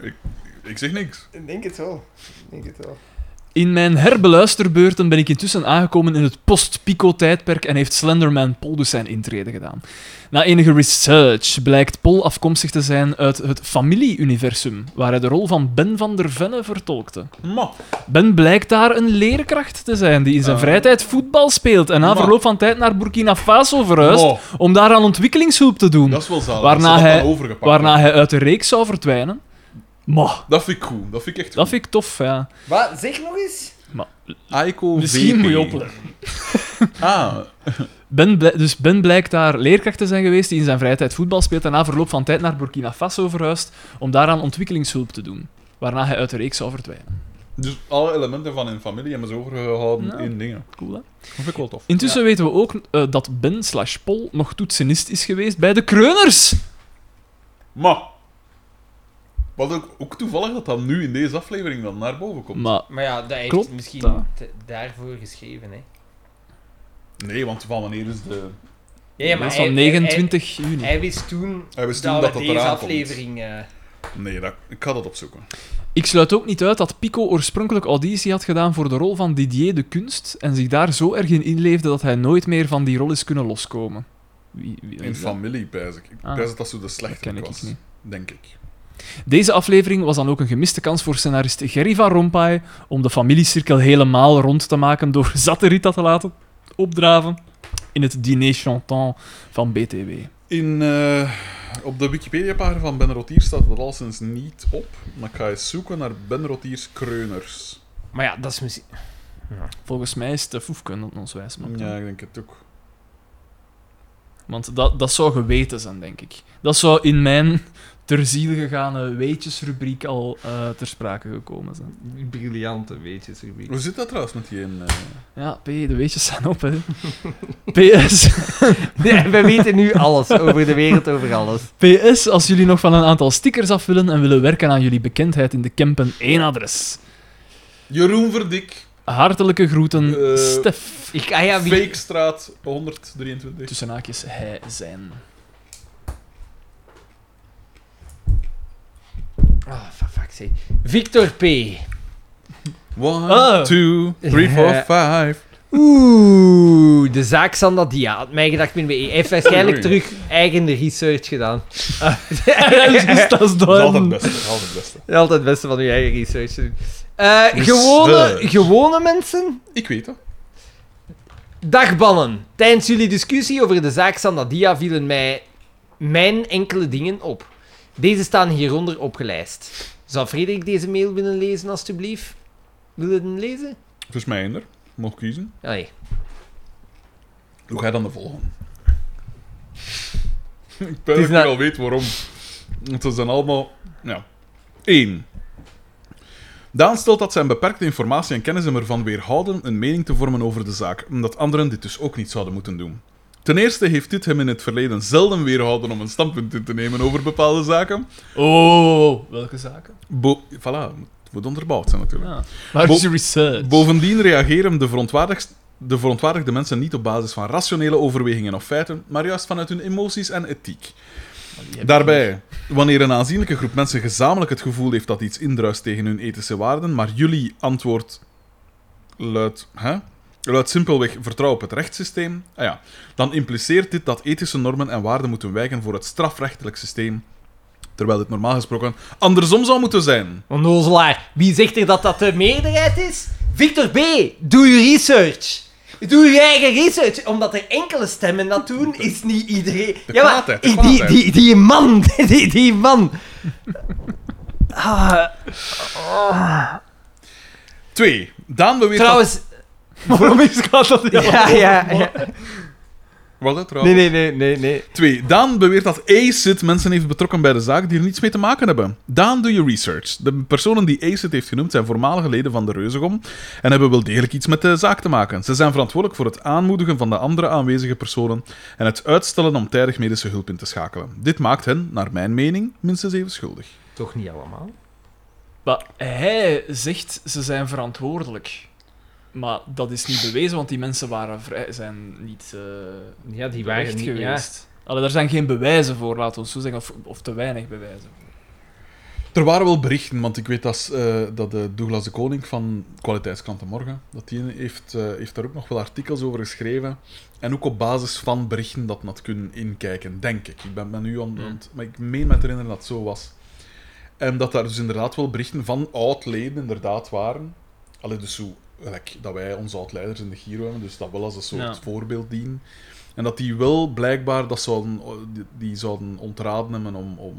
Ik, ik zeg niks. Ik denk het wel. Ik denk het wel. In mijn herbeluisterbeurten ben ik intussen aangekomen in het post-Pico-tijdperk en heeft Slenderman Pol dus zijn intrede gedaan. Na enige research blijkt Pol afkomstig te zijn uit het familieuniversum, waar hij de rol van Ben van der Venne vertolkte. Ma. Ben blijkt daar een leerkracht te zijn die in zijn Ah. vrije tijd voetbal speelt en na Maar- verloop van tijd naar Burkina Faso verhuist Ma. om daar aan ontwikkelingshulp te doen, Dat is wel zalig. Waarna dat ze dat hij- dan overgepakt waarna hebben. hij uit de reeks zou verdwijnen. Maar, Dat vind ik cool. Dat vind ik echt dat cool. vind ik tof, ja. Wat? Zeg nog eens. Aiko Misschien VP. moet je opletten. Ah. Ben blij- dus Ben blijkt daar leerkracht te zijn geweest die in zijn vrije tijd voetbal speelt en na verloop van tijd naar Burkina Faso verhuist om daaraan ontwikkelingshulp te doen. Waarna hij uit de reeks zou verdwijnen. Dus alle elementen van hun familie hebben ze overgehouden Ja. in dingen. Cool, hè? Dat vind ik wel tof. Intussen weten we ook eh, dat Ben slash Pol nog toetsenist is geweest bij de Kreuners. Maar. Wat ook, ook toevallig dat dat nu in deze aflevering dan naar boven komt. Maar Maar ja, dat heeft Klopt, misschien dat. te- daarvoor geschreven, hè. Nee, want van wanneer is de. Ja, ja, maar dat is hij- van hij- 29 Hij, juni. hij wist toen Hij wist dat toen we dat dat deze eraan komt. aflevering... eh, Nee, dat, ik ga dat opzoeken. Ik sluit ook niet uit dat Pico oorspronkelijk auditie had gedaan voor de rol van Didier de Kunst en zich daar zo erg in inleefde dat hij nooit meer van die rol is kunnen loskomen. Wie, wie- In familie, pijs ik. Ik Ah. pijs dat dat zo de dat ken slechte ik was. niet. Denk ik. Deze aflevering was dan ook een gemiste kans voor scenarist Gerry van Rompuy om de familiecirkel helemaal rond te maken door zatte Rita te laten opdraven in het diner chantant van BTW. In, eh, op de Wikipedia-pagina van Ben Rotier staat dat al sinds niet op. Maar ik ga eens zoeken naar Ben Rotiers kreuners. Maar ja, dat is misschien... Volgens mij is de Foefke dat ons wijs maakt. Ja, ik denk het ook. Want dat, dat zou geweten zijn, denk ik. Dat zou in mijn ter ziel gegaane weetjesrubriek al eh, ter sprake gekomen zijn. Briljante weetjes, Ruby. Hoe zit dat trouwens met die in... eh, Ja, P, de weetjes zijn op, hè. PS. Ja, we weten nu alles over de wereld, over alles. PS, als jullie nog van een aantal stickers af willen en willen werken aan jullie bekendheid in de Kempen, één adres. Jeroen Verdik, Hartelijke groeten, Eh, Stef. Ik, ah ja, wie... Fakestraat 123. Tussen haakjes, hij zijn. Ah, for fuck's sake. Victor P. 1, Ah. 2, 3, 4, Ja. 5. Oeh, de zaak Sandadia. Had mij gedacht, min Hij heeft waarschijnlijk Oei. terug eigen research gedaan. dus dat is Dat is altijd het duidelijk. beste. dat is Altijd het beste. Altijd het beste van uw eigen research doen. Eh, Research. gewone, gewone mensen? Ik weet dat. Dagbannen. Tijdens jullie discussie over de zaak Sandadia vielen mij mijn enkele dingen op. Deze staan hieronder opgelijst. Zou Frederik deze mail willen lezen, alstublieft? Wil je hem lezen? Volgens mij eender. Nog kiezen. Allee. Doe jij dan de volgende. ik ben Het is dat ik nou- al weet waarom. Want ze zijn allemaal... Ja. 1. Daan stelt dat zijn beperkte informatie en kennis hem ervan weerhouden een mening te vormen over de zaak, omdat anderen dit dus ook niet zouden moeten doen. Ten eerste heeft dit hem in het verleden zelden weerhouden om een standpunt in te nemen over bepaalde zaken. Oh, welke zaken? Bo voilà, het moet onderbouwd zijn natuurlijk. Ja. Maar Bo- is research. Bovendien reageren de, verontwaardigst- de verontwaardigde mensen niet op basis van rationele overwegingen of feiten, maar juist vanuit hun emoties en ethiek. Daarbij, wanneer een aanzienlijke groep mensen gezamenlijk het gevoel heeft dat iets indruist tegen hun ethische waarden, maar jullie antwoord luidt, hè? luidt simpelweg vertrouwen op het rechtssysteem, ah ja, dan impliceert dit dat ethische normen en waarden moeten wijken voor het strafrechtelijk systeem, terwijl dit normaal gesproken andersom zou moeten zijn. Onnozelaar, wie zegt er dat dat de meerderheid is? Victor B., doe je research. Doe je eigen research. Omdat er enkele stemmen dat doen, is niet iedereen... Ja, maar kwaadheid, de die, die, die, kwaadheid. die man, die, die man. Ah, 2. Daan beweert trouwens... waarom is gaat dat niet? Ja, ja, ja. dat... Wat, hè, trouwens? Nee, nee, nee, nee, nee. 2. Daan beweert dat ACID mensen heeft betrokken bij de zaak die er niets mee te maken hebben. Daan, doe je research. De personen die ACID heeft genoemd zijn voormalige leden van de Reuzegom en hebben wel degelijk iets met de zaak te maken. Ze zijn verantwoordelijk voor het aanmoedigen van de andere aanwezige personen en het uitstellen om tijdig medische hulp in te schakelen. Dit maakt hen, naar mijn mening, minstens even schuldig. Toch niet allemaal? Maar hij zegt ze zijn verantwoordelijk. Maar dat is niet bewezen, want die mensen waren vrij, zijn niet eh Ja, die echt geweest. Allee, daar zijn geen bewijzen voor, laten we zo zeggen, of, of te weinig bewijzen. Er waren wel berichten, want ik weet dat, eh, dat eh, Douglas de Koning van Kwaliteitskranten Morgen, dat die heeft, eh, heeft daar ook nog wel artikels over geschreven. En ook op basis van berichten dat men had kunnen inkijken, denk ik. Ik ben, ben nu aan, aan het- maar ik meen me te herinneren dat het zo was. En dat daar dus inderdaad wel berichten van oud-leden inderdaad waren. Allee, dus zo, gelijk dat wij onze oud-leiders in de Giro hebben, dus dat wel als een soort Ja. voorbeeld dienen. En dat die wel blijkbaar dat zouden, die, die zouden ontraden hebben om, om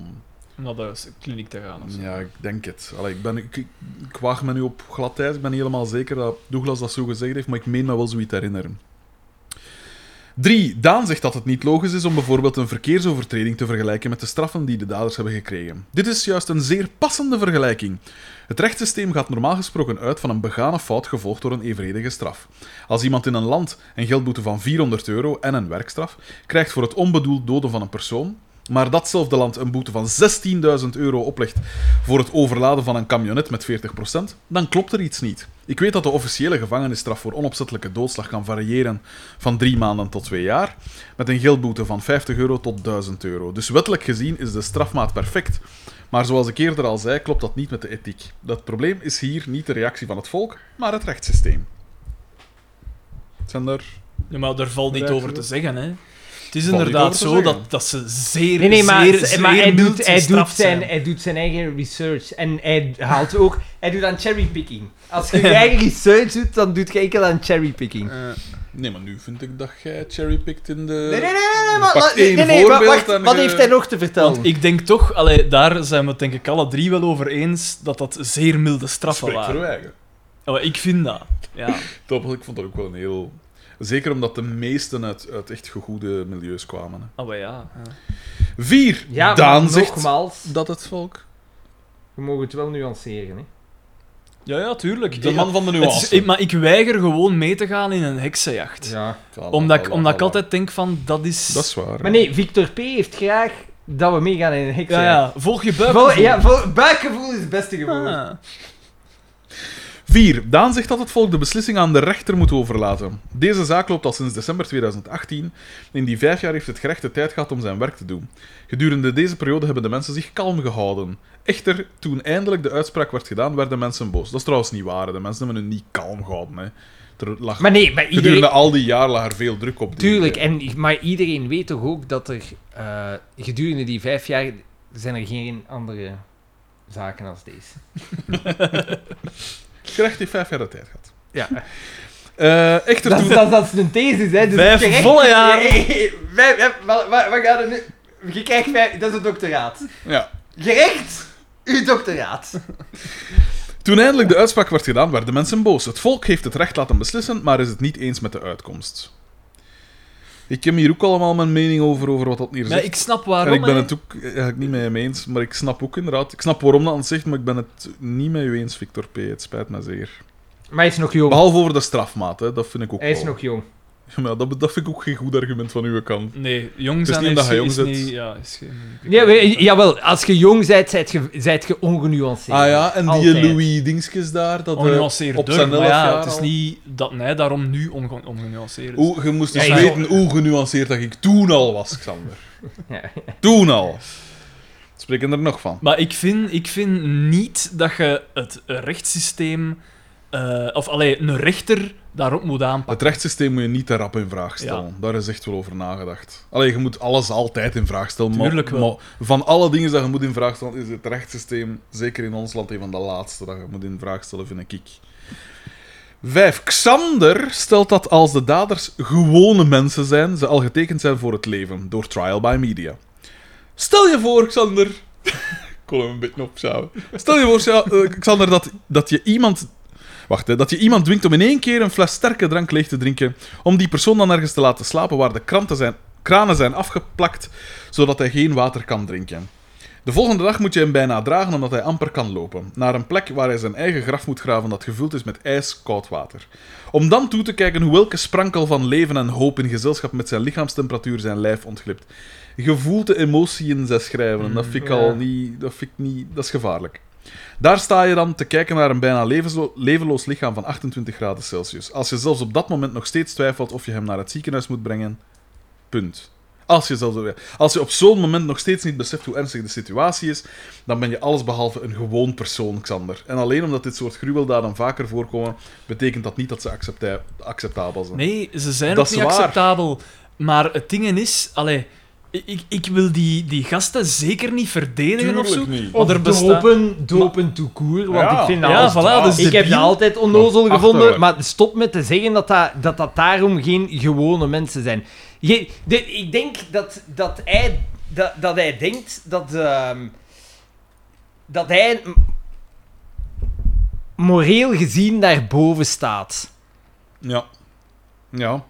Om naar de kliniek te gaan of zo. ja, ik denk het. Allee, ik, ben, ik, ik, ik waag me nu op glad ijs. Ik ben niet helemaal zeker dat Douglas dat zo gezegd heeft, maar ik meen me wel zoiets te herinneren. 3. Daan zegt dat het niet logisch is om bijvoorbeeld een verkeersovertreding te vergelijken met de straffen die de daders hebben gekregen. Dit is juist een zeer passende vergelijking. Het rechtssysteem gaat normaal gesproken uit van een begane fout gevolgd door een evenredige straf. Als iemand in een land een geldboete van 400 euro en een werkstraf krijgt voor het onbedoeld doden van een persoon, maar datzelfde land een boete van 16.000 euro oplegt voor het overladen van een camionet met 40%, dan klopt er iets niet. Ik weet dat de officiële gevangenisstraf voor onopzettelijke doodslag kan variëren van drie maanden tot twee jaar, met een geldboete van 50 euro tot 1000 euro. Dus wettelijk gezien is de strafmaat perfect. Maar zoals ik eerder al zei, klopt dat niet met de ethiek. Dat probleem is hier niet de reactie van het volk, maar het rechtssysteem. Zijn er... Ja, maar daar valt niet Reactie over te op? zeggen, hè. Het is Valt niet over te inderdaad zo zeggen. dat, dat ze zeer, Nee, nee, maar, zeer, maar zeer hij, mild doet, hij, doet gestraft zijn, hij doet zijn eigen research. En hij haalt ook... Hij doet aan cherrypicking. Als je je eigen research doet, dan doet je enkel aan cherrypicking. Eh. Nee, maar nu vind ik dat jij cherrypicked in de... Nee, nee, nee, nee, Pak maar, maar- nee, één nee, nee, maar voorbeeld wacht, en wat ge- heeft hij nog te vertellen? Want ik denk toch, allee, daar zijn we het denk ik alle drie wel over eens, dat dat zeer milde straffen Spreek waren. voor uw eigen. Ja, maar ik vind dat. Ja. Top, ik vond dat ook wel een heel... Zeker omdat de meesten uit, uit echt goede milieus kwamen. hè. Oh, maar ja. ja. Vier. ja, maar Daan zegt nogmaals, dat het volk... we mogen het wel nuanceren. Hè. Ja, ja, tuurlijk. De Ja, man van de het is- nuance. ik- maar ik weiger gewoon mee te gaan in een heksenjacht. Ja. Voilà, Omdat, ik, voilà, omdat ik voilà. altijd denk van, dat is... Dat is waar. Maar nee, Victor P. heeft graag dat we meegaan in een heks. ja, ja, volg je buikgevoel. Vol- ja, vol- buikgevoel is het beste gevoel. Ah. 4. Daan zegt dat het volk de beslissing aan de rechter moet overlaten. Deze zaak loopt al sinds december 2018. In die vijf jaar heeft het gerecht de tijd gehad om zijn werk te doen. Gedurende deze periode hebben de mensen zich kalm gehouden. Echter, toen eindelijk de uitspraak werd gedaan, werden mensen boos. Dat is trouwens niet waar. hè. De mensen hebben hun niet kalm gehouden. Hè. Er lag... Maar nee, maar Gedurende iedereen... al die jaar lag er veel druk op. Die Tuurlijk, en, maar iedereen weet toch ook dat er eh, gedurende die vijf jaar zijn er geen andere zaken als deze. Het gerecht heeft vijf jaar de tijd gehad. Ja. Eh, echter, Dat, toen... dat, dat is een thesis, hè. Dus Vijf je krijgt- volle jaren. Hey, hey, vijf- ja, Wat wat- wat gaat er nu... Je krijgt vijf... Dat is een doctoraat. Ja. Gerecht! Uw doctoraat. Toen eindelijk de uitspraak werd gedaan, werden mensen boos. Het volk heeft het recht laten beslissen, maar is het niet eens met de uitkomst. Ik heb hier ook allemaal mijn mening over, over wat dat hier Ja, zegt. ik snap waarom. en ik ben hè. het ook eigenlijk niet mee eens, maar ik snap ook inderdaad... Ik snap waarom dat het zegt, maar ik ben het niet met u eens, Victor P. Het spijt me zeer. Maar hij is nog jong. Behalve over de strafmaat, hè. dat vind ik ook Hij is wel. nog jong. Ja, dat, dat vind ik ook geen goed argument van uw kant. Nee, jong Het is zijn niet is, omdat je jong is bent. niet... Ja, is geen... Ah, Ja, we- jawel, als je jong bent, zijt je, zijt je ongenuanceerd. Ah ja, en die Altijd. Oh, Louis Dinskes daar, dat eh, Ongenuanceerd op door, zijn maar elf ja, jaar het is al- niet dat hij daarom nu onge- ongenuanceerd is. Hoe, je moest dus Ja, ja. weten hoe genuanceerd dat ik toen al was, Xander. Ja. Toen al. Spreken er nog van. Maar ik vind, ik vind niet dat je het rechtssysteem, eh, of alleen een rechter, daarop moet aanpakken. Het rechtssysteem moet je niet te rap in vraag stellen. Daar is echt wel over nagedacht. Allee, je moet alles altijd in vraag stellen. Maar, Tuurlijk wel. maar van alle dingen dat je moet in vraag stellen, is het rechtssysteem, zeker in ons land, een van de laatste dat je moet in vraag stellen, vind ik. Vijf. Xander stelt dat als de daders gewone mensen zijn, ze al getekend zijn voor het leven door trial by media. Stel je voor, Xander. Ik kon hem een beetje opschouwen. Stel je voor, Sja- eh, Xander, dat, dat je iemand. Wacht, hè, dat je iemand dwingt om in één keer een fles sterke drank leeg te drinken. Om die persoon dan ergens te laten slapen waar de kranten zijn, kranen zijn afgeplakt, zodat hij geen water kan drinken. De volgende dag moet je hem bijna dragen omdat hij amper kan lopen. Naar een plek waar hij zijn eigen graf moet graven dat gevuld is met ijskoud water. Om dan toe te kijken hoe welke sprankel van leven en hoop in gezelschap met zijn lichaamstemperatuur zijn lijf ontglipt. Je voelt de emotie in zijn schrijven. en Dat vind ik ja. al niet... Dat, vind ik niet, dat is gevaarlijk. Daar sta je dan te kijken naar een bijna levenslo- levenloos lichaam van 28 graden Celsius. Als je zelfs op dat moment nog steeds twijfelt of je hem naar het ziekenhuis moet brengen. Punt. Als je, zelfs, als je op zo'n moment nog steeds niet beseft hoe ernstig de situatie is, dan ben je allesbehalve een gewoon persoon, Xander. En alleen omdat dit soort gruweldaden vaker voorkomen, betekent dat niet dat ze accepta- acceptabel zijn. Nee, ze zijn Dat ook is niet waar. acceptabel. Maar het ding is, allee, ik, ik wil die, die gasten zeker niet verdedigen of zo. niet. Want er besta- dopen, dopen to cool, want Ja. ik vind dat Ja, als- voilà, dus Ik heb debiel. dat altijd onnozel Maar gevonden, achterlijk. maar stop met te zeggen dat dat, dat, dat daarom geen gewone mensen zijn. Je, de- ik denk dat, dat, hij, dat, dat hij denkt dat, ehm, dat hij m- moreel gezien daarboven staat. Ja. Ja.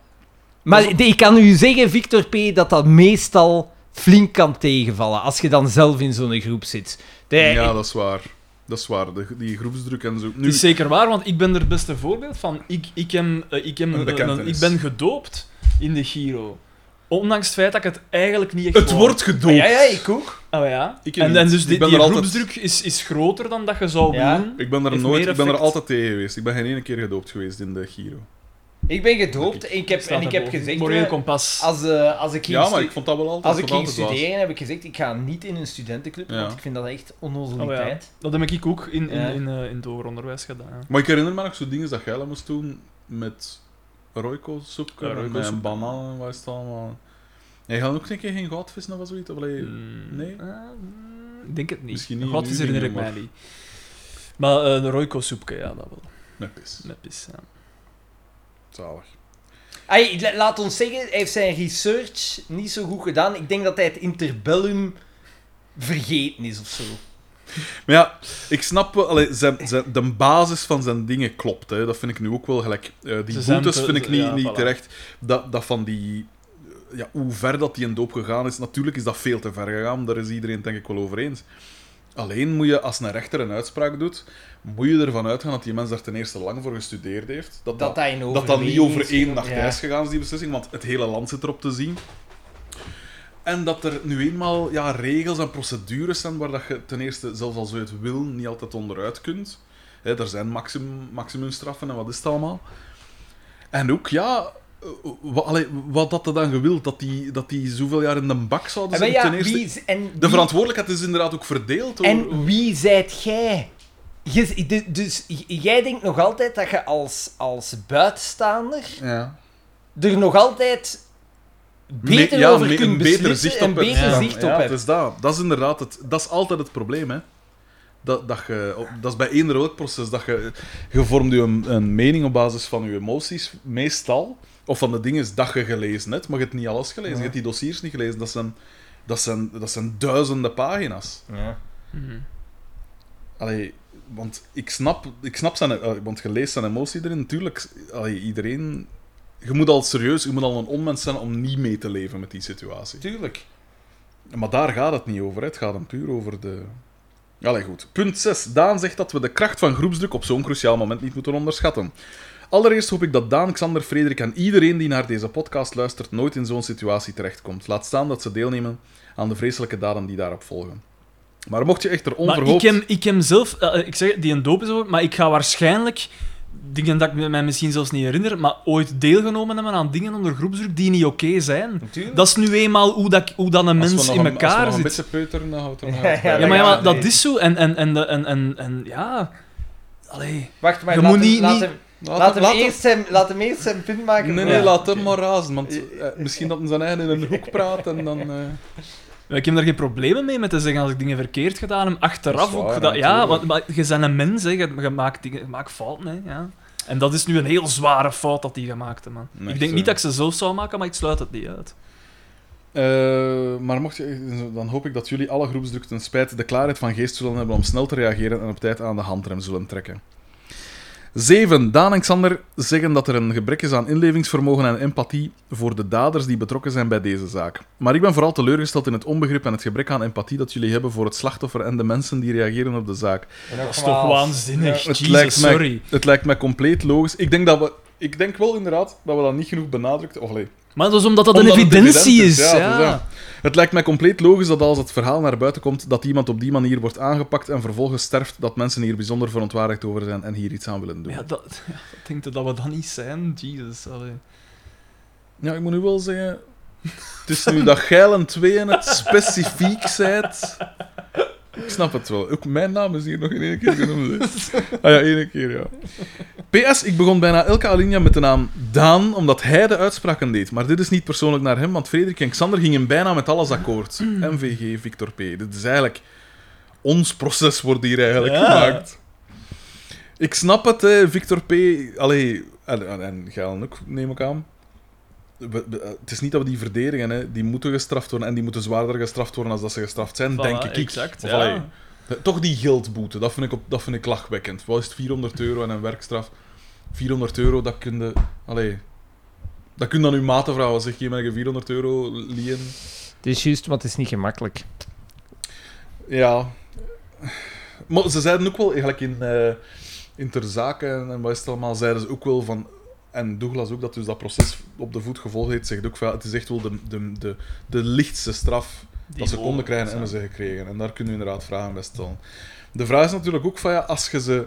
Maar de- ik kan u zeggen, Victor P., dat dat meestal flink kan tegenvallen als je dan zelf in zo'n groep zit. De- ja, dat is waar. Dat is waar. De- die groepsdruk en zo. Nu, Het is zeker waar, want ik ben er het beste voorbeeld van. Ik, ik, hem, eh, ik, hem, Een eh, bekentenis. ik ben gedoopt in de Giro. Ondanks het feit dat ik het eigenlijk niet echt het wou. wordt gedoopt. ja, ja, ik ook. Oh ja. Ik en, niet. en dus Ik die, ben die er altijd- groepsdruk is, is groter dan dat je zou Ja. willen. Ik ben er Heeft nooit, meer ik ben er effect. altijd tegen geweest. Ik ben geen ene keer gedoopt geweest in de Giro. Ik ben gedoopt en ik heb, en ik heb gezegd... Moreel eh, kompas. als, eh, als ik ging, Ja, maar stu- ik vond dat wel altijd. als ik vond ging dat altijd studeren, heb ik gezegd, ik ga niet in een studentenclub, Ja. want ik vind dat echt onnozeliteit. Oh ja. Dat heb ik ook in, in, Ja. in, eh, in het hoger onderwijs gedaan. ja. waar. Maar ik herinner me nog zo'n dingen dat jij dat moest doen met Royco-soep. Ja, en met Royco-soep. een banaan en wat is het allemaal. Jij gaat ook een keer geen goudvis of zoiets? Of allee, Mm, nee? eh, mm, Ik denk het niet. Misschien niet God nu is herinner niet ik meer, mij niet. Maar eh, de Royco-soepke, ja, dat wel. Nee, pis. Met pis, ja. Zalig. Ai, la- laat ons zeggen, hij heeft zijn research niet zo goed gedaan. Ik denk dat hij het interbellum vergeten is of zo. Maar ja, ik snap wel, allee, zijn, zijn, de basis van zijn dingen klopt. Hè. Dat vind ik nu ook wel gelijk. Eh, die Ze zijn boetes te- vind ik niet, ja, niet voilà. terecht. Dat, dat van die. eh, Ja, hoe ver dat die in doop gegaan is, natuurlijk is dat veel te ver gegaan. Daar is iedereen het denk ik wel over eens. Alleen moet je, als een rechter een uitspraak doet, moet je ervan uitgaan dat die mens daar ten eerste lang voor gestudeerd heeft. Dat Dat dat, hij in dat, dat niet over overweging is één nacht genomen. ijs gegaan is, die beslissing, want het hele land zit erop te zien. En dat er nu eenmaal ja, regels en procedures zijn waar dat je ten eerste, zelfs als je het wil, niet altijd onderuit kunt. Hè, er zijn maximum, maximumstraffen en wat is het allemaal. En ook, ja, eh, wa- allee, wat had er dan gewild? Dat die, dat die zoveel jaar in de bak Ja. zouden Maar zitten? ja, ten eerste, wie, z- en, de wie, verantwoordelijkheid is inderdaad ook verdeeld. Hoor. en wie zijt jij? Je- de- dus j- jij denkt nog altijd dat je als, als buitenstaander Ja. er nog altijd beter Me- ja, over me- kunt een beter beslissen zicht en op beter hebt. zicht op ja, hebt. het is dat. Dat is inderdaad het, dat is altijd het probleem, hè. Dat, dat, je, op- dat is bij eender welk proces. Dat je, je vormt je een, een mening op basis van je emoties, meestal. Of van de dingen dat je gelezen hebt, maar je hebt niet alles gelezen. Je hebt die dossiers niet gelezen. Dat zijn, dat zijn, dat zijn duizenden pagina's. Ja. Mhm. Allee, want ik snap, ik snap zijn... eh, Want je leest zijn emotie erin. Natuurlijk, allee, iedereen... Je moet al serieus, je moet al een onmens zijn om niet mee te leven met die situatie. Tuurlijk. Maar daar gaat het niet over. hè. Het gaat hem puur over de... Allee, goed. Punt 6. Daan zegt dat we de kracht van groepsdruk op zo'n cruciaal moment niet moeten onderschatten. Allereerst hoop ik dat Daan, Xander, Frederik en iedereen die naar deze podcast luistert nooit in zo'n situatie terechtkomt. Laat staan dat ze deelnemen aan de vreselijke daden die daarop volgen. Maar mocht je echter Maar onverhoopt... ik hem, ik hem zelf, eh, ik zeg, die een doop is over, maar ik ga waarschijnlijk dingen dat ik mij misschien zelfs niet herinner, maar ooit deelgenomen hebben aan dingen onder groepsdruk die niet oké zijn. Natuurlijk. Dat is nu eenmaal hoe, dat, ik- hoe dan een Als we mens nog in een- als we elkaar nog een zit. beetje peuteren, dan houdt er nog Ja, uit. ja, Ja, maar, ja, maar Nee. dat is zo. En, en, en, en, en, en ja... Allee. Wacht, maar Je laat, moet hem, niet- laat, niet- hem, laat, hem eerst zijn, laat hem eerst zijn punt maken. Nee, nee, Ja. laat hem maar razen, want eh, misschien dat hij zijn eigen in een hoek praat en dan... eh, Maar Ik heb daar geen problemen mee met te zeggen als ik dingen verkeerd gedaan heb. Dat Achteraf is waar, ook. gedaan. ja, natuurlijk. want maar je bent een mens, hè. Je, je maakt, dingen, je maakt fouten. Hè. Ja. En dat is nu een heel zware fout dat die gemaakt heeft, man. Nee, ik denk sorry. niet dat ik ze zelf zou maken, maar ik sluit het niet uit. eh, maar mocht je, dan hoop ik dat jullie alle groepsdruk ten spijt de klaarheid van geest zullen hebben om snel te reageren en op tijd aan de handrem zullen trekken. 7. Daan en Xander zeggen dat er een gebrek is aan inlevingsvermogen en empathie voor de daders die betrokken zijn bij deze zaak. Maar ik ben vooral teleurgesteld in het onbegrip en het gebrek aan empathie dat jullie hebben voor het slachtoffer en de mensen die reageren op de zaak. En Dat is toch nogmaals, waanzinnig. ja, Het Jezus, lijkt mij- sorry. Het lijkt mij compleet logisch. Ik denk dat we. Ik denk wel inderdaad dat we dat niet genoeg benadrukt. Of nee. Maar dat is omdat dat Omdat een het evidentie evident is. is, ja, ja. dat Het lijkt mij compleet logisch dat als het verhaal naar buiten komt, dat iemand op die manier wordt aangepakt en vervolgens sterft, dat mensen hier bijzonder verontwaardigd over zijn en hier iets aan willen doen. Ja, Ja, dat, ja, dat denk je dat we dan niet zijn. Jezus, allee. ik moet nu wel zeggen. Het is nu dat geil en tweeën het specifiek zijt. Ik snap het wel. Ook mijn naam is hier nog in één keer genoemd. hè. Ah ja, één keer, ja. PS, ik begon bijna elke alinea met de naam Daan, omdat hij de uitspraken deed. Maar dit is niet persoonlijk naar hem, want Frederik en Xander gingen bijna met alles akkoord. MVG, Victor P. Dit is eigenlijk... Ons proces wordt hier eigenlijk Ja. gemaakt. Ik snap het, hè, Victor P. Allee, en, en, en Gaal ook, neem ik aan. We- we- eh, het is niet dat we die verdedigen, hè. Die moeten gestraft worden en die moeten zwaarder gestraft worden als dat ze gestraft zijn, Voilà, denk ik. Exact, Of ja. allee, de- Toch die geldboete, dat vind ik, op, dat vind ik lachwekkend. Wat is het, 400 euro en een werkstraf? 400 euro, dat kun je... Allee, dat kun je aan uw maten vragen. Zeg, je mag je 400 euro leen. Het is juist, want het is niet gemakkelijk. Ja. Maar ze zeiden ook wel, eigenlijk in, eh in Ter Zake en, en wat is het allemaal, zeiden ze ook wel van... En Douglas ook, dat dus dat proces op de voet gevolgd heeft, zegt ook van... ja, Het is echt wel de, de, de, de lichtste straf dat ze konden krijgen, hebben ze gekregen. En daar kunnen we inderdaad vragen bij stellen. De vraag is natuurlijk ook van, ja, als je ze...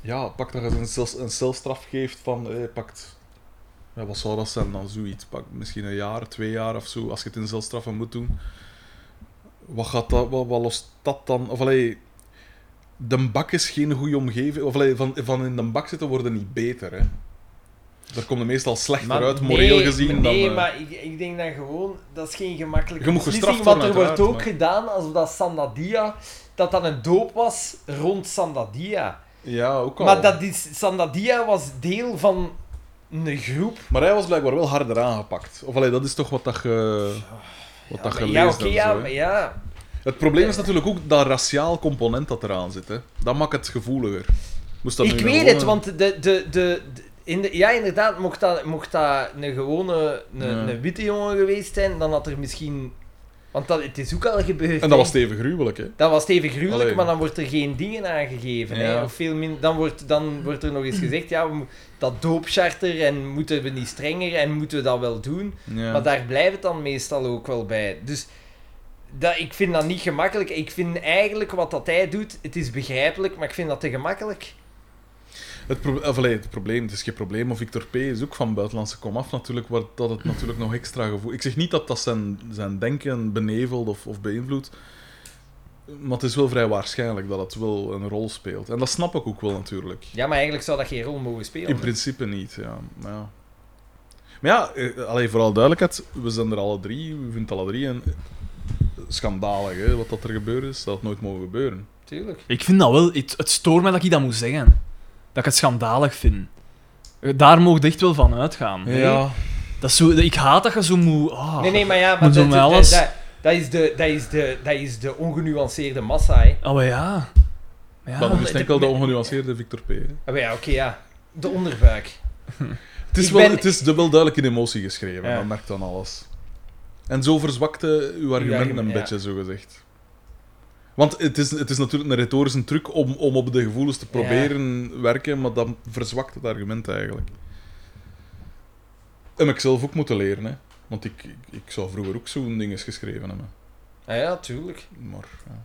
Ja, pak dat je ze een, cel, een celstraf geeft van... Eh, pakt, ja, wat zou dat zijn dan? Zoiets. Pak misschien een jaar, twee jaar of zo, als je het in celstraffen moet doen. Wat gaat dat... Wat, wat lost dat dan... Of allee... De bak is geen goede omgeving. Of allee, van, van in de bak zitten worden niet beter, hè. Daar komt het meestal slechter Maar uit, nee, moreel gezien. dan, Nee, eh, maar ik, ik denk dat gewoon... Dat is geen gemakkelijke Je moet beslissing, gestraft want er worden, wordt ook uiteraard, gedaan alsof dat Sandadia... Dat dat een doop was rond Sandadia. Ja, ook al. Maar dat is, Sandadia was deel van een groep. Maar hij was blijkbaar wel harder aangepakt. Of allee, dat is toch wat dat ge... Wat dat Maar gelezen ja, oké, ja, zo, hè. maar ja. Het probleem is natuurlijk ook dat raciaal component dat eraan zit. Hè. Dat maakt het gevoeliger. Moest dat nu eh. Ik een weet gewone- het, want de, de, de, de- in de- ja, inderdaad, mocht dat, mocht dat een gewone een, Ja. een witte jongen geweest zijn, dan had er misschien... Want dat, het is ook al gebeurd. En dat hè. was even gruwelijk, hè. Dat was even gruwelijk, Allee. maar dan wordt er geen dingen aangegeven. Hè? Ja. Of veel min, dan, wordt, dan wordt er nog eens gezegd, ja, we mo- dat doopcharter en moeten we niet strenger en moeten we dat wel doen. Ja. Maar daar blijft het dan meestal ook wel bij. Dus dat, ik vind dat niet gemakkelijk. Ik vind eigenlijk wat dat hij doet, het is begrijpelijk, maar ik vind dat te gemakkelijk. Het, pro- of allee, het probleem, het is geen probleem. Maar Victor P. is ook van buitenlandse komaf natuurlijk, waar dat het natuurlijk nog extra gevoel... Ik zeg niet dat dat zijn, zijn denken benevelt of, of beïnvloedt. Maar het is wel vrij waarschijnlijk dat het wel een rol speelt. En dat snap ik ook wel natuurlijk. Ja, maar eigenlijk zou dat geen rol mogen spelen. In principe niet, ja. Maar ja, maar ja eh, allee, vooral duidelijkheid, we zijn er alle eh, drie, we vinden het alle drie een schandalig, hè, wat dat er gebeurd is. Dat had nooit mogen gebeuren. tuurlijk. Ik vind dat wel... Het, het stoort mij dat ik dat moet zeggen. Dat ik het schandalig vind. Daar mogen echt wel van uitgaan. Ja. Dat is zo, ik haat dat je zo moet... ah. Nee, nee, maar ja, maar Maar doen dat, we dat, alles? dat- dat is de, dat, is de, dat is de ongenuanceerde massa, hè. Oh, maar ja. Maar ja. Dat is enkel de ongenuanceerde Victor P. hè. Ah, maar ja, oké, ja. De onderbuik. Het is, Ik wel, ben- het is dubbel duidelijk in emotie geschreven, Ja. dat merkt dan alles. En zo verzwakte uw argument argument, een ja. beetje, zo gezegd. Want het is, het is natuurlijk een retorische truc om, om op de gevoelens te proberen werken, maar dat verzwakt het argument eigenlijk. Heb ik zelf ook moeten leren, hè. Want ik, ik, ik zou vroeger ook zo'n ding eens geschreven hebben. Ah, ja, tuurlijk. Maar, ja.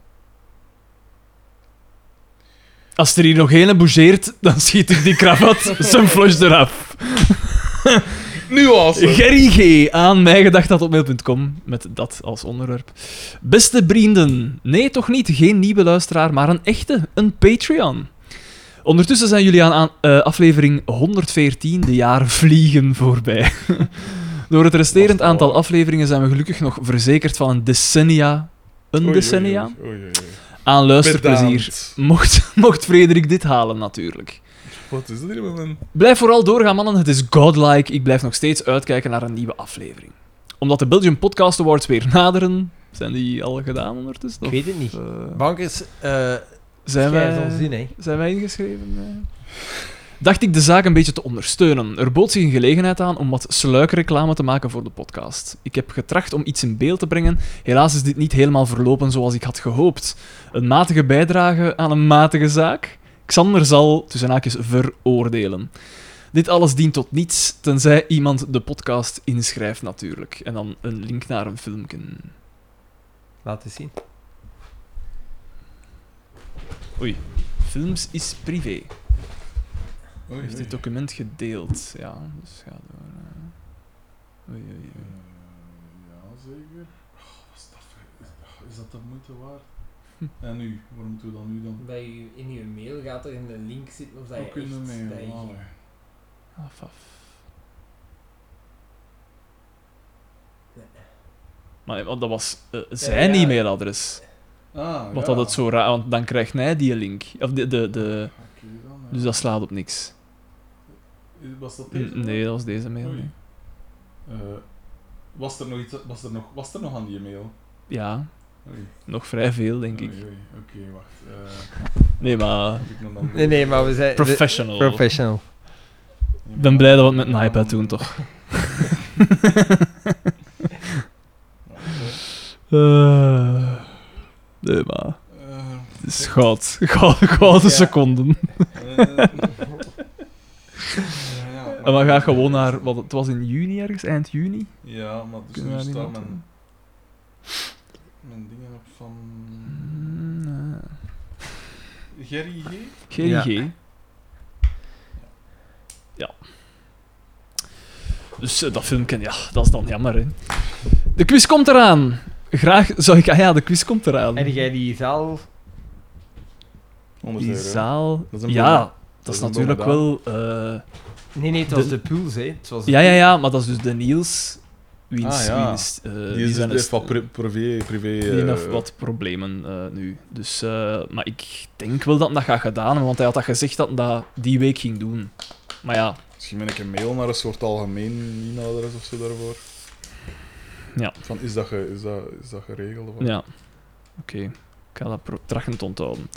Als er hier nog ene bougeert, dan schiet ik die kravat zijn flush eraf. Nuance! Gerry G. aan mijgedacht.mail.com met dat als onderwerp. Beste vrienden, nee toch niet, geen nieuwe luisteraar, maar een echte, een Patreon. Ondertussen zijn jullie aan, aan- eh, aflevering 114, de jaar vliegen voorbij. Door het resterend aantal afleveringen zijn we gelukkig nog verzekerd van een decennia, een decennia, Oei, oei, oei. aan luisterplezier. Bedaard. Mocht, mocht Frederik dit halen, natuurlijk. Wat is dit hier met een... Blijf vooral doorgaan, mannen. Het is godlike. Ik blijf nog steeds uitkijken naar een nieuwe aflevering. Omdat de Belgian Podcast Awards weer naderen. Zijn die al gedaan ondertussen? Of, weet het niet. eh, Bankers, eh zijn, wij, zin, hè. zijn wij ingeschreven? Eh? Nee. Dacht ik de zaak een beetje te ondersteunen. Er bood zich een gelegenheid aan om wat sluikreclame te maken voor de podcast. Ik heb getracht om iets in beeld te brengen. Helaas is dit niet helemaal verlopen zoals ik had gehoopt. Een matige bijdrage aan een matige zaak? Xander zal, tussen haakjes, veroordelen. Dit alles dient tot niets, tenzij iemand de podcast inschrijft natuurlijk. En dan een link naar een filmpje. Laat eens zien. Films is privé. Oei, Heeft oei. dit document gedeeld? Ja, dus ga door. eh. Oei, oei, Eh, oei. ja, zeker. Oh, wat is dat voor- Is dat de moeite waard? Hm. En nu? Waar moeten we dan nu dan? Bij je, in je mail gaat er een link zitten of dat Hoe kunnen we mee? Allee. Af, af. Maar want dat was eh, zijn ja. e-mailadres. Ah, Wat ja. dat het zo raar, want dan krijgt hij die link. Of de, de, de, Oké dan, ja. dus dat slaat op niks. Was dat deze? N- Nee, dat was deze mail. Oei. nee. Eh, was, er nog iets, was, er nog, was er nog aan die mail? Ja, Oei. nog vrij veel, denk Oei, ik. oei. Oké, wacht. Eh, Nee, maar moet ik nog dan Nee, nee, maar we zijn... we- professional. Professional. Ja, Ik ben blij dat we het met Ja, een iPad dan- doen, toch? Ja, oké. Eh, nee, maar... Eh, Het is goud. Goud- Gouden Ja. seconden. eh, ja, En we gaan gewoon naar... Wat, het was in juni ergens, eind juni. Ja, maar dus Kunnen we nu daar niet staat naartoe? mijn, mijn dingen op van... Mm, eh, Gerry G? Ja. GIG. Ja. Dus eh, dat filmpje, ja, dat is dan jammer, hè. De quiz komt eraan. Graag zou ik... Ah ja, de quiz komt eraan. En jij die zaal... 100 Die zaal... eh, Dat is een Ja, boom. dat, Dat is is een natuurlijk wel... boom eh, Nee, nee, het was De- de, pools, hè. Het was de ja, ja, pools. ja, maar dat is dus de Niels. Wiens... Ah, ja. wiens, eh, Die die is zijn dus een- van pri- privé... privé die eh, heeft wat problemen eh, nu. Dus, eh, maar ik denk wel dat hij dat gaat gedaan hebben, want hij had dat gezegd dat hij dat die week ging doen. Maar ja, Misschien ben ik een mail naar een soort algemeen e-mailadres of zo daarvoor. Ja. Van, is dat, ge- is dat, is dat geregeld? Of wat? ja. Oké, ik ga dat pro- trachten te onthouden.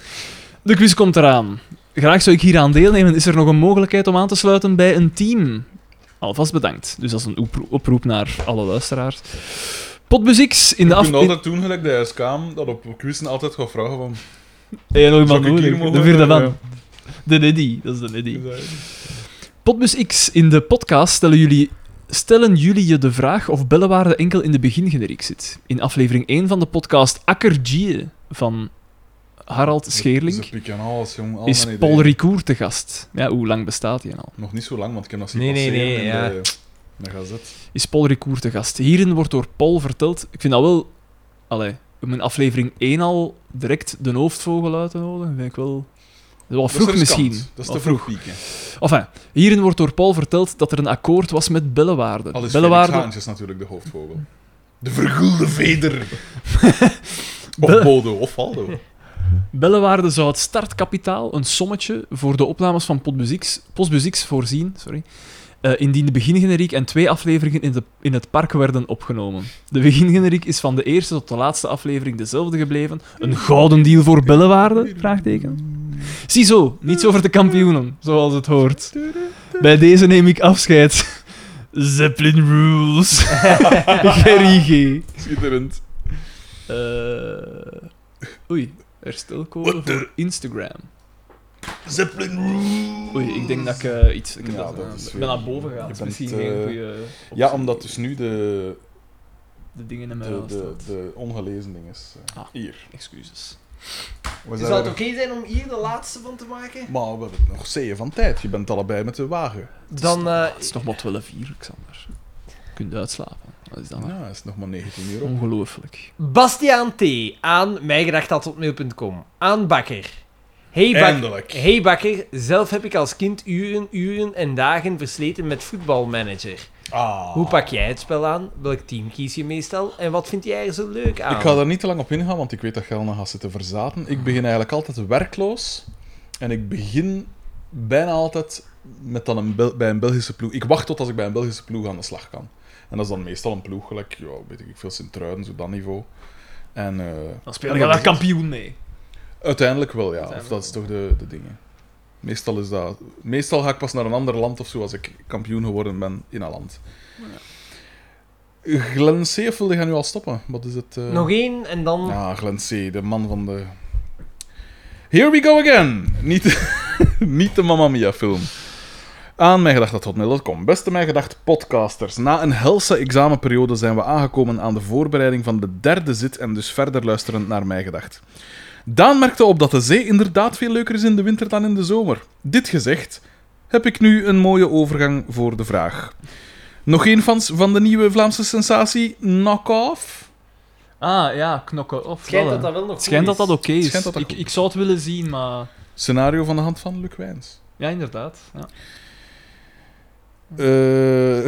De quiz komt eraan. Graag zou ik hieraan deelnemen. Is er nog een mogelijkheid om aan te sluiten bij een team? Alvast bedankt. Dus dat is een opro- oproep naar alle luisteraars. Potmuzieks in de Je af... kunt altijd doen, gelijk de SKM, dat op quizzen altijd gaat vragen van... Heb je nog iemand Zou ik hier nodig? mogen eh, De vierde hebben? van. De Neddy, dat is de Neddy. Is dat- Potbus X, in de podcast stellen jullie, stellen jullie je de vraag of Bellewaarde enkel in de begingeneriek zit. In aflevering 1 van de podcast Akkergie van Harald Ze Scheerling pikken alles, jong. Al is mijn Paul ideeën. Ricoeur te gast. Ja, hoe lang bestaat hij al? Nog niet zo lang, want ik heb dat zien Nee, nee, passeren nee, in ja. de, in de gazet. Is Paul Ricoeur te gast. Hierin wordt door Paul verteld... Ik vind dat wel... Allee, om in aflevering 1 al direct de hoofdvogel uit te nodigen, vind ik wel... Dat is wel Dat is vroeg riskant. misschien. Dat is Wel te vroeg pieken. Enfin, hierin wordt door Paul verteld dat er een akkoord was met Bellewaarde. Al is Felix Bellewaarde... Haantjes natuurlijk de hoofdvogel. De vergulde veder. Belle- of Bodo, of Waldo. Bellewaarde zou het startkapitaal, een sommetje, voor de opnames van Potmuzieks- Postmuzieks voorzien, sorry, eh, indien de begingeneriek en twee afleveringen in, de, in het park werden opgenomen. De begingeneriek is van de eerste tot de laatste aflevering dezelfde gebleven. Een gouden deal voor Bellewaarde? Vraagteken. Ziezo, niets over de kampioenen, zoals het hoort. Bij deze neem ik afscheid. Zeppelin rules. Gerry G. Schitterend. Eh oei, herstelcode voor Instagram. Zeppelin Oei, ik denk dat ik eh, iets... Ik heb Ja, dat, dat eh, is ben weer- naar boven gegaan. je Dat is bent, misschien eh, geen goede Ja, omdat dus nu de, De dingen in mijn de, raam de, staan. de ongelezen ding is. eh, Ah. Hier. Excuses. Zou het oké zijn om hier de laatste van te maken? Maar we hebben nog zeeën van tijd. Je bent allebei met de wagen. Dan, eh, Het is nog maar 12 uur, Xander. Je kunt uitslapen. Dat is dan Ja, het Nou, is nog maar 19 uur op. ongelooflijk. Bastiaan T. aan mijgedachtatotmail.com. Aan Bakker. Hey, Bak- Eindelijk. hey Bakker, zelf heb ik als kind uren, uren en dagen versleten met voetbalmanager. Ah. Hoe pak jij het spel aan? Welk team kies je meestal? En wat vind jij er zo leuk aan? Ik ga daar niet te lang op ingaan, want ik weet dat je al nog gaat zitten verzaten. Ik begin eigenlijk altijd werkloos. En ik begin bijna altijd met dan een Bel- bij een Belgische ploeg. Ik wacht tot als ik bij een Belgische ploeg aan de slag kan. En dat is dan meestal een ploeg, gelijk, ja, weet ik veel, Sint-Truiden, zo dat niveau. En eh, Dan speel spelen je we daar daar kampioen mee. uiteindelijk wel, ja. Of Uiteindelijk dat is toch de, de dingen. Meestal, is dat, meestal ga ik pas naar een ander land of zo als ik kampioen geworden ben in een land. Glenn Seef wilde gaan nu al stoppen. Wat is het? eh? Nog één en dan... Ja, Glenn C., de man van de... Here we go again! Niet, niet de Mamma Mia-film. Aan mijngedacht.hotmail.com. Beste mijngedacht podcasters, na een helse examenperiode zijn we aangekomen aan de voorbereiding van de derde zit en dus verder luisterend naar mijngedacht. Daan merkte op dat de zee inderdaad veel leuker is in de winter dan in de zomer. Dit gezegd, heb ik nu een mooie overgang voor de vraag. Nog geen fans van de nieuwe Vlaamse sensatie Knock-Off? Ah, ja, knokken of. Het schijnt wel, dat dat hè. wel nog goed Het schijnt dat is. dat oké is. Schijnt dat dat ik, goed ik zou het willen zien, maar... Scenario van de hand van Luc Wijns. Ja, inderdaad. Ja. Eh,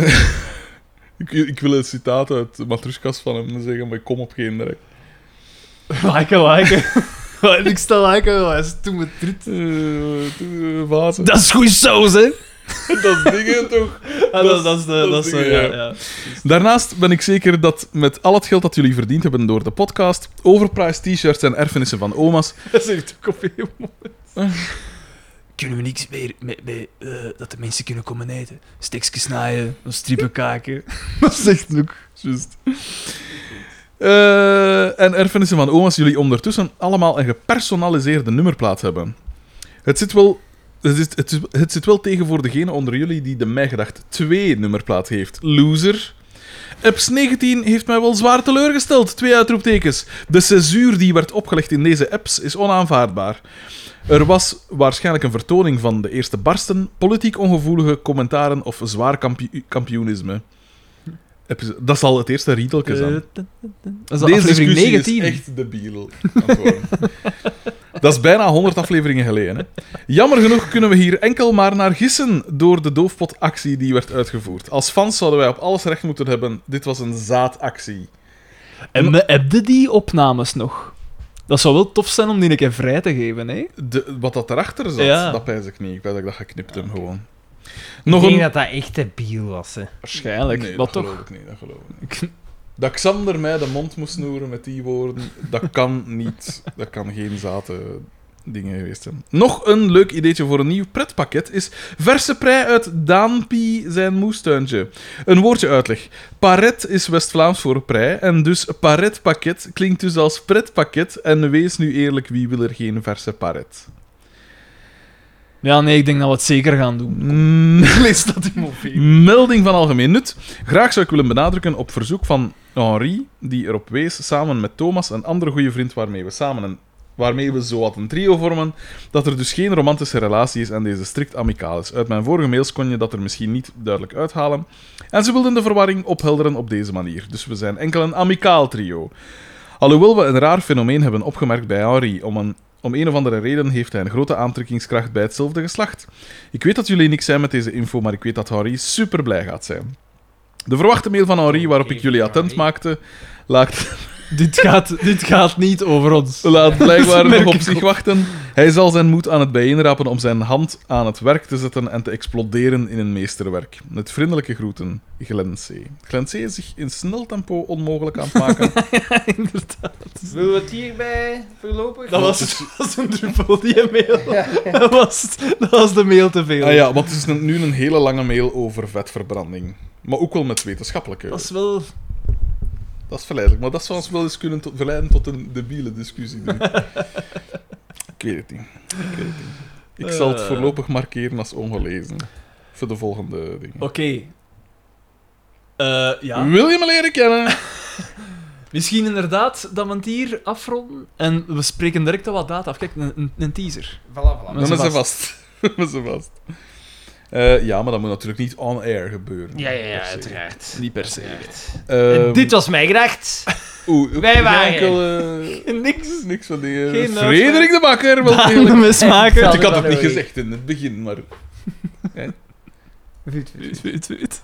ik, ik wil een citaat uit Matrushkas van hem zeggen, maar ik kom op geen direct. Liken, liken. ik sta liken, maar ze doen me trit. Eh, Uh, water. Dat is goeie saus, hè? Dat is dingen toch? Ah, dat, dat is de... dat Dat is is, de- eh, ja, ja. Daarnaast ben ik zeker dat met al het geld dat jullie verdiend hebben door de podcast, overpriced t-shirts en erfenissen van oma's, Dat zegt ook op heel Kunnen we niks meer met, met, eh, dat de mensen kunnen komen eten? Stekjes snijden, of strippen kaken. Dat zegt Luc. Juist. Eh, en erfenissen van oma's jullie ondertussen allemaal een gepersonaliseerde nummerplaat hebben. Het zit wel, het zit, het, is- het zit wel tegen voor degene onder jullie die de Mijgedacht 2 nummerplaat heeft. Loser. Eps 19 heeft mij wel zwaar teleurgesteld. Twee uitroeptekens. De césuur die werd opgelegd in deze apps is onaanvaardbaar. Er was waarschijnlijk een vertoning van de eerste barsten, politiek ongevoelige commentaren of zwaar kampio- kampioenisme. Episode- Dat zal het eerste Eh, riedeltje zijn. Dat is Deze aflevering 19. is echt debiel. aan het worden. Dat is bijna 100 afleveringen geleden. Hè? Jammer genoeg kunnen we hier enkel maar naar gissen door de doofpotactie die werd uitgevoerd. Als fans zouden wij op alles recht moeten hebben. Dit was een zaadactie. En we hebben die opnames nog. Dat zou wel tof zijn om die een keer vrij te geven, hè? De, wat dat erachter zat, Ja. dat pijs ik niet. Ik weet dat ik dat geknipt heb gewoon. Ik Nog denk een... dat dat echt debiel was. Hè. Waarschijnlijk, Nee, maar dat toch. geloof ik niet. Dat geloof ik niet. Ik- Dat Xander mij de mond moest snoeren met die woorden, dat kan niet. Dat kan geen zaten dingen geweest zijn. Nog een leuk ideetje voor een nieuw pretpakket is verse prei uit Daanpie zijn moestuintje. Een woordje uitleg. Paret is West-Vlaams voor prei en dus paretpakket klinkt dus als pretpakket. En wees nu eerlijk, wie wil er geen verse paret? Ja, nee, ik denk dat we het zeker gaan doen. Mm. Lees dat in mobiel. Melding van algemeen nut. Graag zou ik willen benadrukken op verzoek van Henri, die erop wees, samen met Thomas, een andere goede vriend waarmee we samen een, waarmee we zowat een trio vormen, dat er dus geen romantische relatie is en deze strikt amicaal is. Uit mijn vorige mails kon je dat er misschien niet duidelijk uithalen. En ze wilden de verwarring ophelderen op deze manier. Dus we zijn enkel een amicaal trio. Alhoewel we een raar fenomeen hebben opgemerkt bij Henri, om een, om een of andere reden heeft hij een grote aantrekkingskracht bij hetzelfde geslacht. Ik weet dat jullie niks zijn met deze info, maar ik weet dat Henri super blij gaat zijn. De verwachte mail van Henri, waarop ik jullie attent maakte, laat, dit, gaat, dit gaat niet over ons. Laat blijkbaar merk nog op ik zich op. wachten. Hij zal zijn moed aan het bijeenrapen om zijn hand aan het werk te zetten en te exploderen in een meesterwerk. Met vriendelijke groeten, Glenn C. Glenn C. is zich in snel tempo onmogelijk aan het maken. Willen we het hierbij voorlopig? Dat was, dat was een druppel, die mail. Dat was, dat was de mail te veel. ah ja, want het is een- nu een hele lange mail over vetverbranding. Maar ook wel met wetenschappelijke. Dat is wel... Dat is verleidelijk, maar dat zou ons wel eens kunnen tot, verleiden tot een debiele discussie. Doen. ik weet het niet. Ik, weet het niet. ik zal het Eh. voorlopig markeren als ongelezen. Voor de volgende dingen. Oké. Eh, ja. Wil je me leren kennen? Misschien inderdaad dat we het hier afronden. En we spreken direct al wat data af. Kijk, een, een, een teaser. Voilà, voilà. Dan Dan is zijn ze vast. Dan is ze vast. Eh, ja, maar dat moet natuurlijk niet on-air gebeuren. Ja, ja, ja, Per se. uiteraard. Niet per se. Ehm, En dit was mij gedacht. oeh, wij geen waren- enkele- Niks. niks van die... eh, Geen nood- Frederik de Bakker, wel Aan de degelijk. mesmaker. Ja. Ik had het niet Sorry. gezegd in het begin, maar... Weet, weet, weet.